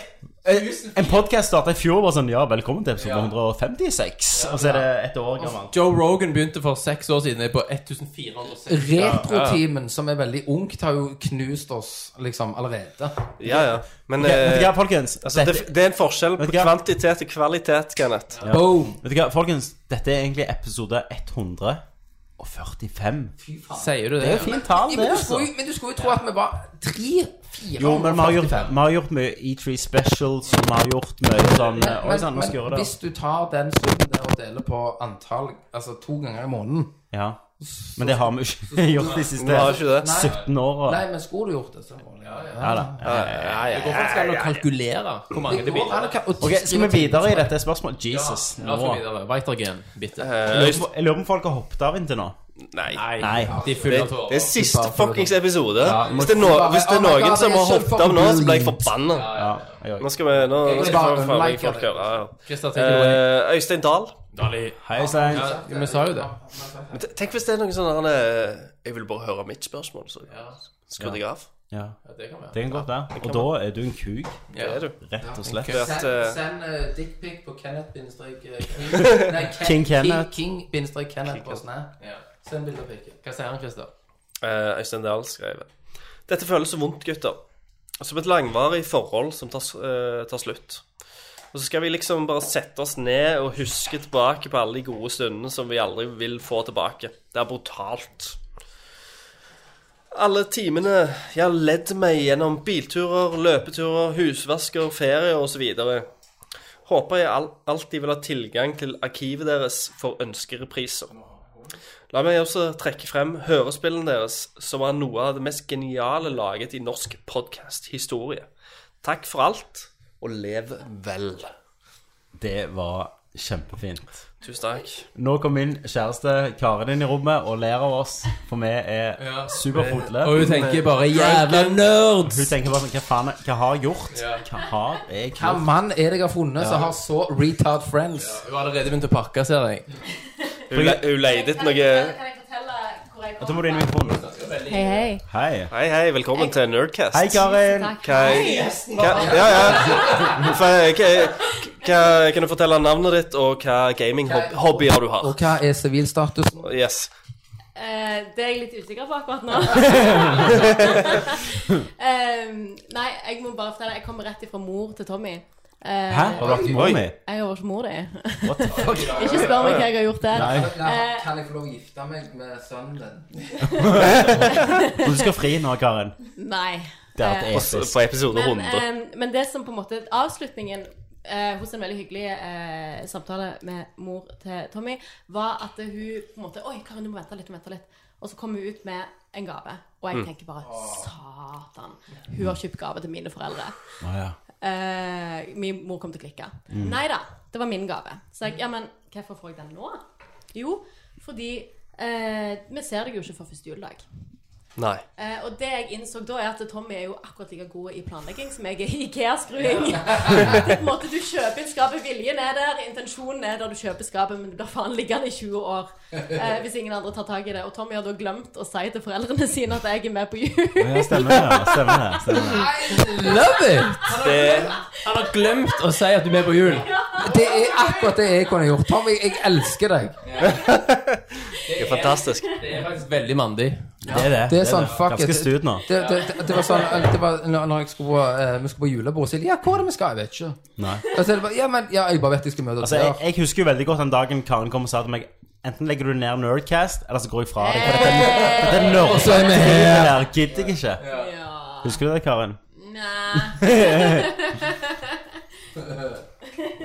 Speaker 9: En podkast starta i fjor var sånn Ja, velkommen til episode 156. Og så er det et år gammel.
Speaker 14: Joe Rogan begynte for seks år siden. Er på 1460.
Speaker 6: Retroteamen, som er veldig ungt, har jo knust oss liksom allerede.
Speaker 8: Ja, ja. Men
Speaker 9: Ok, vet du hva,
Speaker 8: eh,
Speaker 9: folkens?
Speaker 8: altså, det,
Speaker 9: Dette-
Speaker 8: det er en forskjell på
Speaker 9: Vet du hva?
Speaker 8: kvantitet og kvalitet, Kenneth.
Speaker 9: Ja. Vet du hva, folkens? Dette er egentlig episode 145.
Speaker 14: Sier du det?
Speaker 9: Det er jo fint tall, det,
Speaker 6: Men du
Speaker 9: altså.
Speaker 6: skulle jo- Men du skulle jo tro at vi var tre-fire
Speaker 9: Jo, men vi har gjort, vi har gjort mye E3 Specials, og vi har gjort mye sånn
Speaker 6: Men,
Speaker 9: Oi sann, vi skal gjøre
Speaker 6: men
Speaker 9: det.
Speaker 6: hvis du tar den summen der og deler på antall Altså to ganger i måneden
Speaker 9: Ja. Men det har vi jo ikke gjort de siste
Speaker 6: Vi har ikke det.
Speaker 9: 17 åra.
Speaker 6: Nei, men skulle du gjort det, så var det
Speaker 9: Ja da. Ja, ja, ja,
Speaker 14: Hvorfor skal du kalkulere hvor mange det
Speaker 6: Det går an å
Speaker 14: blir?
Speaker 6: ka- å
Speaker 9: Ok, Skal vi
Speaker 6: skrive
Speaker 9: videre i
Speaker 6: ting.
Speaker 9: dette spørsmålet? Jesus.
Speaker 14: La oss gå
Speaker 9: nå.
Speaker 14: videre. Weitergen, bitte.
Speaker 11: Eh.
Speaker 9: Jeg lurer på- jeg lurer på om folk har hoppet av inntil nå.
Speaker 8: Nei.
Speaker 9: Nei.
Speaker 14: De er fulle
Speaker 8: Det,
Speaker 14: av tårer.
Speaker 8: det er siste fuckings episode.
Speaker 9: vi må
Speaker 8: Hvis det er, no,
Speaker 9: bare-
Speaker 8: hvis det
Speaker 9: Oh
Speaker 8: er
Speaker 9: my
Speaker 8: noen
Speaker 9: God,
Speaker 8: som
Speaker 9: jeg er så
Speaker 8: har hoppet av nå, så blir jeg
Speaker 9: forbannet.
Speaker 8: forbanna.
Speaker 9: ja, ja.
Speaker 8: Nå skal vi nå, nå
Speaker 14: Jeg
Speaker 8: skal vi
Speaker 14: bare
Speaker 8: få
Speaker 14: liker
Speaker 8: folk høre. Ja,
Speaker 14: Christer,
Speaker 8: ja.
Speaker 14: take it away.
Speaker 8: Eh, Øystein Dahl.
Speaker 14: Dali.
Speaker 9: Hei, Stein.
Speaker 14: Ja, vi sa jo det.
Speaker 8: Men te- Tenk hvis det er noen sånne eh, Jeg vil bare høre mitt spørsmål, så skrur jeg av.
Speaker 9: Ja.
Speaker 14: Det kan være.
Speaker 9: Det kan godt være.
Speaker 8: Det
Speaker 9: Og
Speaker 8: kan
Speaker 9: da er du en kuk.
Speaker 8: Det er du.
Speaker 9: Rett og slett.
Speaker 8: Ok. at, eh,
Speaker 6: Send, send eh, dickpic på Kenneth bindstrek eh, King- Nei, Ken-
Speaker 9: King Kenneth.
Speaker 6: King bindstrek Kenneth på Snap. Send bilde av pikken.
Speaker 14: Hva sier han, Christer?
Speaker 8: Eh, Øystein Dahl skrev Dette føles så vondt, gutter. Som et langvarig forhold som tar, s- eh, tar slutt. Og så skal vi liksom bare sette oss ned og huske tilbake på alle de gode stundene som vi aldri vil få tilbake. Det er brutalt. Alle timene jeg har ledd meg gjennom bilturer, løpeturer, husvasker, ferie osv. Håper jeg al alltid vil ha tilgang til arkivet deres for ønskerepriser. La meg også trekke frem hørespillene deres, som er noe av det mest geniale laget i norsk podcast-historie. Takk for alt, og lev vel.
Speaker 9: Det var kjempefint.
Speaker 8: Tusen takk.
Speaker 9: Nå kom min kjæreste Karen inn i rommet og ler av oss, for vi er superfodle.
Speaker 14: Og hun tenker bare 'jævla nerds'!
Speaker 9: Hun tenker bare sånn Hva faen er- Hva har jeg gjort? Hva har jeg
Speaker 6: Hva
Speaker 9: gjort?
Speaker 6: mann er det jeg har funnet som har så retard friends?
Speaker 14: Hun har allerede begynt å pakke, ser jeg.
Speaker 8: Hun, le hun leide etter noe
Speaker 11: Kan jeg fortelle hvor jeg
Speaker 9: Da må
Speaker 11: kom
Speaker 9: du inn i mikrofonen.
Speaker 11: Hei, hei.
Speaker 9: Hei.
Speaker 8: Hei, hei, velkommen til Nerdcast.
Speaker 9: Hei, Karin.
Speaker 11: Takk.
Speaker 8: Hei. Hva, ja, ja. Fa- hva- hva- Kan du fortelle navnet ditt, og hva gaming-hobbyer du har?
Speaker 6: Og hva er sivilstatusen?
Speaker 8: Yes.
Speaker 11: Eh, det er jeg litt usikker på akkurat nå. Em, Ehm, nei, jeg må bare fortelle Jeg kommer rett ifra mor til Tommy. Eh,
Speaker 9: Hæ? Har du vært mor mi?
Speaker 11: Jeg har vært mor di.
Speaker 9: What the fuck?
Speaker 11: Ikke spør meg hva jeg har gjort der.
Speaker 9: Nei.
Speaker 11: Eh,
Speaker 6: Kan jeg få lov å gifte meg med sønnen din?
Speaker 9: Du skal fri nå, Karen.
Speaker 11: nei.
Speaker 9: Det er et
Speaker 11: Eh,
Speaker 9: episk.
Speaker 8: På episode
Speaker 11: men,
Speaker 8: 100.
Speaker 11: em, men det som på en måte avslutningen eh, hos en veldig hyggelig eh, samtale med mor til Tommy, var at hun på en måte Oi, Karin, du må vente litt, du må vente litt. Og så kom hun ut med en gave. Og jeg tenker bare Satan. Hun har kjøpt gave til mine foreldre.
Speaker 9: Å, ja. Mm.
Speaker 11: Eh, min mor kom til å klikke. Nei da, det var min gave. Så jeg, ja, men hvorfor får jeg den nå? Jo, fordi eh, vi ser deg jo ikke før første juledag.
Speaker 8: Nei.
Speaker 11: Eh, og det jeg innså da, er at Tommy er jo akkurat like god i planlegging som jeg er i IKEA-skruing. Det er på en måte Du kjøper inn skapet, viljen er der, intensjonen er der du kjøper skapet, men det blir faen liggende i 20 år eh, hvis ingen andre tar tak i det. Og Tommy har da glemt å si til foreldrene sine at jeg er med på jul.
Speaker 9: Ja, stemmer det. ja. Stemmer det. Stemmer det.
Speaker 6: Love it!
Speaker 8: Det,
Speaker 14: Han har glemt å si at du er med på jul.
Speaker 6: Det er akkurat det jeg kunne gjort. Tommy, jeg elsker deg.
Speaker 8: det er fantastisk.
Speaker 14: Det er faktisk veldig mandig.
Speaker 9: Det er det.
Speaker 6: Det er sånn, fuck it.
Speaker 9: Ganske stut nå.
Speaker 6: Det, det, det, det var sånn det var, når- Når jeg skulle på, eh, vi skulle på julebord, så jeg, ja, hvor er det vi skal? Jeg vet ikke.
Speaker 9: Nei.
Speaker 6: Og så er det bare, ja, men, ja, jeg bare vet jeg skal møte
Speaker 9: Altså,
Speaker 6: dere.
Speaker 9: jeg, jeg husker jo veldig godt den dagen Karen kom og sa til meg Enten legger du ned Nerdcast, eller så går jeg fra deg. For dette, dette er
Speaker 6: Og så er vi
Speaker 9: nerdcast. Gidder jeg ikke.
Speaker 11: Eh, Ja.
Speaker 9: Husker du det, Karin?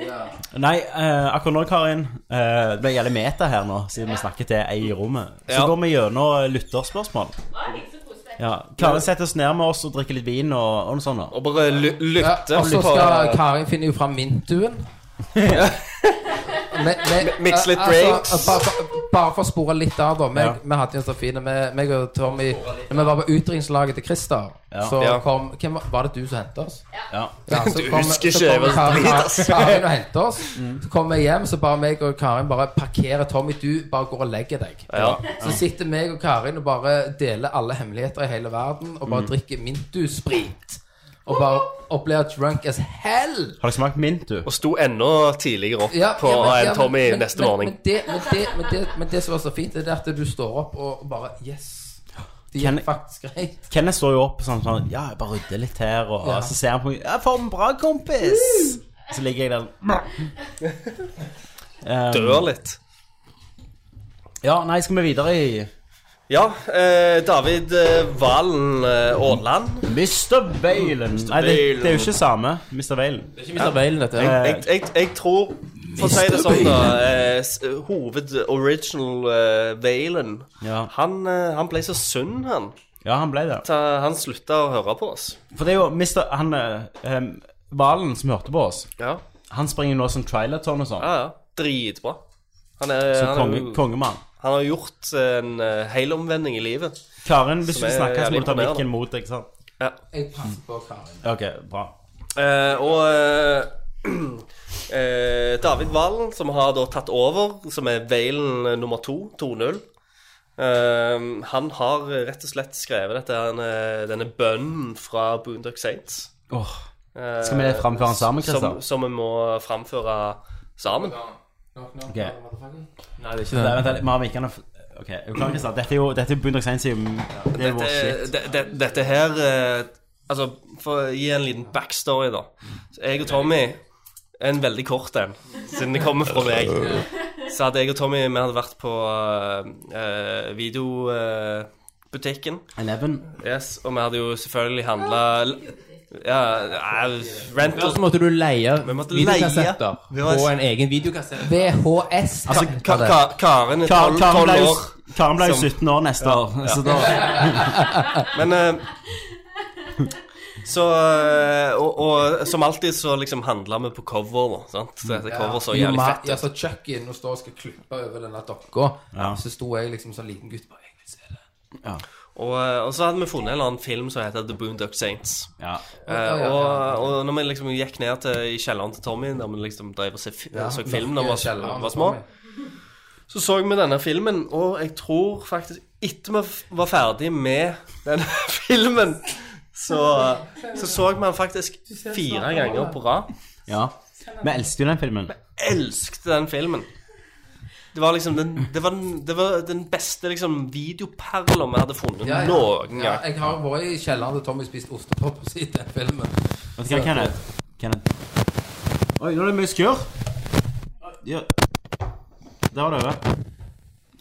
Speaker 11: ja.
Speaker 9: Nei, eh, akkurat nå, Karin eh, Det ble gjelder meta her nå, siden vi snakker til ei i rommet. Så
Speaker 8: Ja.
Speaker 9: går vi gjennom eh, lytterspørsmål. Ja. Karin setter oss ned med oss og drikker litt vin og, og noe sånt. nå.
Speaker 8: Og bare lykte
Speaker 6: Ja, og så skal Karin finne jo fram mintuen. Men- men-
Speaker 8: Mix litt
Speaker 6: altså,
Speaker 8: grapes.
Speaker 6: bare, for- bare for å spore litt av, da.
Speaker 8: Ja.
Speaker 6: Meg, Vi hadde jo en så fin Meg meg og Tommy Når vi var på utdrikningslaget til Christer,
Speaker 9: Ja.
Speaker 6: så
Speaker 9: Ja.
Speaker 6: kom hvem, var- Var det du som hentet oss?
Speaker 9: Ja.
Speaker 6: så
Speaker 9: Du
Speaker 6: kom-
Speaker 9: husker
Speaker 6: så
Speaker 9: ikke, jeg
Speaker 6: kom
Speaker 9: var så
Speaker 6: Karin,
Speaker 9: drit, altså. Mm. ass.
Speaker 6: Karin og hentet oss. Så kom vi hjem, så bare meg og Karin bare parkerer Tommy. Du bare går og legger deg.
Speaker 8: Ja.
Speaker 6: Så sitter meg og Karin og bare deler alle hemmeligheter i hele verden og bare
Speaker 9: Mm.
Speaker 6: drikker Mintu-sprit. Og bare opplever drunk as hell.
Speaker 9: Har dere smakt mint, du?
Speaker 8: Og sto enda tidligere opp på
Speaker 6: men-
Speaker 8: en
Speaker 6: ja, men-
Speaker 8: Tommy
Speaker 6: men-
Speaker 8: neste
Speaker 6: men-
Speaker 8: morgen.
Speaker 6: Men det, men, det, men, det, men det som var så fint, det er det at du står opp og bare Yes! Det
Speaker 9: Kan-
Speaker 6: gikk faktisk greit.
Speaker 9: Kenneth står jo opp sånn, sånn Ja, jeg bare rydder litt her, og
Speaker 6: Ja.
Speaker 9: så ser han på meg Ja, for en bra kompis! Så ligger jeg der um,
Speaker 8: Dør litt.
Speaker 9: Ja, nei, skal vi videre i
Speaker 8: Ja, eh, David eh, Valen eh, Aarland.
Speaker 9: Mr. Valen. Nei, det, det er jo ikke samme. Mr. Valen.
Speaker 8: Det er
Speaker 9: ikke Mr. Valen, dette.
Speaker 8: Jeg, jeg, jeg, jeg tror For å si det
Speaker 9: Mr.
Speaker 8: sånn, da
Speaker 9: Valen.
Speaker 8: eh, s- Hoved-original eh, Valen han, eh, han ble så sunn, han.
Speaker 9: Ja, han ble det.
Speaker 8: Ta- Han slutta å høre på oss.
Speaker 9: For det er jo Mr. Han eh, um, Valen som hørte på oss,
Speaker 8: Ja.
Speaker 9: han springer nå som trilaton og sånn.
Speaker 8: Ja, ja. Dritbra. Han er,
Speaker 9: Så
Speaker 8: han er
Speaker 9: konge,
Speaker 8: jo-
Speaker 9: kongemann.
Speaker 8: Han har gjort en eh, helomvending i livet.
Speaker 9: Karen, hvis du
Speaker 8: Som er
Speaker 9: snakker, så må
Speaker 8: jævlig
Speaker 9: du ta
Speaker 8: imponerende.
Speaker 9: mikken mot deg, ikke sant?
Speaker 8: Ja.
Speaker 6: Jeg passer på Karin.
Speaker 9: Ok, bra.
Speaker 8: Eh, og eh, eh, David Valen, som har da tatt over, som er Valen eh, nummer to, 2-0 eh, Han har rett og slett skrevet dette, her, eh, denne bønnen fra Boondock Saints.
Speaker 9: Åh.
Speaker 8: Eh,
Speaker 9: Skal vi framføre den sammen, Christer?
Speaker 8: Som, som vi må framføre sammen.
Speaker 9: Ok.
Speaker 8: Nei, det er
Speaker 9: Nei, vent litt, vi har mikken og- Ok, er du klar, Kristian? Dette er jo Dette er jo Boondock Saints, det er jo- det er vår shit.
Speaker 8: Dette, det, det, dette her eh, Altså, for å gi en liten backstory, da. Så jeg og Tommy En veldig kort en, siden det kommer fra meg. Så hadde jeg og Tommy Vi hadde vært på eh, videobutikken.
Speaker 9: Eleven.
Speaker 8: Yes, og vi hadde jo selvfølgelig handla ja, eh, rental
Speaker 7: Først måtte du leie
Speaker 8: Vi måtte
Speaker 7: videokassetter
Speaker 8: leie. Vi var-
Speaker 7: på en egen videokassett.
Speaker 6: VHS.
Speaker 8: Altså, Ka Ka Karen er
Speaker 9: Karen-
Speaker 8: tolv
Speaker 9: Karen
Speaker 8: tolv
Speaker 9: ble jo-
Speaker 8: år.
Speaker 9: Karen ble jo
Speaker 8: som-
Speaker 9: 17 år neste år, så da-
Speaker 8: Men eh, Så eh, og, og som alltid så liksom handla vi på cover, da. Sant? Så dette cover så jævlig
Speaker 6: Ma-
Speaker 8: fett
Speaker 6: Ja,
Speaker 8: ut.
Speaker 6: så Chuck inn og står og skal klippe over denne dokka.
Speaker 8: Ja.
Speaker 6: Så sto jeg liksom som liten gutt bare Jeg vil se det.
Speaker 8: Og, eh, og så hadde vi funnet en eller annen film som heter The Boondock Saints. Eh,
Speaker 6: Ja, ja,
Speaker 8: og, og når vi liksom gikk ned til, i kjelleren til Tommy, der vi liksom drev og se, fi-
Speaker 6: Ja,
Speaker 8: så film da vi
Speaker 6: mørke
Speaker 8: var,
Speaker 6: kjelleren
Speaker 8: var
Speaker 6: til
Speaker 8: små,
Speaker 6: Tommy.
Speaker 8: så så vi denne filmen, og jeg tror faktisk Etter vi f- var ferdig med denne filmen, så så, så vi den faktisk fire ganger på rad.
Speaker 9: Ja. Vi elsker jo den filmen.
Speaker 8: elsket den filmen. Det var liksom den, det var den, det var den beste liksom, videoperla vi hadde funnet
Speaker 6: Ja, ja.
Speaker 8: noen
Speaker 6: Ja,
Speaker 8: gang.
Speaker 6: jeg har vært i kjelleren til Tommy spist ostepop og sett den filmen.
Speaker 9: Vet du hva, Kenneth? Kenneth. Oi, nå er det mye skur. Ja. Der var det over.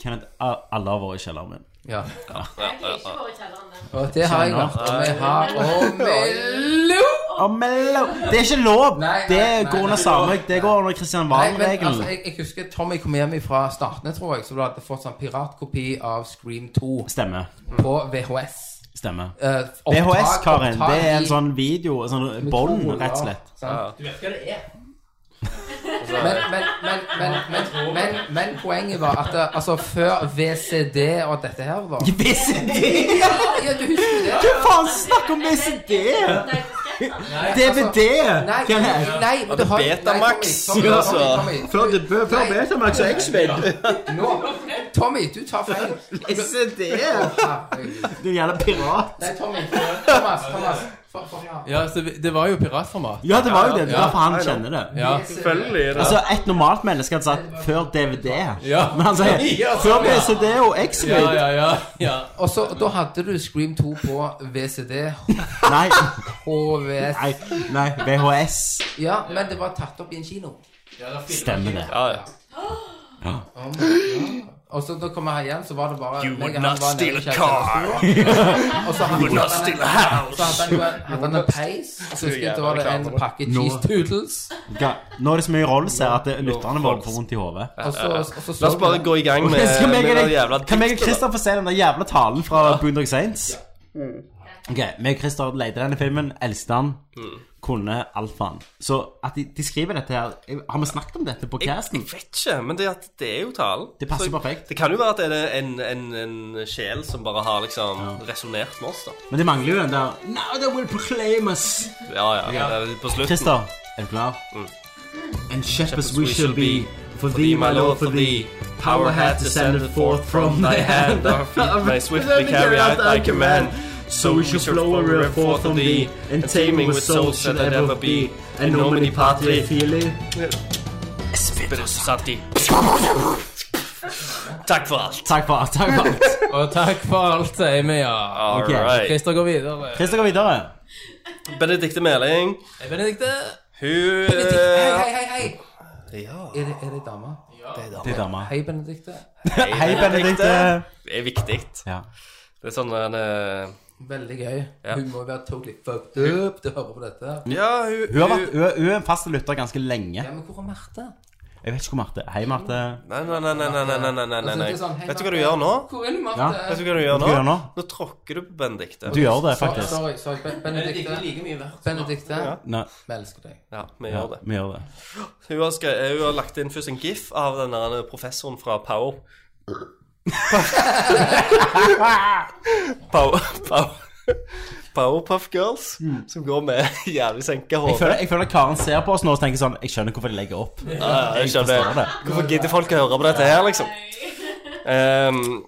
Speaker 9: Kenneth, a- alle har vært i kjelleren min.
Speaker 6: Ja.
Speaker 8: Jeg
Speaker 11: har ikke vært i kjelleren eh. min.
Speaker 6: Og det har jeg vært. Og vi har Og mello!
Speaker 9: Og mello. Det er ikke lov!
Speaker 6: Nei, nei,
Speaker 9: det
Speaker 6: nei,
Speaker 9: går under
Speaker 6: nei.
Speaker 9: samme Det går under Kristian
Speaker 6: Nei, men altså,
Speaker 9: Valen-regelen.
Speaker 6: jeg, jeg husker Tommy kom hjem fra Statene, tror jeg, så du hadde fått sånn piratkopi av Scream 2
Speaker 9: Stemmer.
Speaker 6: på VHS.
Speaker 9: Stemmer.
Speaker 6: Eh, opptak-
Speaker 9: VHS, Karin,
Speaker 6: opptak
Speaker 9: det er en
Speaker 6: i-
Speaker 9: sånn video, en sånn
Speaker 6: Med
Speaker 9: bånd,
Speaker 6: to, ja,
Speaker 9: rett og slett.
Speaker 6: sant?
Speaker 7: Du vet hva det er?
Speaker 6: Men, men, men, men, men, men, men poenget var at eh, altså, før VCD og dette her var
Speaker 9: VCD?
Speaker 6: Ja, ja, du husker det?
Speaker 9: Hva faen snakker om VCD? DVD?
Speaker 6: Nei, altså-
Speaker 9: Hva er det?
Speaker 6: nei, men du har
Speaker 9: Betamax,
Speaker 6: Nei, Tommy, Tommy, Tommy,
Speaker 9: altså.
Speaker 6: Tommy, Tommy.
Speaker 9: Før det- før
Speaker 6: Nei.
Speaker 9: Betamax og X-Men.
Speaker 6: Nå, Tommy, du tar feil.
Speaker 9: VCD?
Speaker 6: Å,
Speaker 9: Du gjelder pirat.
Speaker 6: Nei, Tommy. Thomas, Thomas. for- forklar.
Speaker 7: Ja, så vi- det var jo piratformat.
Speaker 9: Ja, det var jo det. Det er derfor han kjenner det.
Speaker 7: Ja.
Speaker 9: Selvfølgelig Altså, et normalt menneske hadde sagt 'før DVD'.
Speaker 7: Ja.
Speaker 9: Men han sier
Speaker 7: Ja,
Speaker 9: 'før
Speaker 7: sånn, ja.
Speaker 9: VCD og X-Men'.
Speaker 7: Ja, ja, ja.
Speaker 6: Og så, da hadde du Scream 2 på VCD.
Speaker 9: Nei.
Speaker 6: HVS.
Speaker 9: Nei, nei, VHS.
Speaker 6: Ja, men det var tatt opp i en kino.
Speaker 9: Stemmer det.
Speaker 8: Ja, ja.
Speaker 6: Oh my God. Og så da kom jeg her igjen, så var det bare
Speaker 3: You
Speaker 6: meg og
Speaker 3: would
Speaker 6: han
Speaker 3: not
Speaker 6: var nede
Speaker 3: steal
Speaker 6: i
Speaker 3: a
Speaker 6: kjellerstua.
Speaker 3: car.
Speaker 6: Og så
Speaker 3: You
Speaker 6: hadde
Speaker 3: would not
Speaker 6: han-
Speaker 3: steal a house.
Speaker 6: Så hadde han jo en- hadde han en peis. Og så skulle det være en pakke cheese toodles.
Speaker 9: Ga- Nå er det så mye rolls her at det- lytterne våre får vondt i hodet.
Speaker 8: Ja, ja, ja. La oss bare gå i gang med,
Speaker 9: Ok, skal
Speaker 8: med
Speaker 9: meg og
Speaker 8: den
Speaker 9: deg-
Speaker 8: jævla
Speaker 9: Kan meg og
Speaker 8: diktet, da.
Speaker 9: Christer få se den der jævla talen fra Boondock Saints?
Speaker 8: Mm.
Speaker 9: Ok, meg og Christer leide denne filmen, elsket den,
Speaker 8: Mm.
Speaker 9: kunne alt faen. Så at de, de skriver dette her Har vi snakket om dette på casten?
Speaker 8: Jeg vet ikke, men det, er at det er jo talen.
Speaker 9: Det passer
Speaker 8: Så
Speaker 9: perfekt.
Speaker 8: Det kan jo være at det er en, en, en sjel som bare har liksom resonert med oss, da.
Speaker 9: Men det mangler jo den der Now they will proclaim us.
Speaker 8: Ja, ja. det er På slutten.
Speaker 9: Christer, er du klar? And Mm. shepherds we
Speaker 8: we
Speaker 9: shall
Speaker 8: shall
Speaker 9: be, for thee, my lord, for thee. Power hath descended forth from thy hand, our feet may swiftly carry out thy command. So we shall flow a river forth from thee, and taming with souls shall it ever be, and nomini patri fili.
Speaker 8: Spiritus Santi. Takk for alt.
Speaker 9: Takk for alt. Takk for alt.
Speaker 7: Og takk for alt, sier vi, ja.
Speaker 8: All right.
Speaker 7: Christer går videre.
Speaker 9: Christer går videre.
Speaker 8: Benedikte Meling.
Speaker 7: Hei, Benedikte.
Speaker 8: Hun
Speaker 6: Hei, hei, hei, hei.
Speaker 8: Ja.
Speaker 6: Er det, er det dama?
Speaker 9: Det er dama.
Speaker 6: Hei, Benedikte.
Speaker 9: Hei, Benedikte.
Speaker 8: Det er viktig.
Speaker 9: Ja.
Speaker 8: Det er sånn en eh,
Speaker 6: Veldig gøy.
Speaker 8: Ja.
Speaker 6: Hun må være totally fucked up til å høre på dette.
Speaker 8: Ja, hun,
Speaker 9: Hun, har vært, hun, er- hun er en fast lytter ganske lenge.
Speaker 6: Ja, men hvor er Marte?
Speaker 9: Jeg vet ikke hvor Marte Hei, Marte.
Speaker 8: Nei, nei, nei, nei, nei, nei, nei, nei, nei, nei.
Speaker 6: Altså, det er sånn, hei,
Speaker 8: Vet du hva
Speaker 6: Marte.
Speaker 8: du gjør nå?
Speaker 6: Hvor er du, Marte?
Speaker 9: Ja.
Speaker 8: Vet du hva
Speaker 9: Hva
Speaker 8: du gjør
Speaker 9: skal jeg gjøre
Speaker 8: nå?
Speaker 9: nå?
Speaker 8: Nå tråkker du på Benedikte.
Speaker 9: Du gjør det,
Speaker 6: Sorry,
Speaker 9: faktisk.
Speaker 6: Sorry, sorry. Ben- Benedikte. Benedikte.
Speaker 9: Nei.
Speaker 6: Vi elsker deg.
Speaker 8: Ja, vi
Speaker 9: Ja,
Speaker 8: gjør det.
Speaker 9: vi gjør det.
Speaker 8: Hun har, skre- hun har lagt inn først en gif av den der eh, professoren fra Power. Power, Power. Powerpuff Girls, som går med jævlig senka hode.
Speaker 9: Jeg føler, jeg føler Karen ser på oss nå og tenker sånn Jeg skjønner hvorfor de legger opp.
Speaker 8: Ja, ja, jeg
Speaker 9: forstår
Speaker 8: skjønner det. Hvorfor gidder folk å høre på dette her, liksom? Ehm,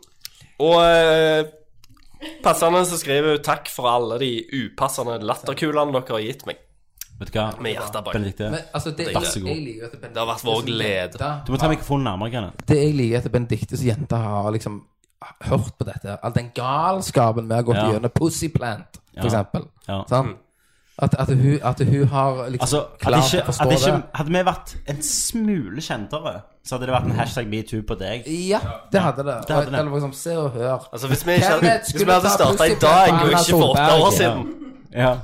Speaker 8: og eh, passende så skriver hun 'takk for alle de upassende latterkulene dere har gitt meg'.
Speaker 9: Vet du hva?
Speaker 8: Med hjertet bak.
Speaker 9: Benedikte,
Speaker 6: Men, altså, det,
Speaker 9: vær så
Speaker 6: Jeg
Speaker 9: god.
Speaker 6: liker jo at
Speaker 8: Det har vært vår glede.
Speaker 9: Du må ta mikrofonen nærmere, Kenneth.
Speaker 6: Det jeg liker, er at Benediktes jente har liksom hørt på dette. All den galskapen vi har gått
Speaker 9: Ja.
Speaker 6: gjennom. Pussy Plant, for
Speaker 9: Ja.
Speaker 6: eksempel.
Speaker 9: Ja.
Speaker 6: Sant? At, at, hun, at hun har liksom
Speaker 9: Altså, hadde,
Speaker 6: klart
Speaker 9: ikke,
Speaker 6: å forstå
Speaker 9: hadde, ikke,
Speaker 6: det.
Speaker 9: hadde vi vært en smule kjentere, så hadde det vært en hashtag metoo på deg.
Speaker 6: Ja, det hadde det.
Speaker 9: Det hadde det.
Speaker 6: Eller liksom, se og hør.
Speaker 8: Altså, hvis vi, ikke hadde,
Speaker 6: Kenneth
Speaker 8: hvis vi
Speaker 6: skulle ta
Speaker 8: hadde starta i
Speaker 6: Pussy Plant
Speaker 8: dag,
Speaker 6: på
Speaker 8: og
Speaker 6: Erna
Speaker 8: ikke for åtte
Speaker 6: Solberg.
Speaker 8: år siden,
Speaker 9: Ja,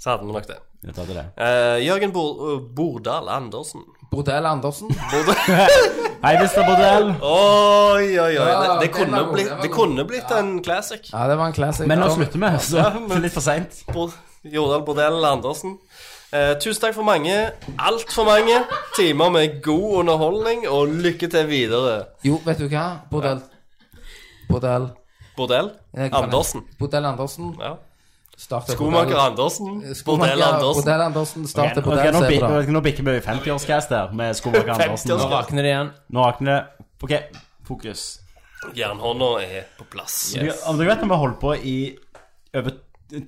Speaker 8: så hadde vi nok det.
Speaker 9: det hadde det.
Speaker 8: Uh, Jørgen Bor uh, Bordal Andersen.
Speaker 6: Bordell Andersen.
Speaker 9: Hei, Mr. Bordell.
Speaker 8: Oi, oi, oi. Det,
Speaker 6: Ja,
Speaker 8: det,
Speaker 6: den
Speaker 8: kunne,
Speaker 6: var god,
Speaker 8: blitt,
Speaker 6: den var
Speaker 8: det
Speaker 6: god.
Speaker 8: kunne blitt en classic.
Speaker 6: Ja, det var en classic. Altså,
Speaker 9: Men nå
Speaker 6: Kom.
Speaker 9: slutter vi, så det er litt for seint.
Speaker 8: Bor- Jordal Bordell Andersen. Eh, tusen takk for mange, altfor mange timer med god underholdning, og lykke til videre,
Speaker 6: Jo, vet du hva? Bordell. Bordell.
Speaker 8: Bordell
Speaker 6: Jeg kan-
Speaker 8: Andersen.
Speaker 6: Bordell Andersen.
Speaker 8: Ja.
Speaker 6: starter
Speaker 8: Skomaker
Speaker 6: bordell.
Speaker 8: Andersen,
Speaker 6: Skomaker-
Speaker 8: Bordell Andersen.
Speaker 6: Bordell Andersen
Speaker 9: Ok,
Speaker 6: starter
Speaker 9: nå- ok,
Speaker 6: bordell.
Speaker 9: nå
Speaker 6: se på
Speaker 9: bi-
Speaker 6: det.
Speaker 9: nå bikker vi 50-årscast her med Skomaker Andersen. Nå
Speaker 8: 50-årscast.
Speaker 9: rakner-
Speaker 7: Rakner det igjen.
Speaker 9: Nå rakner det. OK, fokus.
Speaker 8: Jernhånda er på plass.
Speaker 9: Du- Om du vet at vi har holdt på i over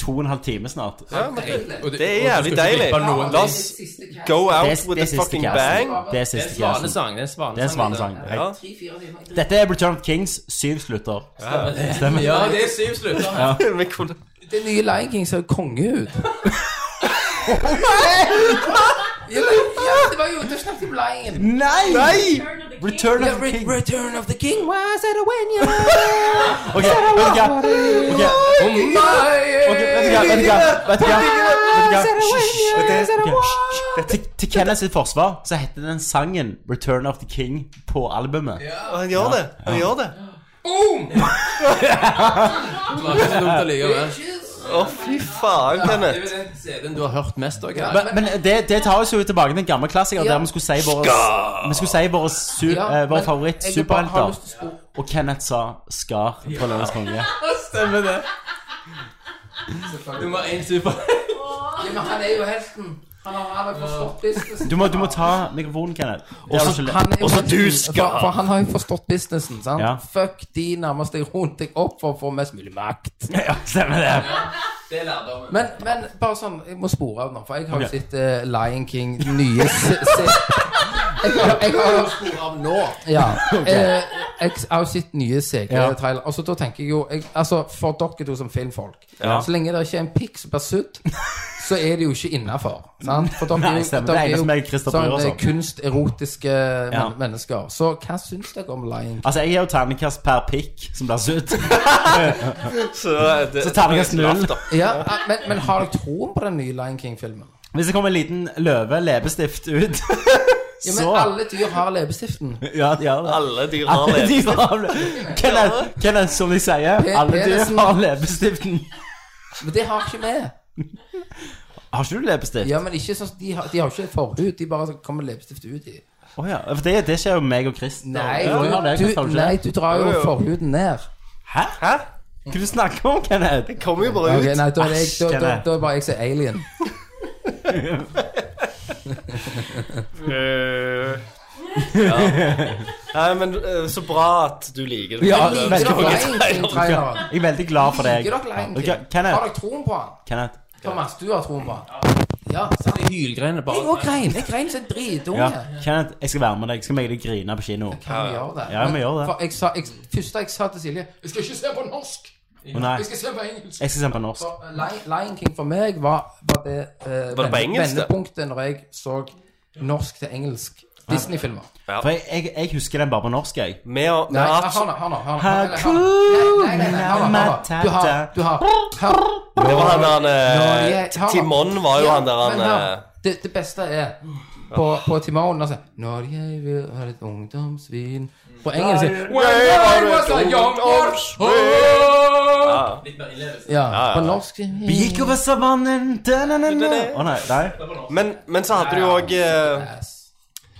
Speaker 9: to og en halv time snart
Speaker 8: Ja, men det,
Speaker 7: Og du-
Speaker 8: det er
Speaker 7: og
Speaker 8: jævlig
Speaker 7: du skal ikke
Speaker 8: deilig.
Speaker 7: glippe av noen
Speaker 8: La
Speaker 7: ting.
Speaker 8: oss go out
Speaker 9: Det er- det
Speaker 8: with
Speaker 9: er
Speaker 8: a
Speaker 9: siste
Speaker 8: fucking
Speaker 9: casten.
Speaker 8: bang.
Speaker 9: Det er siste casten.
Speaker 7: Svanesang. Det er svanesang.
Speaker 9: Det er en svanesang.
Speaker 8: Ja.
Speaker 9: Dette er Return of Kings syv slutter. Stemmer.
Speaker 7: Ja, det er syv slutter.
Speaker 8: Vi kunne-
Speaker 6: Det nye Lion King ser jo konge ut. ja, det var jo Du snakket om Lion.
Speaker 9: Nei! Return of the King.
Speaker 6: Return of the King was at a when you
Speaker 9: Ok, vet du hva? Ok, Oh ok, vet du hva? Vet du hva? Vet du hva? Vet du hva? Hysj, hysj. Dette- ok, hysj, hysj. Det- Til, til Kenneth sitt forsvar så heter den sangen Return of the King på albumet.
Speaker 8: Og Han gjør det. Han gjør det.
Speaker 7: Det var ikke så dumt allikevel.
Speaker 8: Å, fy faen,
Speaker 7: Det er
Speaker 8: Kenneth.
Speaker 7: jo den CD-en du har hørt mest òg.
Speaker 9: Men, men det, det tar oss jo tilbake til en gammel klassiker der vi skulle si våre, vi skulle si våre su, eh, vår favoritt-superhelter. Og Kenneth sa Skar på Løvens konge.
Speaker 7: Stemmer det. Nummer én super.
Speaker 6: Men han er jo helten. Han har aldri forstått businessen.
Speaker 9: Du må, du må ta mikrofonen, Kenneth. Det har du ikke-
Speaker 6: Han er jo
Speaker 8: Og så
Speaker 6: helten,
Speaker 8: du skal-
Speaker 6: For, for han har jo forstått businessen, sant?
Speaker 9: Ja.
Speaker 6: Fuck de nærmeste rundt deg opp for å få mest mulig makt.
Speaker 9: Ja, stemmer det.
Speaker 7: Det er lærdommen.
Speaker 6: Men, men bare sånn, jeg må spore av nå, for jeg har jo
Speaker 9: Ok.
Speaker 6: sett eh, Lion King den nye se, se, jeg, har- jeg har
Speaker 7: Av nå.
Speaker 6: Ja. Eh, jeg har jo sett nye
Speaker 9: Ja.
Speaker 6: CG-trailer. Altså, da tenker jeg jo jeg, Altså, For dere to som filmfolk,
Speaker 8: Ja.
Speaker 6: så lenge det ikke er en pikk som blir sudd, så er det jo ikke innafor. For de er
Speaker 9: Nei,
Speaker 6: jo,
Speaker 9: stemmer.
Speaker 6: de
Speaker 9: Det er
Speaker 6: er
Speaker 9: det
Speaker 6: jo
Speaker 9: som jeg og Christopher gjør
Speaker 6: sånn,
Speaker 9: sånn.
Speaker 6: kunsterotiske men
Speaker 9: Ja.
Speaker 6: mennesker. Så hva syns dere om Lion King?
Speaker 9: Altså, jeg gir jo terningkast per pikk som blir sudd.
Speaker 8: så eh,
Speaker 9: så terningkast null.
Speaker 6: Ja, ah, men, men har dere troen på den nye Lion King-filmen?
Speaker 9: Hvis det kommer en liten løve leppestift ut
Speaker 6: Ja, men
Speaker 9: Så.
Speaker 6: alle dyr har leppestiften.
Speaker 9: Ja, det gjør det.
Speaker 8: Alle dyr
Speaker 6: har
Speaker 9: dyr har leppestift. Kenneth, Kenneth, som de sier,
Speaker 6: Pe-
Speaker 9: alle dyr
Speaker 6: penisen.
Speaker 9: har leppestiften.
Speaker 6: Men det har ikke vi.
Speaker 9: Har ikke du leppestift?
Speaker 6: Ja, men ikke sånn, de, har, de har ikke et forhud, de bare kommer leppestift ut i.
Speaker 9: Å ja. For det, det skjer jo meg og Chris.
Speaker 6: Nei,
Speaker 9: Ja, ja, det
Speaker 6: du,
Speaker 9: kan
Speaker 6: du,
Speaker 9: du
Speaker 6: nei,
Speaker 9: ikke.
Speaker 6: du drar jo
Speaker 9: Jo, jo.
Speaker 6: forhuden ned.
Speaker 9: Hæ? Hæ? Hva du snakker om, Kenneth?
Speaker 8: Det kommer jo
Speaker 6: Ok, nei, da er det jeg,
Speaker 9: Æsj,
Speaker 6: da, da,
Speaker 9: Kenneth.
Speaker 6: da er det bare jeg som er alien.
Speaker 8: Eh, ja. Nei, men eh, så bra at du liker det. eh,
Speaker 9: Ja,
Speaker 8: Det er
Speaker 9: veldig
Speaker 8: så
Speaker 9: bra.
Speaker 8: mange
Speaker 9: Lion
Speaker 8: trailere.
Speaker 9: King-traileren. Jeg er veldig glad for deg.
Speaker 6: Liker dere Lion King?
Speaker 9: Ja, Kenneth.
Speaker 6: Har dere troen på han?
Speaker 9: Kenneth.
Speaker 6: Thomas, du har troen på han? Ja, sant?
Speaker 7: Hylgreiene bare
Speaker 6: Jeg òg grein. Jeg grein som en dritunge.
Speaker 9: Ja. Kenneth, jeg skal være med deg. Skal vi egentlig grine på kino?
Speaker 6: Kan vi gjøre det?
Speaker 9: Ja, vi
Speaker 6: Men
Speaker 9: gjør det.
Speaker 6: For jeg sa, jeg, første jeg sa til Silje Jeg skal ikke se på norsk!
Speaker 9: Å, nei.
Speaker 6: Jeg skal se på engelsk.
Speaker 9: Jeg skal se på norsk.
Speaker 6: For, eh, Li- Lion King for meg var, var det eh,
Speaker 9: Var det på
Speaker 6: vende-
Speaker 9: engelsk, det?
Speaker 6: vendepunktet når jeg så norsk til engelsk Disney-filmer.
Speaker 9: For jeg, jeg, jeg husker den bare på norsk, jeg.
Speaker 8: Vi har
Speaker 6: Nei, han har han har- han har- eller han har- Nei, nei, nei, han har- han har- Du har Du har
Speaker 8: Det var han der
Speaker 6: Når
Speaker 8: han,
Speaker 6: jeg-
Speaker 8: eh,
Speaker 6: han-
Speaker 8: Timon var jo
Speaker 6: Ja,
Speaker 8: han der han
Speaker 6: men hør,
Speaker 8: eh,
Speaker 6: det, det beste er på, på Timon altså, Når jeg vil være et ungdomsvin På engelsk
Speaker 3: Nei,
Speaker 6: When
Speaker 3: nei, var
Speaker 6: I
Speaker 3: du
Speaker 6: was a
Speaker 3: et
Speaker 6: young
Speaker 3: ungdomsvin?
Speaker 6: horse.
Speaker 7: Litt mer innlevelse.
Speaker 6: Ja,
Speaker 8: Ja, ja.
Speaker 6: på norsk
Speaker 9: Vi gikk over savannen da-na-na-na. Å nei, nei.
Speaker 8: Men, men så hadde du jo eh, òg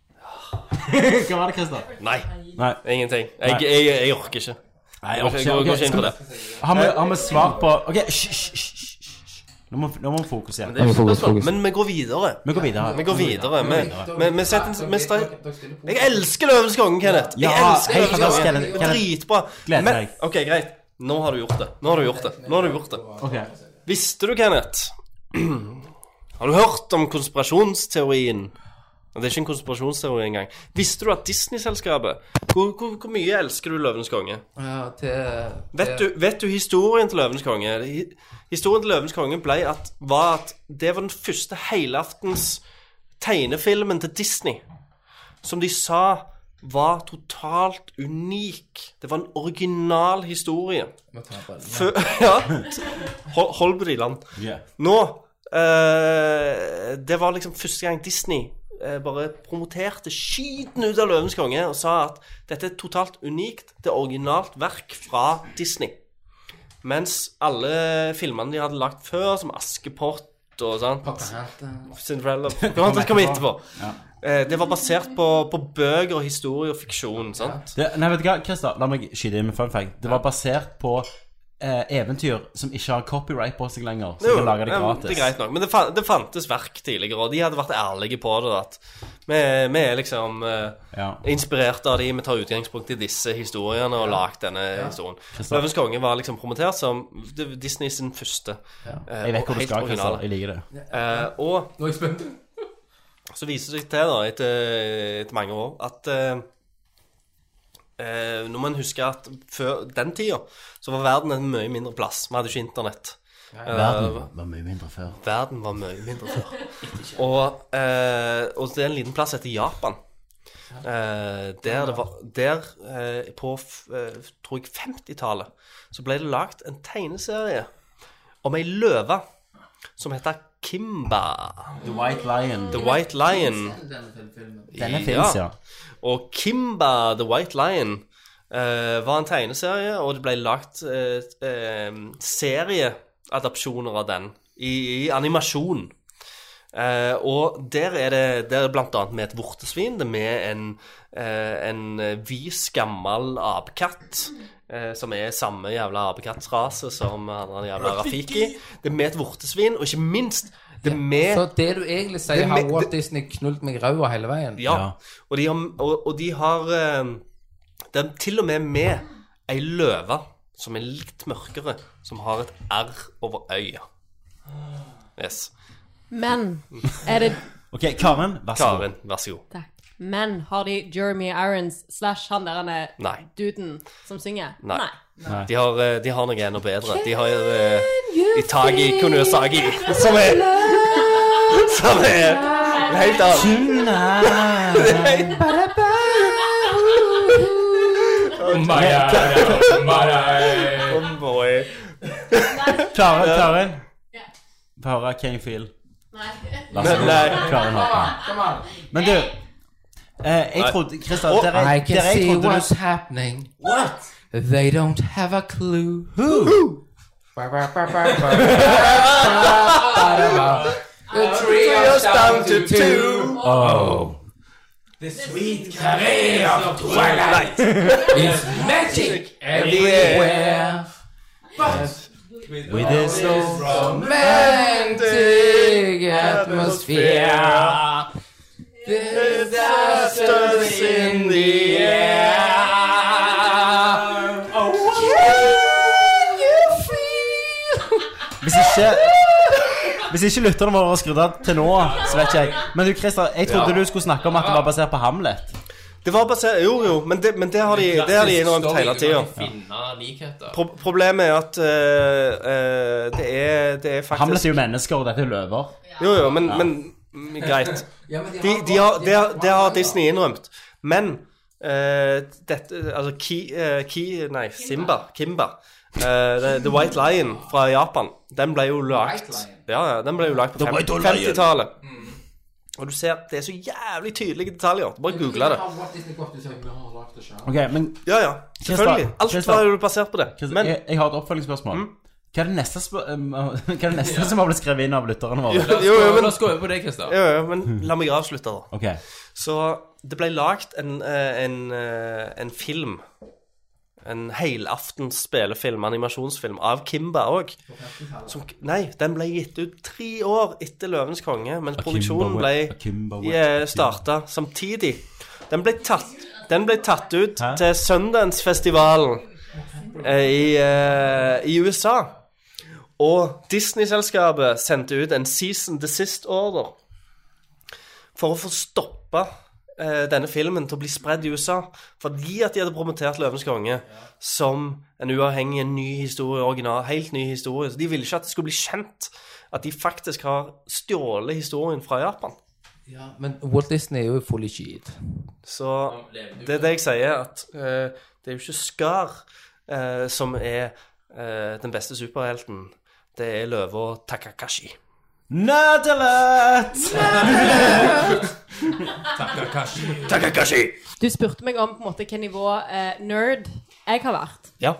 Speaker 9: Hva var det, Christer?
Speaker 8: Nei.
Speaker 9: Nei.
Speaker 8: Ingenting.
Speaker 9: Nei.
Speaker 8: Jeg, jeg, jeg, orker ikke.
Speaker 9: Nei, jeg
Speaker 8: går
Speaker 9: orker
Speaker 8: ikke- går-
Speaker 9: ikke.
Speaker 8: går ikke
Speaker 9: Ok,
Speaker 8: inn på
Speaker 9: skal
Speaker 8: det.
Speaker 9: vi- Har vi, har vi svar på Ok, hysj, hysj, hysj. hysj. Nå må, nå må vi fokusere.
Speaker 8: Men, det er ikke spørsmål. men vi går videre.
Speaker 9: Vi går videre.
Speaker 8: Vi går videre. Vi, vi, vi setter en vi stre- Jeg elsker Løvenes konge, Kenneth. Jeg
Speaker 9: Ja,
Speaker 8: elsker
Speaker 9: helt
Speaker 8: Løvenes
Speaker 9: fantastisk,
Speaker 8: konge.
Speaker 9: Kenneth. Kenneth.
Speaker 8: Dritbra.
Speaker 9: Gleder
Speaker 8: Men-
Speaker 9: deg.
Speaker 8: OK, greit. Nå har du gjort det. Nå har du gjort det. Nå har du gjort det.
Speaker 9: Ok.
Speaker 8: Visste du, Kenneth Har du hørt om konspirasjonsteorien? Det er ikke en konspirasjonsteori engang. Visste du at Disney-selskapet hvor, hvor, hvor mye elsker du Løvenes konge?
Speaker 6: Ja, til
Speaker 8: Vet du, vet du historien til Løvenes konge? Hi- Historien til Løvenes konge ble at, var at det var den første helaftens tegnefilmen til Disney som de sa var totalt unik. Det var en original historie. Før, ja, hold, hold på de land.
Speaker 9: Ja.
Speaker 8: Nå eh, Det var liksom første gang Disney eh, bare promoterte skiten ut av Løvens konge og sa at dette er totalt unikt. Det er originalt verk fra Disney. Mens alle filmene de hadde lagt før, som Askepott og sånn Cinderella Kom, det kommer etterpå.
Speaker 9: Ja.
Speaker 8: Eh, Det var basert på, på bøker og historie og fiksjon, sant?
Speaker 9: Det, nei, vet du hva, Christer, la meg skyte inn med fun fact. Det var basert på eh, eventyr som ikke har copyright på seg lenger. Så
Speaker 8: Jo,
Speaker 9: vi kan lage det
Speaker 8: ja,
Speaker 9: gratis.
Speaker 8: det er greit nok. Men det, fa det fantes verk tidligere, og de hadde vært ærlige på det. At vi, vi er liksom eh,
Speaker 9: Ja.
Speaker 8: inspirert av de, vi tar utgangspunkt i disse historiene og lagd denne historien.
Speaker 9: Forstår.
Speaker 8: Løvens konge var liksom promotert som D- Disney sin første. eh,
Speaker 9: Jeg vet hvor
Speaker 8: og
Speaker 9: du
Speaker 8: helt
Speaker 9: skal, Christer.
Speaker 8: originale.
Speaker 9: Jeg liker det.
Speaker 8: Eh, og
Speaker 6: Nå er jeg spent.
Speaker 8: så viser det seg til, da, etter, etter mange år, at eh, eh, Når man husker at før den tida, så var verden en mye mindre plass. Vi hadde ikke internett. Eh,
Speaker 9: Verden var mye mindre før.
Speaker 8: Verden var mye mindre før. Og, eh, og det er en liten plass etter Japan. Eh, der det var Der eh, på f- eh, tror jeg 50-tallet så ble det lagd en tegneserie om ei løve som heter Kimba.
Speaker 9: The White Lion.
Speaker 8: The White Lion.
Speaker 9: Denne finnes, ja.
Speaker 8: Og Kimba the White Lion eh, var en tegneserie, og det ble lagt eh, eh, serieadapsjoner av den i, i animasjon. Eh, og der er det der er det blant annet med et vortesvin, det er med en, eh, en eh, vis, gammel apekatt. eh, som er samme jævla apekattrase som han der jævla Rafiki. Det er med et vortesvin, og ikke minst det er med
Speaker 6: Så det du egentlig sier,
Speaker 8: Det
Speaker 6: har
Speaker 8: med-
Speaker 6: Walt Disney knult meg i ræva hele veien?
Speaker 8: ja. Og de har, og, og de har eh, Det er til og med med ei løve som er litt mørkere, som har et R over øya. Yes.
Speaker 11: Men er det
Speaker 9: Ok, Karen, vær så god.
Speaker 8: Karin, vær så god.
Speaker 11: Takk. Men har de Jeremy Irons slash han der han er
Speaker 8: Nei.
Speaker 11: duden som synger?
Speaker 8: Nei. Nei. De har, eh, de har noe enda bedre. De har eh, Itagi Kunosagi, som er Som er helt annet. Oh boy.
Speaker 9: Klarer Klarer Få høre Can you feel?
Speaker 11: Nei.
Speaker 9: La oss-
Speaker 8: Nei.
Speaker 9: Klarer Håkon. eh, Men du eh, Jeg
Speaker 6: Nei.
Speaker 9: trodde Christer,
Speaker 6: Oh,
Speaker 9: dere,
Speaker 6: I can
Speaker 9: dere, jeg
Speaker 6: see
Speaker 9: trodde
Speaker 6: what's
Speaker 9: du
Speaker 6: happening.
Speaker 9: What?
Speaker 6: They don't have a clue who. Ba, ba, ba, ba, ba, ba, ba, ba, ba. The trio's down to two.
Speaker 9: Oh.
Speaker 6: The sweet cafe of twilight is magic everywhere.
Speaker 3: everywhere.
Speaker 6: But
Speaker 3: With this
Speaker 6: romantic atmosphere, disasters in the air.
Speaker 9: Hvis ikke Hvis ikke lytterne våre har skrudd av til nå, så vet ikke jeg. Men du, Christer, jeg trodde
Speaker 8: Ja.
Speaker 9: du skulle snakke om at det var basert på Hamlet.
Speaker 8: Det var basert Jo, jo, men det, men det har de, det har de innrømt hele tida.
Speaker 14: Finne likheter.
Speaker 8: Pro problemet er at eh, eh, det, er, det er faktisk
Speaker 9: Hamlet er jo mennesker, og dette er løver.
Speaker 8: Jo, jo, men,
Speaker 9: Ja.
Speaker 8: men mm, greit.
Speaker 6: Ja, men de
Speaker 8: de,
Speaker 6: har gått-
Speaker 8: de, har,
Speaker 6: de
Speaker 8: det,
Speaker 6: har
Speaker 8: har- det har Disney innrømt. Men eh, dette Altså Ki, eh, Ki Nei, Simba. Kimba. Eh, the, the White Lion fra Japan. Den ble jo lagt
Speaker 6: White
Speaker 8: ja, ja, den ble jo lagt på
Speaker 9: The
Speaker 8: fem-
Speaker 9: White Lion.
Speaker 8: 50-tallet.
Speaker 14: Mm.
Speaker 8: Og du ser at det er så jævlig tydelige detaljer. Bare google det.
Speaker 9: Ok, men
Speaker 8: Ja, ja. Selvfølgelig. Alt var jo basert på det.
Speaker 9: Christer,
Speaker 8: Men
Speaker 9: jeg, jeg har et oppfølgingsspørsmål. Hva er det neste, spør- um, hva er det neste som har blitt skrevet inn av lytterne våre?
Speaker 8: Jo, jo, men-
Speaker 14: La oss gå over på det, Christer.
Speaker 8: Jo, jo,
Speaker 9: Hmm.
Speaker 8: men la meg avslutte, da.
Speaker 9: Ok.
Speaker 8: Så det ble lagd en, eh, en, eh, en film. En helaftens spillefilm, animasjonsfilm, av Kimba òg. Nei, den ble gitt ut tre år etter 'Løvens konge', mens
Speaker 9: Akimba
Speaker 8: produksjonen
Speaker 9: Web- Akimba Web-
Speaker 8: ble starta eh, samtidig. Den ble tatt, den ble tatt ut til Sundance-festivalen eh, i, eh, i USA. Og Disney-selskapet sendte ut en season desist order for å få stoppa eh, denne filmen til å bli spredd i USA. Fordi at de hadde promotert 'Løvens konge' som en uavhengig, en ny historie, original, helt ny historie. Så de ville ikke at det skulle bli kjent at de faktisk har stjålet historien fra Japan.
Speaker 6: Men Walt Disney er jo fully cheat.
Speaker 8: Så det er det jeg sier, at eh, det er jo ikke Skar eh, som er eh, den beste superhelten. Det er løva Takakashi.
Speaker 9: Nerdelett!
Speaker 8: Takakashi. Takakashi.
Speaker 11: Du spurte meg om på en måte hvilket nivå eh, nerd jeg har vært.
Speaker 8: Ja.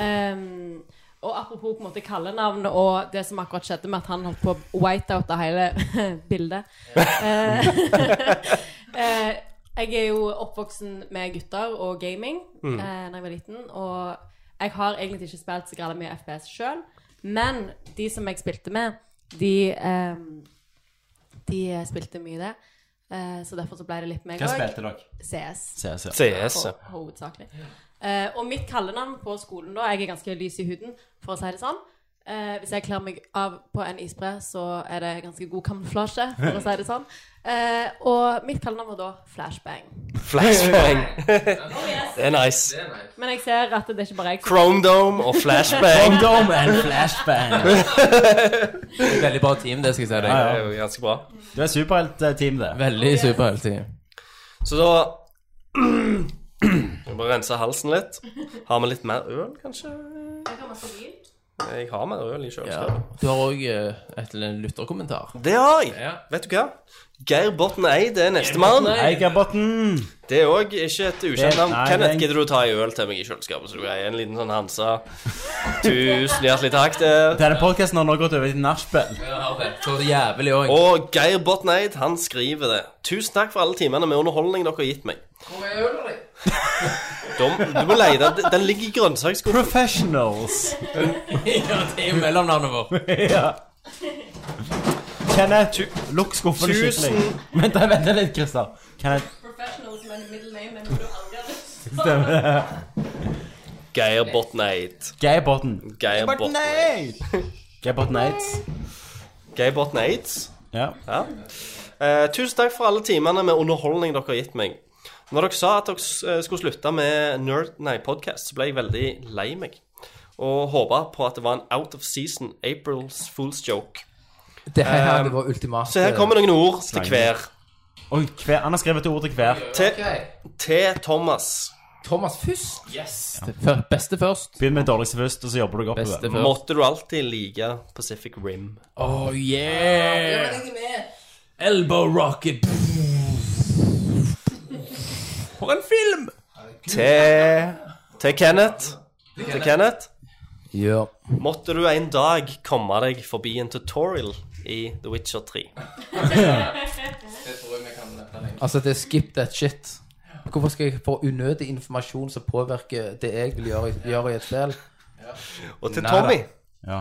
Speaker 11: Ehm, og apropos på en måte kallenavn og det som akkurat skjedde med at han holdt på å whiteout av hele bildet. Eh, eh, jeg er jo oppvoksen med gutter og gaming
Speaker 5: Mm.
Speaker 11: eh, da jeg var liten. Og jeg har egentlig ikke spilt så galt mye FPS sjøl, men de som jeg spilte med, de ehm, De spilte mye det. Eh, så derfor så ble det litt meg
Speaker 9: Hva
Speaker 11: også.
Speaker 9: spilte dere?
Speaker 11: CS.
Speaker 9: CS, ja.
Speaker 8: CS, ja.
Speaker 11: Ho- Hovedsakelig. Eh, og mitt kallenavn på skolen da Jeg er ganske lys i huden, for å si det sånn. Eh, hvis jeg kler meg av på en isbre, så er det ganske god kamuflasje, for å si det sånn. Eh, og mitt kallenavn var da Flashbang.
Speaker 8: Flashbang. det er nice.
Speaker 11: Men jeg ser at det er ikke bare jeg som-
Speaker 8: Chrome Dome og Flashbang.
Speaker 9: Chrome Dome and Flashbang.
Speaker 7: Veldig bra team, det skal jeg si deg.
Speaker 8: Ja, det er jo ganske bra.
Speaker 9: Du er superheltteam, det.
Speaker 7: Veldig superheltteam.
Speaker 8: Så da Jeg bare rense halsen litt. Har vi litt mer øl, kanskje? Jeg har mer øl i kjøleskapet.
Speaker 7: Du har òg et eller annet lytterkommentar.
Speaker 8: Det har jeg. Vet du hva? Geir Botten Eid er nestemann.
Speaker 9: Hei, Gabotten.
Speaker 8: Det er òg ikke et ukjent
Speaker 9: Det-
Speaker 8: navn.
Speaker 9: nei,
Speaker 8: Kenneth,
Speaker 9: det-
Speaker 8: gidder du å ta en øl til meg i kjøleskapet? Så du greier en liten sånn Hansa. Tusen hjertelig takk. Det.
Speaker 9: Denne podcasten har nå gått over til nachspiel.
Speaker 7: Jævlig òg.
Speaker 8: Og Geir Botten Eid, han skriver det. Tusen takk for alle timene med underholdning dere har gitt meg. De, du må leie den. Den ligger i grønnsaksskuffen.
Speaker 9: Professionals.
Speaker 7: ja, det er jo mellomnavnet vårt.
Speaker 9: ja. Kenneth, lukk skuffen
Speaker 7: Tusen-
Speaker 9: skikkelig. Vent, da, vent litt, Christer. Kenneth,
Speaker 11: Professional som er en middle name, men du aldri har lyst.
Speaker 9: stemmer det?
Speaker 8: Geir Botten Eid.
Speaker 9: Geir Botten.
Speaker 8: Geir Botten
Speaker 9: Geir Botten Aids.
Speaker 8: Geir Botten Aids.
Speaker 9: Ja.
Speaker 8: Eh, tusen takk for alle timene med underholdning dere har gitt meg. Når dere sa at dere s- eh, skulle slutte med nerd, nei, podcast, så ble jeg veldig lei meg. Og håpa på at det var en out of season April's Fools joke.
Speaker 6: Det her
Speaker 8: Eh,
Speaker 6: hadde vært ultimat.
Speaker 8: Så her kommer noen ord til
Speaker 9: Slange.
Speaker 8: hver.
Speaker 9: Oi, hver, han har skrevet ord til hver.
Speaker 8: Til, til Thomas.
Speaker 6: Thomas først?
Speaker 8: Yes.
Speaker 9: beste først. Begynn med dårligste først, og så jobber du deg
Speaker 7: Beste
Speaker 9: oppover.
Speaker 7: først.
Speaker 8: Måtte du alltid like Pacific Rim?
Speaker 7: Oh yeah! Elbow rocket.
Speaker 8: For en film! Til, til Kenneth. Til Kenneth.
Speaker 6: Ja.
Speaker 8: Måtte du en dag komme deg forbi en tutorial i The Witcher 3.
Speaker 6: Altså, det er skip that shit. Hvorfor skal jeg få unødig informasjon som påvirker det jeg vil gjøre, gjøre i et spill?
Speaker 8: Og til
Speaker 6: Nei
Speaker 8: Tommy.
Speaker 6: da.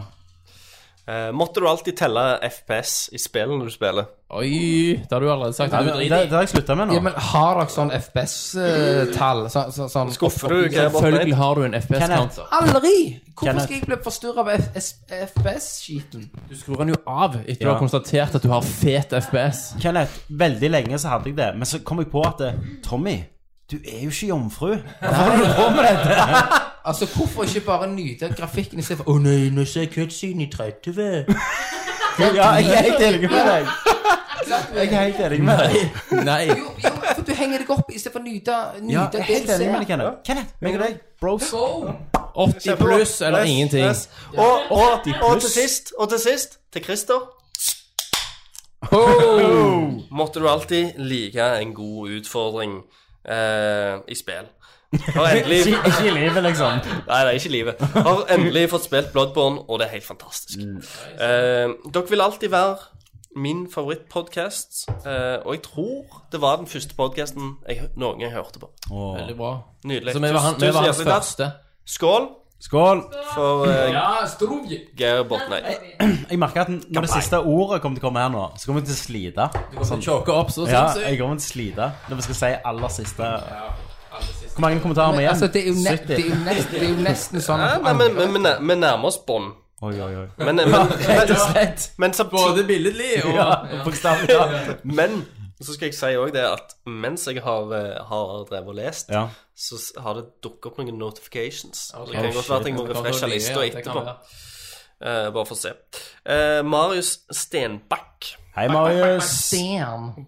Speaker 8: Eh, måtte du alltid telle FPS i spillene du spiller?
Speaker 7: Oi, det har du allerede sagt.
Speaker 8: at du driter i.
Speaker 6: det
Speaker 9: har jeg slutta med
Speaker 6: nå. Ja, men Har dere sånn FPS-tall? Så, så, sånn
Speaker 8: Skuffer du, Geir Bortmann? Selvfølgelig har du en FPS
Speaker 7: altså.
Speaker 8: counter.
Speaker 6: Aldri! Hvorfor
Speaker 7: Kenneth.
Speaker 6: skal jeg bli forstyrra av FPS-skiten?
Speaker 7: Du skrur den jo av etter du
Speaker 9: Ja.
Speaker 7: har konstatert at du har fet FPS.
Speaker 9: Kenneth, veldig lenge så hadde jeg det, men så kom jeg på at eh, Tommy, du er jo ikke jomfru. Hva holder du på med dette?
Speaker 6: Altså, hvorfor ikke bare nyte grafikken i stedet for Å nei, nå ser jeg cutscene i 30.
Speaker 9: Ja, jeg er helt enig med deg. Jeg er helt enig med deg.
Speaker 7: Nei.
Speaker 6: Jo, jo, for du henger deg opp i stedet for å nyte, nyte
Speaker 9: Ja,
Speaker 6: det
Speaker 9: jeg er helt
Speaker 6: du
Speaker 9: enig
Speaker 6: ser.
Speaker 9: med deg, Kenneth. Kenneth, meg og deg, bros.
Speaker 7: 80 pluss eller ingenting.
Speaker 8: Og, og,
Speaker 7: 80
Speaker 8: og
Speaker 7: pluss.
Speaker 8: til sist, og til sist, til Christer.
Speaker 7: Oh!
Speaker 8: Måtte du alltid like en god utfordring eh, i spill. Har endelig
Speaker 9: Ikke- ikke i livet, liksom.
Speaker 8: Nei, nei, ikke i livet. Har endelig fått spilt Bloodborne, og det er helt fantastisk. Eh, dere vil alltid være min favorittpodkast, eh, og jeg tror det var den første podkasten jeg hø- noen gang hørte på.
Speaker 7: Åh. Veldig bra.
Speaker 8: Nydelig.
Speaker 7: Så vi var han- vi
Speaker 8: Tusen
Speaker 7: var hans
Speaker 8: hjertelig takk.
Speaker 7: første.
Speaker 8: Skål.
Speaker 9: Skål.
Speaker 8: For eh,
Speaker 7: Ja, Strovje.
Speaker 8: Geir Bortnei.
Speaker 9: Jeg merker at når det siste ordet kommer til å komme her nå, så kommer jeg til å slite. Du
Speaker 7: kommer til
Speaker 6: Sånn.
Speaker 7: å choke opp så
Speaker 9: ja,
Speaker 6: Altså-
Speaker 7: sinnssykt.
Speaker 9: jeg kommer til å slite når vi skal si aller siste. Hvor mange kommentarer har vi
Speaker 6: Men,
Speaker 9: igjen?
Speaker 6: altså, det er jo ne-
Speaker 9: 70.
Speaker 6: det er jo nesten- det er jo nesten sånn
Speaker 8: Nei,
Speaker 6: at
Speaker 8: nei, men- men- men nær- Vi nærmer oss bånd.
Speaker 9: Oi, oi, oi.
Speaker 8: Men, men,
Speaker 9: Ja,
Speaker 8: men,
Speaker 9: rett og slett.
Speaker 8: men
Speaker 7: Både billedlig og-
Speaker 9: Ja, bokstavelig talt.
Speaker 8: Men så skal jeg si òg det at mens jeg har, eh, har drevet og lest,
Speaker 9: Ja.
Speaker 8: så s- har det dukket opp noen notifications.
Speaker 7: Ok.
Speaker 8: Det kan
Speaker 7: Oh,
Speaker 8: godt være at jeg må
Speaker 7: shit.
Speaker 8: refreshe
Speaker 7: Det kan
Speaker 8: lista
Speaker 7: være det, ja, det kan
Speaker 8: etterpå. Eh, bare for å se. Eh, Marius Stenbakk.
Speaker 9: Hei, Marius.
Speaker 6: Sten.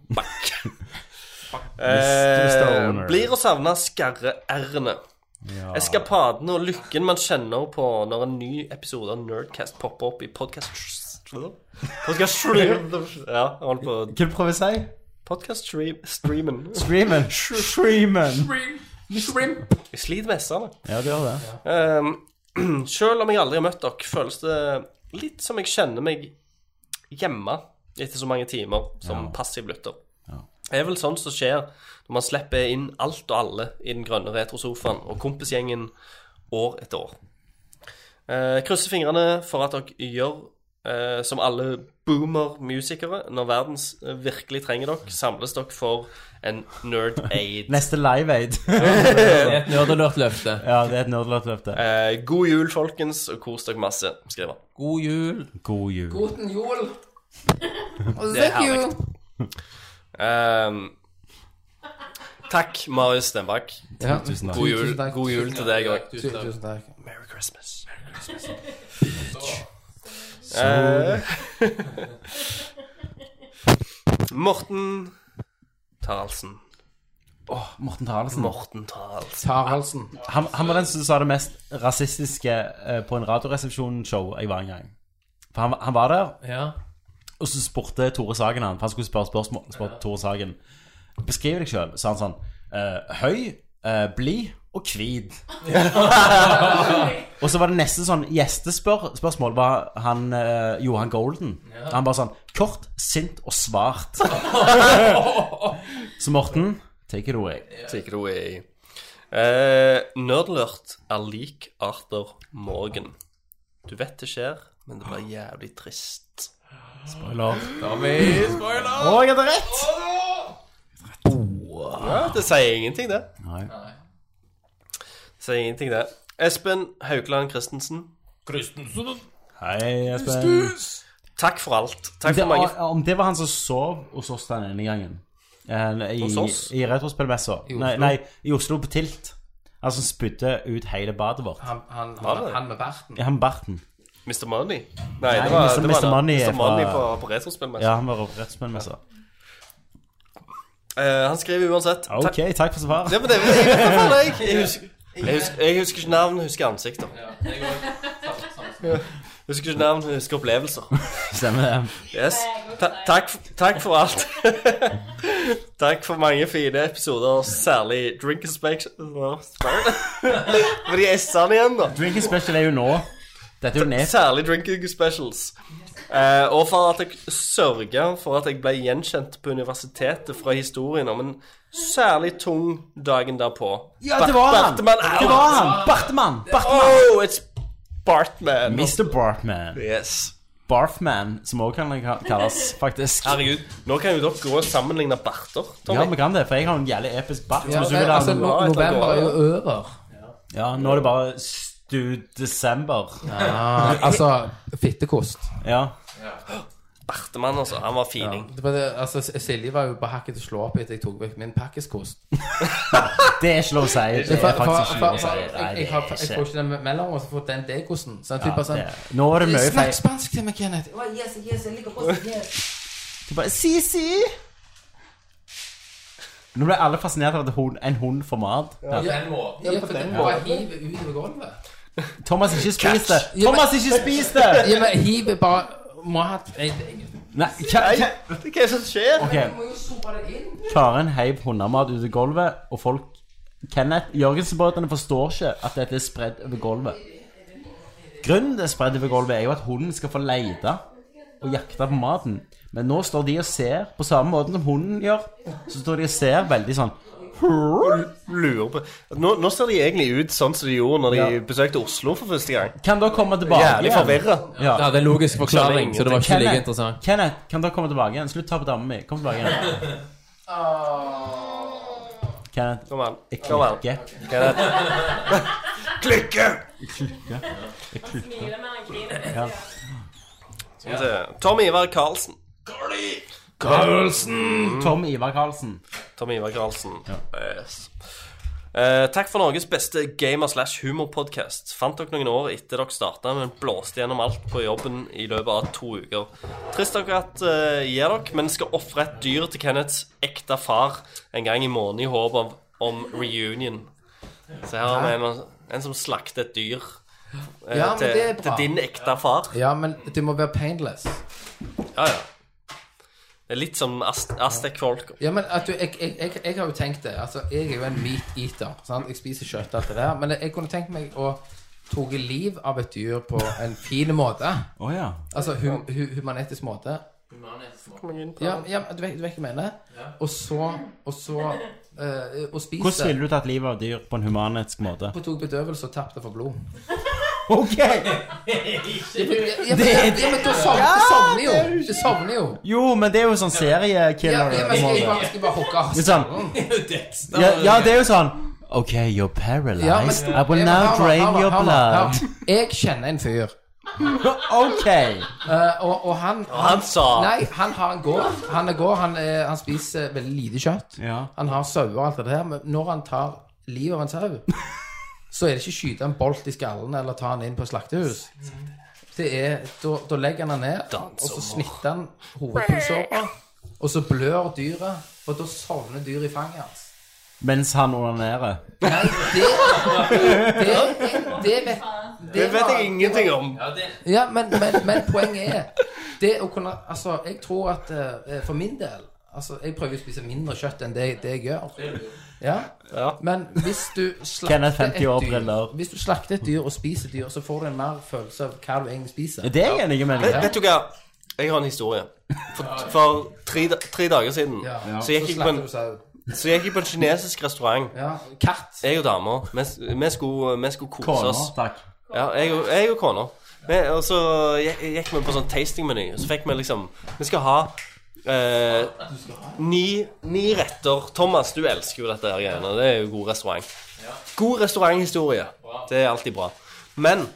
Speaker 9: Mr. Stoner.
Speaker 8: Eh, blir å savne skarre-r-ene.
Speaker 9: Ja.
Speaker 8: Eskapaden og lykken man kjenner på når en ny episode av Nerdcast popper opp i podcast... Podcast stream Ja, jeg holdt på
Speaker 9: Hva prøver du å si?
Speaker 8: Podcast stream, streamen.
Speaker 9: Streamen. Streamen.
Speaker 8: Jeg sliter med s-ene.
Speaker 9: Ja, du gjør det.
Speaker 8: Ehm, selv om jeg aldri har møtt dere, føles det litt som jeg kjenner meg hjemme etter så mange timer som
Speaker 9: Ja.
Speaker 8: passiv lytter. Det er vel sånn som skjer når man slipper inn alt og alle i den grønne retrosofaen og kompisgjengen år etter år. Eh, krysser fingrene for at dere gjør eh, som alle boomer-musikere. Når verden s- virkelig trenger dere, samles dere for en nerd aid.
Speaker 9: Neste Live Aid.
Speaker 8: er
Speaker 7: et nerdelørt løfte.
Speaker 9: Ja, det er et nerdelørt løfte.
Speaker 8: Eh, god jul, folkens, og kos dere masse, skriver han.
Speaker 7: God jul.
Speaker 9: God jul.
Speaker 6: Guten jul. Og
Speaker 8: Det er
Speaker 6: thank you.
Speaker 8: Ehm, takk, Marius Stenbakk.
Speaker 6: Ja, tusen takk.
Speaker 8: God jul,
Speaker 6: Tusen takk.
Speaker 8: god jul til deg òg.
Speaker 6: Tusen tusen takk.
Speaker 8: Merry Christmas.
Speaker 9: Så-
Speaker 8: Morten Taraldsen.
Speaker 9: Åh, Morten Taraldsen.
Speaker 8: Morten Taraldsen.
Speaker 6: Taraldsen.
Speaker 9: Han, han var den som sa det mest rasistiske eh, på en Radioresepsjonen-show jeg var en gang. For han, han var der,
Speaker 7: Ja.
Speaker 9: og så spurte Tore Sagen han, for han skulle spørre spørsmål, spurte Tore Sagen, beskriv deg selv, sa han sånn, eh, høy, eh, blid og kvid. og så var det neste sånn gjestespørsmål var han, eh, Johan Golden. Han bare sånn, kort, sint og svart. så Morten, take it away.
Speaker 8: Take it away. Eh, Nerdlurt er lik Arthur Morgan. Du vet det skjer, men det blir jævlig trist.
Speaker 9: Spoiler.
Speaker 7: spoiler!
Speaker 9: Å, jeg hadde rett!
Speaker 8: Ja, det sier ingenting, det.
Speaker 9: Nei.
Speaker 8: Det sier ingenting, det. Espen Haukeland Christensen.
Speaker 7: Christensen.
Speaker 9: Hei, Espen.
Speaker 8: Takk for alt. Takk
Speaker 9: Det
Speaker 8: for mange
Speaker 9: var, om det var han som sov hos oss den ene gangen Eh, I,
Speaker 8: Hos oss?
Speaker 9: i retrospillmessa.
Speaker 6: I Oslo.
Speaker 9: Nei, nei, i Oslo på Tilt. Altså, han spydde ut hele badet vårt.
Speaker 6: Han, han,
Speaker 8: Var
Speaker 6: han,
Speaker 8: det?
Speaker 6: han med barten.
Speaker 9: Ja, han Barten.
Speaker 8: Mr. Money? Nei,
Speaker 9: Nei,
Speaker 8: det var
Speaker 9: Mr.
Speaker 8: det var
Speaker 9: Mr.
Speaker 8: da-
Speaker 9: Money er
Speaker 8: Mr. Money på,
Speaker 9: fra-
Speaker 8: på retrospillmessa.
Speaker 9: Ja, han var på retrospillmessa.
Speaker 8: Eh, han skriver uansett ta-
Speaker 9: Ok, takk for svaret.
Speaker 8: Ja, men det, jeg, jeg, jeg, jeg, husker, jeg, husker, jeg husker ikke navn, husker ansikter. Jeg husker ikke navn, husker opplevelser.
Speaker 9: Stemmer det.
Speaker 8: Yes. Ta takk, f- takk for alt. takk for mange fine episoder, særlig Drink Inspection For de s-ene igjen, da.
Speaker 9: Drinking special er jo nå. Dette er jo ned.
Speaker 8: Særlig Drinking Specials. Eh, og for at jeg sørga for at jeg ble gjenkjent på universitetet fra historien om en særlig tung dagen derpå.
Speaker 9: Ja, det var
Speaker 8: Bart-
Speaker 9: han!
Speaker 8: Barteman out!
Speaker 9: Det var han! Bartman!
Speaker 8: Oh, it's Bartman.
Speaker 9: Mr. Bartman.
Speaker 8: Yes.
Speaker 9: Barfman, som også kan ka- kalles, faktisk.
Speaker 8: Herregud, nå kan jo dere gå og sammenligne barter.
Speaker 9: Ja,
Speaker 8: Tommy.
Speaker 9: vi kan det, for jeg har en jævlig episk bart.
Speaker 6: Ja,
Speaker 9: hvis du
Speaker 6: men,
Speaker 9: vil ha
Speaker 6: altså,
Speaker 9: den.
Speaker 6: no, november er jo over.
Speaker 9: Ja, nå er det bare stu desember.
Speaker 6: Ah, altså, fittekost.
Speaker 9: Ja.
Speaker 8: Bartemann, altså. Han var fining.
Speaker 6: Det var det- Altså, Silje var jo på hakket til å slå opp etter jeg tok vekk min pakkiskost.
Speaker 9: Det er ikke lov å si. Det
Speaker 6: For- for-
Speaker 9: er faktisk
Speaker 6: for-
Speaker 9: ikke lov å
Speaker 6: for-
Speaker 9: si.
Speaker 6: jeg-
Speaker 9: Nei,
Speaker 6: Jeg
Speaker 9: det
Speaker 6: har-
Speaker 9: er
Speaker 6: jeg får
Speaker 9: ikke
Speaker 6: ikke den mellom, og så får den degosten. Sånn,
Speaker 9: Ja,
Speaker 6: typ bare sånn
Speaker 9: det er- Nå er det mye feil.
Speaker 6: Snakk spansk til meg, Kenneth. Å, yes, yes, jeg liker posten, yes.
Speaker 9: Du bare, si, si! Nå ble alle fascinert av at hun, en hund får mat. Ja.
Speaker 6: den måten. Ja, for den bare hiver ut over gulvet.
Speaker 9: Thomas, ikke spis det!
Speaker 6: Ja, men-
Speaker 9: Thomas, eh, ikke spis det!
Speaker 6: Ja, men hiver bare Må ha hatt jeg- jeg-
Speaker 9: Nei, hva, hva?
Speaker 8: Hva er det som skjer?
Speaker 9: Ok.
Speaker 6: må jo sope det inn.
Speaker 9: Karen heiv hundemat ut i gulvet, og folk Kenneth Jørgensen-båtene forstår ikke at dette er spredd over gulvet. Grunnen til spredd over gulvet er jo at hunden skal få lete og jakte på maten. Men nå står de og ser, på samme måten som hunden gjør, så står de og ser veldig sånn
Speaker 8: Lurer på Nå, nå ser de egentlig ut sånn som de gjorde når de
Speaker 9: Ja.
Speaker 8: besøkte Oslo for første gang.
Speaker 9: Kan dere komme tilbake
Speaker 8: Jævlig
Speaker 9: igjen?
Speaker 8: forvirra.
Speaker 9: Ja.
Speaker 14: Det hadde en logisk forklaring, så det var ikke like
Speaker 9: Kenneth,
Speaker 14: interessant.
Speaker 9: Kenneth, kan dere komme tilbake igjen? Slutt å ta på dama mi. Kom tilbake igjen. Kenneth,
Speaker 8: Kom an.
Speaker 9: jeg
Speaker 8: Kom an.
Speaker 9: klikker.
Speaker 8: Klikke!
Speaker 9: Jeg klikker.
Speaker 11: Smiler mer enn griner.
Speaker 9: Ja.
Speaker 8: Skal vi se. Tom Ivar Karlsen.
Speaker 9: Tom Ivar Karlsen.
Speaker 8: Tom Ivar Karlsen. Yes. Eh, takk for Norges beste gamer slash humorpodkast. Fant dere noen år etter dere starta, men blåste gjennom alt på jobben i løpet av to uker. Trist dere at eh, gir dere, men skal ofre et dyr til Kenneths ekte far en gang i måneden i håp om, om reunion. Så her har vi en, en som slakter et dyr eh,
Speaker 6: Ja, men
Speaker 8: til,
Speaker 6: det er bra.
Speaker 8: til din ekte far.
Speaker 6: Ja, men du må være painless.
Speaker 8: Ja, ja. Det er litt som Ast Aztec-folk.
Speaker 6: Ja, men at du, jeg, jeg, jeg, jeg har jo tenkt det. Altså, jeg er jo en meat eater. Sant? Jeg spiser kjøtt og alt det der. Men jeg kunne tenkt meg å tatt liv av et dyr på en fin måte.
Speaker 9: Å ja.
Speaker 6: Altså hu, hu, humanetisk måte. Ja, ja men du, vet, du vet hva jeg mener? Og så Og så eh, Og
Speaker 9: Hvordan
Speaker 6: spise
Speaker 9: ville du tatt livet av dyr på en humanetisk måte?
Speaker 6: og tok bedøvelse og tapte for blod.
Speaker 9: Ok!
Speaker 6: Ja, men, ja, men, ja, men da sov- det sovner jo! Det sovner jo.
Speaker 9: Jo, men det er jo sånn
Speaker 6: Ja,
Speaker 9: seriekiller.
Speaker 6: ja, men skal jeg bare, skal jeg bare hooke av?
Speaker 9: Det er sånn ja, ja, det er jo sånn Ok, you're
Speaker 6: Ja, men-
Speaker 9: paralyzed. I
Speaker 6: Ja,
Speaker 9: will
Speaker 6: men
Speaker 9: now
Speaker 6: hør nå, hør
Speaker 9: drain
Speaker 6: nå,
Speaker 9: your
Speaker 6: hør nå,
Speaker 9: blood.
Speaker 6: hør nå. Jeg kjenner en fyr,
Speaker 9: Ok.
Speaker 6: eh, og, og han
Speaker 8: Og han sa
Speaker 6: Nei, han har en gård. Han, er gård, han, eh, han spiser veldig lite kjøtt.
Speaker 9: Ja.
Speaker 6: Han har sauer og alt det der, men når han tar livet av en sau, så er det ikke skyte en bolt i skallen eller ta han inn på slaktehus. Det er, Da da legger han han ned, og så snitter han hovedpulsåra, og så blør dyret, og da sovner dyret i fanget hans.
Speaker 9: Mens han onanerer.
Speaker 6: Nei, det Det, det, det vet
Speaker 8: Det vet
Speaker 6: var-
Speaker 8: jeg ingenting om.
Speaker 6: ja, men, men, men poenget er Det å kunne Altså, jeg tror at eh, for min del Altså, jeg prøver å spise mindre kjøtt enn det, det jeg gjør. Ja.
Speaker 8: Ja.
Speaker 6: Men hvis du
Speaker 9: Kenneth,
Speaker 6: slakter et
Speaker 9: 50 år,
Speaker 6: dyr
Speaker 9: briller.
Speaker 6: Hvis du slakter et dyr og spiser dyr, så får du en mer følelse av hva du egentlig spiser.
Speaker 9: Det er jeg enig med
Speaker 8: Vet,
Speaker 9: deg i.
Speaker 8: vet du hva? Jeg har en historie. For, for tre, da- tre dager siden
Speaker 6: Ja.
Speaker 8: så, gikk jeg på en,
Speaker 6: slakter du sau.
Speaker 8: så gikk jeg på en kinesisk restaurant.
Speaker 6: Ja. Katt.
Speaker 8: Jeg og dama. Vi, s- vi, skulle- vi skulle kose
Speaker 9: Kona,
Speaker 8: oss.
Speaker 9: takk.
Speaker 8: Ja, jeg, og- jeg og kona. Vi, og så gikk gikk vi på sånn tastingmeny. Så fikk vi liksom Vi skal ha eh, ni, ni retter. Thomas, du elsker jo dette her greiene. Det er jo god restaurant. God restauranthistorie. Det er alltid bra. Men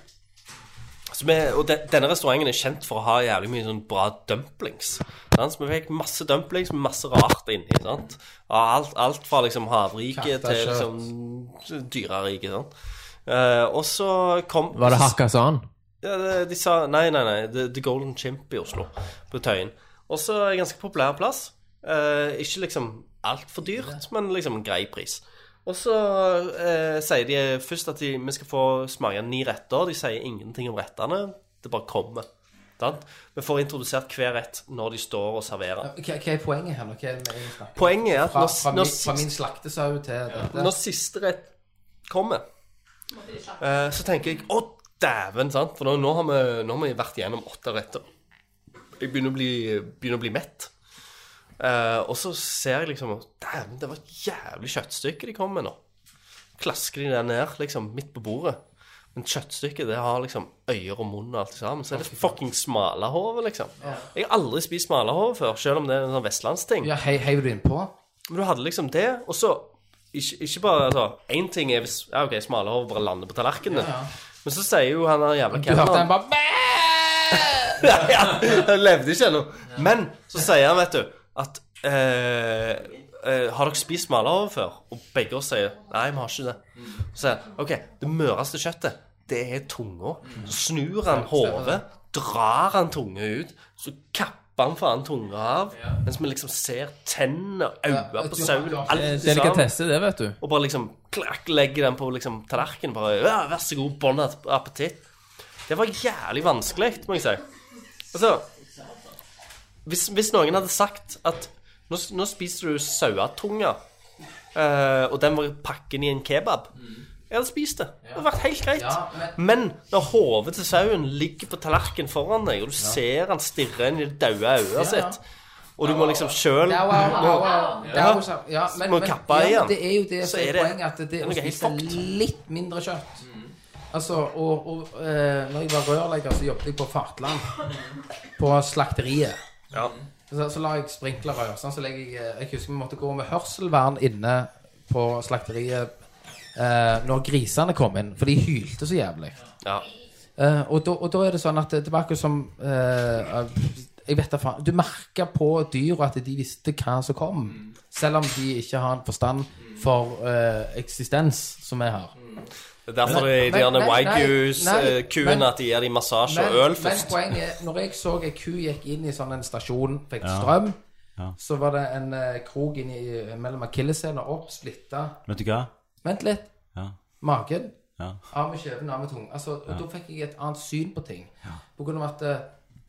Speaker 8: Så vi, og de, denne restauranten er kjent for å ha jævlig mye sånn bra dumplings. Sant? Så vi fikk masse dumplings med masse rart inni. sant? Av Alt, alt fra liksom havrike
Speaker 7: Kjøtt og
Speaker 8: til
Speaker 7: kjøtt.
Speaker 8: liksom dyrerike. Sånn. Eh, og så kom
Speaker 7: Var det Hakkasan?
Speaker 8: ja, de, de sa Nei, nei, nei. The, The Golden Chimp i Oslo. På Tøyen. Også en ganske populær plass. Eh, ikke liksom altfor dyrt, men liksom en grei pris. Og så eh, sier de først at de, vi skal få smake ni retter. De sier ingenting om rettene. Det bare kommer. Sant? Vi får introdusert hver rett når de står og serverer.
Speaker 6: Hva, hva er poenget her? nå? Hva er det vi snakker om?
Speaker 8: Poenget er at
Speaker 6: fra,
Speaker 8: når-
Speaker 6: fra,
Speaker 8: når
Speaker 6: min, fra
Speaker 8: sist-
Speaker 6: min slaktesau til dette
Speaker 8: Når siste rett kommer, eh, så tenker jeg Å, dæven, sant? For nå, nå, har vi, nå har vi vært gjennom åtte retter. Jeg begynner å bli, begynner å bli mett. Eh, og så ser jeg liksom Dæven, det var et jævlig kjøttstykke de kom med nå. Klasker de det ned, liksom, midt på bordet. Men kjøttstykket, det har liksom øyer og munn og alt sammen. Så er det fucking smalahove, liksom. Jeg har aldri spist smalahove før, selv om det er en sånn vestlandsting.
Speaker 6: Ja, hei, heiv du innpå?
Speaker 8: Men du hadde liksom det, og så Ikke, ikke bare altså, Én ting er hvis ja, ok, smalahove bare lander på tallerkenen.
Speaker 6: Ja, ja.
Speaker 8: Men så sier jo han der jævla
Speaker 6: Du hørte
Speaker 8: kelneren
Speaker 6: den bare "Bæ!"
Speaker 8: Nei, han- han levde ikke ennå. Men så sier han, vet du, at eh, eh, Har dere spist smalahove før? Og begge oss sier nei, vi har ikke det. Så sier han OK, det møreste kjøttet, det er tunga. Så snur han hodet, drar han tunga ut, så kapper han faen tunga av, mens vi liksom ser tennene, øyne på sauen, alt
Speaker 7: Eh,
Speaker 8: i
Speaker 7: Delikatesse, det, vet du.
Speaker 8: og bare liksom klakk, legger den på liksom, tallerkenen. Bare ja, 'Vær så god, bon app- appetitt'. Det var jævlig vanskelig, må jeg si. Altså Hvis, hvis noen hadde sagt at nå, nå spiser du sauetunga, eh, og den var pakken i en kebab
Speaker 6: Mm.
Speaker 8: Jeg hadde spist det. Det hadde vært helt greit. men... når hodet til sauen ligger på tallerkenen foran deg, og du ser han stirre inn i det daue øyet
Speaker 6: Ja, ja.
Speaker 8: sitt, og du må liksom sjøl
Speaker 6: Ja, wow, wow, wow. Ja,
Speaker 8: Ja.
Speaker 6: wow. Ja, men,
Speaker 8: Må
Speaker 6: men,
Speaker 8: kappe
Speaker 6: ja,
Speaker 8: igjen.
Speaker 6: men det er jo det
Speaker 8: Så
Speaker 6: som er
Speaker 8: er det-
Speaker 6: poenget, at det
Speaker 8: det er
Speaker 6: er å
Speaker 8: noe helt Mm.
Speaker 6: spise litt mindre kjøtt. Altså, og, og eh, når jeg var rørlegger, så jobbet jeg på Fartland, på slakteriet.
Speaker 8: Ja.
Speaker 6: Så, så la jeg sprinklerrør. Sånn, så legger jeg, jeg husker vi måtte gå med hørselvern inne på slakteriet eh, når grisene kom inn, for de hylte så jævlig.
Speaker 8: Ja.
Speaker 6: Eh, og, da, og da er det sånn at det det var akkurat som eh, Jeg vet da faen Du merker på dyra at de visste hva som kom, selv om de ikke har en forstand for eh, eksistens, som vi har.
Speaker 8: Mm. Det er derfor
Speaker 6: Nei,
Speaker 8: de, de gjerne
Speaker 6: nei, nei, nei, men-
Speaker 8: waikus-kuene at de gir dem massasje og øl først.
Speaker 6: Men poenget er, når jeg så ei ku gikk inn i sånn en stasjon, fikk
Speaker 9: Ja.
Speaker 6: strøm,
Speaker 9: Ja.
Speaker 6: så var det en eh, krok inni, mellom akilleshælene opp, splitta
Speaker 9: Vet du hva?
Speaker 6: Vent litt.
Speaker 9: Ja.
Speaker 6: Magen.
Speaker 9: Ja.
Speaker 6: Av med kjeven, av med tungen. Altså, og
Speaker 9: Ja.
Speaker 6: Da fikk jeg et annet syn på ting. På grunn av at eh,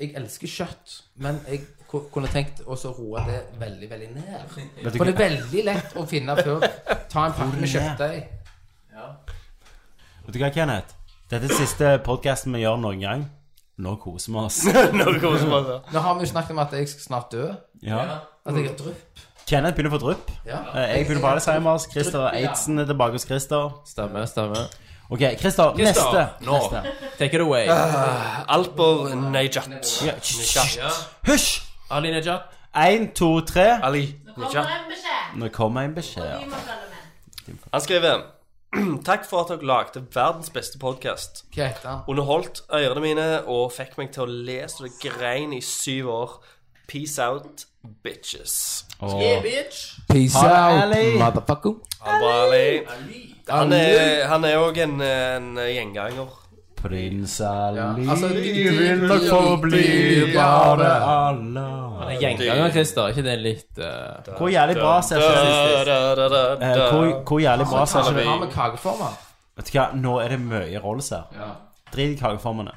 Speaker 6: jeg elsker kjøtt, men jeg ku- kunne tenkt å så roe det veldig, veldig ned.
Speaker 9: Vet du
Speaker 6: For det
Speaker 9: hva-
Speaker 6: er veldig lett å finne før. Ta en pakke med
Speaker 9: Hvor ned?
Speaker 6: kjøttdeig.
Speaker 9: Vet du hva, Kenneth? Dette er siste podcasten vi gjør noen gang. Nå koser vi oss.
Speaker 6: Nå har vi jo snakket om at jeg skal snart dø.
Speaker 9: Ja.
Speaker 6: At jeg har drypp.
Speaker 9: Kenneth begynner å få drypp.
Speaker 6: Ja.
Speaker 9: Eh, Jeg begynner på Alzheimers. Christer
Speaker 6: Drypp, ja.
Speaker 9: Eidsen er tilbake hos Christer.
Speaker 7: Stemmer, stemmer.
Speaker 9: Ok, Christer, neste.
Speaker 7: Nå.
Speaker 9: Neste.
Speaker 7: Take it away.
Speaker 8: Ah, Albor Najat.
Speaker 9: Ja,
Speaker 8: Najat.
Speaker 9: Hysj!
Speaker 7: Ali Najat.
Speaker 9: Én, to, tre.
Speaker 8: Ali
Speaker 11: Kommer
Speaker 8: Najat.
Speaker 11: en beskjed.
Speaker 9: Nå kommer en beskjed.
Speaker 11: Vi må følge med.
Speaker 8: Han skriver Takk for at dere lagde verdens beste podkast.
Speaker 6: Hva heter han?
Speaker 8: Underholdt ørene mine og fikk meg til å le så det grein i syv år. Peace out, bitches.
Speaker 9: Åh.
Speaker 6: Peace
Speaker 9: Ha det,
Speaker 6: out,
Speaker 9: Ali.
Speaker 6: motherfucker.
Speaker 8: Han var Ali. Han
Speaker 6: Ali.
Speaker 8: er- han er òg en, en gjenganger.
Speaker 9: Prins Ali,
Speaker 6: altså, de-
Speaker 9: vi vil nok få bli bare alle.
Speaker 7: Gjengangeren, Christer. Er ikke det litt eh,
Speaker 9: Hvor jævlig bra ser sosialistisk Eh, hvor- Hvor jævlig bra ser
Speaker 6: Har vi
Speaker 9: sosialistisk
Speaker 6: har med kakeformer?
Speaker 9: Vet du hva, nå er det mye rolls her. Drit i kakeformene.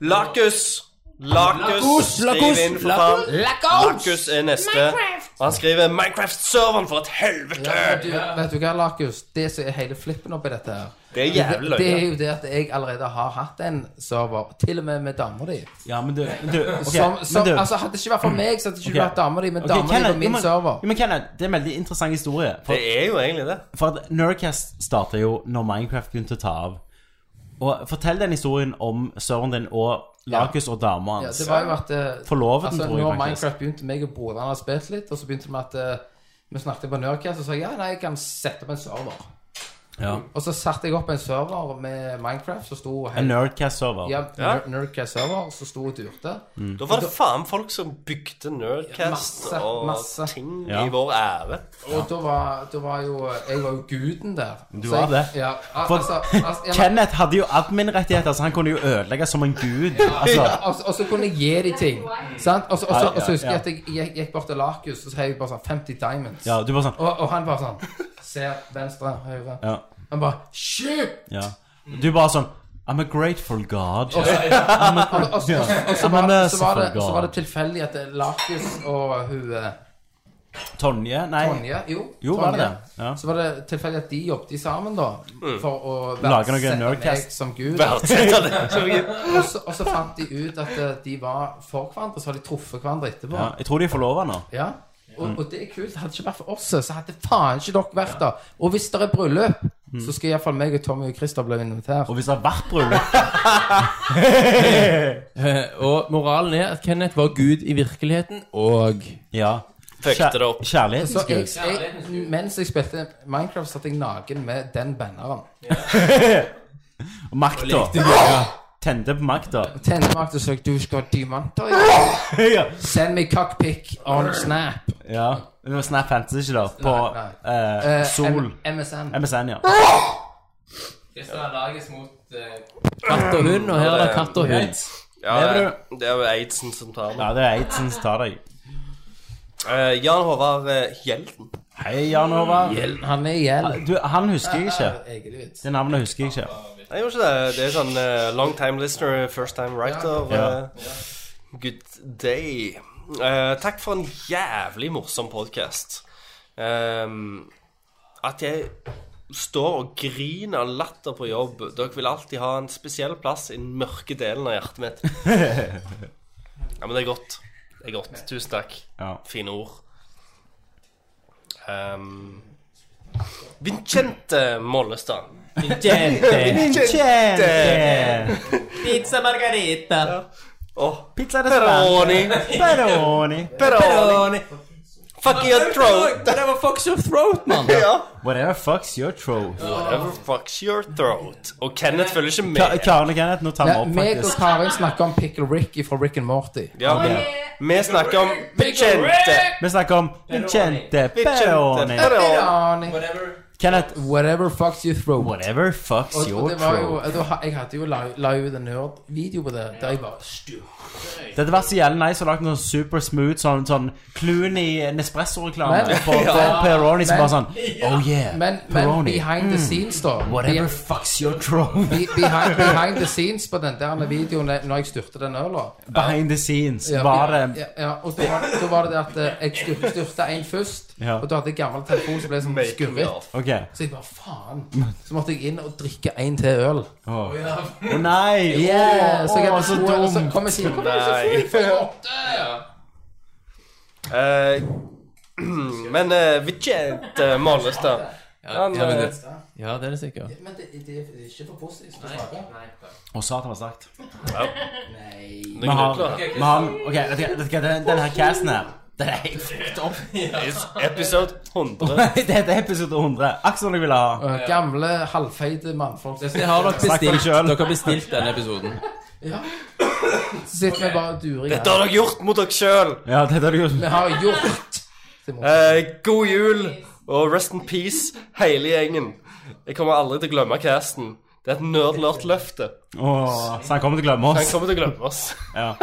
Speaker 8: Lakus! Lakus! Skriv inn, for faen. Lakus er neste. Og han skriver 'Minecraft-serveren for et helvete'.
Speaker 6: Du, vet du hva, Larkus? Det som er hele flippen oppi dette her
Speaker 8: Det er jævlig
Speaker 6: Det er
Speaker 8: løye.
Speaker 6: jo det at jeg allerede har hatt en server, til og med med dama di.
Speaker 9: Ja, men du, du, ok,
Speaker 6: som, som,
Speaker 9: men du
Speaker 6: altså, hadde det ikke vært for meg, så hadde ikke du
Speaker 9: Ok.
Speaker 6: vært dama di, men
Speaker 9: Ok,
Speaker 6: dama di
Speaker 9: Kenneth,
Speaker 6: på
Speaker 9: jo,
Speaker 6: min
Speaker 9: men-
Speaker 6: server.
Speaker 9: Jo, men Kenneth, det er en veldig interessant historie.
Speaker 8: Det
Speaker 9: For,
Speaker 8: er jo egentlig det.
Speaker 9: for at Nerdcast startet jo når Minecraft begynte å ta av. Og Fortell den historien om søren din og Lakus og dama
Speaker 6: Ja,
Speaker 9: hans.
Speaker 6: det var jo at eh,
Speaker 9: Forloven, tror jeg
Speaker 6: Når
Speaker 9: faktisk.
Speaker 6: Minecraft begynte, meg og broderen har spilt litt, og så begynte vi at eh, vi snakket på Nerdcast, og så sa jeg ja, nei, jeg kan sette opp en server.
Speaker 9: Ja.
Speaker 6: Og så satte jeg opp en server med Minecraft som sto
Speaker 9: En Nerdcast-server.
Speaker 6: Ja,
Speaker 9: Ja. Mm.
Speaker 6: Ner- Nerdcast-server som sto og durte.
Speaker 8: Da var det faen folk som bygde Nerdcast
Speaker 6: Masse,
Speaker 8: og
Speaker 6: masse.
Speaker 8: ting
Speaker 6: Ja.
Speaker 8: i vår ære.
Speaker 6: Og da var, da var jo Jeg var jo guden der.
Speaker 9: Du
Speaker 6: Så
Speaker 9: var
Speaker 6: jeg-
Speaker 9: det.
Speaker 6: Ja, al-
Speaker 9: For
Speaker 6: altså, altså, jeg-
Speaker 9: Kenneth hadde jo admin-rettigheter, så han kunne jo ødelegge som en gud.
Speaker 6: Altså.
Speaker 9: Altså.
Speaker 6: og så- og så kunne jeg gi de ting. Sant? Og så og så- og så husker
Speaker 9: Ja,
Speaker 6: jeg
Speaker 9: ja.
Speaker 6: at jeg gikk, gikk bort til Larkus og så heiv jeg bare sånn 50 diamonds.
Speaker 9: Ja, du bare sånn-
Speaker 6: og, og han bare sånn Ser venstre, høyre.
Speaker 9: Ja.
Speaker 6: Han bare Shit!
Speaker 9: Ja. Du bare sånn I'm a grateful god.
Speaker 6: Og så,
Speaker 9: I'm a,
Speaker 6: og, og, og,
Speaker 9: ja.
Speaker 6: og, og så,
Speaker 9: I'm a
Speaker 6: var, det- så, var
Speaker 9: merciful
Speaker 6: det, så var det
Speaker 9: god.
Speaker 6: tilfeldig at det- Larkus og hun eh,
Speaker 9: Tonje? Nei.
Speaker 6: Tonje Jo,
Speaker 9: Jo, var det
Speaker 6: Tonje.
Speaker 9: det? Ja.
Speaker 6: Så var det tilfeldig at de jobbet sammen, da.
Speaker 9: Mm.
Speaker 6: For å
Speaker 9: Lage noe
Speaker 6: verdsette
Speaker 9: nerdcast.
Speaker 6: meg som gud.
Speaker 9: Verdsette deg som gud.
Speaker 6: og, så, og så fant de ut at eh, de var for hverandre, så har de truffet hverandre etterpå.
Speaker 9: Ja, jeg tror de er forlova nå.
Speaker 6: Ja. Og,
Speaker 9: Mm.
Speaker 6: og det er kult. Hadde det ikke vært for oss, så hadde faen ikke dere vært der. Og hvis det er bryllup, så skal iallfall meg og Tommy og Christer bli invitert.
Speaker 9: Og hvis det har vært bryllup
Speaker 7: Eh, Og moralen er at Kenneth var Gud i virkeligheten, og
Speaker 9: Ja.
Speaker 8: Fuckte det opp.
Speaker 6: Så jeg, jeg, mens jeg spilte Minecraft, satt jeg naken med den banneren.
Speaker 9: Makta.
Speaker 6: Og lekte du, ja.
Speaker 9: Tente på makta.
Speaker 6: Tente meg til å søke 'du skal ha diamanter'.
Speaker 9: Ja.
Speaker 6: Send meg cockpic on Snap.
Speaker 9: Ja. Det var Snap fantes ikke, da. På
Speaker 6: Nei,
Speaker 9: eh,
Speaker 6: Eh,
Speaker 9: Sol.
Speaker 6: M- MSN.
Speaker 9: MSN, ja.
Speaker 7: Kristian er allergisk mot eh, katt og hund, og her er det katt og hund.
Speaker 8: Ja,
Speaker 9: Lever
Speaker 8: det er jo aidsen som tar meg.
Speaker 9: Ja, det er Eidsen som tar deg.
Speaker 8: Eh, Jan Håvard eh, Hjelten.
Speaker 9: Hei, Jan Håvard.
Speaker 8: Hjelm.
Speaker 6: Han er Hjelm.
Speaker 9: Du, han husker jeg ikke.
Speaker 6: Egilvits.
Speaker 9: Det navnet husker jeg ikke.
Speaker 8: Nei, gjorde ikke det. Det er sånn eh, long time listener, first time writer.
Speaker 9: Ja.
Speaker 8: eh, good day. Eh, takk for en jævlig morsom podkast. at jeg står og griner av latter på jobb. Dere vil alltid ha en spesiell plass i den mørke delen av hjertet mitt. Ja, men det er godt. Det er godt. Tusen takk. Fine ord. Ehm, Vincente Mollestad.
Speaker 7: Vincente.
Speaker 8: Vincente.
Speaker 7: Pizza margarita.
Speaker 8: Oh,
Speaker 9: pizza
Speaker 7: da
Speaker 8: Peroni.
Speaker 9: Peroni.
Speaker 8: Peroni. Fuck your throat.
Speaker 7: Whatever fucks your throat, mann.
Speaker 8: Ja.
Speaker 9: Whatever fucks your throat.
Speaker 8: Whatever fucks your throat. Og Kenneth følger ikke med.
Speaker 9: Ka- Karen og Kenneth, nå tar vi
Speaker 6: Nei,
Speaker 9: opp,
Speaker 6: meg og
Speaker 9: faktisk.
Speaker 6: Karin snakker om Pickle Ricky fra Rick and Morty.
Speaker 8: Ja,
Speaker 9: Ja.
Speaker 8: vi, vi snakker om Vincente.
Speaker 9: Vi snakker om Vincente
Speaker 6: Peroni.
Speaker 9: Peroni. Kenneth,
Speaker 6: whatever fucks your throat.
Speaker 9: Whatever fucks
Speaker 6: Og, og
Speaker 9: your
Speaker 6: det var jo,
Speaker 9: throat.
Speaker 6: da, ha- jeg hadde jo la, la ut en nerd-video på det, der jeg bare stu-
Speaker 9: Det hadde vært så jævlig nice å lage noe super smooth sånn, sånn Clooney Nespresso-reklame
Speaker 6: Men-
Speaker 9: for, for
Speaker 6: Ja.
Speaker 9: Peroni som
Speaker 6: Men-
Speaker 9: bare sånn Oh yeah,
Speaker 6: Men, men
Speaker 9: Peroni.
Speaker 6: behind the
Speaker 9: Mm.
Speaker 6: scenes, da
Speaker 9: Whatever
Speaker 6: Be-
Speaker 9: fucks your throat.
Speaker 6: be, behind, behind the scenes på den der videoen der- når jeg styrte den øla
Speaker 9: Behind the scenes.
Speaker 6: Ja,
Speaker 9: Var
Speaker 6: ja,
Speaker 9: det
Speaker 6: ja, ja, og da var, da var det det at eh, jeg styr- styrte en først,
Speaker 9: Ja.
Speaker 6: og da hadde jeg gammel telefon som ble sånn skurret.
Speaker 9: Ok.
Speaker 6: Så jeg bare faen. Så måtte jeg inn og drikke en til øl.
Speaker 9: Å nei!
Speaker 6: Yeah, så jeg
Speaker 9: Åh,
Speaker 6: hadde
Speaker 9: så
Speaker 6: to øl, og så
Speaker 9: dumt.
Speaker 6: kom jeg siden. Hvorfor er
Speaker 8: Nei.
Speaker 6: du så full?
Speaker 8: Eh, men uh, Vincente Mollestad han,
Speaker 7: ja, men
Speaker 8: eh,
Speaker 7: det- ja, det er det sikkert.
Speaker 6: Men det, det, det er ikke for positivt å snakke.
Speaker 9: Og satan var sterkt.
Speaker 8: Ja.
Speaker 9: Vi har, vi har Ok, vet du hva- vet du hva, den- den her casten her Den er helt fucked opp.
Speaker 8: Episode 100.
Speaker 9: Nei, Dette er episode 100. Akkurat som jeg ville ha.
Speaker 6: Eh, Gamle, halvfeite mannfolk.
Speaker 7: Det har
Speaker 9: Snakk
Speaker 7: dere
Speaker 9: for deg
Speaker 7: bestilt.
Speaker 9: selv.
Speaker 7: Dere har bestilt denne episoden.
Speaker 6: Ja. Så sitter vi bare og durer i
Speaker 8: Dette har dere gjort mot dere sjøl!
Speaker 9: Ja, dette har du gjort.
Speaker 6: Vi har gjort
Speaker 8: Eh, god jul og rest in peace, hele gjengen. Jeg kommer aldri til å glemme casten. Det er et nerd-lert-løfte.
Speaker 9: Åh, så han kommer til å glemme oss.
Speaker 8: Han kommer til å glemme oss.
Speaker 9: Ja.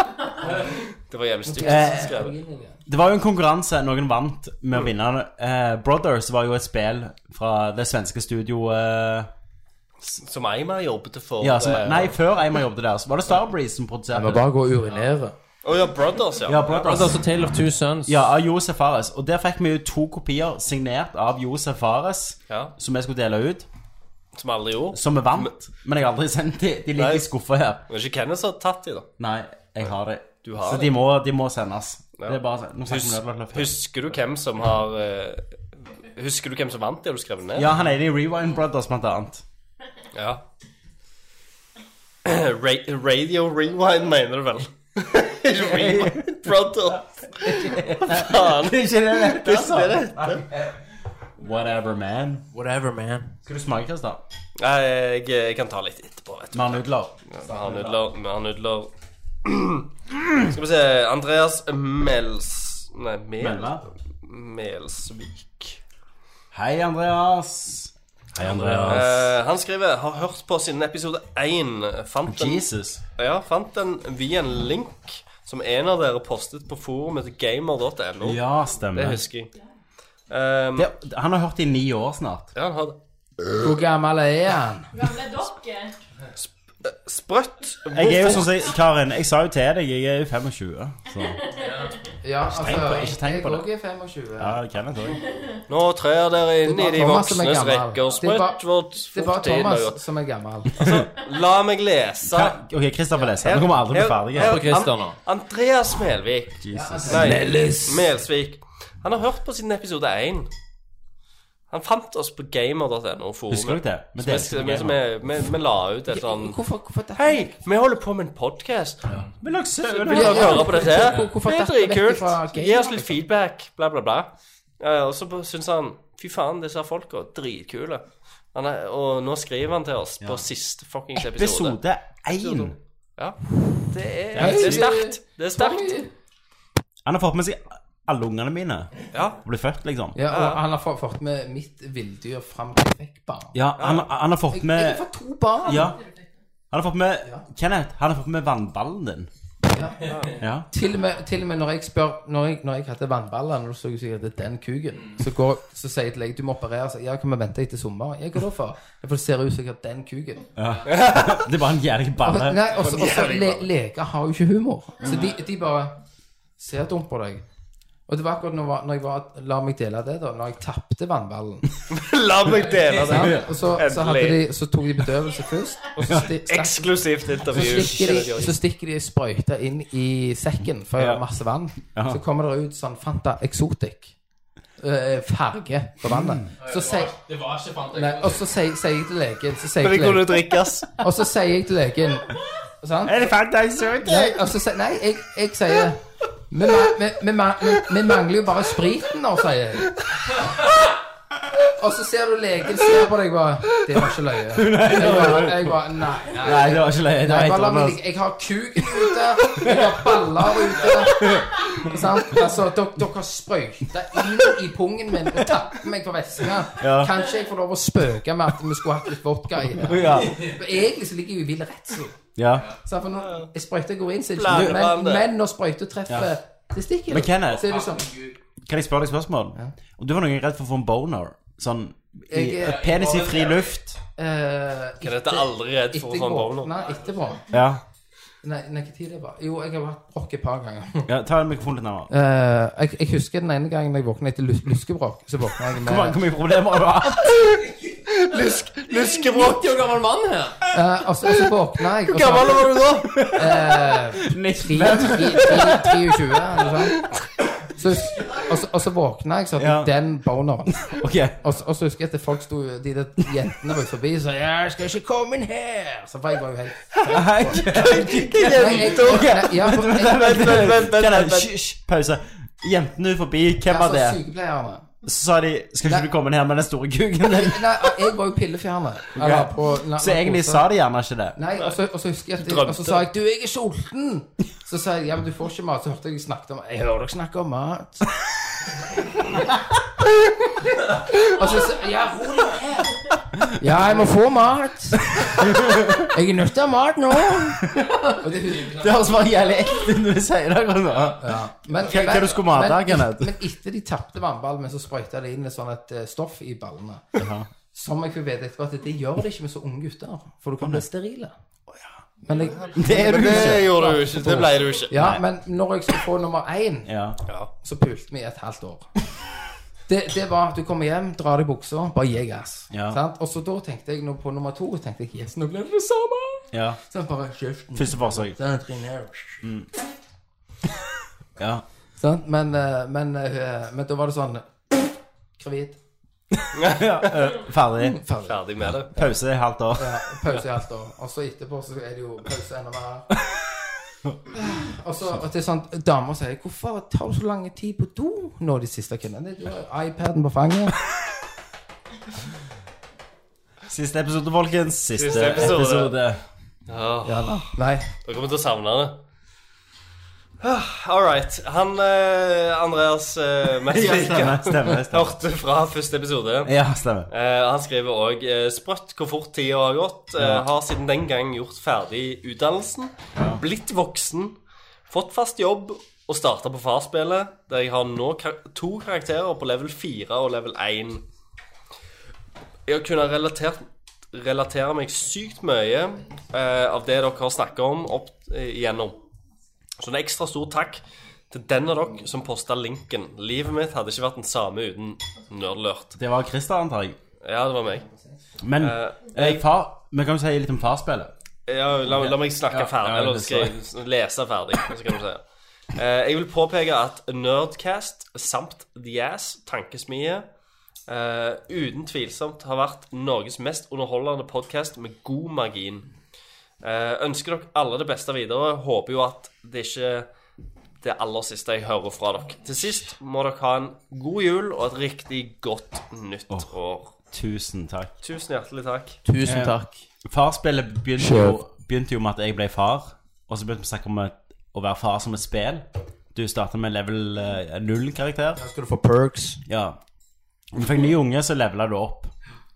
Speaker 8: Det var jævlig stygt
Speaker 9: Eh,
Speaker 8: skrevet.
Speaker 9: Det var jo en konkurranse noen vant med å vinne. Eh, Brothers var jo et spill fra det svenske studioet
Speaker 8: Som Eimar jobbet for.
Speaker 9: ja, som,
Speaker 8: eh,
Speaker 9: Nei, før Eimer jobbet der, så var det Starbreeze som produserte
Speaker 6: Vi må bare gå og urinere.
Speaker 8: Å Oh, ja, Brothers, ja.
Speaker 9: Ja, Brothers.
Speaker 7: og Tale of altså Two Sons.
Speaker 9: Ja, av Josef Fares. Og der fikk vi jo to kopier signert av Josef Fares,
Speaker 8: Ja.
Speaker 9: som jeg skulle dele ut.
Speaker 8: Som aldri gjorde.
Speaker 9: Som vi vant, men jeg har aldri sendt de. De ligger i skuffa her.
Speaker 8: Men ikke Kenneth som har tatt de, da.
Speaker 9: Nei, jeg har de.
Speaker 8: Du har
Speaker 9: så
Speaker 8: de.
Speaker 9: de må, de må sendes.
Speaker 8: Ja.
Speaker 9: Det er bare sånn- nå snakker vi om
Speaker 8: Hus-
Speaker 9: Nødløft Løfte.
Speaker 8: Husker du hvem som har eh, Husker du hvem som vant det du skrev det ned?
Speaker 9: Ja, han er i Rewind Brothers, blant annet.
Speaker 8: Ja. Ra Radio Rewind, mener du vel? Ikke Rewind Brothers. Faen.
Speaker 9: Det er ikke det det heter.
Speaker 8: Det er ikke det det heter.
Speaker 9: Whatever, man.
Speaker 14: Whatever, man.
Speaker 9: Skal du smake, Kristian?
Speaker 8: Nei, jeg, jeg kan ta litt etterpå. vet du.
Speaker 9: Vi har nudler.
Speaker 8: Ja, Vi har nudler. Vi har nudler. Skal vi se Andreas Mels... Nei, Mel...
Speaker 9: Melma?
Speaker 8: Melsvik.
Speaker 9: Hei, Andreas. Hei,
Speaker 8: Eh, han skriver Har hørt på siden episode 1 fant en,
Speaker 9: Jesus.
Speaker 8: Ja, fant en via en link Som en av dere postet på forumet til gamer.no
Speaker 9: Ja, stemmer.
Speaker 8: Det husker jeg um,
Speaker 9: Det, han har hørt det i ni år snart.
Speaker 8: Ja, han har eh, det
Speaker 6: Hvor gammel er han?
Speaker 11: Gamle dere.
Speaker 8: Eh, Sprøtt
Speaker 9: Jeg er jo
Speaker 8: Hvorfor-
Speaker 9: sånn som Karin, jeg sa jo til deg, jeg er jo 25. Så.
Speaker 6: Ja,
Speaker 9: Ikke tenk på- ikke
Speaker 6: altså,
Speaker 9: tenk
Speaker 6: jeg
Speaker 9: på det.
Speaker 6: òg er 25.
Speaker 9: Ja, Kenneth òg.
Speaker 8: Nå trer dere inn i
Speaker 6: Det er
Speaker 8: de
Speaker 6: bare Thomas som er
Speaker 8: voksnes
Speaker 6: gammel.
Speaker 8: rekker
Speaker 6: Det er bare-
Speaker 8: Sprøtt vårt
Speaker 6: Det er bare
Speaker 8: fortiden har
Speaker 6: Thomas
Speaker 8: gått.
Speaker 6: som er gammel.
Speaker 8: La meg lese
Speaker 9: Ok, Kristoffer leser. Nå kommer vi aldri bli ferdige.
Speaker 8: Her- An- Andreas Melvik.
Speaker 9: Jesus.
Speaker 8: Nei,
Speaker 9: Mellis.
Speaker 8: Melsvik. Han har hørt på siden episode 1. Han fant oss på gamer.no. forumet.
Speaker 9: Husker dere det? Vi
Speaker 8: Som
Speaker 9: delte på
Speaker 8: jeg- som jeg- Vi vi la ut et sånn
Speaker 6: Hvorfor, hvorfor det?
Speaker 8: Hei, vi holder på med en podkast.
Speaker 9: Men lag sø-
Speaker 8: Vil dere
Speaker 6: Ja, ja.
Speaker 8: høre på dette? her?
Speaker 6: Hvorfor
Speaker 8: Det er
Speaker 6: datt det vekk fra
Speaker 8: dritkult.
Speaker 6: gamer?
Speaker 8: Gi oss litt feedback. Bla, bla, bla. Eh, Og så syns han Fy faen, disse folka er dritkule. Han er, og nå skriver han til oss på siste fuckings episode.
Speaker 9: Episode én.
Speaker 8: Ja. Det er, det er sterkt. Det er sterkt.
Speaker 9: Han har fått med seg alle ungene mine.
Speaker 8: Ja.
Speaker 9: Og ble født, liksom.
Speaker 6: Ja, og han har fått fått med mitt villdyr fram til jeg fikk barn.
Speaker 9: Ja, han, han har fått
Speaker 6: Jeg, jeg har
Speaker 9: med
Speaker 6: fått to barn!
Speaker 9: Ja. Han har fått med Kenneth, han har fått med vannballen din. Ja.
Speaker 6: Til og, med, til og med når jeg spør Når jeg, når jeg hadde vannballen, og du så jo sikkert at det er den kuken, så, går, så sier jeg til deg du må operere. Så, ja, kan vi vente etter sommer? Ja, hva da for? Ja, For det ser ut som jeg har den kuken.
Speaker 9: Det var en jævlig
Speaker 6: Og,
Speaker 9: balle.
Speaker 6: nei, også, også, le, leger har jo ikke humor. Så de, de bare ser dumt på deg. Og det var akkurat når, jeg var- når jeg var, la meg dele det, da. Når jeg tapte vannballen.
Speaker 8: La meg dele det.
Speaker 6: sant? Og så, så, hadde de, så tok de bedøvelse først. Og så sti- stakk
Speaker 8: Eksklusivt
Speaker 6: Så
Speaker 8: intervju.
Speaker 6: stikker, de, så stikker de ei sprøyte inn i sekken for å gjøre masse vann.
Speaker 9: Ja.
Speaker 6: Så kommer det ut sånn Fanta Exotic. eh, farge på vannet. Så sier
Speaker 14: Det var ikke fant
Speaker 6: Nei, og så sier sier jeg til legen så sier
Speaker 8: Men
Speaker 6: jeg
Speaker 8: det
Speaker 6: til
Speaker 8: kunne
Speaker 6: legen,
Speaker 8: drikkes.
Speaker 6: Og så sier jeg til legen sant?
Speaker 9: Er det fantastisk?
Speaker 6: Nei, og så sier, nei jeg, jeg sier vi, ma vi, vi, ma vi, vi mangler jo bare spriten nå, sier jeg. Og så ser du legen ser på deg bare Det var ikke løye. Jeg bare, jeg bare nei, nei.
Speaker 9: Nei, det var ikke løye. Det
Speaker 6: Nei,
Speaker 9: var helt
Speaker 6: bare la meg
Speaker 9: annerledes.
Speaker 6: ligge. Jeg har kuken ute, jeg har baller ute. Sant? Altså, dere, dere sprøyta inn i pungen min og tappet meg på veska.
Speaker 9: Ja.
Speaker 6: Kanskje jeg får lov å spøke med at vi skulle hatt litt vodka i det.
Speaker 9: Ja.
Speaker 6: For Egentlig så ligger jeg jo i vill redsel.
Speaker 9: ja.
Speaker 6: Sant? For når jeg sprøyter går inn, så er det
Speaker 8: Flere
Speaker 6: ikke noe.
Speaker 8: vann, det.
Speaker 6: Men, men når sprøyta treffer
Speaker 9: Ja.
Speaker 6: testikkelen,
Speaker 9: Men Kenneth-
Speaker 6: så er det sånn
Speaker 9: Kan jeg spørre deg et spørsmål? Om du var noen gang redd for å få en boner? Sånn i,
Speaker 6: Jeg er-
Speaker 9: penis i fri luft?
Speaker 6: eh,
Speaker 8: Dette er aldri redd for å få en boner.
Speaker 6: Nei, etterpå.
Speaker 9: Ja.
Speaker 6: Nei, nei, hva tid er det var? Jo, jeg har hatt brokk et par ganger.
Speaker 9: ja ta mikrofonen litt nærmere.
Speaker 6: Eh, jeg, jeg husker den ene gangen jeg våkna etter lus luskebråk. Så våkna jeg
Speaker 9: Hvor mange-
Speaker 6: med
Speaker 9: Hvor mye problemer har du hatt?
Speaker 8: Luskebråk.
Speaker 14: år gammel mann her.
Speaker 6: Eh, Og så og så våkna jeg og
Speaker 8: Hvor
Speaker 6: så- Eh,
Speaker 8: gammel var du da?
Speaker 6: Tre- tre- tre- 23, eller noe sånt. Så, hus- og, så, og så våkna jeg, så hadde jeg
Speaker 9: Ja.
Speaker 6: den boneren.
Speaker 9: Ok.
Speaker 6: Og, så- og så husker jeg at folk sto, de der jentene var forbi og sa 'Jeg skal ikke komme inn her!' Så for jeg var jo helt
Speaker 9: Nei,
Speaker 6: Nei, jeg- nei, ja, for- jeg-
Speaker 9: Vent, vent, vent, vent,
Speaker 8: vent,
Speaker 9: Kenneth,
Speaker 8: vent.
Speaker 9: hysj, hysj, Pause. Jentene ut forbi, hvem var
Speaker 6: altså,
Speaker 9: det?
Speaker 6: sykepleierne.
Speaker 9: Så sa de 'Skal ikke du komme ned med den store kuken din?'
Speaker 6: Nei, jeg var jo pillefjerner. Eller på
Speaker 9: Så egentlig
Speaker 6: narkose.
Speaker 9: sa de gjerne ikke det.
Speaker 6: Nei, og så, og så husker jeg at jeg,
Speaker 8: Drømte.
Speaker 6: Og så sa jeg 'Du, jeg er sulten'. Så sa jeg 'Ja, men du får ikke mat'. Så hørte jeg de snakket om 'Jeg hører dere snakke om mat'. og så sa jeg 'Ja, ro deg ned'. Ja, jeg må få mat. Jeg er nødt til å ha mat nå. Og det,
Speaker 9: Det høres bare jævlig ekte ut når du sier det. Gunnar.
Speaker 6: men,
Speaker 9: Hva- hva du skulle mate,
Speaker 6: men-
Speaker 9: Kenneth?
Speaker 6: Men etter de tapte vannballene, så sprøyta de inn et sånn et eh, stoff i ballene. Som jeg fikk vite etterpå at det gjør det ikke med så unge gutter. For du kan bli sterile. Men jeg,
Speaker 9: Det er du
Speaker 8: Det
Speaker 9: ikke.
Speaker 8: gjorde du ikke. Det ble du ikke.
Speaker 6: Ja, men når jeg skulle få nummer én,
Speaker 9: Ja.
Speaker 6: så pulte vi i et halvt år. Det, det var at du kommer hjem, drar deg i buksa, bare gi gass.
Speaker 9: Ja.
Speaker 6: Sant? Og så da tenkte jeg nå på nummer to tenkte jeg, yes, nå blir det det samme.
Speaker 9: ja.
Speaker 6: Så jeg bare kjeften.
Speaker 9: Første forsøk.
Speaker 6: Den er tre ned.
Speaker 9: Ja.
Speaker 6: Sant? Men, eh, men, eh, men da var det sånn Gravid. Mm,
Speaker 9: Ferdig.
Speaker 6: Ferdig.
Speaker 8: Ferdig med det.
Speaker 9: Pause i halvt år.
Speaker 6: Ja, pause i halvt år. Og så etterpå så er det jo pause enda mer. Og så og det er sånn, Damer sier 'Hvorfor tar du så lang tid på do nå de siste kvinnene?' Det er jo iPaden på fanget.
Speaker 9: Siste episode, folkens. Siste,
Speaker 8: Siste episode.
Speaker 9: episode.
Speaker 8: Åh.
Speaker 9: Ja da.
Speaker 6: Nei.
Speaker 8: Dere kommer til å savne det. Ah, All right. Han eh, Andreas uh,
Speaker 9: Ja, stemmer, stemmer, stemmer.
Speaker 8: hørte fra første episode.
Speaker 9: Ja, stemmer.
Speaker 8: Eh, han skriver òg sprøtt hvor fort tida har gått. Eh,
Speaker 9: Ja.
Speaker 8: Har siden den gang gjort ferdig utdannelsen, blitt voksen, fått fast jobb og starta på farsspillet, der jeg har nå kar to karakterer på level 4 og level 1. Jeg har kunnet relatert, relatere meg sykt mye eh, av det dere har snakket om, opp eh, igjennom. Så en ekstra stor takk til den av dere som posta linken. Livet mitt hadde ikke vært den samme uten nerdlurt.
Speaker 9: Det var Christer, antar jeg.
Speaker 8: Ja, det var meg.
Speaker 9: Men eh,
Speaker 8: Eh,
Speaker 9: far, vi kan jo si litt om farsspillet.
Speaker 8: Ja, la, la meg snakke
Speaker 9: Ja,
Speaker 8: ferdig,
Speaker 9: ja,
Speaker 8: eller
Speaker 9: det
Speaker 8: skrive, lese ferdig, så kan du si. Eh, jeg vil påpeke at Nerdcast samt The Ass, Tankesmie, eh, uten tvilsomt har vært Norges mest underholdende podkast med god margin. Eh, ønsker dere alle det beste videre. Håper jo at det ikke det aller siste jeg hører fra dere. Til sist må dere ha en god jul og et riktig godt nytt år.
Speaker 9: Tusen takk.
Speaker 8: Tusen hjertelig takk.
Speaker 9: Eh, Farspillet begynte jo, begynte jo med at jeg ble far, og så begynte vi å snakke om et, å være far som et spill. Du starta med level eh, null-karakter.
Speaker 6: Da skal du få perks.
Speaker 9: Ja. Når du fikk ny unge, så levela du opp.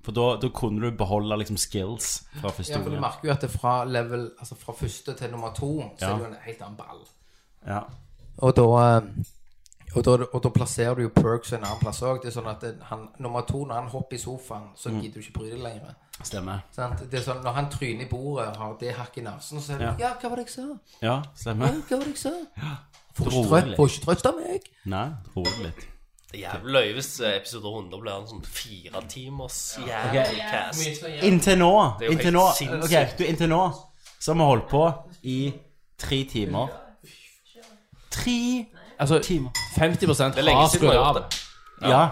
Speaker 9: For da, da kunne du beholde liksom skills fra første
Speaker 6: Ja, for Du
Speaker 9: ungen.
Speaker 6: merker jo at det er fra, level, altså fra første til nummer to Så
Speaker 9: Ja.
Speaker 6: er det jo en helt annen ball.
Speaker 9: Ja.
Speaker 6: Og da, eh, og da, og da plasserer du jo perks en annen plass òg. Sånn at det- han- nummer to, når han hopper i sofaen, så
Speaker 9: Mm.
Speaker 6: gidder du ikke bry deg lenger.
Speaker 9: Stemmer.
Speaker 6: Sant? Det er sånn, når han tryner i bordet og har det hakket i nesen, så er det
Speaker 9: Ja.
Speaker 6: ja. hva var det jeg sa?
Speaker 9: Ja,
Speaker 6: Ja,
Speaker 9: stemmer.
Speaker 6: hva var det jeg sa? Får
Speaker 9: Roer
Speaker 6: ikke trøst-
Speaker 9: litt.
Speaker 6: får ikke trøst av meg.
Speaker 9: Nei, roer det litt.
Speaker 8: Det er jævlig løye hvis eh, episode 100 blir en sånn fire timers jævlig
Speaker 9: Ok.
Speaker 8: cast.
Speaker 9: Inntil nå,
Speaker 8: Det er jo
Speaker 9: inntil
Speaker 8: helt
Speaker 9: nå, ok,
Speaker 8: sinnssykt.
Speaker 9: du, inntil nå Så har vi holdt på i tre timer Tre
Speaker 7: Altså,
Speaker 9: timer
Speaker 7: 50
Speaker 9: Det er lenge
Speaker 7: har
Speaker 9: siden
Speaker 7: skrudd
Speaker 9: vi har
Speaker 7: av.
Speaker 9: gjort Ja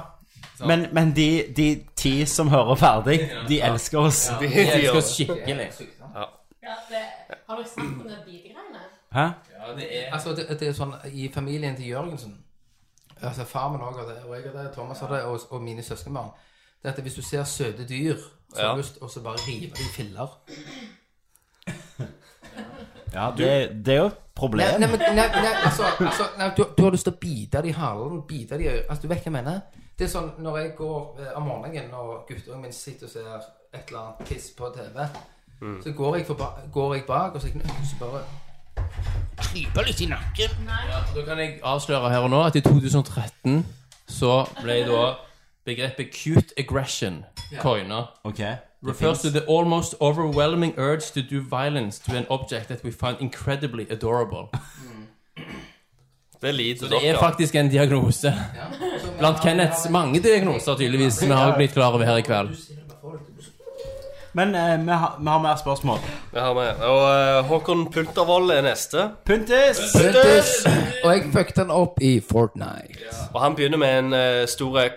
Speaker 9: Men, men de, de ti som hører ferdig De elsker oss
Speaker 7: De- de elsker oss skikkelig.
Speaker 11: Ja, det, har dere snakket om det bitegreiene?
Speaker 9: Hæ?
Speaker 6: Altså, det, det er sånn I familien til Jørgensen Altså, Far min òg har det, og jeg har det, Thomas har det, og, og mine søskenbarn. Det er at Hvis du ser søte dyr, så har
Speaker 9: Ja.
Speaker 6: du lyst og så bare rive de i filler.
Speaker 9: Ja, det, det er jo et problem
Speaker 6: Nei, nei, men- nei, nei, altså, altså nei, du, du har lyst til å bite det i halen, bite det i øyet Altså, du vet hva jeg mener? Det er sånn når jeg går eh, om morgenen og guttungen min sitter og ser et eller annet piss på TV,
Speaker 9: Mm.
Speaker 6: så går jeg, forba, går jeg bak, og så, så bare Klyper litt i nakken.
Speaker 7: Ja, da kan jeg avsløre her og nå at i 2013 så ble da begrepet cute aggression
Speaker 9: Ja.
Speaker 7: coina.
Speaker 9: Ok, det
Speaker 7: Refers
Speaker 9: finnes.
Speaker 7: to the almost overwhelming urge to do violence to an object that we find incredibly adorable.
Speaker 8: Det lider
Speaker 7: Så
Speaker 8: dere.
Speaker 7: det er faktisk en diagnose. Blant Kenneths mange diagnoser, tydeligvis, som vi har blitt klar over her i kveld.
Speaker 9: Men eh, vi, har, vi har mer spørsmål
Speaker 8: Vi har med. Og eh, Håkon Puntervold er neste.
Speaker 9: Puntis!
Speaker 6: Puntis! Og jeg fucket den opp i Fortnite.
Speaker 8: Og han begynner med en eh, stor eh,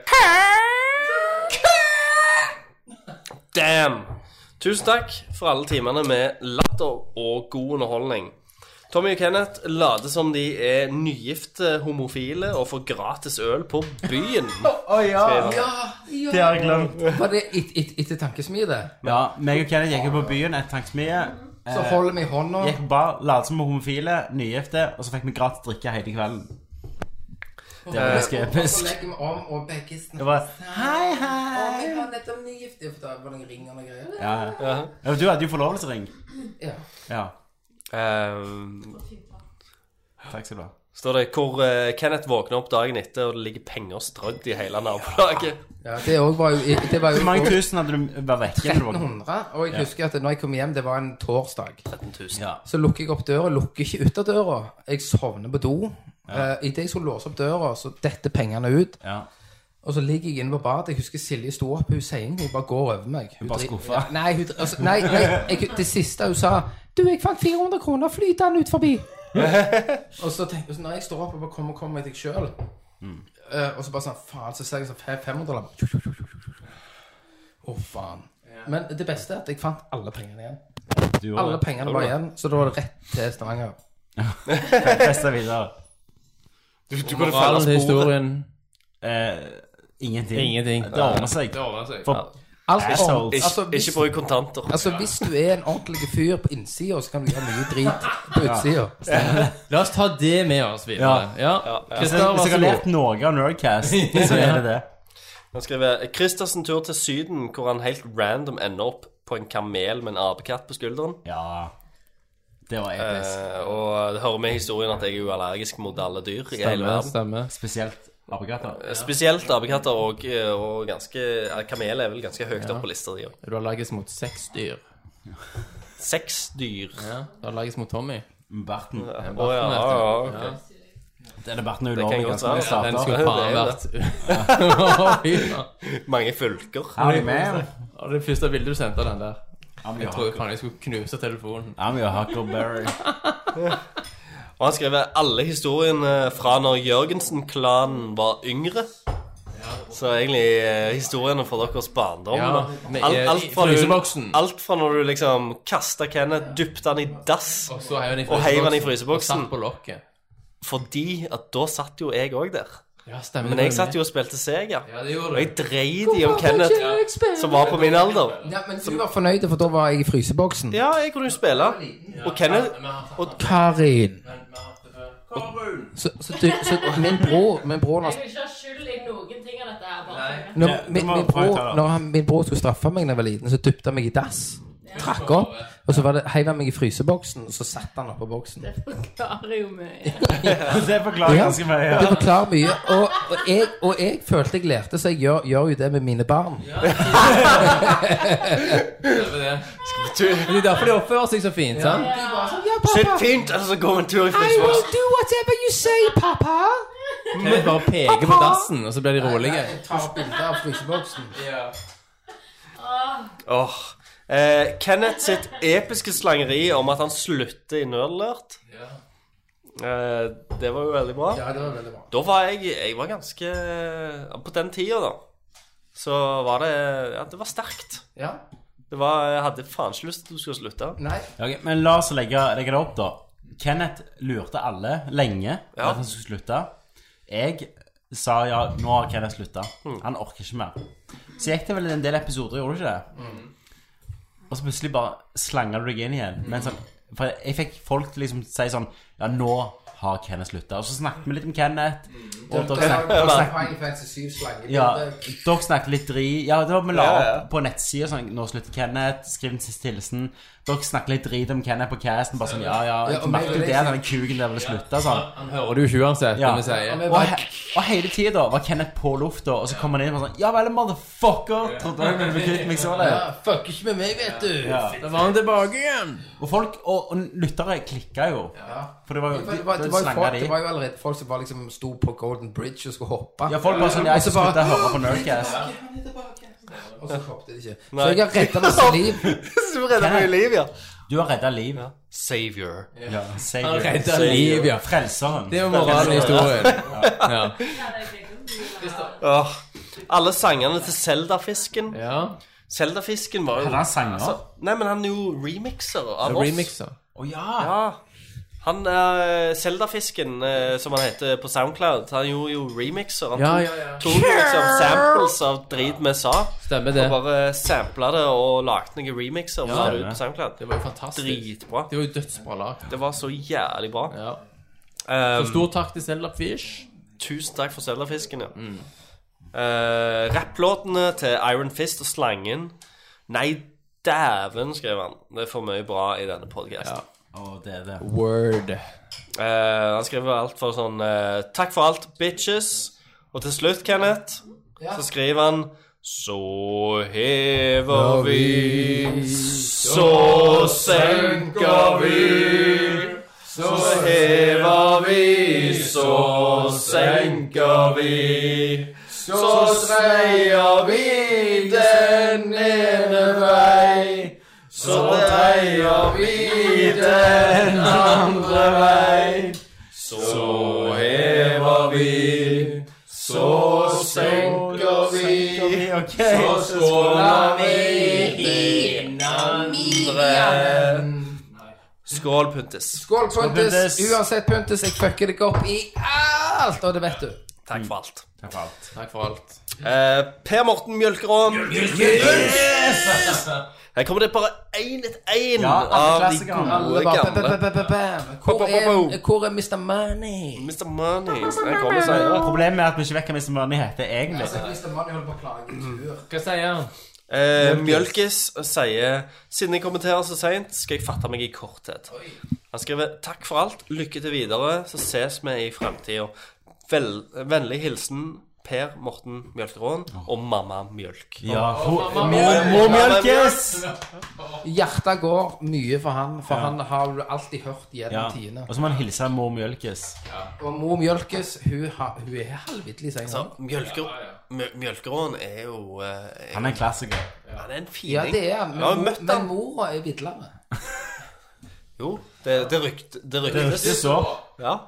Speaker 8: Damn! Tusen takk for alle timene med latter og god underholdning. Tommy og Kenneth later som de er nygifte homofile og får gratis øl på byen.
Speaker 9: Å ja.
Speaker 8: Skriver han.
Speaker 9: Ja, ja. Det har jeg glemt.
Speaker 6: Var det et, et, etter tankesmie, det?
Speaker 9: Ja, meg og Kenneth gikk jo på byen et tanksmie
Speaker 6: Så
Speaker 9: Eh,
Speaker 6: holder vi i hånda.
Speaker 9: Gikk bare, ladet som vi var homofile, nygifte Og så fikk vi gratis drikke hele kvelden Det var ganske
Speaker 6: Og så
Speaker 9: episk
Speaker 6: legger vi om, og begge
Speaker 9: Det
Speaker 6: snakker
Speaker 9: var
Speaker 6: Hei, hei! Og jeg har nettopp nygift. Det er for da var det noen ringer og noen greier.
Speaker 9: Ja, ja. ja Du hadde jo forlovelsesring.
Speaker 6: Ja.
Speaker 9: Ja. Takk skal du ha.
Speaker 8: Ehm, Står det hvor eh, Kenneth våkner opp dagen etter, og det ligger penger strødd i hele nabolaget.
Speaker 6: Ja, det òg var jo det var jo-
Speaker 9: Hvor mange tusen hadde du vært vekke? når du våknet?
Speaker 6: 1300. Og jeg husker at når jeg kom hjem, det var en torsdag.
Speaker 8: 13 000.
Speaker 9: Ja.
Speaker 6: Så lukker jeg opp døra, lukker ikke ytterdøra. Jeg sovner på do. Ja. Idet jeg skulle låse opp døra, så detter pengene ut.
Speaker 9: Ja.
Speaker 6: Og så ligger jeg inne på badet. Jeg husker Silje sto opp. Hun sier ingenting, hun bare går over meg. Hun
Speaker 9: bare
Speaker 6: dri-
Speaker 9: skuffa.
Speaker 6: Ja, Nei, hun, altså, nei, nei jeg, det siste hun sa Du, jeg fant 400 kroner flytende ut forbi. og så tenker jeg sånn, Når jeg står opp og bare kommer kommer meg til meg sjøl Og så bare sånn Faen, så ser jeg sånn fe- 500 dollar. Å, faen. Men det beste er at jeg fant alle pengene igjen.
Speaker 9: Du gjorde
Speaker 6: Alle
Speaker 9: det.
Speaker 6: pengene var igjen, så da var det rett til Stavanger.
Speaker 9: Festa videre.
Speaker 8: Du, du
Speaker 7: kunne følge sporet.
Speaker 9: Eh, ingenting.
Speaker 7: Ingenting.
Speaker 9: Det ordner seg.
Speaker 7: Det ordner seg.
Speaker 9: For
Speaker 7: Ja.
Speaker 6: Alt
Speaker 8: Asshole.
Speaker 6: ordent-
Speaker 8: Ikke- ikke bruk kontanter.
Speaker 6: Altså, hvis du er en ordentlig fyr på innsida, så kan du gjøre mye drit på utsida.
Speaker 7: La oss ta det med oss videre. Ja.
Speaker 1: Hvis jeg, hvis jeg har lært noe av Nerdcast, så er det det.
Speaker 8: Han skriver "Eh, Christersen tur til Syden, hvor han helt random ender opp på en kamel med en apekatt på skulderen.
Speaker 1: Ja, det var episk.
Speaker 8: Eh, og det hører med i historien at jeg er jo allergisk mot alle dyr i hele
Speaker 7: Stemmer,
Speaker 8: verden.
Speaker 7: stemmer.
Speaker 1: Spesielt apekatter.
Speaker 8: Eh, Spesielt apekatter og, og ganske eh, Kamel er vel ganske høyt
Speaker 7: Ja.
Speaker 8: opp på lista di òg.
Speaker 7: Du har lages mot seks dyr.
Speaker 8: Seks dyr?
Speaker 7: Ja, du har lages mot Tommy.
Speaker 1: Barten.
Speaker 8: Å ja,
Speaker 7: Barten
Speaker 8: ja, ja,
Speaker 7: heter den.
Speaker 8: ok.
Speaker 1: Denne barten er
Speaker 8: Det kan
Speaker 1: ulovlig
Speaker 8: godt
Speaker 1: ganske
Speaker 8: være.
Speaker 1: mye stater.
Speaker 7: Den skulle faen
Speaker 8: Ja, det er jo det.
Speaker 7: vært
Speaker 8: Mange fylker.
Speaker 1: Ja, vi er med.
Speaker 7: Ja, Det første bildet du sendte av den der.
Speaker 1: men
Speaker 7: Jeg
Speaker 1: ja.
Speaker 7: tror faen jeg skulle knuse telefonen.
Speaker 1: I'm your Huckleberry.
Speaker 8: Og han skrev alle historiene fra når Jørgensen-klanen var yngre. Så egentlig eh, historiene fra deres barndom.
Speaker 7: Ja,
Speaker 8: da.
Speaker 7: men,
Speaker 8: alt,
Speaker 7: eh,
Speaker 8: alt,
Speaker 7: i
Speaker 8: fra du,
Speaker 7: fryseboksen.
Speaker 8: alt fra når du liksom kasta Kenneth, dypte han i dass og
Speaker 7: så heiv han i
Speaker 8: heiv han i
Speaker 7: fryseboksen, og
Speaker 8: fryseboksen.
Speaker 7: satt på lokket.
Speaker 8: Fordi at da satt jo jeg òg der.
Speaker 7: Ja, stemmer,
Speaker 8: Men
Speaker 7: det
Speaker 8: jeg
Speaker 7: var
Speaker 8: satt
Speaker 7: med.
Speaker 8: jo og spilte Sega.
Speaker 7: det gjorde
Speaker 8: og jeg dreit i
Speaker 7: Hvorfor
Speaker 8: om
Speaker 7: kan ikke
Speaker 8: Kenneth,
Speaker 7: jeg spille?
Speaker 8: som var på min alder.
Speaker 6: Ja, men du var fornøyd, for da var jeg i fryseboksen.
Speaker 8: Ja, jeg kunne jo spille. Og Kenneth og
Speaker 6: Karin. Så, så, du, så min bror Min bror når
Speaker 11: Jeg vil ikke ha skyld i noen ting av dette. her, bare.
Speaker 6: Når,
Speaker 11: Det-
Speaker 6: min,
Speaker 11: det må
Speaker 6: min,
Speaker 11: du prøve å
Speaker 6: bror,
Speaker 11: ta, da.
Speaker 6: når han, min bror skulle straffe meg da jeg var liten, så dypte han meg i dass. Trakk opp, og så var det, heiv han meg i fryseboksen, og så satte han oppå boksen.
Speaker 11: Det forklarer jo mye.
Speaker 1: Det forklarer
Speaker 6: Ja,
Speaker 1: ganske mye.
Speaker 6: Det forklarer mye. Og, og, jeg, og jeg følte jeg lærte, så jeg gjør, gjør jo det med mine barn.
Speaker 7: Det er derfor de oppfører seg så fint, sant?
Speaker 6: De bare sånn, ja,
Speaker 8: Sitt fint, eller så går vi en tur i
Speaker 7: fryseboksen.
Speaker 6: do whatever you say, pappa.
Speaker 7: Kenneth bare peker på dassen, og så blir de rolige.
Speaker 6: Jeg tar bilder av fryseboksen.
Speaker 8: Åh. Eh, Kenneth sitt episke slangeri om at han slutter i nerdlert. Eh, det var jo veldig bra.
Speaker 6: Ja, det var veldig bra.
Speaker 8: Da var jeg Jeg var ganske På den tida, da, så var det Ja, det var sterkt.
Speaker 6: Ja.
Speaker 8: Det var, jeg hadde faen ikke lyst til at du skulle slutte.
Speaker 6: Nei.
Speaker 1: Ja, ok, men la oss legge, legge det opp, da. Kenneth lurte alle lenge på
Speaker 8: Ja.
Speaker 1: at han skulle slutte. Jeg sa ja, nå har Kenneth slutta.
Speaker 6: Mm.
Speaker 1: Han orker ikke mer. Så gikk det vel en del episoder, gjorde det ikke det?
Speaker 6: Mm.
Speaker 1: Og så plutselig bare slanga du deg inn igjen. Men sånn, for jeg fikk folk til liksom si sånn Ja, nå har Kenneth slutta. Og så snakket vi litt om Kenneth.
Speaker 6: Mm.
Speaker 1: Og dere snakket, dere snakket ja, dere snakket litt dri Ja, det var vi la
Speaker 6: Ja,
Speaker 1: opp
Speaker 6: ja.
Speaker 1: på nettsida sånn, Nå slutter Kenneth, skriv den siste hilsen Dere snakket litt drit om Kenneth på casten Bare sånn, ja, ja,
Speaker 7: Ja, og
Speaker 1: jeg merket
Speaker 7: meg-
Speaker 1: jo det at den kugen der ville slutte sånn.
Speaker 7: Han hører det jo ikke uansett,
Speaker 1: ja.
Speaker 7: men vi sier-
Speaker 1: Og, he og hele tiden da, var Kenneth på lufta Og så kom han inn og var sånn, ja vel, motherfucker Trodde han ville bli kvitt meg så lett
Speaker 6: Ja, fuck ikke med meg, vet du.
Speaker 1: Ja.
Speaker 7: Da var han tilbake igjen.
Speaker 1: Og folk, og, og lyttere klikket jo For det var jo,
Speaker 6: Det var, det, var, det, var jo
Speaker 1: slanget
Speaker 6: folk,
Speaker 1: de.
Speaker 6: det var jo allerede folk som var liksom sto på Golden Bridge og skulle hoppe.
Speaker 1: Ja, folk bare sånn, jeg
Speaker 6: Og så
Speaker 1: skal slutte å
Speaker 6: bare,
Speaker 1: høre på Nerdcast
Speaker 6: Og så hoppet de ikke.
Speaker 1: Nei.
Speaker 6: Så jeg har redda masse liv.
Speaker 8: Du redda mye liv, ja.
Speaker 1: Du har redda liv.
Speaker 8: Savior.
Speaker 1: Ja, savior.
Speaker 7: Han redda
Speaker 1: Savior.
Speaker 7: liv, ja.
Speaker 1: Frelseren.
Speaker 7: Det er jo moralen i historien. Ja.
Speaker 8: Åh, alle sangene til Zelda-fisken. Zelda-fisken var jo Altså,
Speaker 7: Hadde han sanger?
Speaker 8: nei, men han er jo remixer av oss.
Speaker 7: Remixer.
Speaker 1: Å ja.
Speaker 8: Han eh, Zelda-fisken, eh, som han heter på Soundcloud, han gjorde jo remixer. Han
Speaker 7: Ja,
Speaker 8: tok-
Speaker 7: ja, ja.
Speaker 8: tok jo liksom samples av drit vi sa.
Speaker 7: Stemmer det.
Speaker 8: Og bare sampla det og lagde noen remixer og
Speaker 7: Ja,
Speaker 8: la det
Speaker 7: stemmer.
Speaker 8: ut på Soundcloud.
Speaker 7: Det var jo fantastisk.
Speaker 8: Dritbra.
Speaker 7: Det var jo dødsbra lag.
Speaker 8: Det var så jævlig bra.
Speaker 7: Så
Speaker 8: Um,
Speaker 7: stor takk til Zelda Fish.
Speaker 8: Tusen takk for Zelda-fisken, ja. Eh, Rapplåtene til Iron Fist og Slangen. Nei, dæven, skrev han. Det er for mye bra i denne podkasten.
Speaker 1: Å, det er det.
Speaker 7: Word.
Speaker 8: Eh, han skriver alt for sånn eh, Takk for alt, bitches. Og til slutt, Kenneth,
Speaker 6: Ja.
Speaker 8: så skriver han Så hever vi, så senker vi. Så hever vi, så senker vi. Så sveier vi den ene vei. Så dreier vi den andre vei. Så hever vi, så senker vi. Så skåler vi i hverandre. Skål, Puntis.
Speaker 6: Skål, Puntis. Uansett, Puntis, jeg fucker deg opp i alt, og det vet du.
Speaker 8: Takk for alt.
Speaker 14: Takk for alt. Takk for alt.
Speaker 8: Eh, per Morten Mjølkeråen.
Speaker 14: Yes!
Speaker 8: Her kommer det bare én etter én
Speaker 6: Ja, alle
Speaker 8: av de
Speaker 6: klassikerne. Alle
Speaker 8: gode
Speaker 6: bare
Speaker 8: gamle.
Speaker 6: ba, ba, ba, ba, ba. Hvor er- Hvor er Mr. Money?
Speaker 8: Mr. Money.
Speaker 6: Jeg kommer senere.
Speaker 15: Problemet er at vi ikke vet hva Mr. Money heter
Speaker 6: Ja,
Speaker 15: egentlig.
Speaker 6: så Mr. Money holder på å klage en tur.
Speaker 14: Hva sier han?
Speaker 8: Eh, Mjølkes sier Siden jeg kommenterer så seint, skal jeg fatte meg i korthet. Han skriver 'Takk for alt. Lykke til videre. Så ses vi i framtida'. Vel, vennlig hilsen Per Morten Mjølkeråen og mamma Mjølk.
Speaker 9: Ja,
Speaker 6: hun-
Speaker 8: Mamma
Speaker 6: Mor-
Speaker 8: Mjølk.
Speaker 6: Mjølkes! Hjertet går mye for han, for han har du alltid hørt
Speaker 9: Ja.
Speaker 6: gjennom tidene.
Speaker 9: Og så må han hilse mor Mjølkes.
Speaker 6: Og mor Mjølkes, hun, har, hun er halvvitlig, sier
Speaker 8: Så
Speaker 6: han.
Speaker 8: Mjølker, Mjø- Mjølkeråen er jo eh,
Speaker 9: Han er en klassiker.
Speaker 8: Han er en fining.
Speaker 6: Ja, det er han.
Speaker 8: Jeg har
Speaker 6: Men,
Speaker 8: møtt
Speaker 6: mor- men mora er vidlere.
Speaker 8: Jo, det, det, rykt, det ryktes.
Speaker 6: Det ryktes så.
Speaker 8: Ja.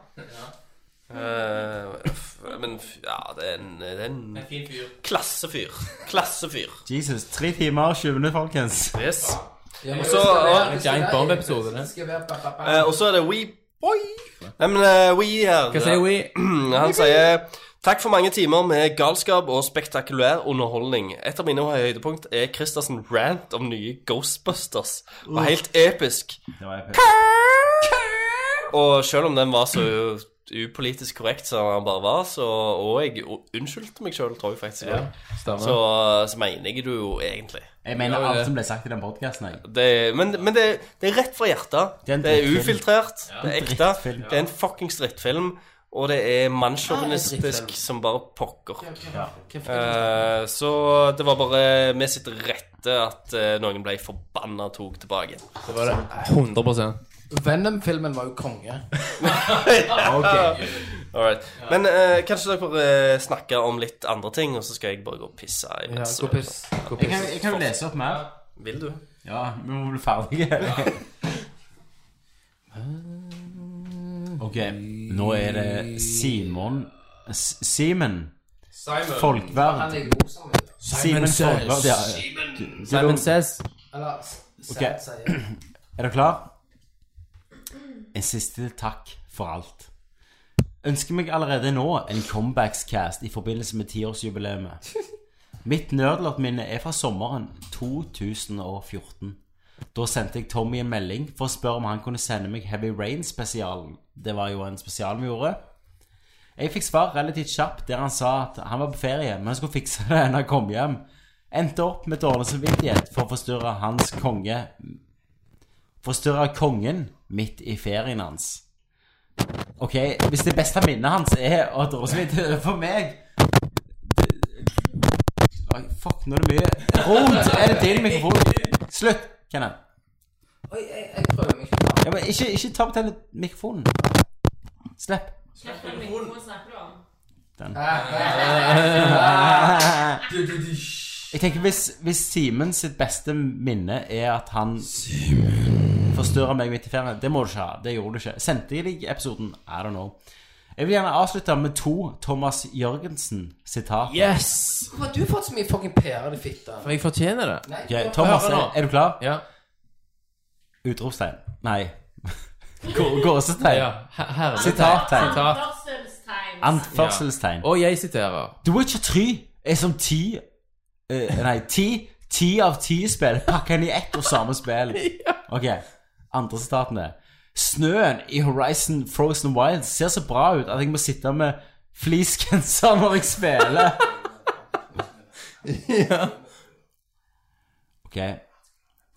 Speaker 8: Eh, f- men f- ja, det er en, det er en Klassefyr. Klassefyr.
Speaker 9: Jesus. Tre timer, 20 minutter, folkens.
Speaker 8: Yes.
Speaker 6: Ja, men
Speaker 8: Og så-
Speaker 6: hvis det er-
Speaker 8: og-
Speaker 6: hvis det er- hvis det skal være ba, ba, ba.
Speaker 8: Eh, Og så er det We Boy. Nei, men eh, We er
Speaker 7: Hva sier We?
Speaker 8: Han sier Takk for mange timer med galskap og spektakulær underholdning. Et av mine høydepunkt er Christersen rant om nye Ghostbusters. Det var helt episk.
Speaker 9: Det var episk.
Speaker 8: Og selv om den var så upolitisk korrekt som den bare var, så Og jeg unnskyldte meg selv, tror jeg faktisk.
Speaker 9: Ja, stemmer.
Speaker 8: så, så mener jeg det jo egentlig.
Speaker 9: Jeg mener alt som ble sagt i den podkasten, jeg.
Speaker 8: Det, men men det, det er rett fra hjertet. Det
Speaker 9: er en
Speaker 8: er,
Speaker 9: drittfilm.
Speaker 8: ufiltrert.
Speaker 9: Ja.
Speaker 8: Det er
Speaker 9: En
Speaker 8: ekte.
Speaker 9: drittfilm.
Speaker 8: Det er en fuckings drittfilm. Og det er mannssjåvinistisk som bare pokker.
Speaker 9: Ah, Ja.
Speaker 8: Eh, så det var bare med sitt rette at eh, noen ble forbanna og tok tilbake.
Speaker 7: Det var det. 100
Speaker 6: Venom-filmen var jo konge.
Speaker 8: okay. All right. Men eh, kanskje dere får eh, snakke om litt andre ting, og så skal jeg bare gå og pisse.
Speaker 6: Ja,
Speaker 8: imens.
Speaker 6: gå og piss. Gå og
Speaker 9: Jeg kan, jeg kan jo lese opp mer.
Speaker 8: Vil du?
Speaker 9: Ja, vi må bli ferdige. Ok, nå er det Simon S- Simen
Speaker 6: Simon. Han
Speaker 9: Folkverd.
Speaker 6: er god som-
Speaker 9: Simen
Speaker 7: Simon Says.
Speaker 9: Folkverd, ja.
Speaker 7: Simon.
Speaker 9: Du-
Speaker 7: Simon
Speaker 9: du-
Speaker 7: Says.
Speaker 6: Eller s-
Speaker 9: Ok.
Speaker 6: Sam sier.
Speaker 9: Er du klar? En siste takk for alt. Ønsker meg allerede nå en comebackscast i forbindelse med tiårsjubileet. Mitt nerdlott-minne er fra sommeren 2014. Da sendte jeg Tommy en melding for å spørre om han kunne sende meg Heavy Rain-spesialen. Det var jo en spesial vi gjorde. Jeg fikk svar relativt kjapt der han sa at han var på ferie, men skulle fikse det når han kom hjem. Endte opp med dårlig samvittighet for å forstyrre hans konge Forstyrre kongen midt i ferien hans. Ok, hvis det beste minnet hans er å dra så vidt for meg Oi, fuck, nå er det mye Rot! Er det din mikrofon? Slutt, Kenneth.
Speaker 6: Oi, jeg, jeg prøver meg.
Speaker 9: Ja, men ikke, ikke ta på tele- mikrofonen. Slipp.
Speaker 11: Hvilken mikrofon snakker du om?
Speaker 9: Den.
Speaker 6: Jeg
Speaker 9: tenker hvis, hvis Simen sitt beste minne er at han Simen forstyrrer meg midt i ferien Det må du ikke ha. Det gjorde du ikke. Sendte jeg deg episoden? I don't know. Jeg vil gjerne avslutte med to Thomas Jørgensen-sitater.
Speaker 7: Yes!
Speaker 6: Hvorfor har du fått så mye fucking PR i fitta?
Speaker 7: For jeg fortjener det.
Speaker 6: Nei,
Speaker 9: Ok, Thomas,
Speaker 7: Hør nå.
Speaker 9: er du klar?
Speaker 7: Ja.
Speaker 9: Utropstegn. Nei. Gå- Gåsetegn.
Speaker 7: Ja, her- her-
Speaker 9: Sitattegn.
Speaker 7: Sitat.
Speaker 11: Anførselstegn.
Speaker 9: Anførselstegn.
Speaker 7: Og jeg siterer.
Speaker 9: The Witcher 3 er som ti eh, Nei, ti Ti av ti spill pakka inn i ett og samme spill. Ok, andre sitatene. Snøen i Horizon Frozen Wild ser så bra ut at jeg må sitte med fleecegenser når jeg spiller. ja. Ok.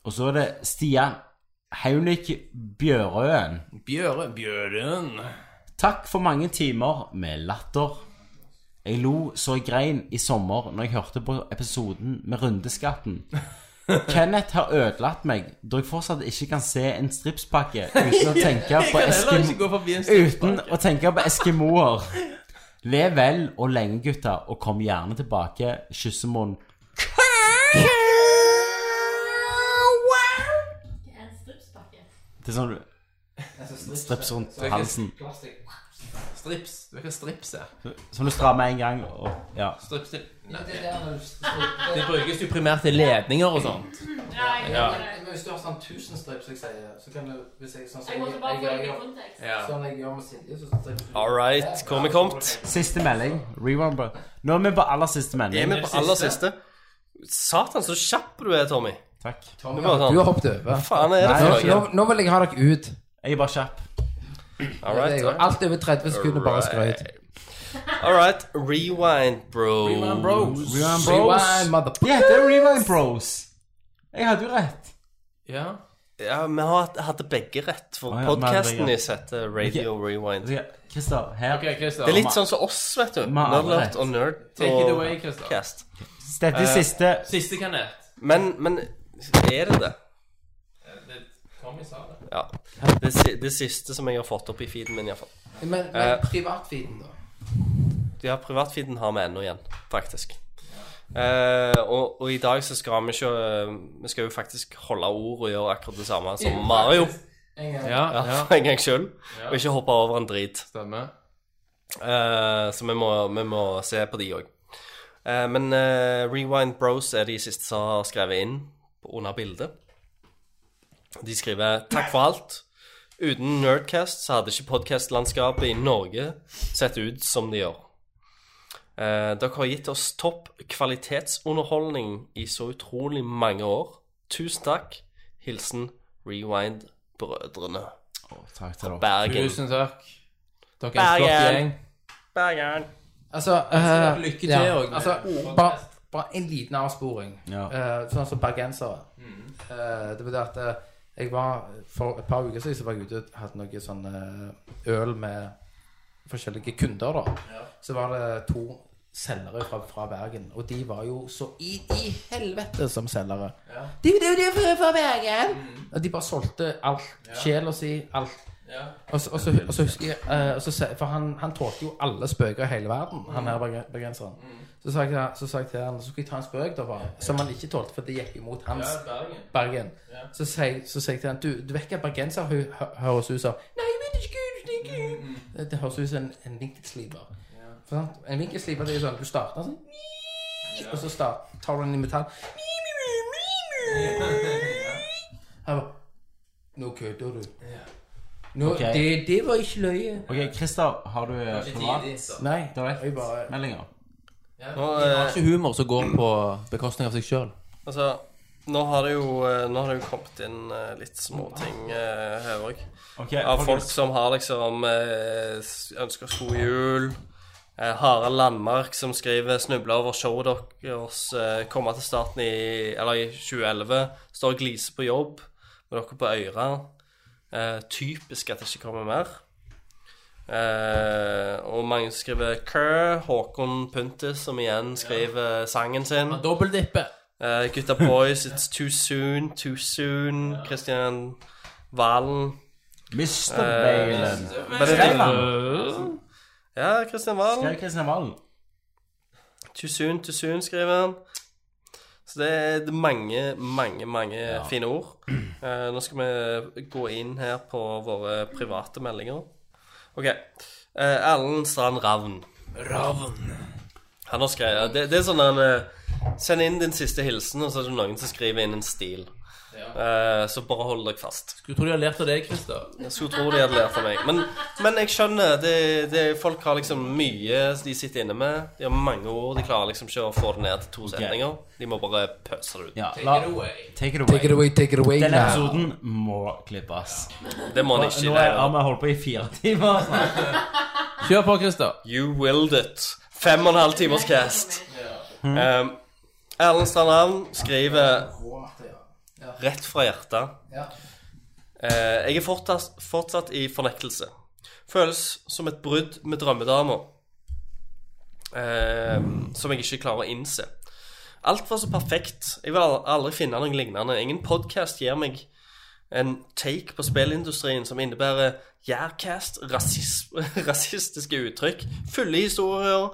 Speaker 9: Og så er det Stian Haunik Bjørøen.
Speaker 7: Bjørn. Bjørn.
Speaker 9: Takk for mange timer med latter. Jeg lo så jeg grein i sommer når jeg hørte på episoden med rundeskatten. Kenneth har ødelagt meg da jeg fortsatt ikke kan se en stripspakke uten å tenke
Speaker 7: Jeg
Speaker 9: på,
Speaker 7: kan heller
Speaker 9: Eskim
Speaker 7: ikke gå forbi
Speaker 9: uten
Speaker 7: en stripspakke.
Speaker 9: å tenke på eskimoer. Lev vel og lenge, gutta, og kom gjerne tilbake. Kyssemund.
Speaker 11: En stripspakke.
Speaker 9: Det er sånn du
Speaker 6: Altså,
Speaker 9: strips rundt
Speaker 6: så jeg-
Speaker 9: halsen.
Speaker 6: plastikk. Strips. Du vet hva strips er?
Speaker 9: Som du strammer en gang og Ja.
Speaker 7: Strips til
Speaker 6: Nei, det, er der når du stripper.
Speaker 7: Det brukes jo primært til ledninger og sånt.
Speaker 6: Ja,
Speaker 7: Ja.
Speaker 6: Men hvis du har sånn 1000 strips, jeg sier, så kan du hvis jeg, sånn, som
Speaker 11: Jeg måtte bare få det i kontekst.
Speaker 6: gjør- Sånn jeg gjør med Silje, så stripper du.
Speaker 8: All right, hvor vi kommet?
Speaker 9: Siste melding. Rewind, bro. Nå er vi på aller siste melding.
Speaker 8: Er vi på aller siste? Satan, så kjapp du er, Tommy.
Speaker 9: Takk.
Speaker 8: Du, var sånn-
Speaker 6: Du har hoppet over.
Speaker 8: Hva faen er det for
Speaker 6: nå,
Speaker 8: noe?
Speaker 6: nå, nå vil jeg ha dere ut.
Speaker 9: Jeg er bare kjapp.
Speaker 8: All right,
Speaker 6: Det er jo Alt over 30 sekunder, bare skrøyt.
Speaker 8: All right, rewind, bro.
Speaker 7: Rewind Bros.
Speaker 9: Rewind Bros.
Speaker 6: Rewind,
Speaker 9: De
Speaker 6: motherfucker.
Speaker 9: heter Rewind Bros. Jeg hadde jo rett.
Speaker 7: Ja.
Speaker 8: Ja, vi har hatt- hadde begge rett, for
Speaker 9: Å, ja, vi hadde
Speaker 8: podkasten
Speaker 9: begge.
Speaker 8: deres heter Radio Rewind.
Speaker 9: Ok, Christer, her.
Speaker 7: Ok, Christer.
Speaker 8: Det er litt sånn som oss, vet du.
Speaker 9: Vi har alle
Speaker 8: Nerdlert
Speaker 9: rett.
Speaker 8: og nerd
Speaker 7: Take it away,
Speaker 8: og
Speaker 7: Christer.
Speaker 8: cast.
Speaker 9: Dette er siste
Speaker 7: Siste kanet.
Speaker 8: Men, men er det det?
Speaker 7: Det- Tommy sa det.
Speaker 8: Ja. Det, si- det siste som jeg har fått opp i feeden min, iallfall.
Speaker 6: Men,
Speaker 8: Eh.
Speaker 6: men privatfeeden, da?
Speaker 8: Ja, privatfeeden har vi ennå igjen, faktisk. Eh, og, og i dag så skal vi ikke eh, Vi skal jo faktisk holde ord og gjøre akkurat det samme som Mario.
Speaker 7: Ja,
Speaker 8: Ja,
Speaker 7: ja.
Speaker 8: for en gang skyld. Og ikke hoppe over en drit.
Speaker 7: Stemmer.
Speaker 8: Eh, så vi må, vi må se på de òg. men eh, Rewind Bros er de siste som har skrevet inn på- under bildet. De skriver 'Takk for alt'. Uten Nerdcast så hadde ikke podkastlandskapet i Norge sett ut som det gjør. Eh, dere har gitt oss topp kvalitetsunderholdning i så utrolig mange år. Tusen takk. Hilsen Rewind-brødrene.
Speaker 9: Takk til dere.
Speaker 8: Bergen.
Speaker 7: Tusen takk. Dere er en flott
Speaker 8: Bergen.
Speaker 7: gjeng.
Speaker 8: Bergen.
Speaker 6: Altså, eh,
Speaker 7: Lykke til
Speaker 6: ja,
Speaker 7: også med
Speaker 6: Altså,
Speaker 7: podcast.
Speaker 6: bare, bare en liten avsporing.
Speaker 9: Ja.
Speaker 6: Eh, sånn som bergensere.
Speaker 7: Mm.
Speaker 6: Eh, det var det at eh, jeg var For et par uker siden så var jeg ute og hadde noe sånn eh, øl med forskjellige kunder, da. Så var det to selgere fra, fra Bergen, og de var jo så i, i helvete som selgere. De, de, de er fra, fra Bergen! Og de bare solgte alt. Sjela si, alt. Og så, og, så, og så husker jeg eh, og så, sa- For han, han tålte jo alle spøker i hele verden, han her berge- bergenseren. Så sa jeg til han- så sa jeg til han Så skulle jeg ta en spøk, da, bare, som han ikke tålte, for det gikk imot hans Bergen. Så sa jeg så sa jeg til han Du, du vet ikke at bergenser hø hø høres ut som Nei, jeg vet ikke, jeg vet ikke. Det, det høres ut som en, en vinkelsliper. For sant? En vinkelsliper det er jo sånn du starter sånn Og så start, tar du den i metall Han bare Nå kødder du. Nå,
Speaker 9: Ok.
Speaker 6: det, det var ikke løye.
Speaker 9: Ok, Christer, har du eh,
Speaker 6: Nei. Jeg bare
Speaker 9: privatmeldinger?
Speaker 8: Nå,
Speaker 7: Det
Speaker 8: eh,
Speaker 7: er ikke humor som går på bekostning av seg sjøl.
Speaker 8: Altså, nå har det jo, eh, nå har det jo kommet inn eh, litt småting eh, her òg.
Speaker 9: Ok,
Speaker 8: Av folk
Speaker 9: folkens.
Speaker 8: som har liksom eh, s- ønsker oss god jul. Eh, Harald Landmark som skriver 'Snubla over showet deres. Eh, komme til starten i, eller i 2011. Står og gliser på jobb med dere på Øyra. Eh, typisk at det ikke kommer mer. Eh, og mange skriver Kerr. Håkon Puntis som igjen skriver sangen sin.
Speaker 7: Dobbeldippe.
Speaker 8: Eh, Gutta Boys, It's Too Soon, Too Soon, Kristian Valen
Speaker 9: Mr. Balen.
Speaker 8: Men det er Ja, Kristian Valen.
Speaker 9: Skrev Kristian Valen.
Speaker 8: Too Soon, Too Soon, skriver han. Så det er det er mange, mange, mange fine ord. Eh, nå skal vi gå inn her på våre private meldinger. OK. Eh, Erlend Strand Ravn.
Speaker 7: Ravn.
Speaker 8: Han har skrevet Det, det er sånn han eh, Send inn din siste hilsen, og så er det noen som skriver inn en stil. Eh, så bare hold dere fast.
Speaker 7: Skulle tro de har lært av deg, Christer.
Speaker 8: Jeg skulle tro de hadde lært av meg. Men, men jeg skjønner. Det, det, folk har liksom mye de sitter inne med. De har mange ord. De klarer liksom ikke å få det ned til to setninger. De må bare pøse det ut.
Speaker 9: Ja, la, take it away.
Speaker 6: Take it away, take it away
Speaker 9: Denne
Speaker 6: now.
Speaker 9: episoden må klippes.
Speaker 8: Det må de ikke.
Speaker 9: Nå
Speaker 8: i det
Speaker 9: er-
Speaker 8: hele
Speaker 9: har
Speaker 8: tatt.
Speaker 9: vi holdt på i fire timer.
Speaker 7: Kjør på, Christer.
Speaker 8: You willed it. Fem og en halv timers cast. Um, Erlend Strandhavn skriver rett fra hjertet. Eh, jeg er fortsatt, fortsatt i fornektelse. Føles som et brudd med drømmedama. Eh, som jeg ikke klarer å innse. Alt var så perfekt. Jeg vil al- aldri finne noe lignende. Ingen podkast gir meg en take på spillindustrien som innebærer jærcast, rasis rasistiske uttrykk, fulle historier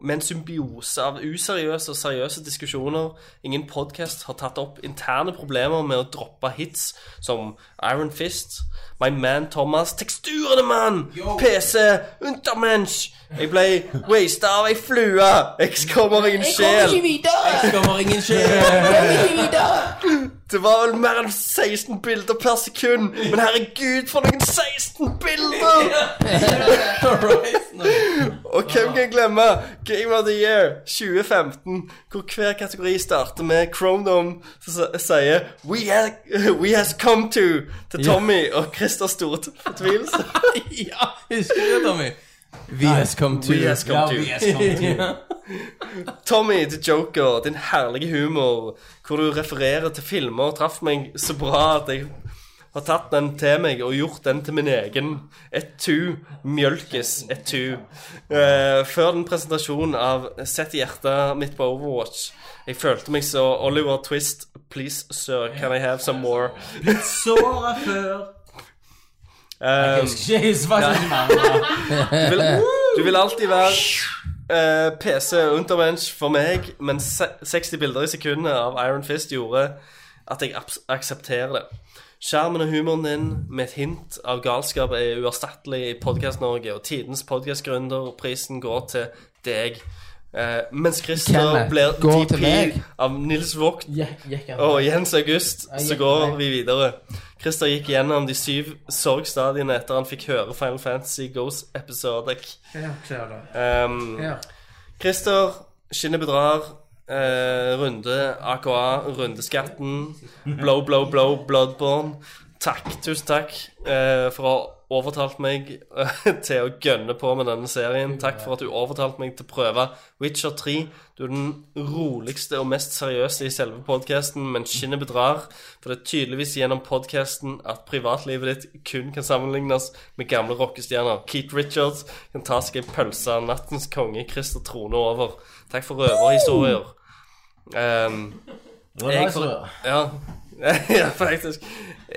Speaker 8: med en symbiose av useriøse og seriøse diskusjoner. Ingen podkast har tatt opp interne problemer med å droppe hits som Iron Fist, My Man Thomas, Teksturene, mann! PC, Untermensch! Jeg ble wasta av ei flue! Jeg kommer ingen sjel!
Speaker 5: videre!
Speaker 7: kommer ingen
Speaker 8: Det var vel mer enn 16 bilder per sekund, men herregud, for noen 16 bilder! Og hvem kan glemme Game of the Year 2015, hvor hver kategori starter med Chromedom som s- sier We, ha we has come to til Tommy og Christers store fortvilelse.
Speaker 7: ja, husker du det, Tommy? We has come to.
Speaker 8: We has come
Speaker 7: Ja,
Speaker 8: to.
Speaker 7: we has come to.
Speaker 8: Tommy the Joker, din herlige humor, hvor du refererer til filmer, traff meg så bra at jeg har tatt den til meg og gjort den til min egen. Et tu. Mjølkes et tu. Eh, før den presentasjonen av Sett i hjertet mitt på Overwatch, jeg følte meg så Oliver Twist. Please, sir, can I have some more?
Speaker 15: Blitt såret før.
Speaker 8: Jeg
Speaker 15: husker ikke, jeg husker faktisk ikke navnet.
Speaker 8: du, vil, du vil alltid være eh, PC Untermensch for meg, men se 60 bilder i sekundet av Iron Fist gjorde at jeg abs- aksepterer det. Skjermen og humoren din med et hint av galskap er uerstattelig i Podkast-Norge, og tidens podkastgründerprisen går til deg. Eh, mens Christer
Speaker 6: Kenneth,
Speaker 8: blir
Speaker 6: går til meg.
Speaker 8: DP av Nils Vogt
Speaker 6: gikk han.
Speaker 8: og Jens August,
Speaker 6: Ja,
Speaker 8: så
Speaker 6: gikk
Speaker 8: går
Speaker 6: han.
Speaker 8: vi videre. Christer gikk gjennom de syv sorgstadiene etter han fikk høre Final Fantasy Ghost-episoder.
Speaker 6: Ja, klar det.
Speaker 8: Um,
Speaker 6: Ja.
Speaker 8: Christer, skinnet bedrar. eh, runde AKA, rundeskatten. Blow, blow, blow, Bloodborne. Takk, tusen takk eh, for å ha overtalt meg eh, til å gønne på med denne serien. Takk for at du overtalte meg til å prøve Witcher 3. Du er den roligste og mest seriøse i selve podkasten, men skinnet bedrar. For det er tydeligvis gjennom podkasten at privatlivet ditt kun kan sammenlignes med gamle rockestjerner. Keith Richards kan ta seg en pølse av nattens konge Christer Trone over. Takk for røverhistorier. Um,
Speaker 9: Det var nice, da.
Speaker 8: ja. ja, faktisk.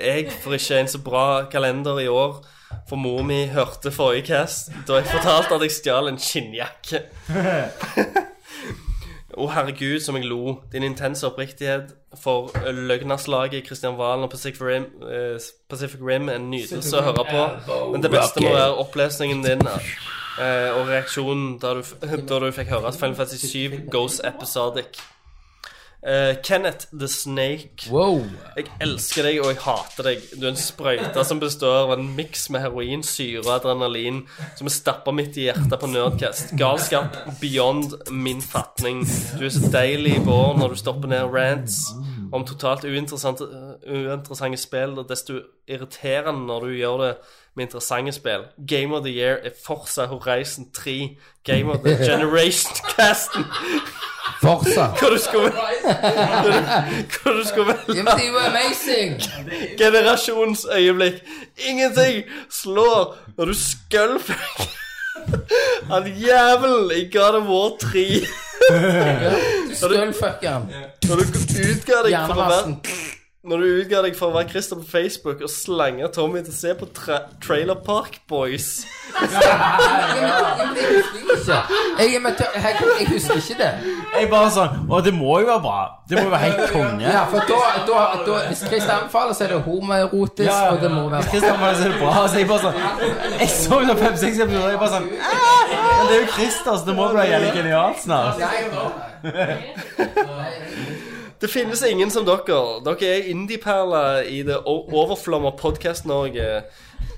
Speaker 8: Jeg får ikke en så bra kalender i år, for mor mi hørte forrige cast da jeg fortalte at jeg stjal en skinnjakke. Å, herregud, som jeg lo. Din intense oppriktighet for løgnerslaget i Kristian Valen og Pacific Rim, eh, Pacific Rim er en nydelse å høre på. Men det beste må være opplesningen din eh, og reaksjonen da du, f- da du fikk høre at Final Fantasy 7 goes episodic. Eh, Kenneth the Snake. Jeg elsker deg, og jeg hater deg. Du er en sprøyte som består av en miks med heroin, syre og adrenalin som er stappa midt i hjertet på Nerdcast. Galskap beyond min fatning. Du er så deilig i vår når du stopper ned rants om totalt uinteressante, eh, uinteressante spill, og desto irriterende når du gjør det med interessante spill. Game of the Year er Forza Horizon 3. Game of the Generation-casten.
Speaker 6: Forza.
Speaker 8: Hva du skulle Hva du skulle velge.
Speaker 6: Ja, men det er jo amazing!
Speaker 8: Generasjonsøyeblikk. Ingenting slår når du skølver han jævelen i God of War 3.
Speaker 6: Du Stølfuckeren.
Speaker 8: Når du utga deg for å være
Speaker 6: Hjernevassen.
Speaker 8: Når du utga deg for å være Christer på Facebook og slanga Tommy til å se på tra Trailer Park Boys.
Speaker 6: Jeg, er med til- jeg, jeg husker ikke det.
Speaker 15: Jeg bare sånn Å, det må jo være bra. Det må jo være helt konge.
Speaker 6: Ja, for da, da, da Hvis Christer anbefaler, så er det homoerotisk,
Speaker 15: Ja, ja.
Speaker 6: og det må være
Speaker 15: Christian bare så er det bra. Så jeg bare sånn Jeg så jo fem-seks episoder, jeg bare sånn «Ah, Men det er jo Christer, så det må bli jævlig genialt snart.
Speaker 8: Det finnes ingen som dere. Dere er indie-perler i det o- overflomma Podcast-Norge.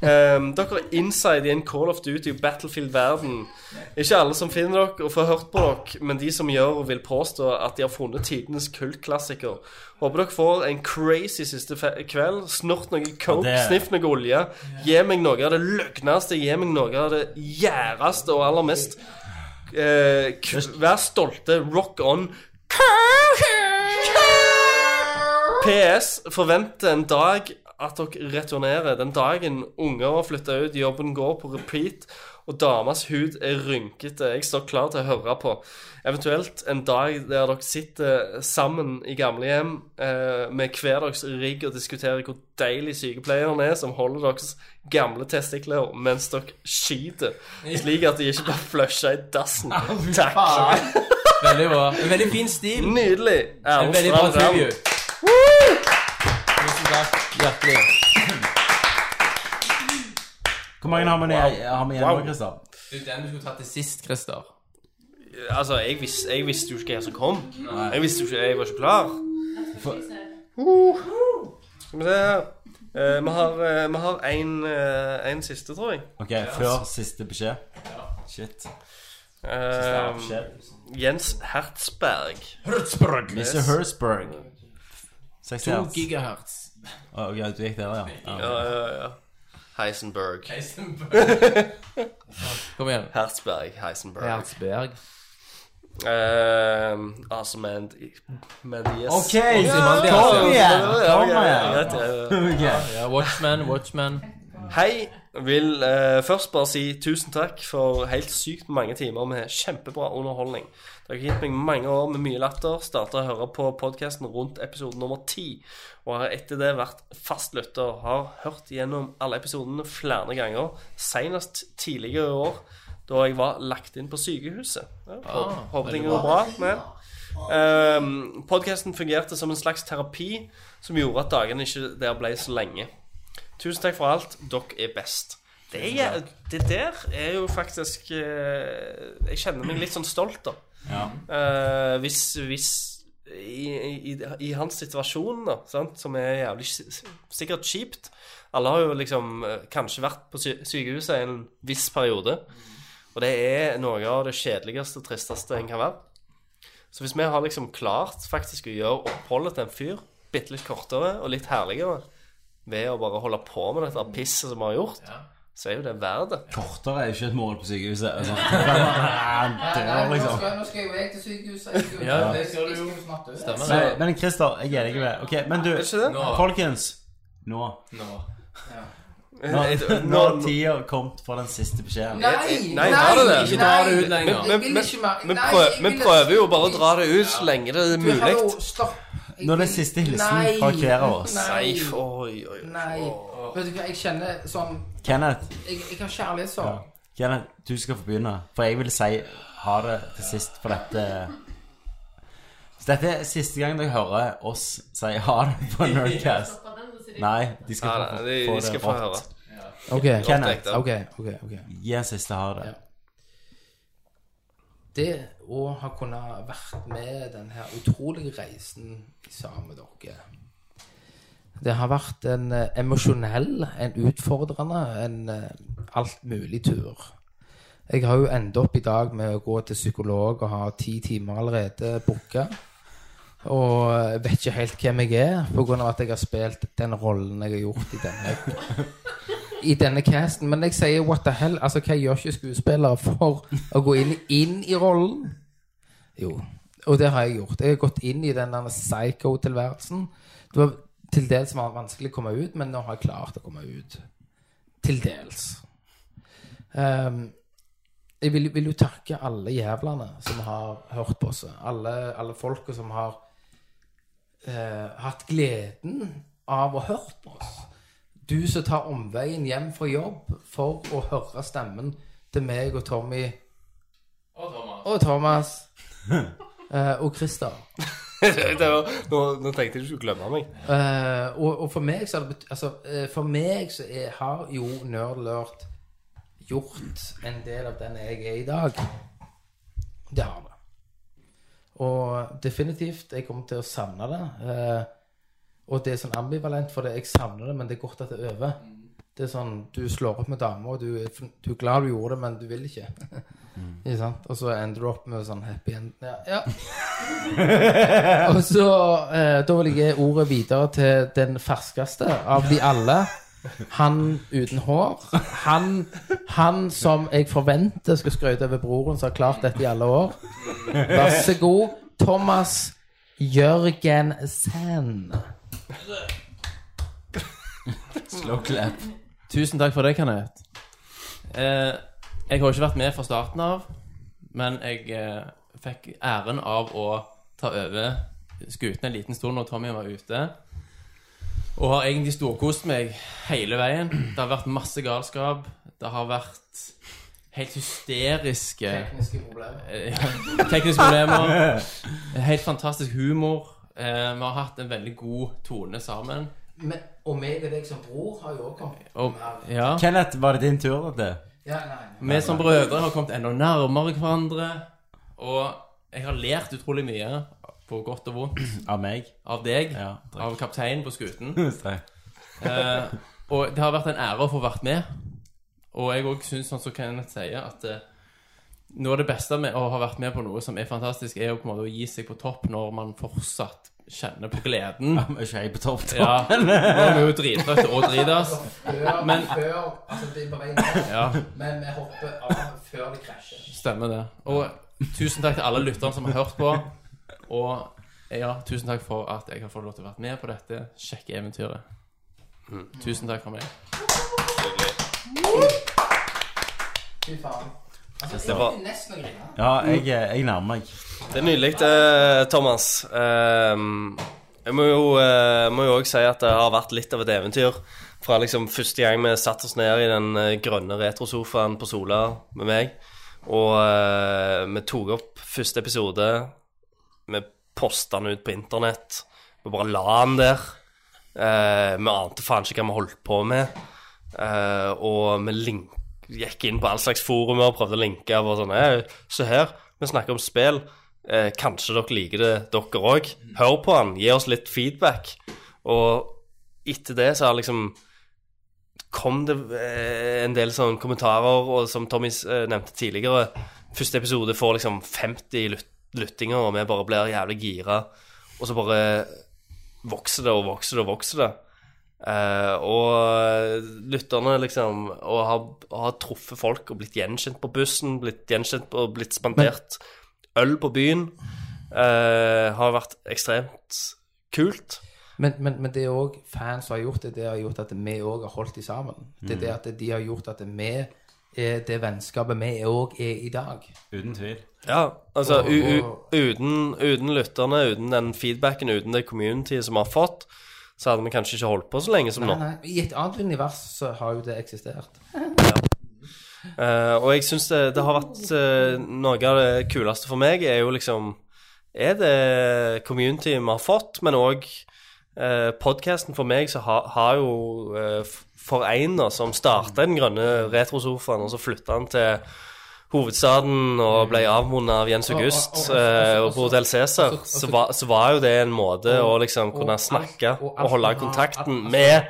Speaker 8: Ehm, dere er inside i en Call of Duty og Battlefield-verden. Ikke alle som finner dere og får hørt på dere, men de som gjør, vil påstå at de har funnet tidenes kultklassiker. Håper dere får en crazy siste fe kveld. Snort noe coke,
Speaker 15: Ja, det-
Speaker 8: sniff noe olje. Gi meg noe av det løgneste, gi meg noe av det gjæreste og aller mest eh, k- Vær stolte. Rock on. PS forventer en dag at dere returnerer. Den dagen unger flytter ut, jobben går på repeat, og damas hud er rynkete. Jeg står klar til å høre på. Eventuelt en dag der dere sitter sammen i gamlehjem eh, med hver deres rigg og diskuterer hvor deilig sykepleieren er som holder deres gamle testikler mens dere skyter, slik at de ikke bare flusher i dassen. Takk.
Speaker 7: Veldig bra. En veldig fin stil.
Speaker 8: Nydelig.
Speaker 7: En veldig bra
Speaker 8: Erlend Strand.
Speaker 7: preview. Tusen takk. Hjertelig.
Speaker 9: Hvor mange har vi, ned,
Speaker 7: Wow.
Speaker 9: har vi igjen
Speaker 7: Wow.
Speaker 9: nå, Christer?
Speaker 7: Det er den du skulle tatt til sist, Christer.
Speaker 8: Altså, jeg, vis, jeg visste jo ikke hva som kom.
Speaker 7: Nei.
Speaker 8: Jeg visste jo ikke, jeg var ikke klar. Uh. Skal vi se her. Eh, vi har, eh, vi har en, eh, en siste, tror jeg.
Speaker 9: Ok, før siste beskjed. Shit.
Speaker 8: Eh, Jens Hertzberg.
Speaker 9: Hertzberg. Mr. Hertzberg. Sexy
Speaker 7: To
Speaker 9: hertz.
Speaker 7: gigahertz.
Speaker 9: Å, ok, du gikk der, ja.
Speaker 8: Ja, ja, ja. Heisenberg.
Speaker 7: Heisenberg. Kom igjen.
Speaker 8: Hertzberg, Heisenberg.
Speaker 7: Hertzberg.
Speaker 8: Eh, altså, men men yes.
Speaker 7: Ok,
Speaker 8: Ja, ja,
Speaker 7: kom igjen,
Speaker 8: ja, ja,
Speaker 7: kom
Speaker 8: ja, ja,
Speaker 7: igjen.
Speaker 8: greit, ja, ja.
Speaker 7: Ja, ja, Watchman, Watchman.
Speaker 8: Hei. Vil eh, først bare si tusen takk for helt sykt mange timer med kjempebra underholdning. Dere har gitt meg mange år med mye latter. Starta å høre på podkasten rundt episode nummer ti. Og har etter det vært fast lytter. Har hørt gjennom alle episodene flere ganger. Senest tidligere i år, da jeg var lagt inn på sykehuset. Ja, håper,
Speaker 7: Ah,
Speaker 8: håper ting
Speaker 7: veldig
Speaker 8: går
Speaker 7: bra.
Speaker 8: bra. Men Um, podcasten fungerte som en slags terapi som gjorde at dagene ikke der ble så lenge. Tusen takk for alt. Dere er best. Det, er, det der er jo faktisk eh, Jeg kjenner meg litt sånn stolt, da. Eh, hvis, hvis i, i, I hans situasjon, da, sant, som er jævlig si- sikkert kjipt Alle har jo liksom eh, kanskje vært på sy sykehuset en viss periode. Og det er noe av det kjedeligste og tristeste en kan være. Så hvis vi har liksom klart faktisk å gjøre oppholdet til en fyr bitte litt kortere og litt herligere ved å bare holde på med
Speaker 6: Mm.
Speaker 8: dette pisset som vi har gjort, så er jo det verdt det.
Speaker 9: Kortere er jo ikke et mål på sykehuset. Altså. Han dør, liksom.
Speaker 6: Nå skal jo jeg til sykehuset.
Speaker 9: Ja, det
Speaker 6: skal du jo.
Speaker 9: Men, men Christer, jeg er enig med deg. Ok, men du,
Speaker 6: Er det ikke det? Nå.
Speaker 9: folkens. Nå.
Speaker 7: Nå.
Speaker 9: Nå nå har tida kommet for den siste beskjeden.
Speaker 6: Nei,
Speaker 8: Nei, har det det?
Speaker 6: ikke dra det ut
Speaker 9: lenger.
Speaker 8: Men- men-
Speaker 6: Jeg vil
Speaker 8: men-
Speaker 6: ikke mer.
Speaker 8: men
Speaker 6: Nei,
Speaker 8: prøv-
Speaker 6: jeg
Speaker 8: Vi
Speaker 6: vil-
Speaker 8: prøver jo bare å dra det ut så lenge det er
Speaker 6: Du,
Speaker 8: mulig.
Speaker 6: hallo, stopp. Jeg
Speaker 9: Nå er det
Speaker 6: vil-
Speaker 9: siste hilsen
Speaker 6: Nei,
Speaker 9: fra hver av oss.
Speaker 6: Nei.
Speaker 8: Nei, oi, oi, oi.
Speaker 6: Nei. Vet du hva, jeg kjenner sånn
Speaker 9: Kenneth,
Speaker 6: Jeg, jeg har kjærlighetssorg.
Speaker 9: Kenneth, du skal få begynne. For jeg vil si ha det til sist for dette. Så dette er siste gang dere hører oss si ha det på Nerdcast. Nei, de skal
Speaker 8: Nei,
Speaker 9: få,
Speaker 8: nei, de-
Speaker 9: få
Speaker 8: de skal
Speaker 9: det
Speaker 8: få
Speaker 9: rått.
Speaker 8: høre.
Speaker 6: Ok,
Speaker 8: Rått
Speaker 9: Kenneth.
Speaker 8: ekte.
Speaker 6: Ok, ok, ok.
Speaker 9: Gi en siste ha det.
Speaker 6: Det å ha kunnet vært med denne utrolige reisen sammen med dere Det har vært en eh, emosjonell, en utfordrende, en eh, alt mulig tur. Jeg har jo endt opp i dag med å gå til psykolog og ha ti timer allerede booka. Og jeg vet ikke helt hvem jeg er, pga. at jeg har spilt den rollen jeg har gjort i denne, i denne casten. Men jeg sier what the hell? Altså, hva gjør ikke skuespillere for å gå inn, inn i rollen? Jo, og det har jeg gjort. Jeg har gått inn i den der psycho-tilværelsen. Det var til dels var det vanskelig å komme ut, men nå har jeg klart å komme ut. Til dels. Ehm, jeg vil, vil jo takke alle jævlene som har hørt på oss. Alle, alle folka som har eh, hatt gleden av å høre på oss. Du som tar omveien hjem fra jobb for å høre stemmen til meg og Tommy og Thomas eh, og Christer.
Speaker 8: Det var- nå, nå tenkte jeg du skulle glemme meg.
Speaker 6: Eh, og, og for meg så har det bet- altså, eh, For meg så er, har jo Nerdlurt gjort en del av den jeg er i dag. Det har det. Og definitivt, jeg kommer til å savne det. Eh, og det er sånn ambivalent, for det, jeg savner det, men det er godt at det er over. Det er sånn, Du slår opp med dama, og du, er forn- du er glad du gjorde det, men du vil ikke. Ikke sant? Og så ender du opp med sånn happy end. Ja, og så eh, Da vil jeg gi ordet videre til den ferskeste av de alle. Han uten hår. Han, han som jeg forventer skal skryte over broren som har klart dette i alle år. Vær så god, Thomas Jørgen Sand.
Speaker 7: Tusen takk for det, Kenneth. Eh, Jeg har jo ikke vært med fra starten av, men jeg eh, fikk æren av å ta over skuten en liten stund når Tommy var ute. Og har egentlig storkost meg hele veien. Det har vært masse galskap. Det har vært helt hysteriske
Speaker 6: Tekniske problemer.
Speaker 7: Eh, ja, tekniske problemer. Helt fantastisk humor. Eh, vi har hatt en veldig god tone sammen.
Speaker 6: Men, og meg og deg som bror har jo også kommet
Speaker 7: Og,
Speaker 6: mer-
Speaker 7: ja.
Speaker 15: Kenneth, var det din tur? dette?
Speaker 6: Ja, nei,
Speaker 7: Vi som brødre har kommet enda nærmere hverandre. Og jeg har lært utrolig mye, på godt og vondt.
Speaker 15: Av meg?
Speaker 7: Av deg.
Speaker 15: Ja,
Speaker 7: av kapteinen på skuten.
Speaker 15: Takk.
Speaker 7: eh, og det har vært en ære å få vært med. Og jeg òg syns, sånn som Kenneth sier, at eh, noe av det beste med å ha vært med på noe som er fantastisk, er jo på en måte å gi seg på topp når man fortsatt kjenner på gleden.
Speaker 15: Ja, men ikke jeg på topp, da.
Speaker 7: Ja, nå er vi jo drittrøtte og dritas.
Speaker 6: Før,
Speaker 7: Men
Speaker 6: før Altså, det er på vei ned,
Speaker 7: Ja.
Speaker 6: men vi hopper av før det krasjer.
Speaker 7: Stemmer det. Og tusen takk til alle lytterne som har hørt på. Og ja, tusen takk for at jeg har fått lov til å være med på dette kjekke eventyret. Tusen takk for meg.
Speaker 6: Fy faen. Altså,
Speaker 8: Det
Speaker 6: jeg
Speaker 8: var-
Speaker 6: var... nesten å grine.
Speaker 15: Ja, jeg, jeg nærmer meg.
Speaker 8: Det er nydelig, eh, Thomas. Ehm, jeg må jo, eh, må jo også si at det har vært litt av et eventyr. Fra liksom første gang vi satte oss ned i den eh, grønne retrosofaen på Sola med meg, og eh, vi tok opp første episode, vi posta den ut på internett, vi bare la den der. Eh, vi ante faen ikke hva vi holdt på med, Eh, og vi link gikk inn på all slags forumer og prøvde å linke. Og sånn, «Hei, Se her, vi snakker om spill. Eh, kanskje dere liker det, dere òg. Hør på han, gi oss litt feedback. Og etter det så har liksom kom det eh, en del sånne kommentarer, og som Tommy eh, nevnte tidligere, første episode får liksom 50 lyt lyttinger, og vi bare blir jævlig gira. Og så bare vokser det og vokser det og vokser det. Eh, og lytterne liksom Og har, har truffet folk og blitt gjenkjent på bussen, blitt gjenkjent og blitt spandert øl på byen. eh, har vært ekstremt kult.
Speaker 6: Men, men, men det er òg fans som har gjort det, det har gjort at vi òg har holdt de sammen. Det er
Speaker 8: Mm.
Speaker 6: det at de har gjort at vi er det vennskapet vi òg er i dag.
Speaker 15: Uten tvil.
Speaker 8: Ja, altså
Speaker 6: Og-
Speaker 8: u u uten, uten lytterne, uten den feedbacken, uten det communityet som vi har fått, så hadde vi kanskje ikke holdt på så lenge som
Speaker 6: Nei,
Speaker 8: nå.
Speaker 6: nei, I et annet univers så har jo det eksistert.
Speaker 8: Eh, og jeg syns det, det har vært eh, Noe av det kuleste for meg er jo liksom Er det communityet vi har fått, men òg uh, podkasten for meg, så ha, har jo uh, foreina som starta den grønne retrosofaen, og så flytta han til hovedstaden og ble avmunnet av Jens August
Speaker 6: Mm. Og- og- og-
Speaker 8: eh, og på Hotell Cæsar, så, var- så var jo det en måte å liksom
Speaker 6: og
Speaker 8: kunne
Speaker 6: alt-
Speaker 8: snakke
Speaker 6: og
Speaker 8: og
Speaker 6: alt
Speaker 8: holde
Speaker 6: han har-
Speaker 8: kontakten
Speaker 6: alt-
Speaker 8: med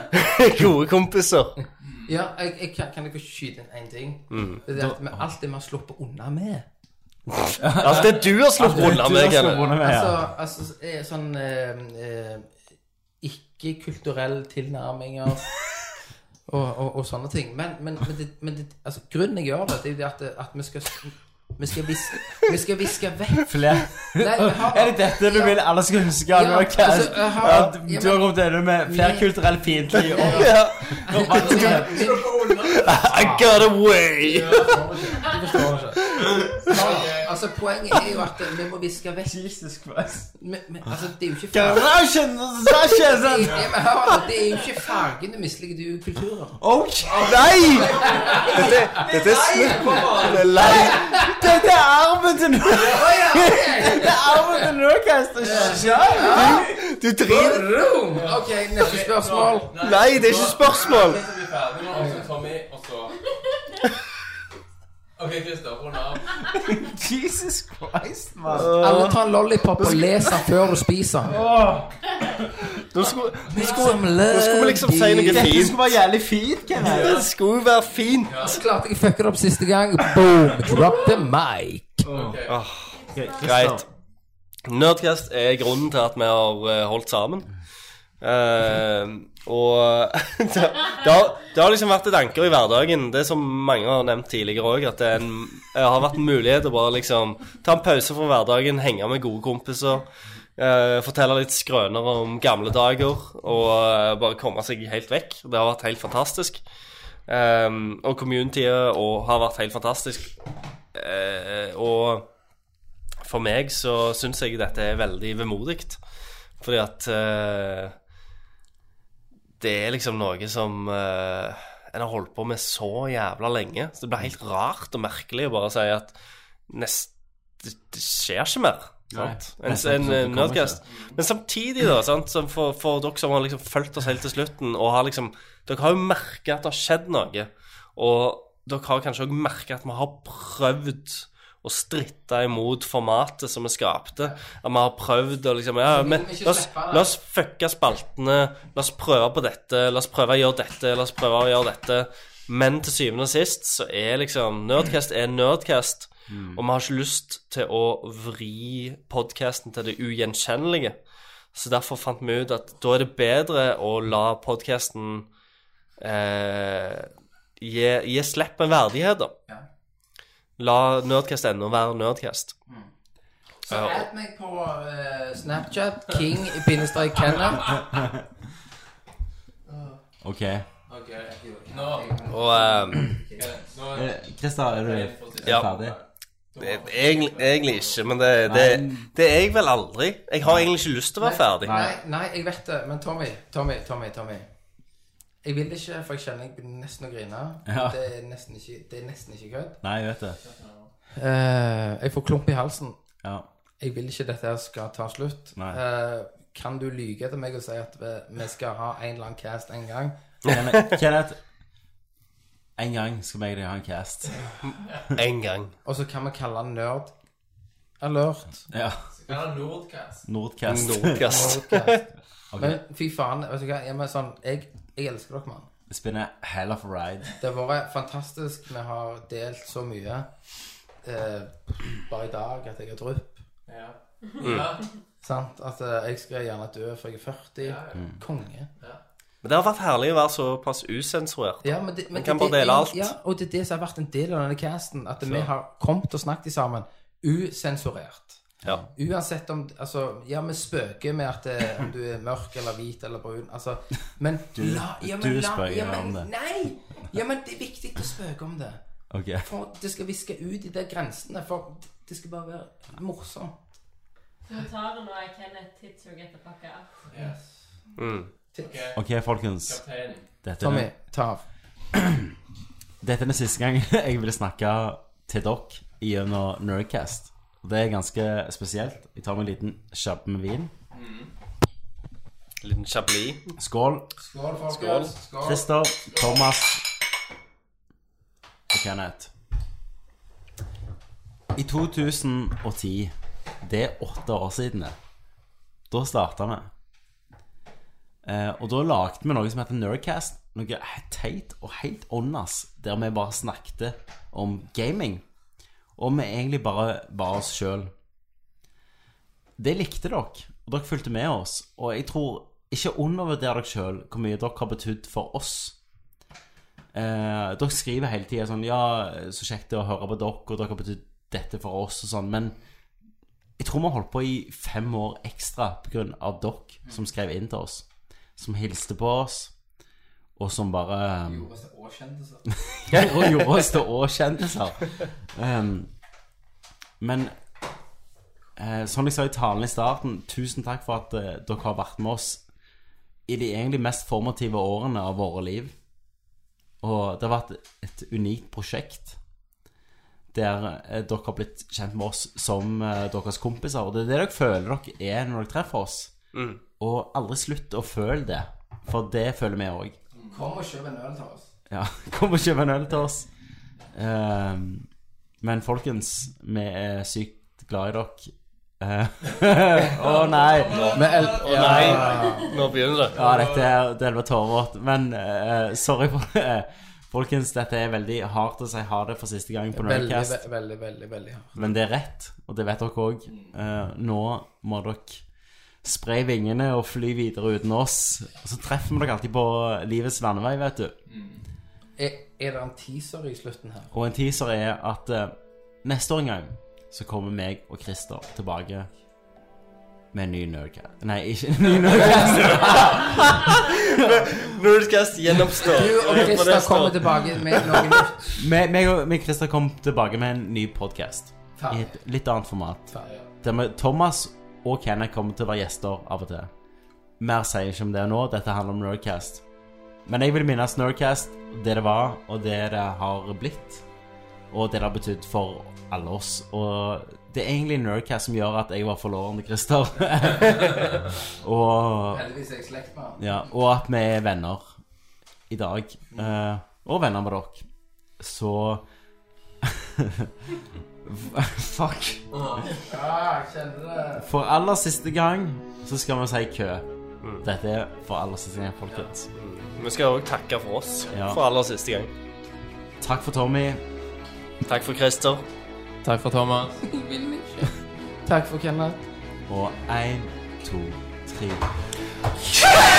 Speaker 8: gode kompiser.
Speaker 6: Ja, jeg, jeg kan, kan jeg få skyte inn én ting?
Speaker 8: Mm.
Speaker 6: Det er det at vi, alt det vi har sluppet unna med.
Speaker 8: Alt det du har sluppet
Speaker 6: Alt det
Speaker 8: unna
Speaker 6: du
Speaker 8: med,
Speaker 6: har
Speaker 8: Kenneth.
Speaker 6: sluppet unna med, ja.
Speaker 8: Altså,
Speaker 6: Altså, altså eh, sånn eh, eh, ikke-kulturelle tilnærminger og, og, og sånne ting. Men, men, men, det, men det, altså, grunnen jeg gjør det, det er jo det at, at vi skal vi skal viske, vi skal viske vekk
Speaker 15: Flere. Er det dette du vil alle skal huske? av
Speaker 6: Ja,
Speaker 15: Nordcast?
Speaker 6: altså, jeg har-
Speaker 15: At du
Speaker 6: ja,
Speaker 15: har
Speaker 6: men-
Speaker 15: kommet gjennom med flerkulturell fiendtlig og
Speaker 6: Ja.
Speaker 15: og vanskelig.
Speaker 8: I got away!
Speaker 6: Ja, altså, poenget er jo at vi må viske vekk
Speaker 15: Jesus Christ.
Speaker 6: Men, men altså, det er jo ikke
Speaker 15: Garasjen, sasjen, sånn.
Speaker 6: Det er- men hør, det er jo ikke fargene misliker, det er jo kulturen.
Speaker 15: Nei!
Speaker 6: Dette,
Speaker 8: dette er slutt.
Speaker 15: Det er lei. Dette er armen til Nord- Dette er armen til Nordcast.
Speaker 8: Du driter
Speaker 6: Ok, neste spørsmål.
Speaker 8: Nei, det er ikke spørsmål.
Speaker 7: Vi er ferdig nå, og så Tommy, og så OK, Christer, rund av.
Speaker 15: Jesus Christ, mann.
Speaker 6: Alle tar en lollipop og leser den før du spiser den.
Speaker 8: Nå skulle,
Speaker 6: nå skulle,
Speaker 8: nå skulle vi liksom si noe
Speaker 15: Dette
Speaker 8: fint.
Speaker 15: skulle være jævlig fint, Kenneth.
Speaker 8: Det skulle jo være fint.
Speaker 6: Så klarte jeg å fucke det opp siste gang. Boom! Drop the mic.
Speaker 8: Åh, greit. Nerdcast er grunnen til at vi har eh, holdt sammen. Eh, og det, det, har, det har liksom vært et anker i hverdagen. Det som mange har nevnt tidligere òg, at det er en, eh, har vært en mulighet å bare liksom ta en pause fra hverdagen, henge med gode kompiser, eh, fortelle litt skrøner om gamle dager og eh, bare komme seg helt vekk. Det har vært helt fantastisk. Ehm, og communityet og har vært helt fantastisk. Eh, og for meg så syns jeg dette er veldig vemodig. Fordi at eh, det er liksom noe som eh, en har holdt på med så jævla lenge. Så det blir helt rart og merkelig å bare si at nest, det, det skjer ikke mer. Sant?
Speaker 7: Nei,
Speaker 8: En,
Speaker 7: neste
Speaker 8: en,
Speaker 7: episode kommer
Speaker 8: nerdcast. Men samtidig, da, sant? som for, for dere som har liksom fulgt oss helt til slutten og har liksom, Dere har jo merka at det har skjedd noe. Og dere har kanskje òg merka at vi har prøvd å stritte imot formatet som vi skapte. At vi har prøvd å liksom ja, men, la, oss, la oss fucke spaltene. La oss prøve på dette. La oss prøve å gjøre dette. La oss prøve å gjøre dette. Men til syvende og sist så er liksom Nerdcast er Nerdcast. Og vi har ikke lyst til å vri podkasten til det ugjenkjennelige. Så derfor fant vi ut at da er det bedre å la podkasten eh, gi, gi slipp en verdighet, da. La Nerdcast.no være Nerdcast.
Speaker 6: Så add meg på eh, Snapchat. King-Kenner.
Speaker 9: OK.
Speaker 16: Nå
Speaker 8: Og ehm,
Speaker 9: Eh, Christer, er du er
Speaker 8: Ja.
Speaker 9: du ferdig?
Speaker 8: det- egentlig, egentlig ikke, men det, det, det er jeg vel aldri. Jeg har egentlig ikke lyst til å være ferdig.
Speaker 6: Nei, nei, jeg vet det. Men Tommy, Tommy, Tommy. Tommy Jeg vil ikke, for jeg kjenner jeg begynner nesten å grine.
Speaker 9: Ja.
Speaker 6: Det er nesten ikke, det er nesten ikke kødd.
Speaker 9: Nei, jeg vet det.
Speaker 6: Eh, jeg får klump i halsen.
Speaker 9: Ja.
Speaker 6: Jeg vil ikke dette her skal ta slutt.
Speaker 9: Nei.
Speaker 6: Eh, kan du lyge til meg og si at vi, vi skal ha en eller annen cast en gang?
Speaker 9: Kenneth, Kenneth, en gang skal vi ha en cast.
Speaker 8: En gang.
Speaker 6: Og så kan vi kalle den nerd. Alert.
Speaker 9: Ja.
Speaker 6: Nordcast.
Speaker 9: Nordcast.
Speaker 8: Nordcast.
Speaker 9: Ok.
Speaker 6: Men fy faen, vet du hva? Jeg, må sånn, jeg, jeg elsker dere, mann.
Speaker 9: Spinner hell of a ride.
Speaker 6: Det har vært fantastisk. Vi har delt så mye. Eh, bare i dag at jeg har drypp.
Speaker 16: Ja.
Speaker 8: Mm. Ja.
Speaker 6: Sant? At eh, jeg skal gjerne dø før jeg er 40.
Speaker 8: Mm.
Speaker 6: Konge.
Speaker 8: Men det har vært herlig å være såpass usensurert.
Speaker 6: Ja, men det, men
Speaker 8: Man kan
Speaker 6: det-
Speaker 8: bare dele alt.
Speaker 6: Ja, og det er det som har vært en del av denne casten. At
Speaker 8: Så.
Speaker 6: vi har kommet og snakket sammen usensurert.
Speaker 8: Ja.
Speaker 6: Uansett om altså, Ja, vi spøker med at eh, om du er mørk eller hvit eller brun. Altså, men
Speaker 9: Du-
Speaker 6: ja, men
Speaker 9: du
Speaker 6: la-
Speaker 9: spøker
Speaker 6: ja, men,
Speaker 9: om det.
Speaker 6: Nei! Ja, men det er viktig å spøke om det.
Speaker 9: Ok.
Speaker 6: For det skal viske ut de der grensene. For det skal bare være morsomt.
Speaker 11: Kommentaren nå er Kenneth Tidsug etter pakka.
Speaker 8: Mm.
Speaker 9: OK, folkens. Dette er,
Speaker 6: Tommy,
Speaker 9: den-
Speaker 6: ta av.
Speaker 9: dette er den siste gang jeg vil snakke til dere gjennom Nerdcast. Og Det er ganske spesielt. Jeg tar meg en liten kjapp med vin.
Speaker 8: Liten chablis.
Speaker 9: Skål.
Speaker 6: Skål,
Speaker 8: folkens.
Speaker 6: Skål.
Speaker 9: Christer, Thomas og Kenneth. I 2010, det er åtte år siden det, da starta vi. Eh, og da lagde vi noe som heter Nerdcast. Noe helt teit og helt åndas, der vi bare snakket om gaming. Og vi egentlig bare var oss sjøl. Det likte dere, og dere fulgte med oss. Og jeg tror ikke undervurder dere sjøl hvor mye dere har betydd for oss. Eh, dere skriver hele tida sånn Ja, så kjekt det er å høre på dere, og dere har betydd dette for oss, og sånn. Men jeg tror vi har holdt på i fem år ekstra pga. dere som skrev inn til oss. Som hilste på oss, og som bare ehm, og gjorde oss til åkjendiser. Um, men eh, som jeg sa i talen i starten, tusen takk for at eh, dere har vært med oss i de egentlig mest formative årene av våre liv. Og det har vært et unikt prosjekt der eh, dere har blitt kjent med oss som eh, deres kompiser. Og det er det dere føler dere er når dere treffer oss.
Speaker 8: Mm.
Speaker 9: Og aldri slutt å føle det, for det føler vi òg.
Speaker 6: Kom og kjøp en øl til oss.
Speaker 9: Ja, kom og kjøp en øl til oss. Ehm, men folkens, vi er sykt glad i dere. Eh, Å nei!
Speaker 8: Nå-
Speaker 9: Men el-
Speaker 8: Å
Speaker 9: ja.
Speaker 8: nei. Nå begynner det.
Speaker 9: Ja, dette er det var tårevått. Men eh, sorry for det. Folkens, dette er veldig hardt å si ha det for siste gang på
Speaker 6: Veldig,
Speaker 9: Nerdcast.
Speaker 6: ve- veldig, veldig, veldig hardt.
Speaker 9: Men det er rett, og det vet dere òg. nå må dere spre vingene og fly videre uten oss. Og så treffer vi dere alltid på livets landevei, vet du.
Speaker 6: Er, er det en teaser i slutten her?
Speaker 9: Og en teaser er at eh, neste år en gang så kommer meg og Christer tilbake med en ny Nerdcast. Nei, ikke en ny Nerdcast.
Speaker 8: Nerdcast gjennomstår.
Speaker 6: Du og Christer kommer tilbake med noe nytt.
Speaker 9: Vi- Meg og meg og Christer kom tilbake med en ny podkast. I et litt annet format. Der vi, Thomas og Kenneth kommer til å være gjester av og til. Mer sier jeg ikke om det nå. Dette handler om Nerdcast. Men jeg vil minnes Nerdcast, det det var, og det det har blitt. Og det det har betydd for alle oss. Og det er egentlig Nerdcast som gjør at jeg var forloveren til Christer. og
Speaker 6: Heldigvis er jeg i slekt med han.
Speaker 9: ja, og at vi er venner i dag. eh, og venner med dere. Så Fuck.
Speaker 6: Ja, jeg kjenner Ah, det.
Speaker 9: For aller siste gang så skal vi si kø. Dette er for aller siste gang, folkens.
Speaker 8: Vi skal òg takke for oss
Speaker 9: Ja.
Speaker 8: for aller siste gang.
Speaker 9: Takk for Tommy.
Speaker 8: Takk for Christer.
Speaker 7: Takk for Thomas.
Speaker 6: Takk for Kenneth.
Speaker 9: Og én, to, tre.
Speaker 8: Yeah!